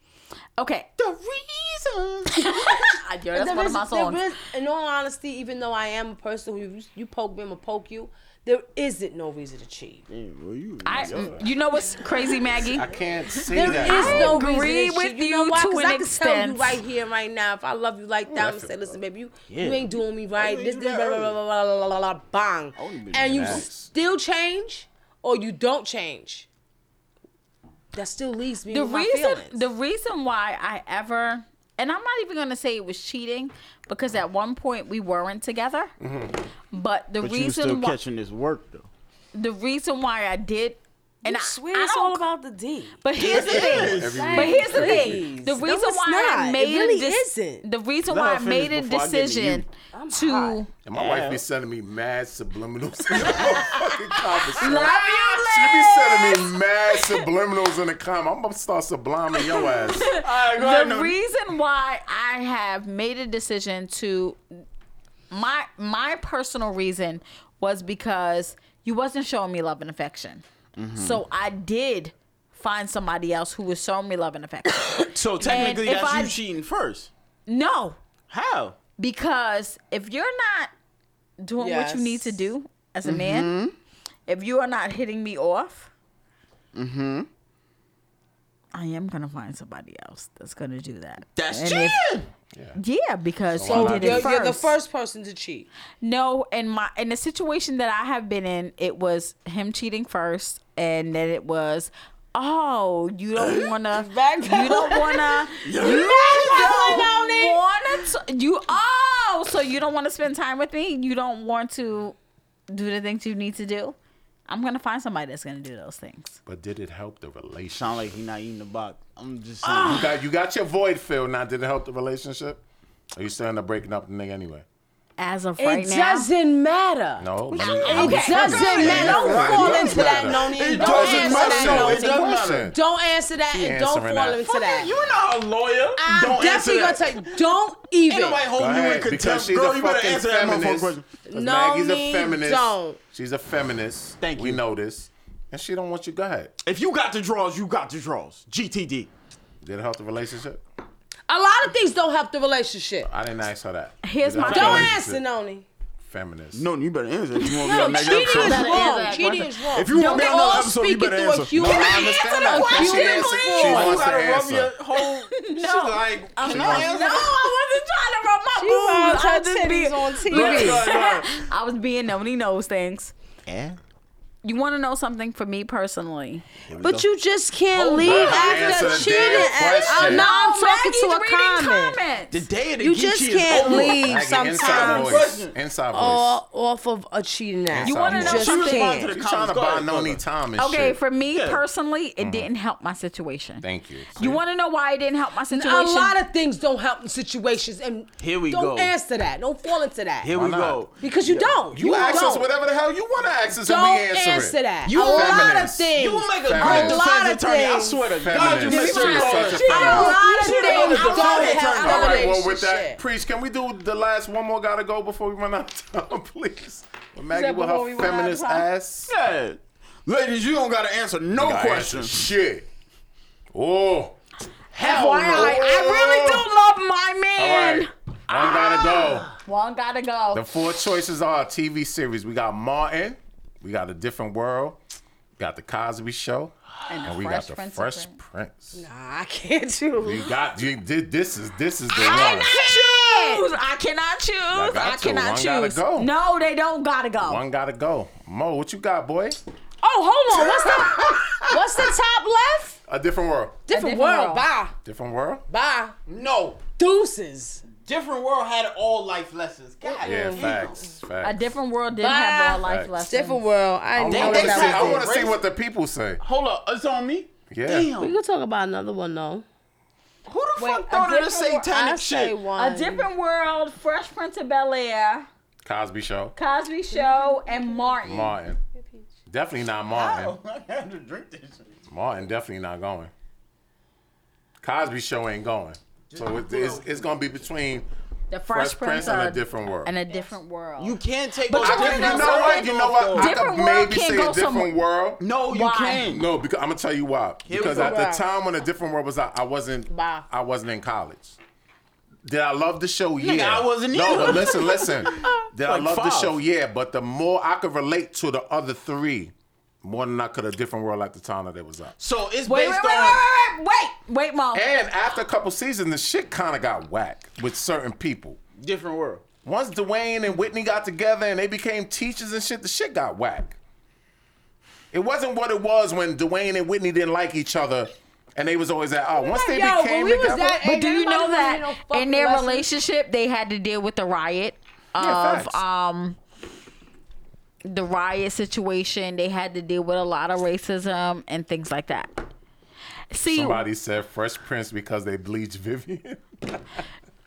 Speaker 3: okay,
Speaker 4: The reason.
Speaker 3: I- yo, that's
Speaker 6: There
Speaker 3: one of
Speaker 6: is-
Speaker 3: my
Speaker 6: there
Speaker 3: songs.
Speaker 6: is- in all honesty, even though I am a person who you, you poke me, I'm gonna poke you. There isn't no reason to cheat. There
Speaker 3: I, mm, you know what's crazy, Maggie?
Speaker 5: I can't say
Speaker 6: is
Speaker 5: that.
Speaker 6: no
Speaker 3: I agree
Speaker 6: reason to
Speaker 3: with
Speaker 6: cheat. You,
Speaker 3: you
Speaker 6: know why?
Speaker 3: to
Speaker 6: Because
Speaker 3: an
Speaker 6: I can tell you
Speaker 3: extent.
Speaker 6: right here, right now, if I love you like that, I'm gonna
Speaker 5: feel
Speaker 6: say, listen, baby, you, you
Speaker 4: Yeah.
Speaker 6: ain't doing me right.
Speaker 4: wouldn't
Speaker 6: This,
Speaker 4: do
Speaker 6: this,
Speaker 4: that
Speaker 6: blah, blah, blah,
Speaker 4: early.
Speaker 6: blah, blah, blah, blah, bang.
Speaker 4: wouldn't be
Speaker 6: And
Speaker 4: doing
Speaker 6: you
Speaker 4: that.
Speaker 6: still change, or you don't change. That still leaves me
Speaker 3: the
Speaker 6: with
Speaker 3: reason
Speaker 6: my feelings.
Speaker 3: the reason why I ever and I'm not even gonna say it was cheating because at one point we weren't together. But the
Speaker 4: But you
Speaker 3: reason
Speaker 4: still
Speaker 3: why
Speaker 4: catching this work though.
Speaker 3: the reason why I did and I
Speaker 6: swear
Speaker 3: I
Speaker 6: it's
Speaker 3: don't-
Speaker 6: all about the D.
Speaker 3: But here's the thing. But here's the thing. The
Speaker 6: Please.
Speaker 3: reason
Speaker 6: No, it's
Speaker 3: why
Speaker 6: not.
Speaker 3: I
Speaker 6: It
Speaker 3: made
Speaker 6: really
Speaker 3: a dec-
Speaker 6: isn't.
Speaker 3: the reason
Speaker 4: Let
Speaker 3: why
Speaker 4: her
Speaker 3: I made a
Speaker 4: finish before I get to
Speaker 3: decision
Speaker 6: I'm hot.
Speaker 3: to
Speaker 5: And my wife be sending me mad subliminals in the fucking conversation.
Speaker 3: love
Speaker 5: She
Speaker 3: you,
Speaker 5: be sending me mad subliminals in the comment. I'm gonna start subliming your ass.
Speaker 3: the reason why I have made a decision to my my personal reason was because you wasn't showing me love and affection.
Speaker 4: Mm-hmm.
Speaker 3: So I did find somebody else who was showing me love and affection.
Speaker 4: So technically,
Speaker 3: if
Speaker 4: that's
Speaker 3: I-
Speaker 4: you cheating first.
Speaker 3: no,
Speaker 4: How?
Speaker 3: because if you're not doing what you need to
Speaker 6: Yes.
Speaker 3: do as a man, if you are not hitting me off,
Speaker 6: Mm-hmm.
Speaker 3: I am gonna find somebody else that's gonna do that.
Speaker 4: That's
Speaker 3: And
Speaker 4: cheating.
Speaker 3: if- yeah, because
Speaker 5: why
Speaker 3: you
Speaker 5: not
Speaker 3: did
Speaker 6: You're,
Speaker 3: it 1st
Speaker 6: you're the first person to cheat.
Speaker 3: No, in my in the situation that I have been in, it was him cheating first, and then it was, oh, you don't wanna, you don't wanna, you don't wanna, t- you oh, Oh, so you don't want to spend time with me? You don't want to do the things you need to do? I'm gonna find somebody that's gonna do those things.
Speaker 5: But did it help the relationship?
Speaker 4: Sound like he not eating the box. I'm just saying.
Speaker 5: You got, you got your void filled now. Did it help the relationship? Are you still end up breaking up the nigga anyway?
Speaker 3: As of
Speaker 6: It
Speaker 3: right now,
Speaker 6: doesn't matter.
Speaker 5: No.
Speaker 6: It doesn't matter. Don't
Speaker 5: Right.
Speaker 6: fall
Speaker 5: It
Speaker 6: into
Speaker 5: does
Speaker 6: that,
Speaker 5: matter.
Speaker 6: Noni.
Speaker 5: It
Speaker 6: Don't
Speaker 5: doesn't
Speaker 6: answer
Speaker 5: matter.
Speaker 6: that,
Speaker 5: No,
Speaker 6: Noni.
Speaker 5: it doesn't matter.
Speaker 6: Don't answer that
Speaker 5: She
Speaker 6: and don't
Speaker 5: answering
Speaker 6: fall
Speaker 5: that.
Speaker 6: into that.
Speaker 4: You're not a lawyer.
Speaker 6: I'm
Speaker 4: Don't answer
Speaker 6: definitely
Speaker 4: that.
Speaker 6: gonna tell you. Don't even.
Speaker 4: Ain't nobody
Speaker 5: Go
Speaker 4: holding you in
Speaker 5: ahead, because
Speaker 4: contempt,
Speaker 5: she's
Speaker 4: girl.
Speaker 5: a
Speaker 4: You better
Speaker 5: fucking
Speaker 4: answer that motherfucking
Speaker 5: feminist.
Speaker 4: question.
Speaker 5: 'Cause
Speaker 6: No,
Speaker 5: Maggie's
Speaker 6: me
Speaker 5: a feminist.
Speaker 6: don't.
Speaker 5: She's a feminist.
Speaker 4: Thank
Speaker 5: We
Speaker 4: you.
Speaker 5: know this. And she don't want you. Go ahead.
Speaker 4: If you got the draws, you got the draws. GTD.
Speaker 5: Did it help the relationship?
Speaker 6: A lot of things don't help the relationship.
Speaker 5: I didn't ask her that.
Speaker 3: Here's
Speaker 5: Did it
Speaker 3: my
Speaker 5: help the
Speaker 3: thing.
Speaker 6: Don't
Speaker 5: relationship?
Speaker 6: answer, Noni.
Speaker 5: Feminist.
Speaker 4: No, you better answer. If you want
Speaker 6: No,
Speaker 4: to be on
Speaker 6: cheating
Speaker 4: that
Speaker 6: is
Speaker 4: episode.
Speaker 6: wrong.
Speaker 3: that
Speaker 6: Cheating
Speaker 3: question.
Speaker 6: is wrong.
Speaker 4: If you wanna
Speaker 6: They
Speaker 4: be on another
Speaker 6: all
Speaker 4: episode, you
Speaker 6: speaking
Speaker 4: better
Speaker 6: through a
Speaker 4: answer.
Speaker 6: human-
Speaker 5: No, I understand that.
Speaker 6: a
Speaker 5: She
Speaker 6: human
Speaker 5: answered-
Speaker 6: form.
Speaker 5: she
Speaker 4: You
Speaker 5: wants
Speaker 4: gotta
Speaker 5: to
Speaker 4: rub
Speaker 5: answer.
Speaker 4: your whole. She's like,
Speaker 3: I'm
Speaker 4: can
Speaker 3: not-
Speaker 4: I
Speaker 3: no,
Speaker 4: answer?
Speaker 3: I wasn't trying to rub my boobs. I was just being
Speaker 4: Right,
Speaker 3: I was being nobody knows things.
Speaker 4: right,
Speaker 3: You want to know something for me personally?
Speaker 6: But you just can't
Speaker 3: Oh,
Speaker 4: Hold
Speaker 6: leave
Speaker 4: on.
Speaker 5: Answer
Speaker 6: after
Speaker 5: the
Speaker 6: cheating.
Speaker 5: damn
Speaker 6: And- Oh,
Speaker 5: question.
Speaker 6: now I'm talking
Speaker 3: Maggie's
Speaker 6: to a
Speaker 3: reading
Speaker 6: comment.
Speaker 4: The
Speaker 3: comments.
Speaker 4: day of the
Speaker 6: You
Speaker 4: Geechee
Speaker 6: just
Speaker 4: is
Speaker 6: can't
Speaker 4: over.
Speaker 6: leave
Speaker 5: Maggie, inside
Speaker 6: sometimes.
Speaker 5: voice.
Speaker 4: Question.
Speaker 5: Inside voice.
Speaker 6: Or off of a cheating act.
Speaker 5: You wanna know
Speaker 6: just
Speaker 4: She
Speaker 3: something?
Speaker 4: responded
Speaker 6: can't.
Speaker 4: to
Speaker 5: you
Speaker 4: the
Speaker 5: trying
Speaker 4: comments.
Speaker 5: to
Speaker 4: Go
Speaker 5: buy
Speaker 4: ahead,
Speaker 5: Noni
Speaker 4: brother.
Speaker 5: time and
Speaker 3: Okay,
Speaker 5: shit. Mm-hmm.
Speaker 3: for me
Speaker 4: Yeah.
Speaker 3: personally, it didn't help my situation.
Speaker 5: Thank you.
Speaker 3: You want to know why it didn't help my situation?
Speaker 6: A lot of things don't help in situations, and
Speaker 4: Here we
Speaker 6: don't
Speaker 4: go.
Speaker 6: answer that. Don't fall into that
Speaker 4: Here
Speaker 5: Why
Speaker 4: we
Speaker 5: not?
Speaker 4: go.
Speaker 6: because you don't.
Speaker 5: You, ask
Speaker 6: don't.
Speaker 5: us whatever the hell you want to ask us,
Speaker 6: Don't
Speaker 5: and we answer,
Speaker 6: answer,
Speaker 5: it.
Speaker 6: that. a
Speaker 4: You
Speaker 6: lot of
Speaker 5: feminist.
Speaker 6: things.
Speaker 4: You will make a great
Speaker 5: Feminist.
Speaker 6: A lot
Speaker 4: defense
Speaker 6: of
Speaker 4: attorney. I
Speaker 6: things.
Speaker 4: swear to God,
Speaker 5: Feminist.
Speaker 4: you
Speaker 5: You're
Speaker 4: missed your
Speaker 5: such a
Speaker 4: calls.
Speaker 5: feminist.
Speaker 6: a lot of
Speaker 4: You should've been a
Speaker 6: things
Speaker 4: defense
Speaker 6: don't
Speaker 4: attorney.
Speaker 6: help
Speaker 5: All right, well,
Speaker 6: Relationship.
Speaker 5: with that, Priest, can we do the last one more gotta go before we run out of time, please? With Maggie
Speaker 6: that
Speaker 5: with
Speaker 6: before we
Speaker 5: her
Speaker 6: run out of
Speaker 5: feminist
Speaker 6: time?
Speaker 5: ass.
Speaker 4: Yeah. Ladies, you don't gotta answer no
Speaker 5: Gotta answer
Speaker 4: questions.
Speaker 5: Shit. Oh.
Speaker 3: FYI, I really do
Speaker 4: Oh.
Speaker 3: love my
Speaker 5: All
Speaker 3: man.
Speaker 5: right. One gotta go.
Speaker 3: One gotta go.
Speaker 5: The four choices are TV series. We got Martin. We got A Different World. We got The Cosby Show. And, we
Speaker 3: Fresh
Speaker 5: got The
Speaker 3: Prince of
Speaker 5: Fresh
Speaker 3: Bel-
Speaker 5: Prince.
Speaker 6: I can't choose.
Speaker 5: You got you, thi- this is this is the
Speaker 3: I
Speaker 5: one.
Speaker 3: cannot choose. I cannot choose.
Speaker 5: got
Speaker 3: I
Speaker 5: to.
Speaker 3: cannot
Speaker 5: One gotta
Speaker 3: choose.
Speaker 5: go.
Speaker 3: No, they don't gotta go.
Speaker 5: One gotta go. Mo, what you got, boy?
Speaker 3: Oh, hold on. What's the what's the top left?
Speaker 5: A different world.
Speaker 6: Different,
Speaker 3: different
Speaker 6: world.
Speaker 3: world.
Speaker 6: Bye.
Speaker 5: Different world?
Speaker 6: Bye.
Speaker 4: No.
Speaker 6: Deuces.
Speaker 4: Different world had all life lessons. God
Speaker 5: Yeah,
Speaker 4: damn.
Speaker 5: facts. Facts.
Speaker 3: A different world did have all life
Speaker 5: Facts.
Speaker 3: lessons.
Speaker 6: Different world. I
Speaker 5: I
Speaker 6: know
Speaker 5: wanna
Speaker 4: they
Speaker 6: what
Speaker 5: see-
Speaker 4: said-
Speaker 6: that
Speaker 5: I
Speaker 6: was.
Speaker 5: want to see what the people say.
Speaker 4: Hold up, it's on me.
Speaker 5: Yeah.
Speaker 4: Damn.
Speaker 6: We
Speaker 4: Who
Speaker 6: could talk about another one though.
Speaker 4: the
Speaker 6: Wait,
Speaker 4: fuck thought of
Speaker 6: a
Speaker 4: the
Speaker 6: different wor- I
Speaker 4: satanic
Speaker 6: say
Speaker 4: shit?
Speaker 6: one.
Speaker 3: A different world, Fresh Prince of Bel Air,
Speaker 5: Cosby Show.
Speaker 3: Cosby Show, and Martin.
Speaker 5: Martin. Definitely not Martin.
Speaker 4: Oh, I had to drink this.
Speaker 5: Martin definitely not going. Cosby Show ain't going. So it, it's, it's gonna be between
Speaker 3: the
Speaker 5: Fresh,
Speaker 3: Fresh,
Speaker 5: Prince, and a different world.
Speaker 3: and a different world.
Speaker 4: You can't take
Speaker 3: But
Speaker 4: all
Speaker 3: you
Speaker 5: I
Speaker 3: wanna
Speaker 5: could-
Speaker 3: know
Speaker 5: you know what?
Speaker 3: something?
Speaker 5: You know what? I could
Speaker 3: Different world
Speaker 5: maybe
Speaker 3: can't
Speaker 5: say
Speaker 3: go
Speaker 5: a different
Speaker 3: somewhere.
Speaker 5: world.
Speaker 4: No, you
Speaker 3: Why?
Speaker 4: can't.
Speaker 5: No, because I'm gonna tell you why. Because
Speaker 4: we
Speaker 5: at
Speaker 4: go.
Speaker 5: the time when a different world was out, I wasn't.
Speaker 6: Bye.
Speaker 5: I wasn't in college. Did I love the show? Yeah.
Speaker 4: I wasn't
Speaker 5: No,
Speaker 4: either.
Speaker 5: but listen, listen. Did I
Speaker 4: Like
Speaker 5: love the
Speaker 4: five.
Speaker 5: show? Yeah, but the more I could relate to the other three, more than I could a different world at the time that it was out.
Speaker 4: So it's
Speaker 3: wait, wait,
Speaker 4: based
Speaker 3: wait, wait,
Speaker 4: on.
Speaker 3: wait, wait, wait, wait,
Speaker 6: Oh.
Speaker 3: Mom.
Speaker 5: And after a couple seasons, the shit kind of got whack with certain people.
Speaker 4: Different world.
Speaker 5: Once Dwayne and Whitney got together and they became teachers and shit, the shit got whack. It wasn't what it was when Dwayne and Whitney didn't like each other, and they was always at oh. Once they
Speaker 6: Yo, when
Speaker 5: became
Speaker 6: we was
Speaker 5: together,
Speaker 6: that
Speaker 3: But
Speaker 6: age,
Speaker 3: do you
Speaker 6: everybody
Speaker 3: know
Speaker 6: wanted to
Speaker 3: that
Speaker 6: fucking
Speaker 3: in their
Speaker 6: lessons.
Speaker 3: relationship they had to deal with the riot
Speaker 5: Yeah,
Speaker 3: of
Speaker 5: facts.
Speaker 3: um the riot situation. They had to deal with a lot of racism and things like that. See,
Speaker 5: somebody said Fresh Prince because they bleached Vivian.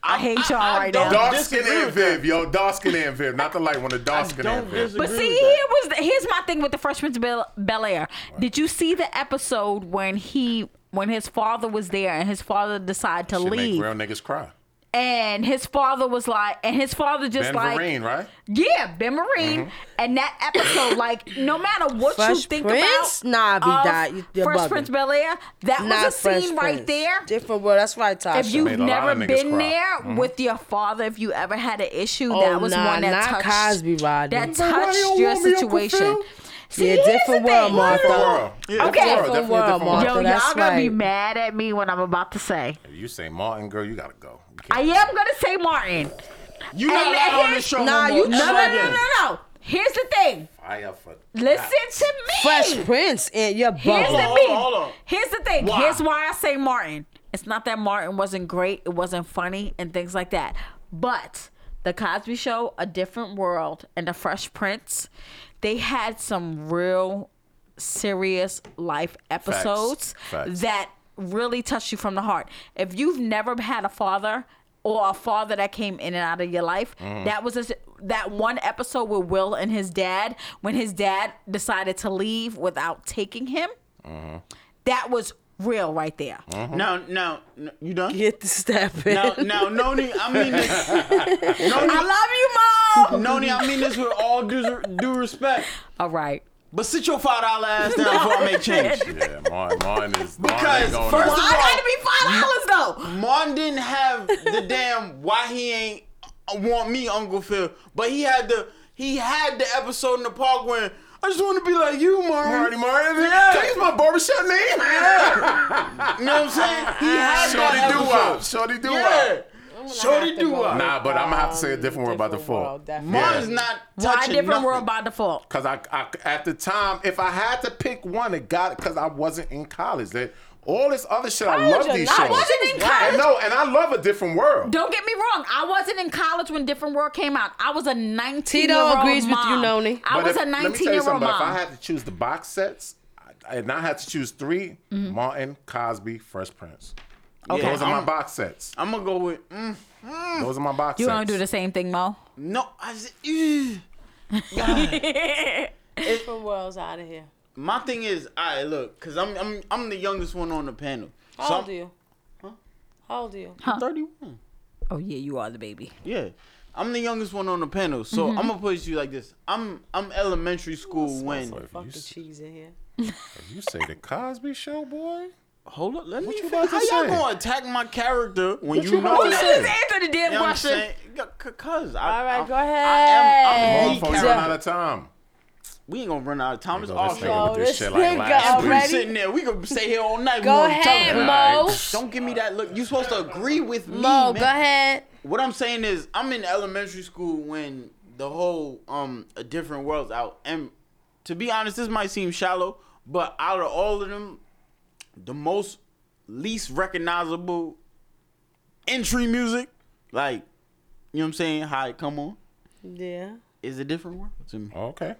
Speaker 3: I hate y'all
Speaker 4: I- I
Speaker 3: right
Speaker 4: don't-
Speaker 3: now.
Speaker 5: dark skin
Speaker 4: disagree
Speaker 5: and
Speaker 4: with
Speaker 5: Viv, yo, dark skin and Viv, not the light one, the dark skin and
Speaker 4: Don't
Speaker 5: Viv.
Speaker 4: disagree
Speaker 3: But see, here
Speaker 4: with that.
Speaker 3: was the, here's my thing with the Fresh Prince of Bel, Bel Air. Did you see the episode when he when his father was there and his father decided to
Speaker 5: Should make
Speaker 3: leave
Speaker 5: real niggas cry.
Speaker 3: and his father was like and his father just
Speaker 5: Ben
Speaker 3: like
Speaker 5: Vereen, right? Mm-hmm.
Speaker 3: yeah Ben Marine and that episode like no matter what you
Speaker 6: Fresh
Speaker 3: think
Speaker 6: Prince?
Speaker 3: about
Speaker 6: Nah, be
Speaker 3: of
Speaker 6: that- you- you're
Speaker 3: Fresh
Speaker 6: bugging.
Speaker 3: Prince Bel Air that
Speaker 6: Not
Speaker 3: was a
Speaker 6: Fresh
Speaker 3: scene right
Speaker 6: Prince.
Speaker 3: there.
Speaker 6: Different world. That's right, Tasha.
Speaker 3: If you've
Speaker 5: Made a lot
Speaker 3: never
Speaker 5: of niggas
Speaker 3: been
Speaker 5: cry. Mm-hmm.
Speaker 3: there with your father, if you ever had an issue,
Speaker 6: Oh,
Speaker 3: that was
Speaker 6: nah,
Speaker 3: one that
Speaker 6: not
Speaker 3: touched
Speaker 6: Cosby, Rodney.
Speaker 3: that
Speaker 5: why you
Speaker 3: touched
Speaker 5: don't
Speaker 3: your
Speaker 5: want me, Uncle
Speaker 3: situation.
Speaker 5: Phil?
Speaker 3: See,
Speaker 6: Yeah,
Speaker 3: here's the
Speaker 6: different
Speaker 3: thing.
Speaker 6: world, Martha.
Speaker 5: Different world. Yeah,
Speaker 3: Okay.
Speaker 5: different world,
Speaker 6: Different
Speaker 5: definitely a
Speaker 6: world,
Speaker 5: different world.
Speaker 3: Yo,
Speaker 6: So that's
Speaker 3: y'all gonna be
Speaker 6: right.
Speaker 3: mad at me when I'm about to say.
Speaker 5: If you say Martin, girl, you gotta go. You
Speaker 3: I
Speaker 5: can't-
Speaker 3: am gonna say Martin.
Speaker 4: You not
Speaker 3: And
Speaker 4: allowed on
Speaker 3: here's-
Speaker 4: this show.
Speaker 6: Nah,
Speaker 4: no
Speaker 6: you
Speaker 4: more.
Speaker 3: No, no,
Speaker 4: Never
Speaker 3: no,
Speaker 4: again.
Speaker 3: no, no, no. Here's the thing.
Speaker 5: Fire for
Speaker 3: Listen to me.
Speaker 6: Fresh Prince and your
Speaker 3: Here's the
Speaker 6: bubble.
Speaker 4: on,
Speaker 3: thing.
Speaker 4: hold on.
Speaker 3: Here's the thing.
Speaker 4: Why?
Speaker 3: Here's why I say Martin. It's not that Martin wasn't great. It wasn't funny and things like that. But The Cosby Show, A Different World, and The Fresh Prince, they had some real serious life episodes
Speaker 5: Facts.
Speaker 3: that really touched you from the heart. If you've never had a father or a father that came in and out of your life,
Speaker 5: Mm.
Speaker 12: Mhm.
Speaker 3: that was a, that one episode with Will and his dad when his dad decided to leave without taking him.
Speaker 5: Mm-hmm.
Speaker 3: That was real right there.
Speaker 4: Now, now, n- you done?
Speaker 6: Get the step in.
Speaker 4: Now, now, Noni, I mean this.
Speaker 3: I love you, mom.
Speaker 4: Noni, I mean this with all due, due respect.
Speaker 3: All right.
Speaker 4: But sit your five dollar ass down before I make change.
Speaker 5: Yeah, mine, mine is mine
Speaker 4: Because
Speaker 5: ain't going
Speaker 4: first
Speaker 5: nowhere.
Speaker 4: of
Speaker 3: I
Speaker 4: all,
Speaker 3: gotta be five dollars though.
Speaker 4: Mon didn't have the damn why he ain't uh, want me Uncle Phil, but he had the he had the episode in the park when I just want to be like you, Mom.
Speaker 3: Mm-hmm.
Speaker 5: Marty Martin,
Speaker 4: Yeah.
Speaker 5: Can I use my barbershop name.
Speaker 4: You know what I'm saying? He had
Speaker 5: Shorty
Speaker 4: that
Speaker 5: do
Speaker 4: episode.
Speaker 5: wop, Shorty do
Speaker 4: Yeah.
Speaker 5: wop.
Speaker 4: Shorty do wop.
Speaker 5: Nah, but I'm gonna have to say a different word about the fall.
Speaker 4: Mon's not
Speaker 3: Why
Speaker 4: touching
Speaker 3: different
Speaker 4: nothing.
Speaker 3: world by default?
Speaker 5: Cause I, I, at the time, if I had to pick one, it got it. Cause I wasn't in college. That all this other shit, I
Speaker 6: College
Speaker 5: love
Speaker 6: or
Speaker 5: these
Speaker 6: not,
Speaker 5: shows.
Speaker 3: I wasn't in
Speaker 5: And
Speaker 3: college.
Speaker 5: no, and I love a different world.
Speaker 3: Don't get me wrong. I wasn't in college when Different World came out. I was a 19 year old
Speaker 6: Tito agrees with you,
Speaker 3: mom.
Speaker 6: Noni.
Speaker 3: I
Speaker 5: But if-
Speaker 3: was
Speaker 5: let
Speaker 3: a
Speaker 5: me
Speaker 3: 19
Speaker 5: tell you
Speaker 3: year old
Speaker 5: something,
Speaker 3: mom.
Speaker 5: But if I had to choose the box sets, I, and I had to choose 3
Speaker 3: Mm-hmm.
Speaker 5: Martin, Cosby, Fresh Prince.
Speaker 4: Okay.
Speaker 5: Those are my
Speaker 4: I'm-
Speaker 5: box sets.
Speaker 4: I'm gonna go with mm,
Speaker 5: Those are my box
Speaker 3: you
Speaker 5: sets.
Speaker 3: want to do the same thing, Mo?
Speaker 4: no. I said, "Ew."
Speaker 6: Different worlds out of here.
Speaker 4: my thing is, all right, look, cause I'm I'm I'm the youngest one on the panel.
Speaker 6: How
Speaker 4: so
Speaker 6: old
Speaker 4: I'm-
Speaker 6: are you? How old are you?
Speaker 4: I'm 31.
Speaker 3: Oh yeah, you are the baby.
Speaker 4: Yeah. I'm the youngest one on the panel, so I'm gonna put you like this. I'm I'm elementary school when.
Speaker 5: So if
Speaker 6: Fuck
Speaker 5: you,
Speaker 6: the
Speaker 5: s-
Speaker 6: cheese in here.
Speaker 5: if you say the Cosby Show, boy.
Speaker 4: Hold up, let me.
Speaker 5: you
Speaker 4: fin-
Speaker 5: about to
Speaker 4: how
Speaker 5: say?
Speaker 4: y'all gonna attack my character when
Speaker 5: What
Speaker 4: you,
Speaker 5: you
Speaker 4: know?
Speaker 5: about to
Speaker 4: that-
Speaker 5: say?
Speaker 3: Just answer the damn
Speaker 4: You know what I'm
Speaker 3: question.
Speaker 4: saying? Yeah, c- Cause I,
Speaker 6: All right,
Speaker 4: I,
Speaker 6: go
Speaker 4: I am, I'm
Speaker 5: Motherfuckers
Speaker 4: the
Speaker 5: run
Speaker 4: character.
Speaker 5: out of time.
Speaker 4: We ain't gonna run out of time. It's
Speaker 5: Yo,
Speaker 4: all
Speaker 5: this nigga
Speaker 4: show.
Speaker 5: with this
Speaker 6: this
Speaker 5: shit like
Speaker 6: nigga
Speaker 5: last
Speaker 4: We
Speaker 5: week.
Speaker 6: already-
Speaker 4: sitting there. We could stay here all night. We
Speaker 6: Go
Speaker 4: wanna talk
Speaker 6: ahead,
Speaker 4: about it.
Speaker 6: Mo.
Speaker 4: Don't give me that look. You supposed to agree with me,
Speaker 6: Mo,
Speaker 4: man.
Speaker 6: go ahead.
Speaker 4: What I'm saying is, I'm in elementary school when the whole um a different worlds out. And to be honest, this might seem shallow, but out of all of them, the most least recognizable entry music, like you know what I'm saying, how it come on,
Speaker 6: Yeah.
Speaker 4: is a different world to me.
Speaker 5: Okay.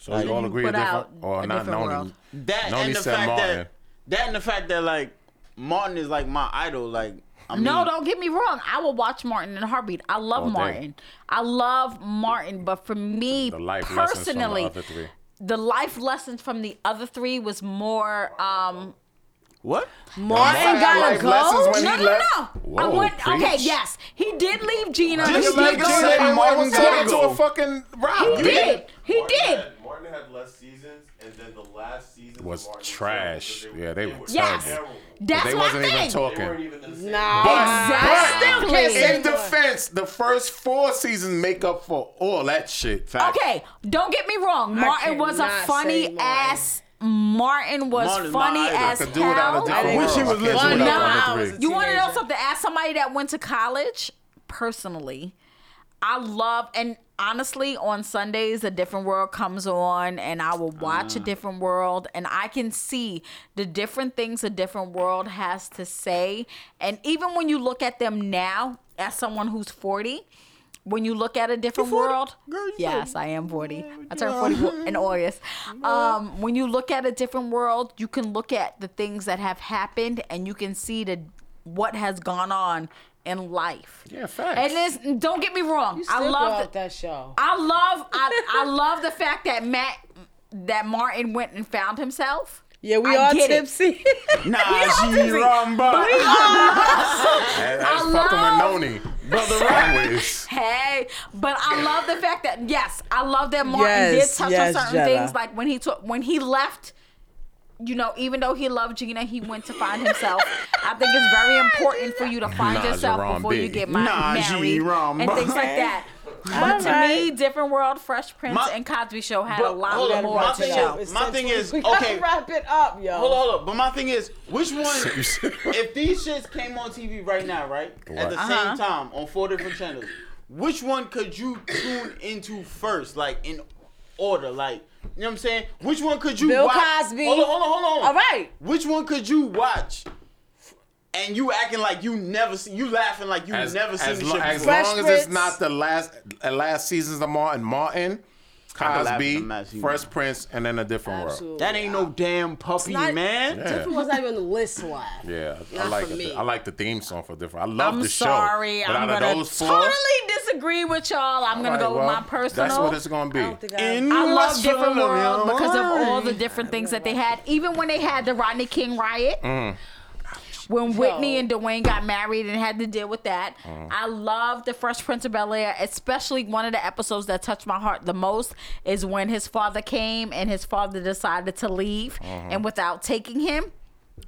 Speaker 5: So
Speaker 4: Like,
Speaker 5: you all
Speaker 3: you
Speaker 5: agree
Speaker 3: put
Speaker 5: a different
Speaker 3: out
Speaker 5: or
Speaker 3: a
Speaker 5: not
Speaker 3: different
Speaker 5: known
Speaker 3: world.
Speaker 4: That
Speaker 5: Noni
Speaker 4: and the
Speaker 5: said
Speaker 4: fact
Speaker 5: Martin.
Speaker 4: that that and the fact that like Martin is like my idol. Like I mean,
Speaker 3: No, don't get me wrong. I will watch Martin in a heartbeat. I love
Speaker 5: All day.
Speaker 3: Martin. I love Martin, but for me
Speaker 5: the life lessons from the
Speaker 3: personally,
Speaker 5: other three.
Speaker 3: the life lessons from the other three was more um
Speaker 4: what?
Speaker 5: Martin got
Speaker 3: Martin gotta
Speaker 5: life
Speaker 3: go.
Speaker 5: lessons when
Speaker 3: no,
Speaker 5: he
Speaker 3: no,
Speaker 5: left?
Speaker 3: no. I
Speaker 5: Whoa,
Speaker 3: went, okay,
Speaker 5: preach.
Speaker 3: yes, he did leave Gina. He did
Speaker 4: Just like
Speaker 3: go.
Speaker 4: you said,
Speaker 3: to-
Speaker 4: Martin
Speaker 5: Martin turned into
Speaker 4: Gallagher.
Speaker 5: a fucking rock.
Speaker 3: He did. He
Speaker 7: Martin
Speaker 3: did.
Speaker 7: Had, Martin had less seasons, and then the last season
Speaker 5: Was
Speaker 7: Martin
Speaker 5: trash.
Speaker 7: Show,
Speaker 5: Yeah, they were
Speaker 7: were
Speaker 3: Yes.
Speaker 7: terrible.
Speaker 3: That's
Speaker 5: They
Speaker 3: my
Speaker 5: wasn't
Speaker 3: thing.
Speaker 5: even
Speaker 7: They weren't
Speaker 5: talking.
Speaker 7: even in the same.
Speaker 5: But,
Speaker 3: Exactly.
Speaker 5: but in defense, the first four seasons make up for all that shit. Fact.
Speaker 3: Okay, don't get me wrong. Martin was a
Speaker 6: cannot say
Speaker 3: funny
Speaker 6: Martin.
Speaker 3: ass. Martin was
Speaker 4: Martin's my
Speaker 3: funny
Speaker 4: idol. I
Speaker 3: as
Speaker 5: could do without a
Speaker 3: hell.
Speaker 5: different
Speaker 6: I
Speaker 5: world.
Speaker 6: wish he
Speaker 5: I
Speaker 6: was
Speaker 5: can't do
Speaker 6: listening.
Speaker 5: without
Speaker 6: Nah,
Speaker 5: the
Speaker 6: I
Speaker 5: other
Speaker 6: was
Speaker 5: three.
Speaker 6: a
Speaker 3: You want to know
Speaker 6: teenager.
Speaker 3: something? As somebody that went to college, personally, I love and honestly on Sundays a different world comes on and I will watch
Speaker 5: Mm.
Speaker 3: a different world and I can see the different things a different world has to say and even when you look at them now as someone who's 40 when you look at a different world yes i am 40 i turned 40 in august um, when you look at a different world you can look at the things that have happened and you can see the what has gone on in life
Speaker 5: Yeah, facts.
Speaker 3: and it's, don't get me wrong. I
Speaker 6: Still
Speaker 3: love
Speaker 6: throughout
Speaker 3: the,
Speaker 6: that show.
Speaker 3: I love I, I love the fact that Matt that Martin went and found himself.
Speaker 6: Yeah, we
Speaker 3: I
Speaker 6: are
Speaker 3: get it.
Speaker 6: tipsy.
Speaker 4: Nah,
Speaker 3: don't
Speaker 4: she
Speaker 3: think we-
Speaker 4: wrong, but
Speaker 5: That-
Speaker 3: I
Speaker 5: that's fucking
Speaker 3: love-
Speaker 5: with Noni. Brother Always.
Speaker 3: Hey, but I love the fact that yes, I love that Martin
Speaker 6: Yes,
Speaker 3: did touch
Speaker 6: yes,
Speaker 3: on certain
Speaker 6: Jella.
Speaker 3: things. Like when he took when he left, you know, even though he loved Gina, he went to find himself. I think it's very important for you to find
Speaker 5: Nah,
Speaker 3: yourself
Speaker 5: Jerome
Speaker 3: before you
Speaker 5: Biggie.
Speaker 3: get ma-
Speaker 4: Nah, she
Speaker 3: married
Speaker 4: wrong,
Speaker 3: and
Speaker 4: bro.
Speaker 3: things like that. But to me, Different World, Fresh Prince,
Speaker 4: My-
Speaker 3: and Cosby Show had a
Speaker 4: But hold
Speaker 3: lot
Speaker 4: on,
Speaker 3: more
Speaker 4: my
Speaker 3: to
Speaker 4: thing
Speaker 3: show.
Speaker 4: is- my thing is,
Speaker 6: we gotta
Speaker 4: okay.
Speaker 6: wrap it up, yo.
Speaker 4: Hold on, hold on. But my thing is, which one?
Speaker 5: Seriously.
Speaker 4: if these shits came on TV right now, right, at
Speaker 5: Right.
Speaker 4: the
Speaker 6: Uh-huh.
Speaker 4: same time on four different channels, which one could you tune into first, like in order, like you know what I'm saying? Which one could you?
Speaker 6: Bill
Speaker 4: watch?
Speaker 6: Cosby.
Speaker 4: Hold on, hold on, hold on.
Speaker 6: All right.
Speaker 4: Which one could you watch and you acting like you never see, you laughing like you
Speaker 5: As,
Speaker 4: never seen
Speaker 5: as,
Speaker 4: this
Speaker 5: lo-
Speaker 4: shit
Speaker 5: as
Speaker 4: before.
Speaker 5: long as it's not the last uh, last seasons of Martin Martin,
Speaker 4: I can laugh at
Speaker 5: Cosby,
Speaker 4: the Matt Seaman.
Speaker 5: Fresh Prince, and then a different
Speaker 6: Absolutely.
Speaker 5: world.
Speaker 4: That ain't no damn puppy,
Speaker 6: not-
Speaker 4: man.
Speaker 5: Yeah.
Speaker 6: Different was not even on the list live.
Speaker 5: Yeah, I- I
Speaker 6: Not
Speaker 5: like
Speaker 6: for me.
Speaker 5: it. I like the theme song for different. I love
Speaker 3: I'm
Speaker 5: the show.
Speaker 3: sorry.
Speaker 5: But
Speaker 3: I'm
Speaker 5: out
Speaker 3: gonna
Speaker 5: of those four,
Speaker 3: totally disagree with y'all. I'm gonna
Speaker 5: all right,
Speaker 3: go with
Speaker 5: well,
Speaker 3: my personal.
Speaker 5: That's what it's gonna
Speaker 6: I
Speaker 5: be.
Speaker 6: don't think I.
Speaker 4: In
Speaker 3: I
Speaker 4: my
Speaker 3: love different
Speaker 4: soul,
Speaker 3: world
Speaker 4: yeah.
Speaker 3: because of all the different things that they had. Even when they had the Rodney King riot,
Speaker 4: Mm.
Speaker 3: when Whitney and Dwayne got married and had to deal with that,
Speaker 5: Mm.
Speaker 3: I love the Fresh Prince of Bel Air. Especially one of the episodes that touched my heart the most is when his father came and his father decided to leave,
Speaker 5: Mm-hmm.
Speaker 3: and without taking him.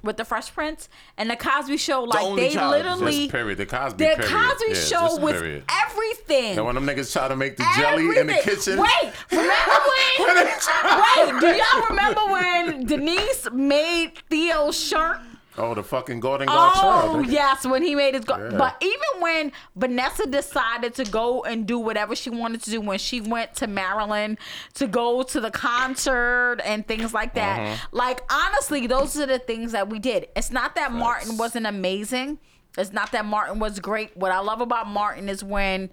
Speaker 3: With the Fresh Prince and the Cosby Show, like
Speaker 4: only
Speaker 3: they
Speaker 4: child.
Speaker 3: literally,
Speaker 5: This period, the Cosby
Speaker 3: the
Speaker 5: period.
Speaker 3: Cosby
Speaker 5: Yeah,
Speaker 3: Show
Speaker 5: this
Speaker 3: was
Speaker 5: period.
Speaker 3: everything.
Speaker 5: And when them niggas try to make the jelly in the
Speaker 3: Everything.
Speaker 5: kitchen.
Speaker 3: Wait, remember when? wait, do y'all remember when Denise made Theo's shirt?
Speaker 5: Oh, the fucking Golden Girl
Speaker 3: Oh
Speaker 5: child.
Speaker 3: yes, when he made his. Go-
Speaker 5: Yeah.
Speaker 3: But even when Vanessa decided to go and do whatever she wanted to do, when she went to Maryland to go to the concert and things like that,
Speaker 5: Mm-hmm.
Speaker 3: like honestly, those are the things that we did. It's not that Martin wasn't amazing. It's not that Martin was great. What I love about Martin is when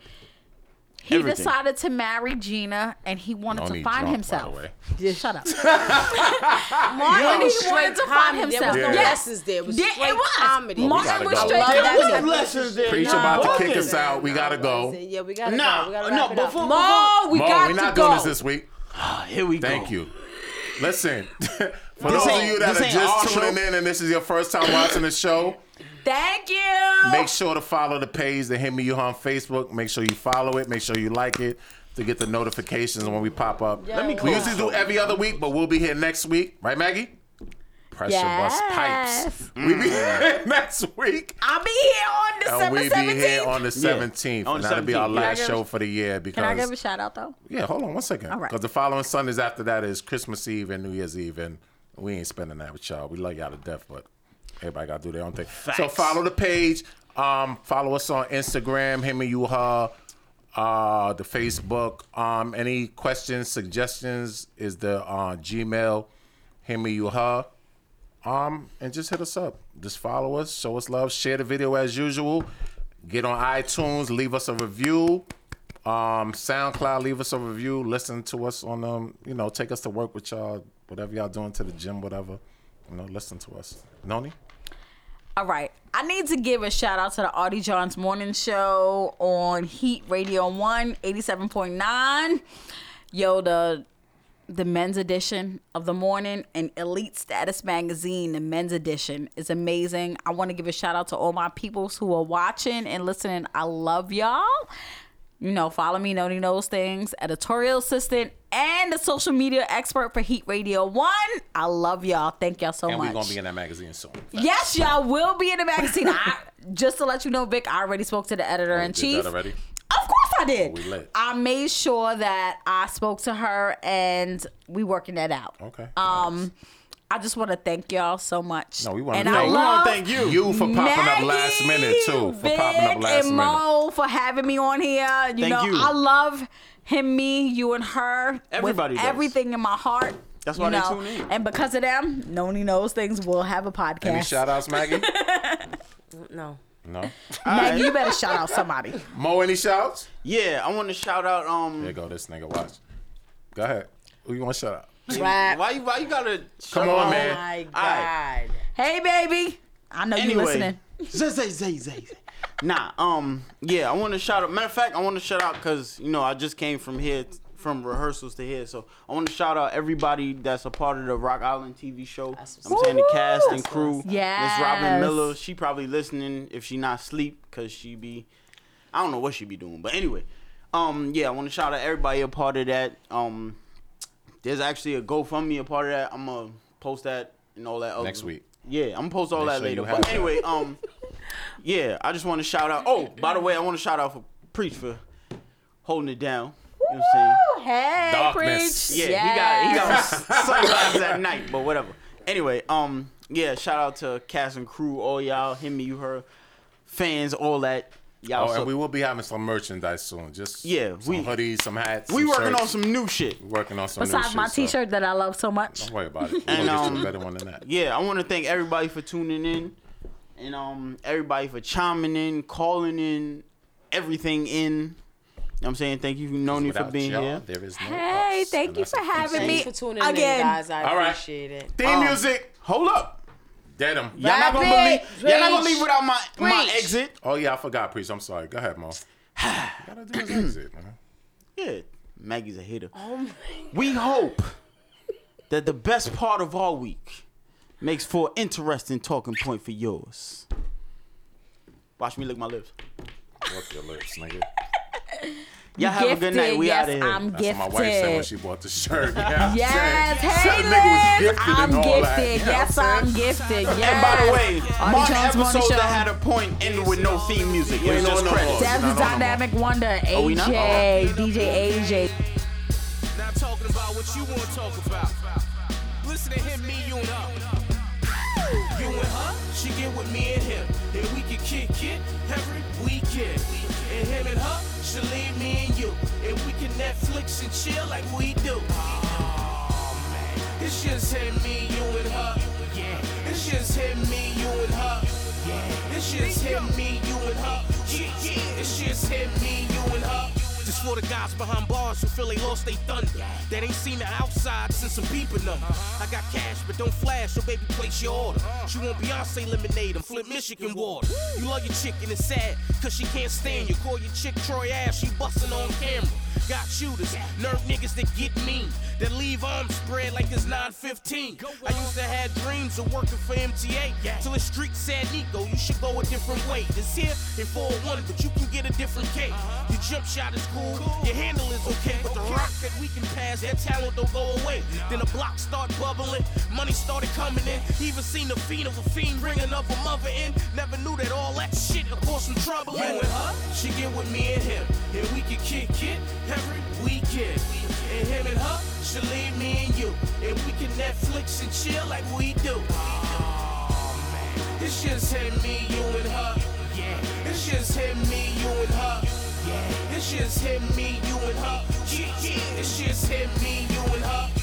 Speaker 3: he
Speaker 4: Everything.
Speaker 3: decided to marry Gina and he wanted
Speaker 5: Don't
Speaker 3: to
Speaker 5: need drunk,
Speaker 3: find
Speaker 5: by the
Speaker 3: himself.
Speaker 5: way.
Speaker 3: Yeah, shut up. Martin he wanted to find
Speaker 6: comedy.
Speaker 3: himself.
Speaker 6: There was no
Speaker 5: Yeah.
Speaker 6: lessons there. It was
Speaker 3: Yeah,
Speaker 6: straight
Speaker 3: it was.
Speaker 5: gotta
Speaker 6: comedy.
Speaker 3: Martin was
Speaker 5: go.
Speaker 3: straight.
Speaker 6: I love
Speaker 3: comedy.
Speaker 6: that.
Speaker 4: What lessons there?
Speaker 5: Preach
Speaker 4: Nah,
Speaker 5: about to
Speaker 4: what
Speaker 5: kick
Speaker 4: is-
Speaker 5: us out. We gotta go.
Speaker 6: Yeah, we gotta
Speaker 4: No,
Speaker 6: go. We gotta
Speaker 4: no,
Speaker 6: wrap it up.
Speaker 4: before-
Speaker 6: Mo, Oh, we
Speaker 5: Mo,
Speaker 6: got
Speaker 5: we're
Speaker 6: to
Speaker 5: not
Speaker 6: go.
Speaker 5: doing this this week.
Speaker 4: Ah, Here we go.
Speaker 5: Thank you. Listen, for
Speaker 4: This
Speaker 5: those of
Speaker 4: ain't-
Speaker 5: you that
Speaker 4: this
Speaker 5: are
Speaker 4: ain't our
Speaker 5: just
Speaker 4: show.
Speaker 5: tuning in and this is your first time watching the show,
Speaker 3: Thank you.
Speaker 5: make sure to follow the page, the Hit Me You on Facebook. Make sure you follow it. Make sure you like it to get the notifications when we pop up.
Speaker 6: Let me
Speaker 5: we
Speaker 6: close.
Speaker 5: usually do every other week, but we'll be here next week. Right, Maggie? Pressure bust
Speaker 3: Yes.
Speaker 5: pipes. We be
Speaker 4: Mm.
Speaker 5: here next week.
Speaker 3: I'll be here on
Speaker 5: And
Speaker 3: December
Speaker 5: Uh, we be here
Speaker 3: 17th.
Speaker 5: on the 17th.
Speaker 4: on
Speaker 5: and
Speaker 4: the
Speaker 5: that'll be our
Speaker 4: 17th. Can I
Speaker 5: last
Speaker 3: give-
Speaker 5: show for the year because
Speaker 3: Can I give a shout out though?
Speaker 5: Yeah, hold on one second.
Speaker 3: right.
Speaker 5: Because the following Sundays after that is Christmas Eve and New Year's Eve, and we ain't spending that with y'all. We love y'all to death, but everybody got to do their own thing. So follow the page. Um, follow us on Instagram, him and you, her, uh, the Facebook. Um, any questions, suggestions is the uh, Gmail, him and you, her. Um, and just hit us up. Just follow us, show us love, share the video as usual. Get on iTunes, leave us a review. Um, SoundCloud, leave us a review. Listen to us on um, you know, take us to work with y'all, whatever y'all doing to the gym, whatever. You know, listen to us. Noni?
Speaker 3: All right. I need to give a shout out to the Audie Johns Morning Show on Heat Radio 1 87.9. Yo, the the men's edition of the morning and Elite Status Magazine, the men's edition is amazing. I want to give a shout out to all my peoples who are watching and listening. I love y'all. You know, follow me, Noni Knows Things, editorial assistant, and the social media expert for Heat Radio 1. I love y'all. Thank y'all so
Speaker 5: And
Speaker 3: much.
Speaker 5: we're gonna be in that magazine soon.
Speaker 3: Yes, y'all will be in the magazine. I, just to let you know, Vic, I already spoke to the editor in
Speaker 5: You did
Speaker 3: chief.
Speaker 5: that already?
Speaker 3: Of course I did.
Speaker 5: we lit.
Speaker 3: I made sure that I spoke to her and we working that out.
Speaker 5: Okay.
Speaker 3: Um, I just want to thank y'all so much.
Speaker 5: No, we wanna
Speaker 3: and
Speaker 5: thank-
Speaker 3: I
Speaker 5: we
Speaker 3: love
Speaker 5: wanna thank you. You for popping up last
Speaker 3: Maggie,
Speaker 5: minute, too, for popping up
Speaker 3: Vic,
Speaker 5: last
Speaker 3: and Mo for having me on here. You
Speaker 4: Thank
Speaker 3: know,
Speaker 4: you.
Speaker 3: I love him, me, you, and her.
Speaker 4: Everybody
Speaker 3: with
Speaker 4: does.
Speaker 3: everything in my heart.
Speaker 4: That's
Speaker 3: you
Speaker 4: why they
Speaker 3: know.
Speaker 4: tune in.
Speaker 3: And because of them, Noni knows things. We'll have a podcast.
Speaker 5: Any shout outs, Maggie?
Speaker 6: No.
Speaker 5: no.
Speaker 3: Maggie, you better shout out somebody.
Speaker 5: Mo, any shouts?
Speaker 4: Yeah, I want to shout out. Um,
Speaker 5: There go this nigga. Watch. Go ahead. Who you wanna shout out?
Speaker 6: Rap. Oh
Speaker 4: why you why you gotta
Speaker 5: Come on, man.
Speaker 6: My
Speaker 4: Alright.
Speaker 6: God.
Speaker 3: Hey, baby. I know you
Speaker 4: anyway,
Speaker 3: listening.
Speaker 4: zay, zay, zay, zay. zay. Nah, um, yeah, I want to shout out. Matter of fact, I want to shout out because you know I just came from here t- from rehearsals to here, so I want to shout out everybody that's a part of the Rock Island TV show.
Speaker 6: That's
Speaker 4: I'm
Speaker 6: what's
Speaker 4: saying the
Speaker 3: up.
Speaker 4: cast and
Speaker 6: That's
Speaker 4: crew.
Speaker 6: what's
Speaker 3: up.
Speaker 4: Miss
Speaker 3: Yes.
Speaker 4: Robin Miller, she probably listening if she not sleep because she be, I don't know what she be doing, but anyway, um, yeah, I want to shout out everybody a part of that. Um, there's actually a GoFundMe a part of that. I'm gonna post that and all that. other-
Speaker 5: Next week.
Speaker 4: Yeah, I'm gonna post all
Speaker 5: Make
Speaker 4: that
Speaker 5: sure you
Speaker 4: later.
Speaker 5: have
Speaker 4: But
Speaker 5: that.
Speaker 4: anyway, um, yeah, I just want to shout out. Oh, by the way, I want to shout out for Preach for holding it down. You know what I'm
Speaker 3: Woo, hey,
Speaker 5: Darkness.
Speaker 3: preach.
Speaker 4: saying? Yeah, he got he got sunglasses at night, but whatever. Anyway, um, yeah, shout out to cast and crew, all y'all, him, me, you, her, fans, all that. Y'all,
Speaker 5: Oh,
Speaker 4: so-
Speaker 5: and we
Speaker 4: we,
Speaker 5: will be having some merchandise soon. Just
Speaker 4: Yeah,
Speaker 5: some
Speaker 4: we-
Speaker 5: hoodies, some hats. some
Speaker 4: working
Speaker 5: shirts.
Speaker 4: on some new shit.
Speaker 5: working on some new
Speaker 3: Besides
Speaker 5: shit,
Speaker 3: my
Speaker 5: so
Speaker 3: T-shirt that I love so much.
Speaker 5: Don't worry about it. We're gonna get
Speaker 4: And,
Speaker 5: you
Speaker 4: um,
Speaker 5: a better one than that.
Speaker 4: Yeah, I want to thank everybody for tuning in. and um everybody for chiming in, calling in, everything in. You know what I'm saying thank you, Noni, for
Speaker 5: Without
Speaker 4: being
Speaker 5: y'all,
Speaker 4: here.
Speaker 5: There is no
Speaker 11: Hey,
Speaker 5: us,
Speaker 11: thank
Speaker 5: and
Speaker 11: you
Speaker 5: that's
Speaker 11: for
Speaker 5: the thing.
Speaker 11: having me
Speaker 6: Thanks for tuning in,
Speaker 11: again.
Speaker 6: guys. I
Speaker 5: All right.
Speaker 6: appreciate it.
Speaker 5: Theme
Speaker 4: Um,
Speaker 5: music.
Speaker 4: Hold up,
Speaker 5: Dead 'em.
Speaker 4: y'all not gonna
Speaker 11: Rapid,
Speaker 4: believe. Y'all not gonna
Speaker 11: preach,
Speaker 4: leave without my my
Speaker 11: preach.
Speaker 4: exit.
Speaker 5: Oh yeah, I forgot, priest. I'm sorry. Go ahead, Mo. you gotta do this exit, man.
Speaker 4: Yeah, Maggie's a hater.
Speaker 11: Oh,
Speaker 4: We hope that the best part of our week makes for an interesting talking point for yours. Watch me lick my lips.
Speaker 5: Fuck your lips, nigga.
Speaker 4: Y'all have a good night. We
Speaker 11: yes,
Speaker 4: out of here.
Speaker 11: I'm
Speaker 5: That's
Speaker 11: gifted.
Speaker 5: what my wife said when she bought the shirt. Yeah,
Speaker 11: Yes, hey
Speaker 5: That nigga was
Speaker 11: Liz,
Speaker 5: gifted
Speaker 11: I'm
Speaker 5: and all that,
Speaker 11: gifted.
Speaker 5: you know
Speaker 11: Yes,
Speaker 5: what I'm
Speaker 11: I'm gifted. Yes.
Speaker 4: And by the way,
Speaker 11: Artie
Speaker 4: Martin
Speaker 11: Jones Morning
Speaker 4: episodes that
Speaker 11: Show.
Speaker 4: had a point ended with no theme music. It was
Speaker 5: ain't
Speaker 4: just
Speaker 5: on no
Speaker 4: credits.
Speaker 5: more.
Speaker 11: That's
Speaker 5: No,
Speaker 11: the
Speaker 5: no, no, no.
Speaker 11: dynamic wonder.
Speaker 4: we not?
Speaker 11: AJ, DJ AJ.
Speaker 1: Not talking about what you want to talk about. Listen to him, me, you and her. You and her, she get with me and him. And we can kick it every weekend. And him and her, she leave me and you. And we can Netflix and chill like we do. Oh, man. It's just him, me, you and her. Yeah. It's just him, me, you and her. Yeah. It's just him, me, you and her. Yeah, yeah. It's just him, me, you and her. Just for the guys behind bars who feel they lost they thunder. That ain't seen the outside since I'm beeping them. I got cash, but don't flash, so baby, place your order. She want Beyonce lemonade and flip Michigan water. You love your chick and it's sad, cause she can't stand you. Call your chick Troy ass, she bustin' on camera. Got shooters, nerd niggas that get mean, that leave arms spread like it's 915. I used to have dreams of working for MTA, till the street said, Nico, you should go a different way. It's here in 401, but you can get a different cake. Your jump shot is cool, your handle is okay, but the rock that we can pass, that talent don't go away. Then the block start bubbling, money started coming in. Even seen the fiend of a fiend ringing up a mother in. Never knew that all that shit could cause some trouble. You and her, she get with me and him, and we can kick it every weekend. And him and her, she leave me and you, and we can Netflix and chill like we do. Oh, man. It's just him, me, you and her. Yeah. It's just him, me, you and her. Yeah. It's just him, me, you and her. Yeah, yeah. It's just him, me, you and her.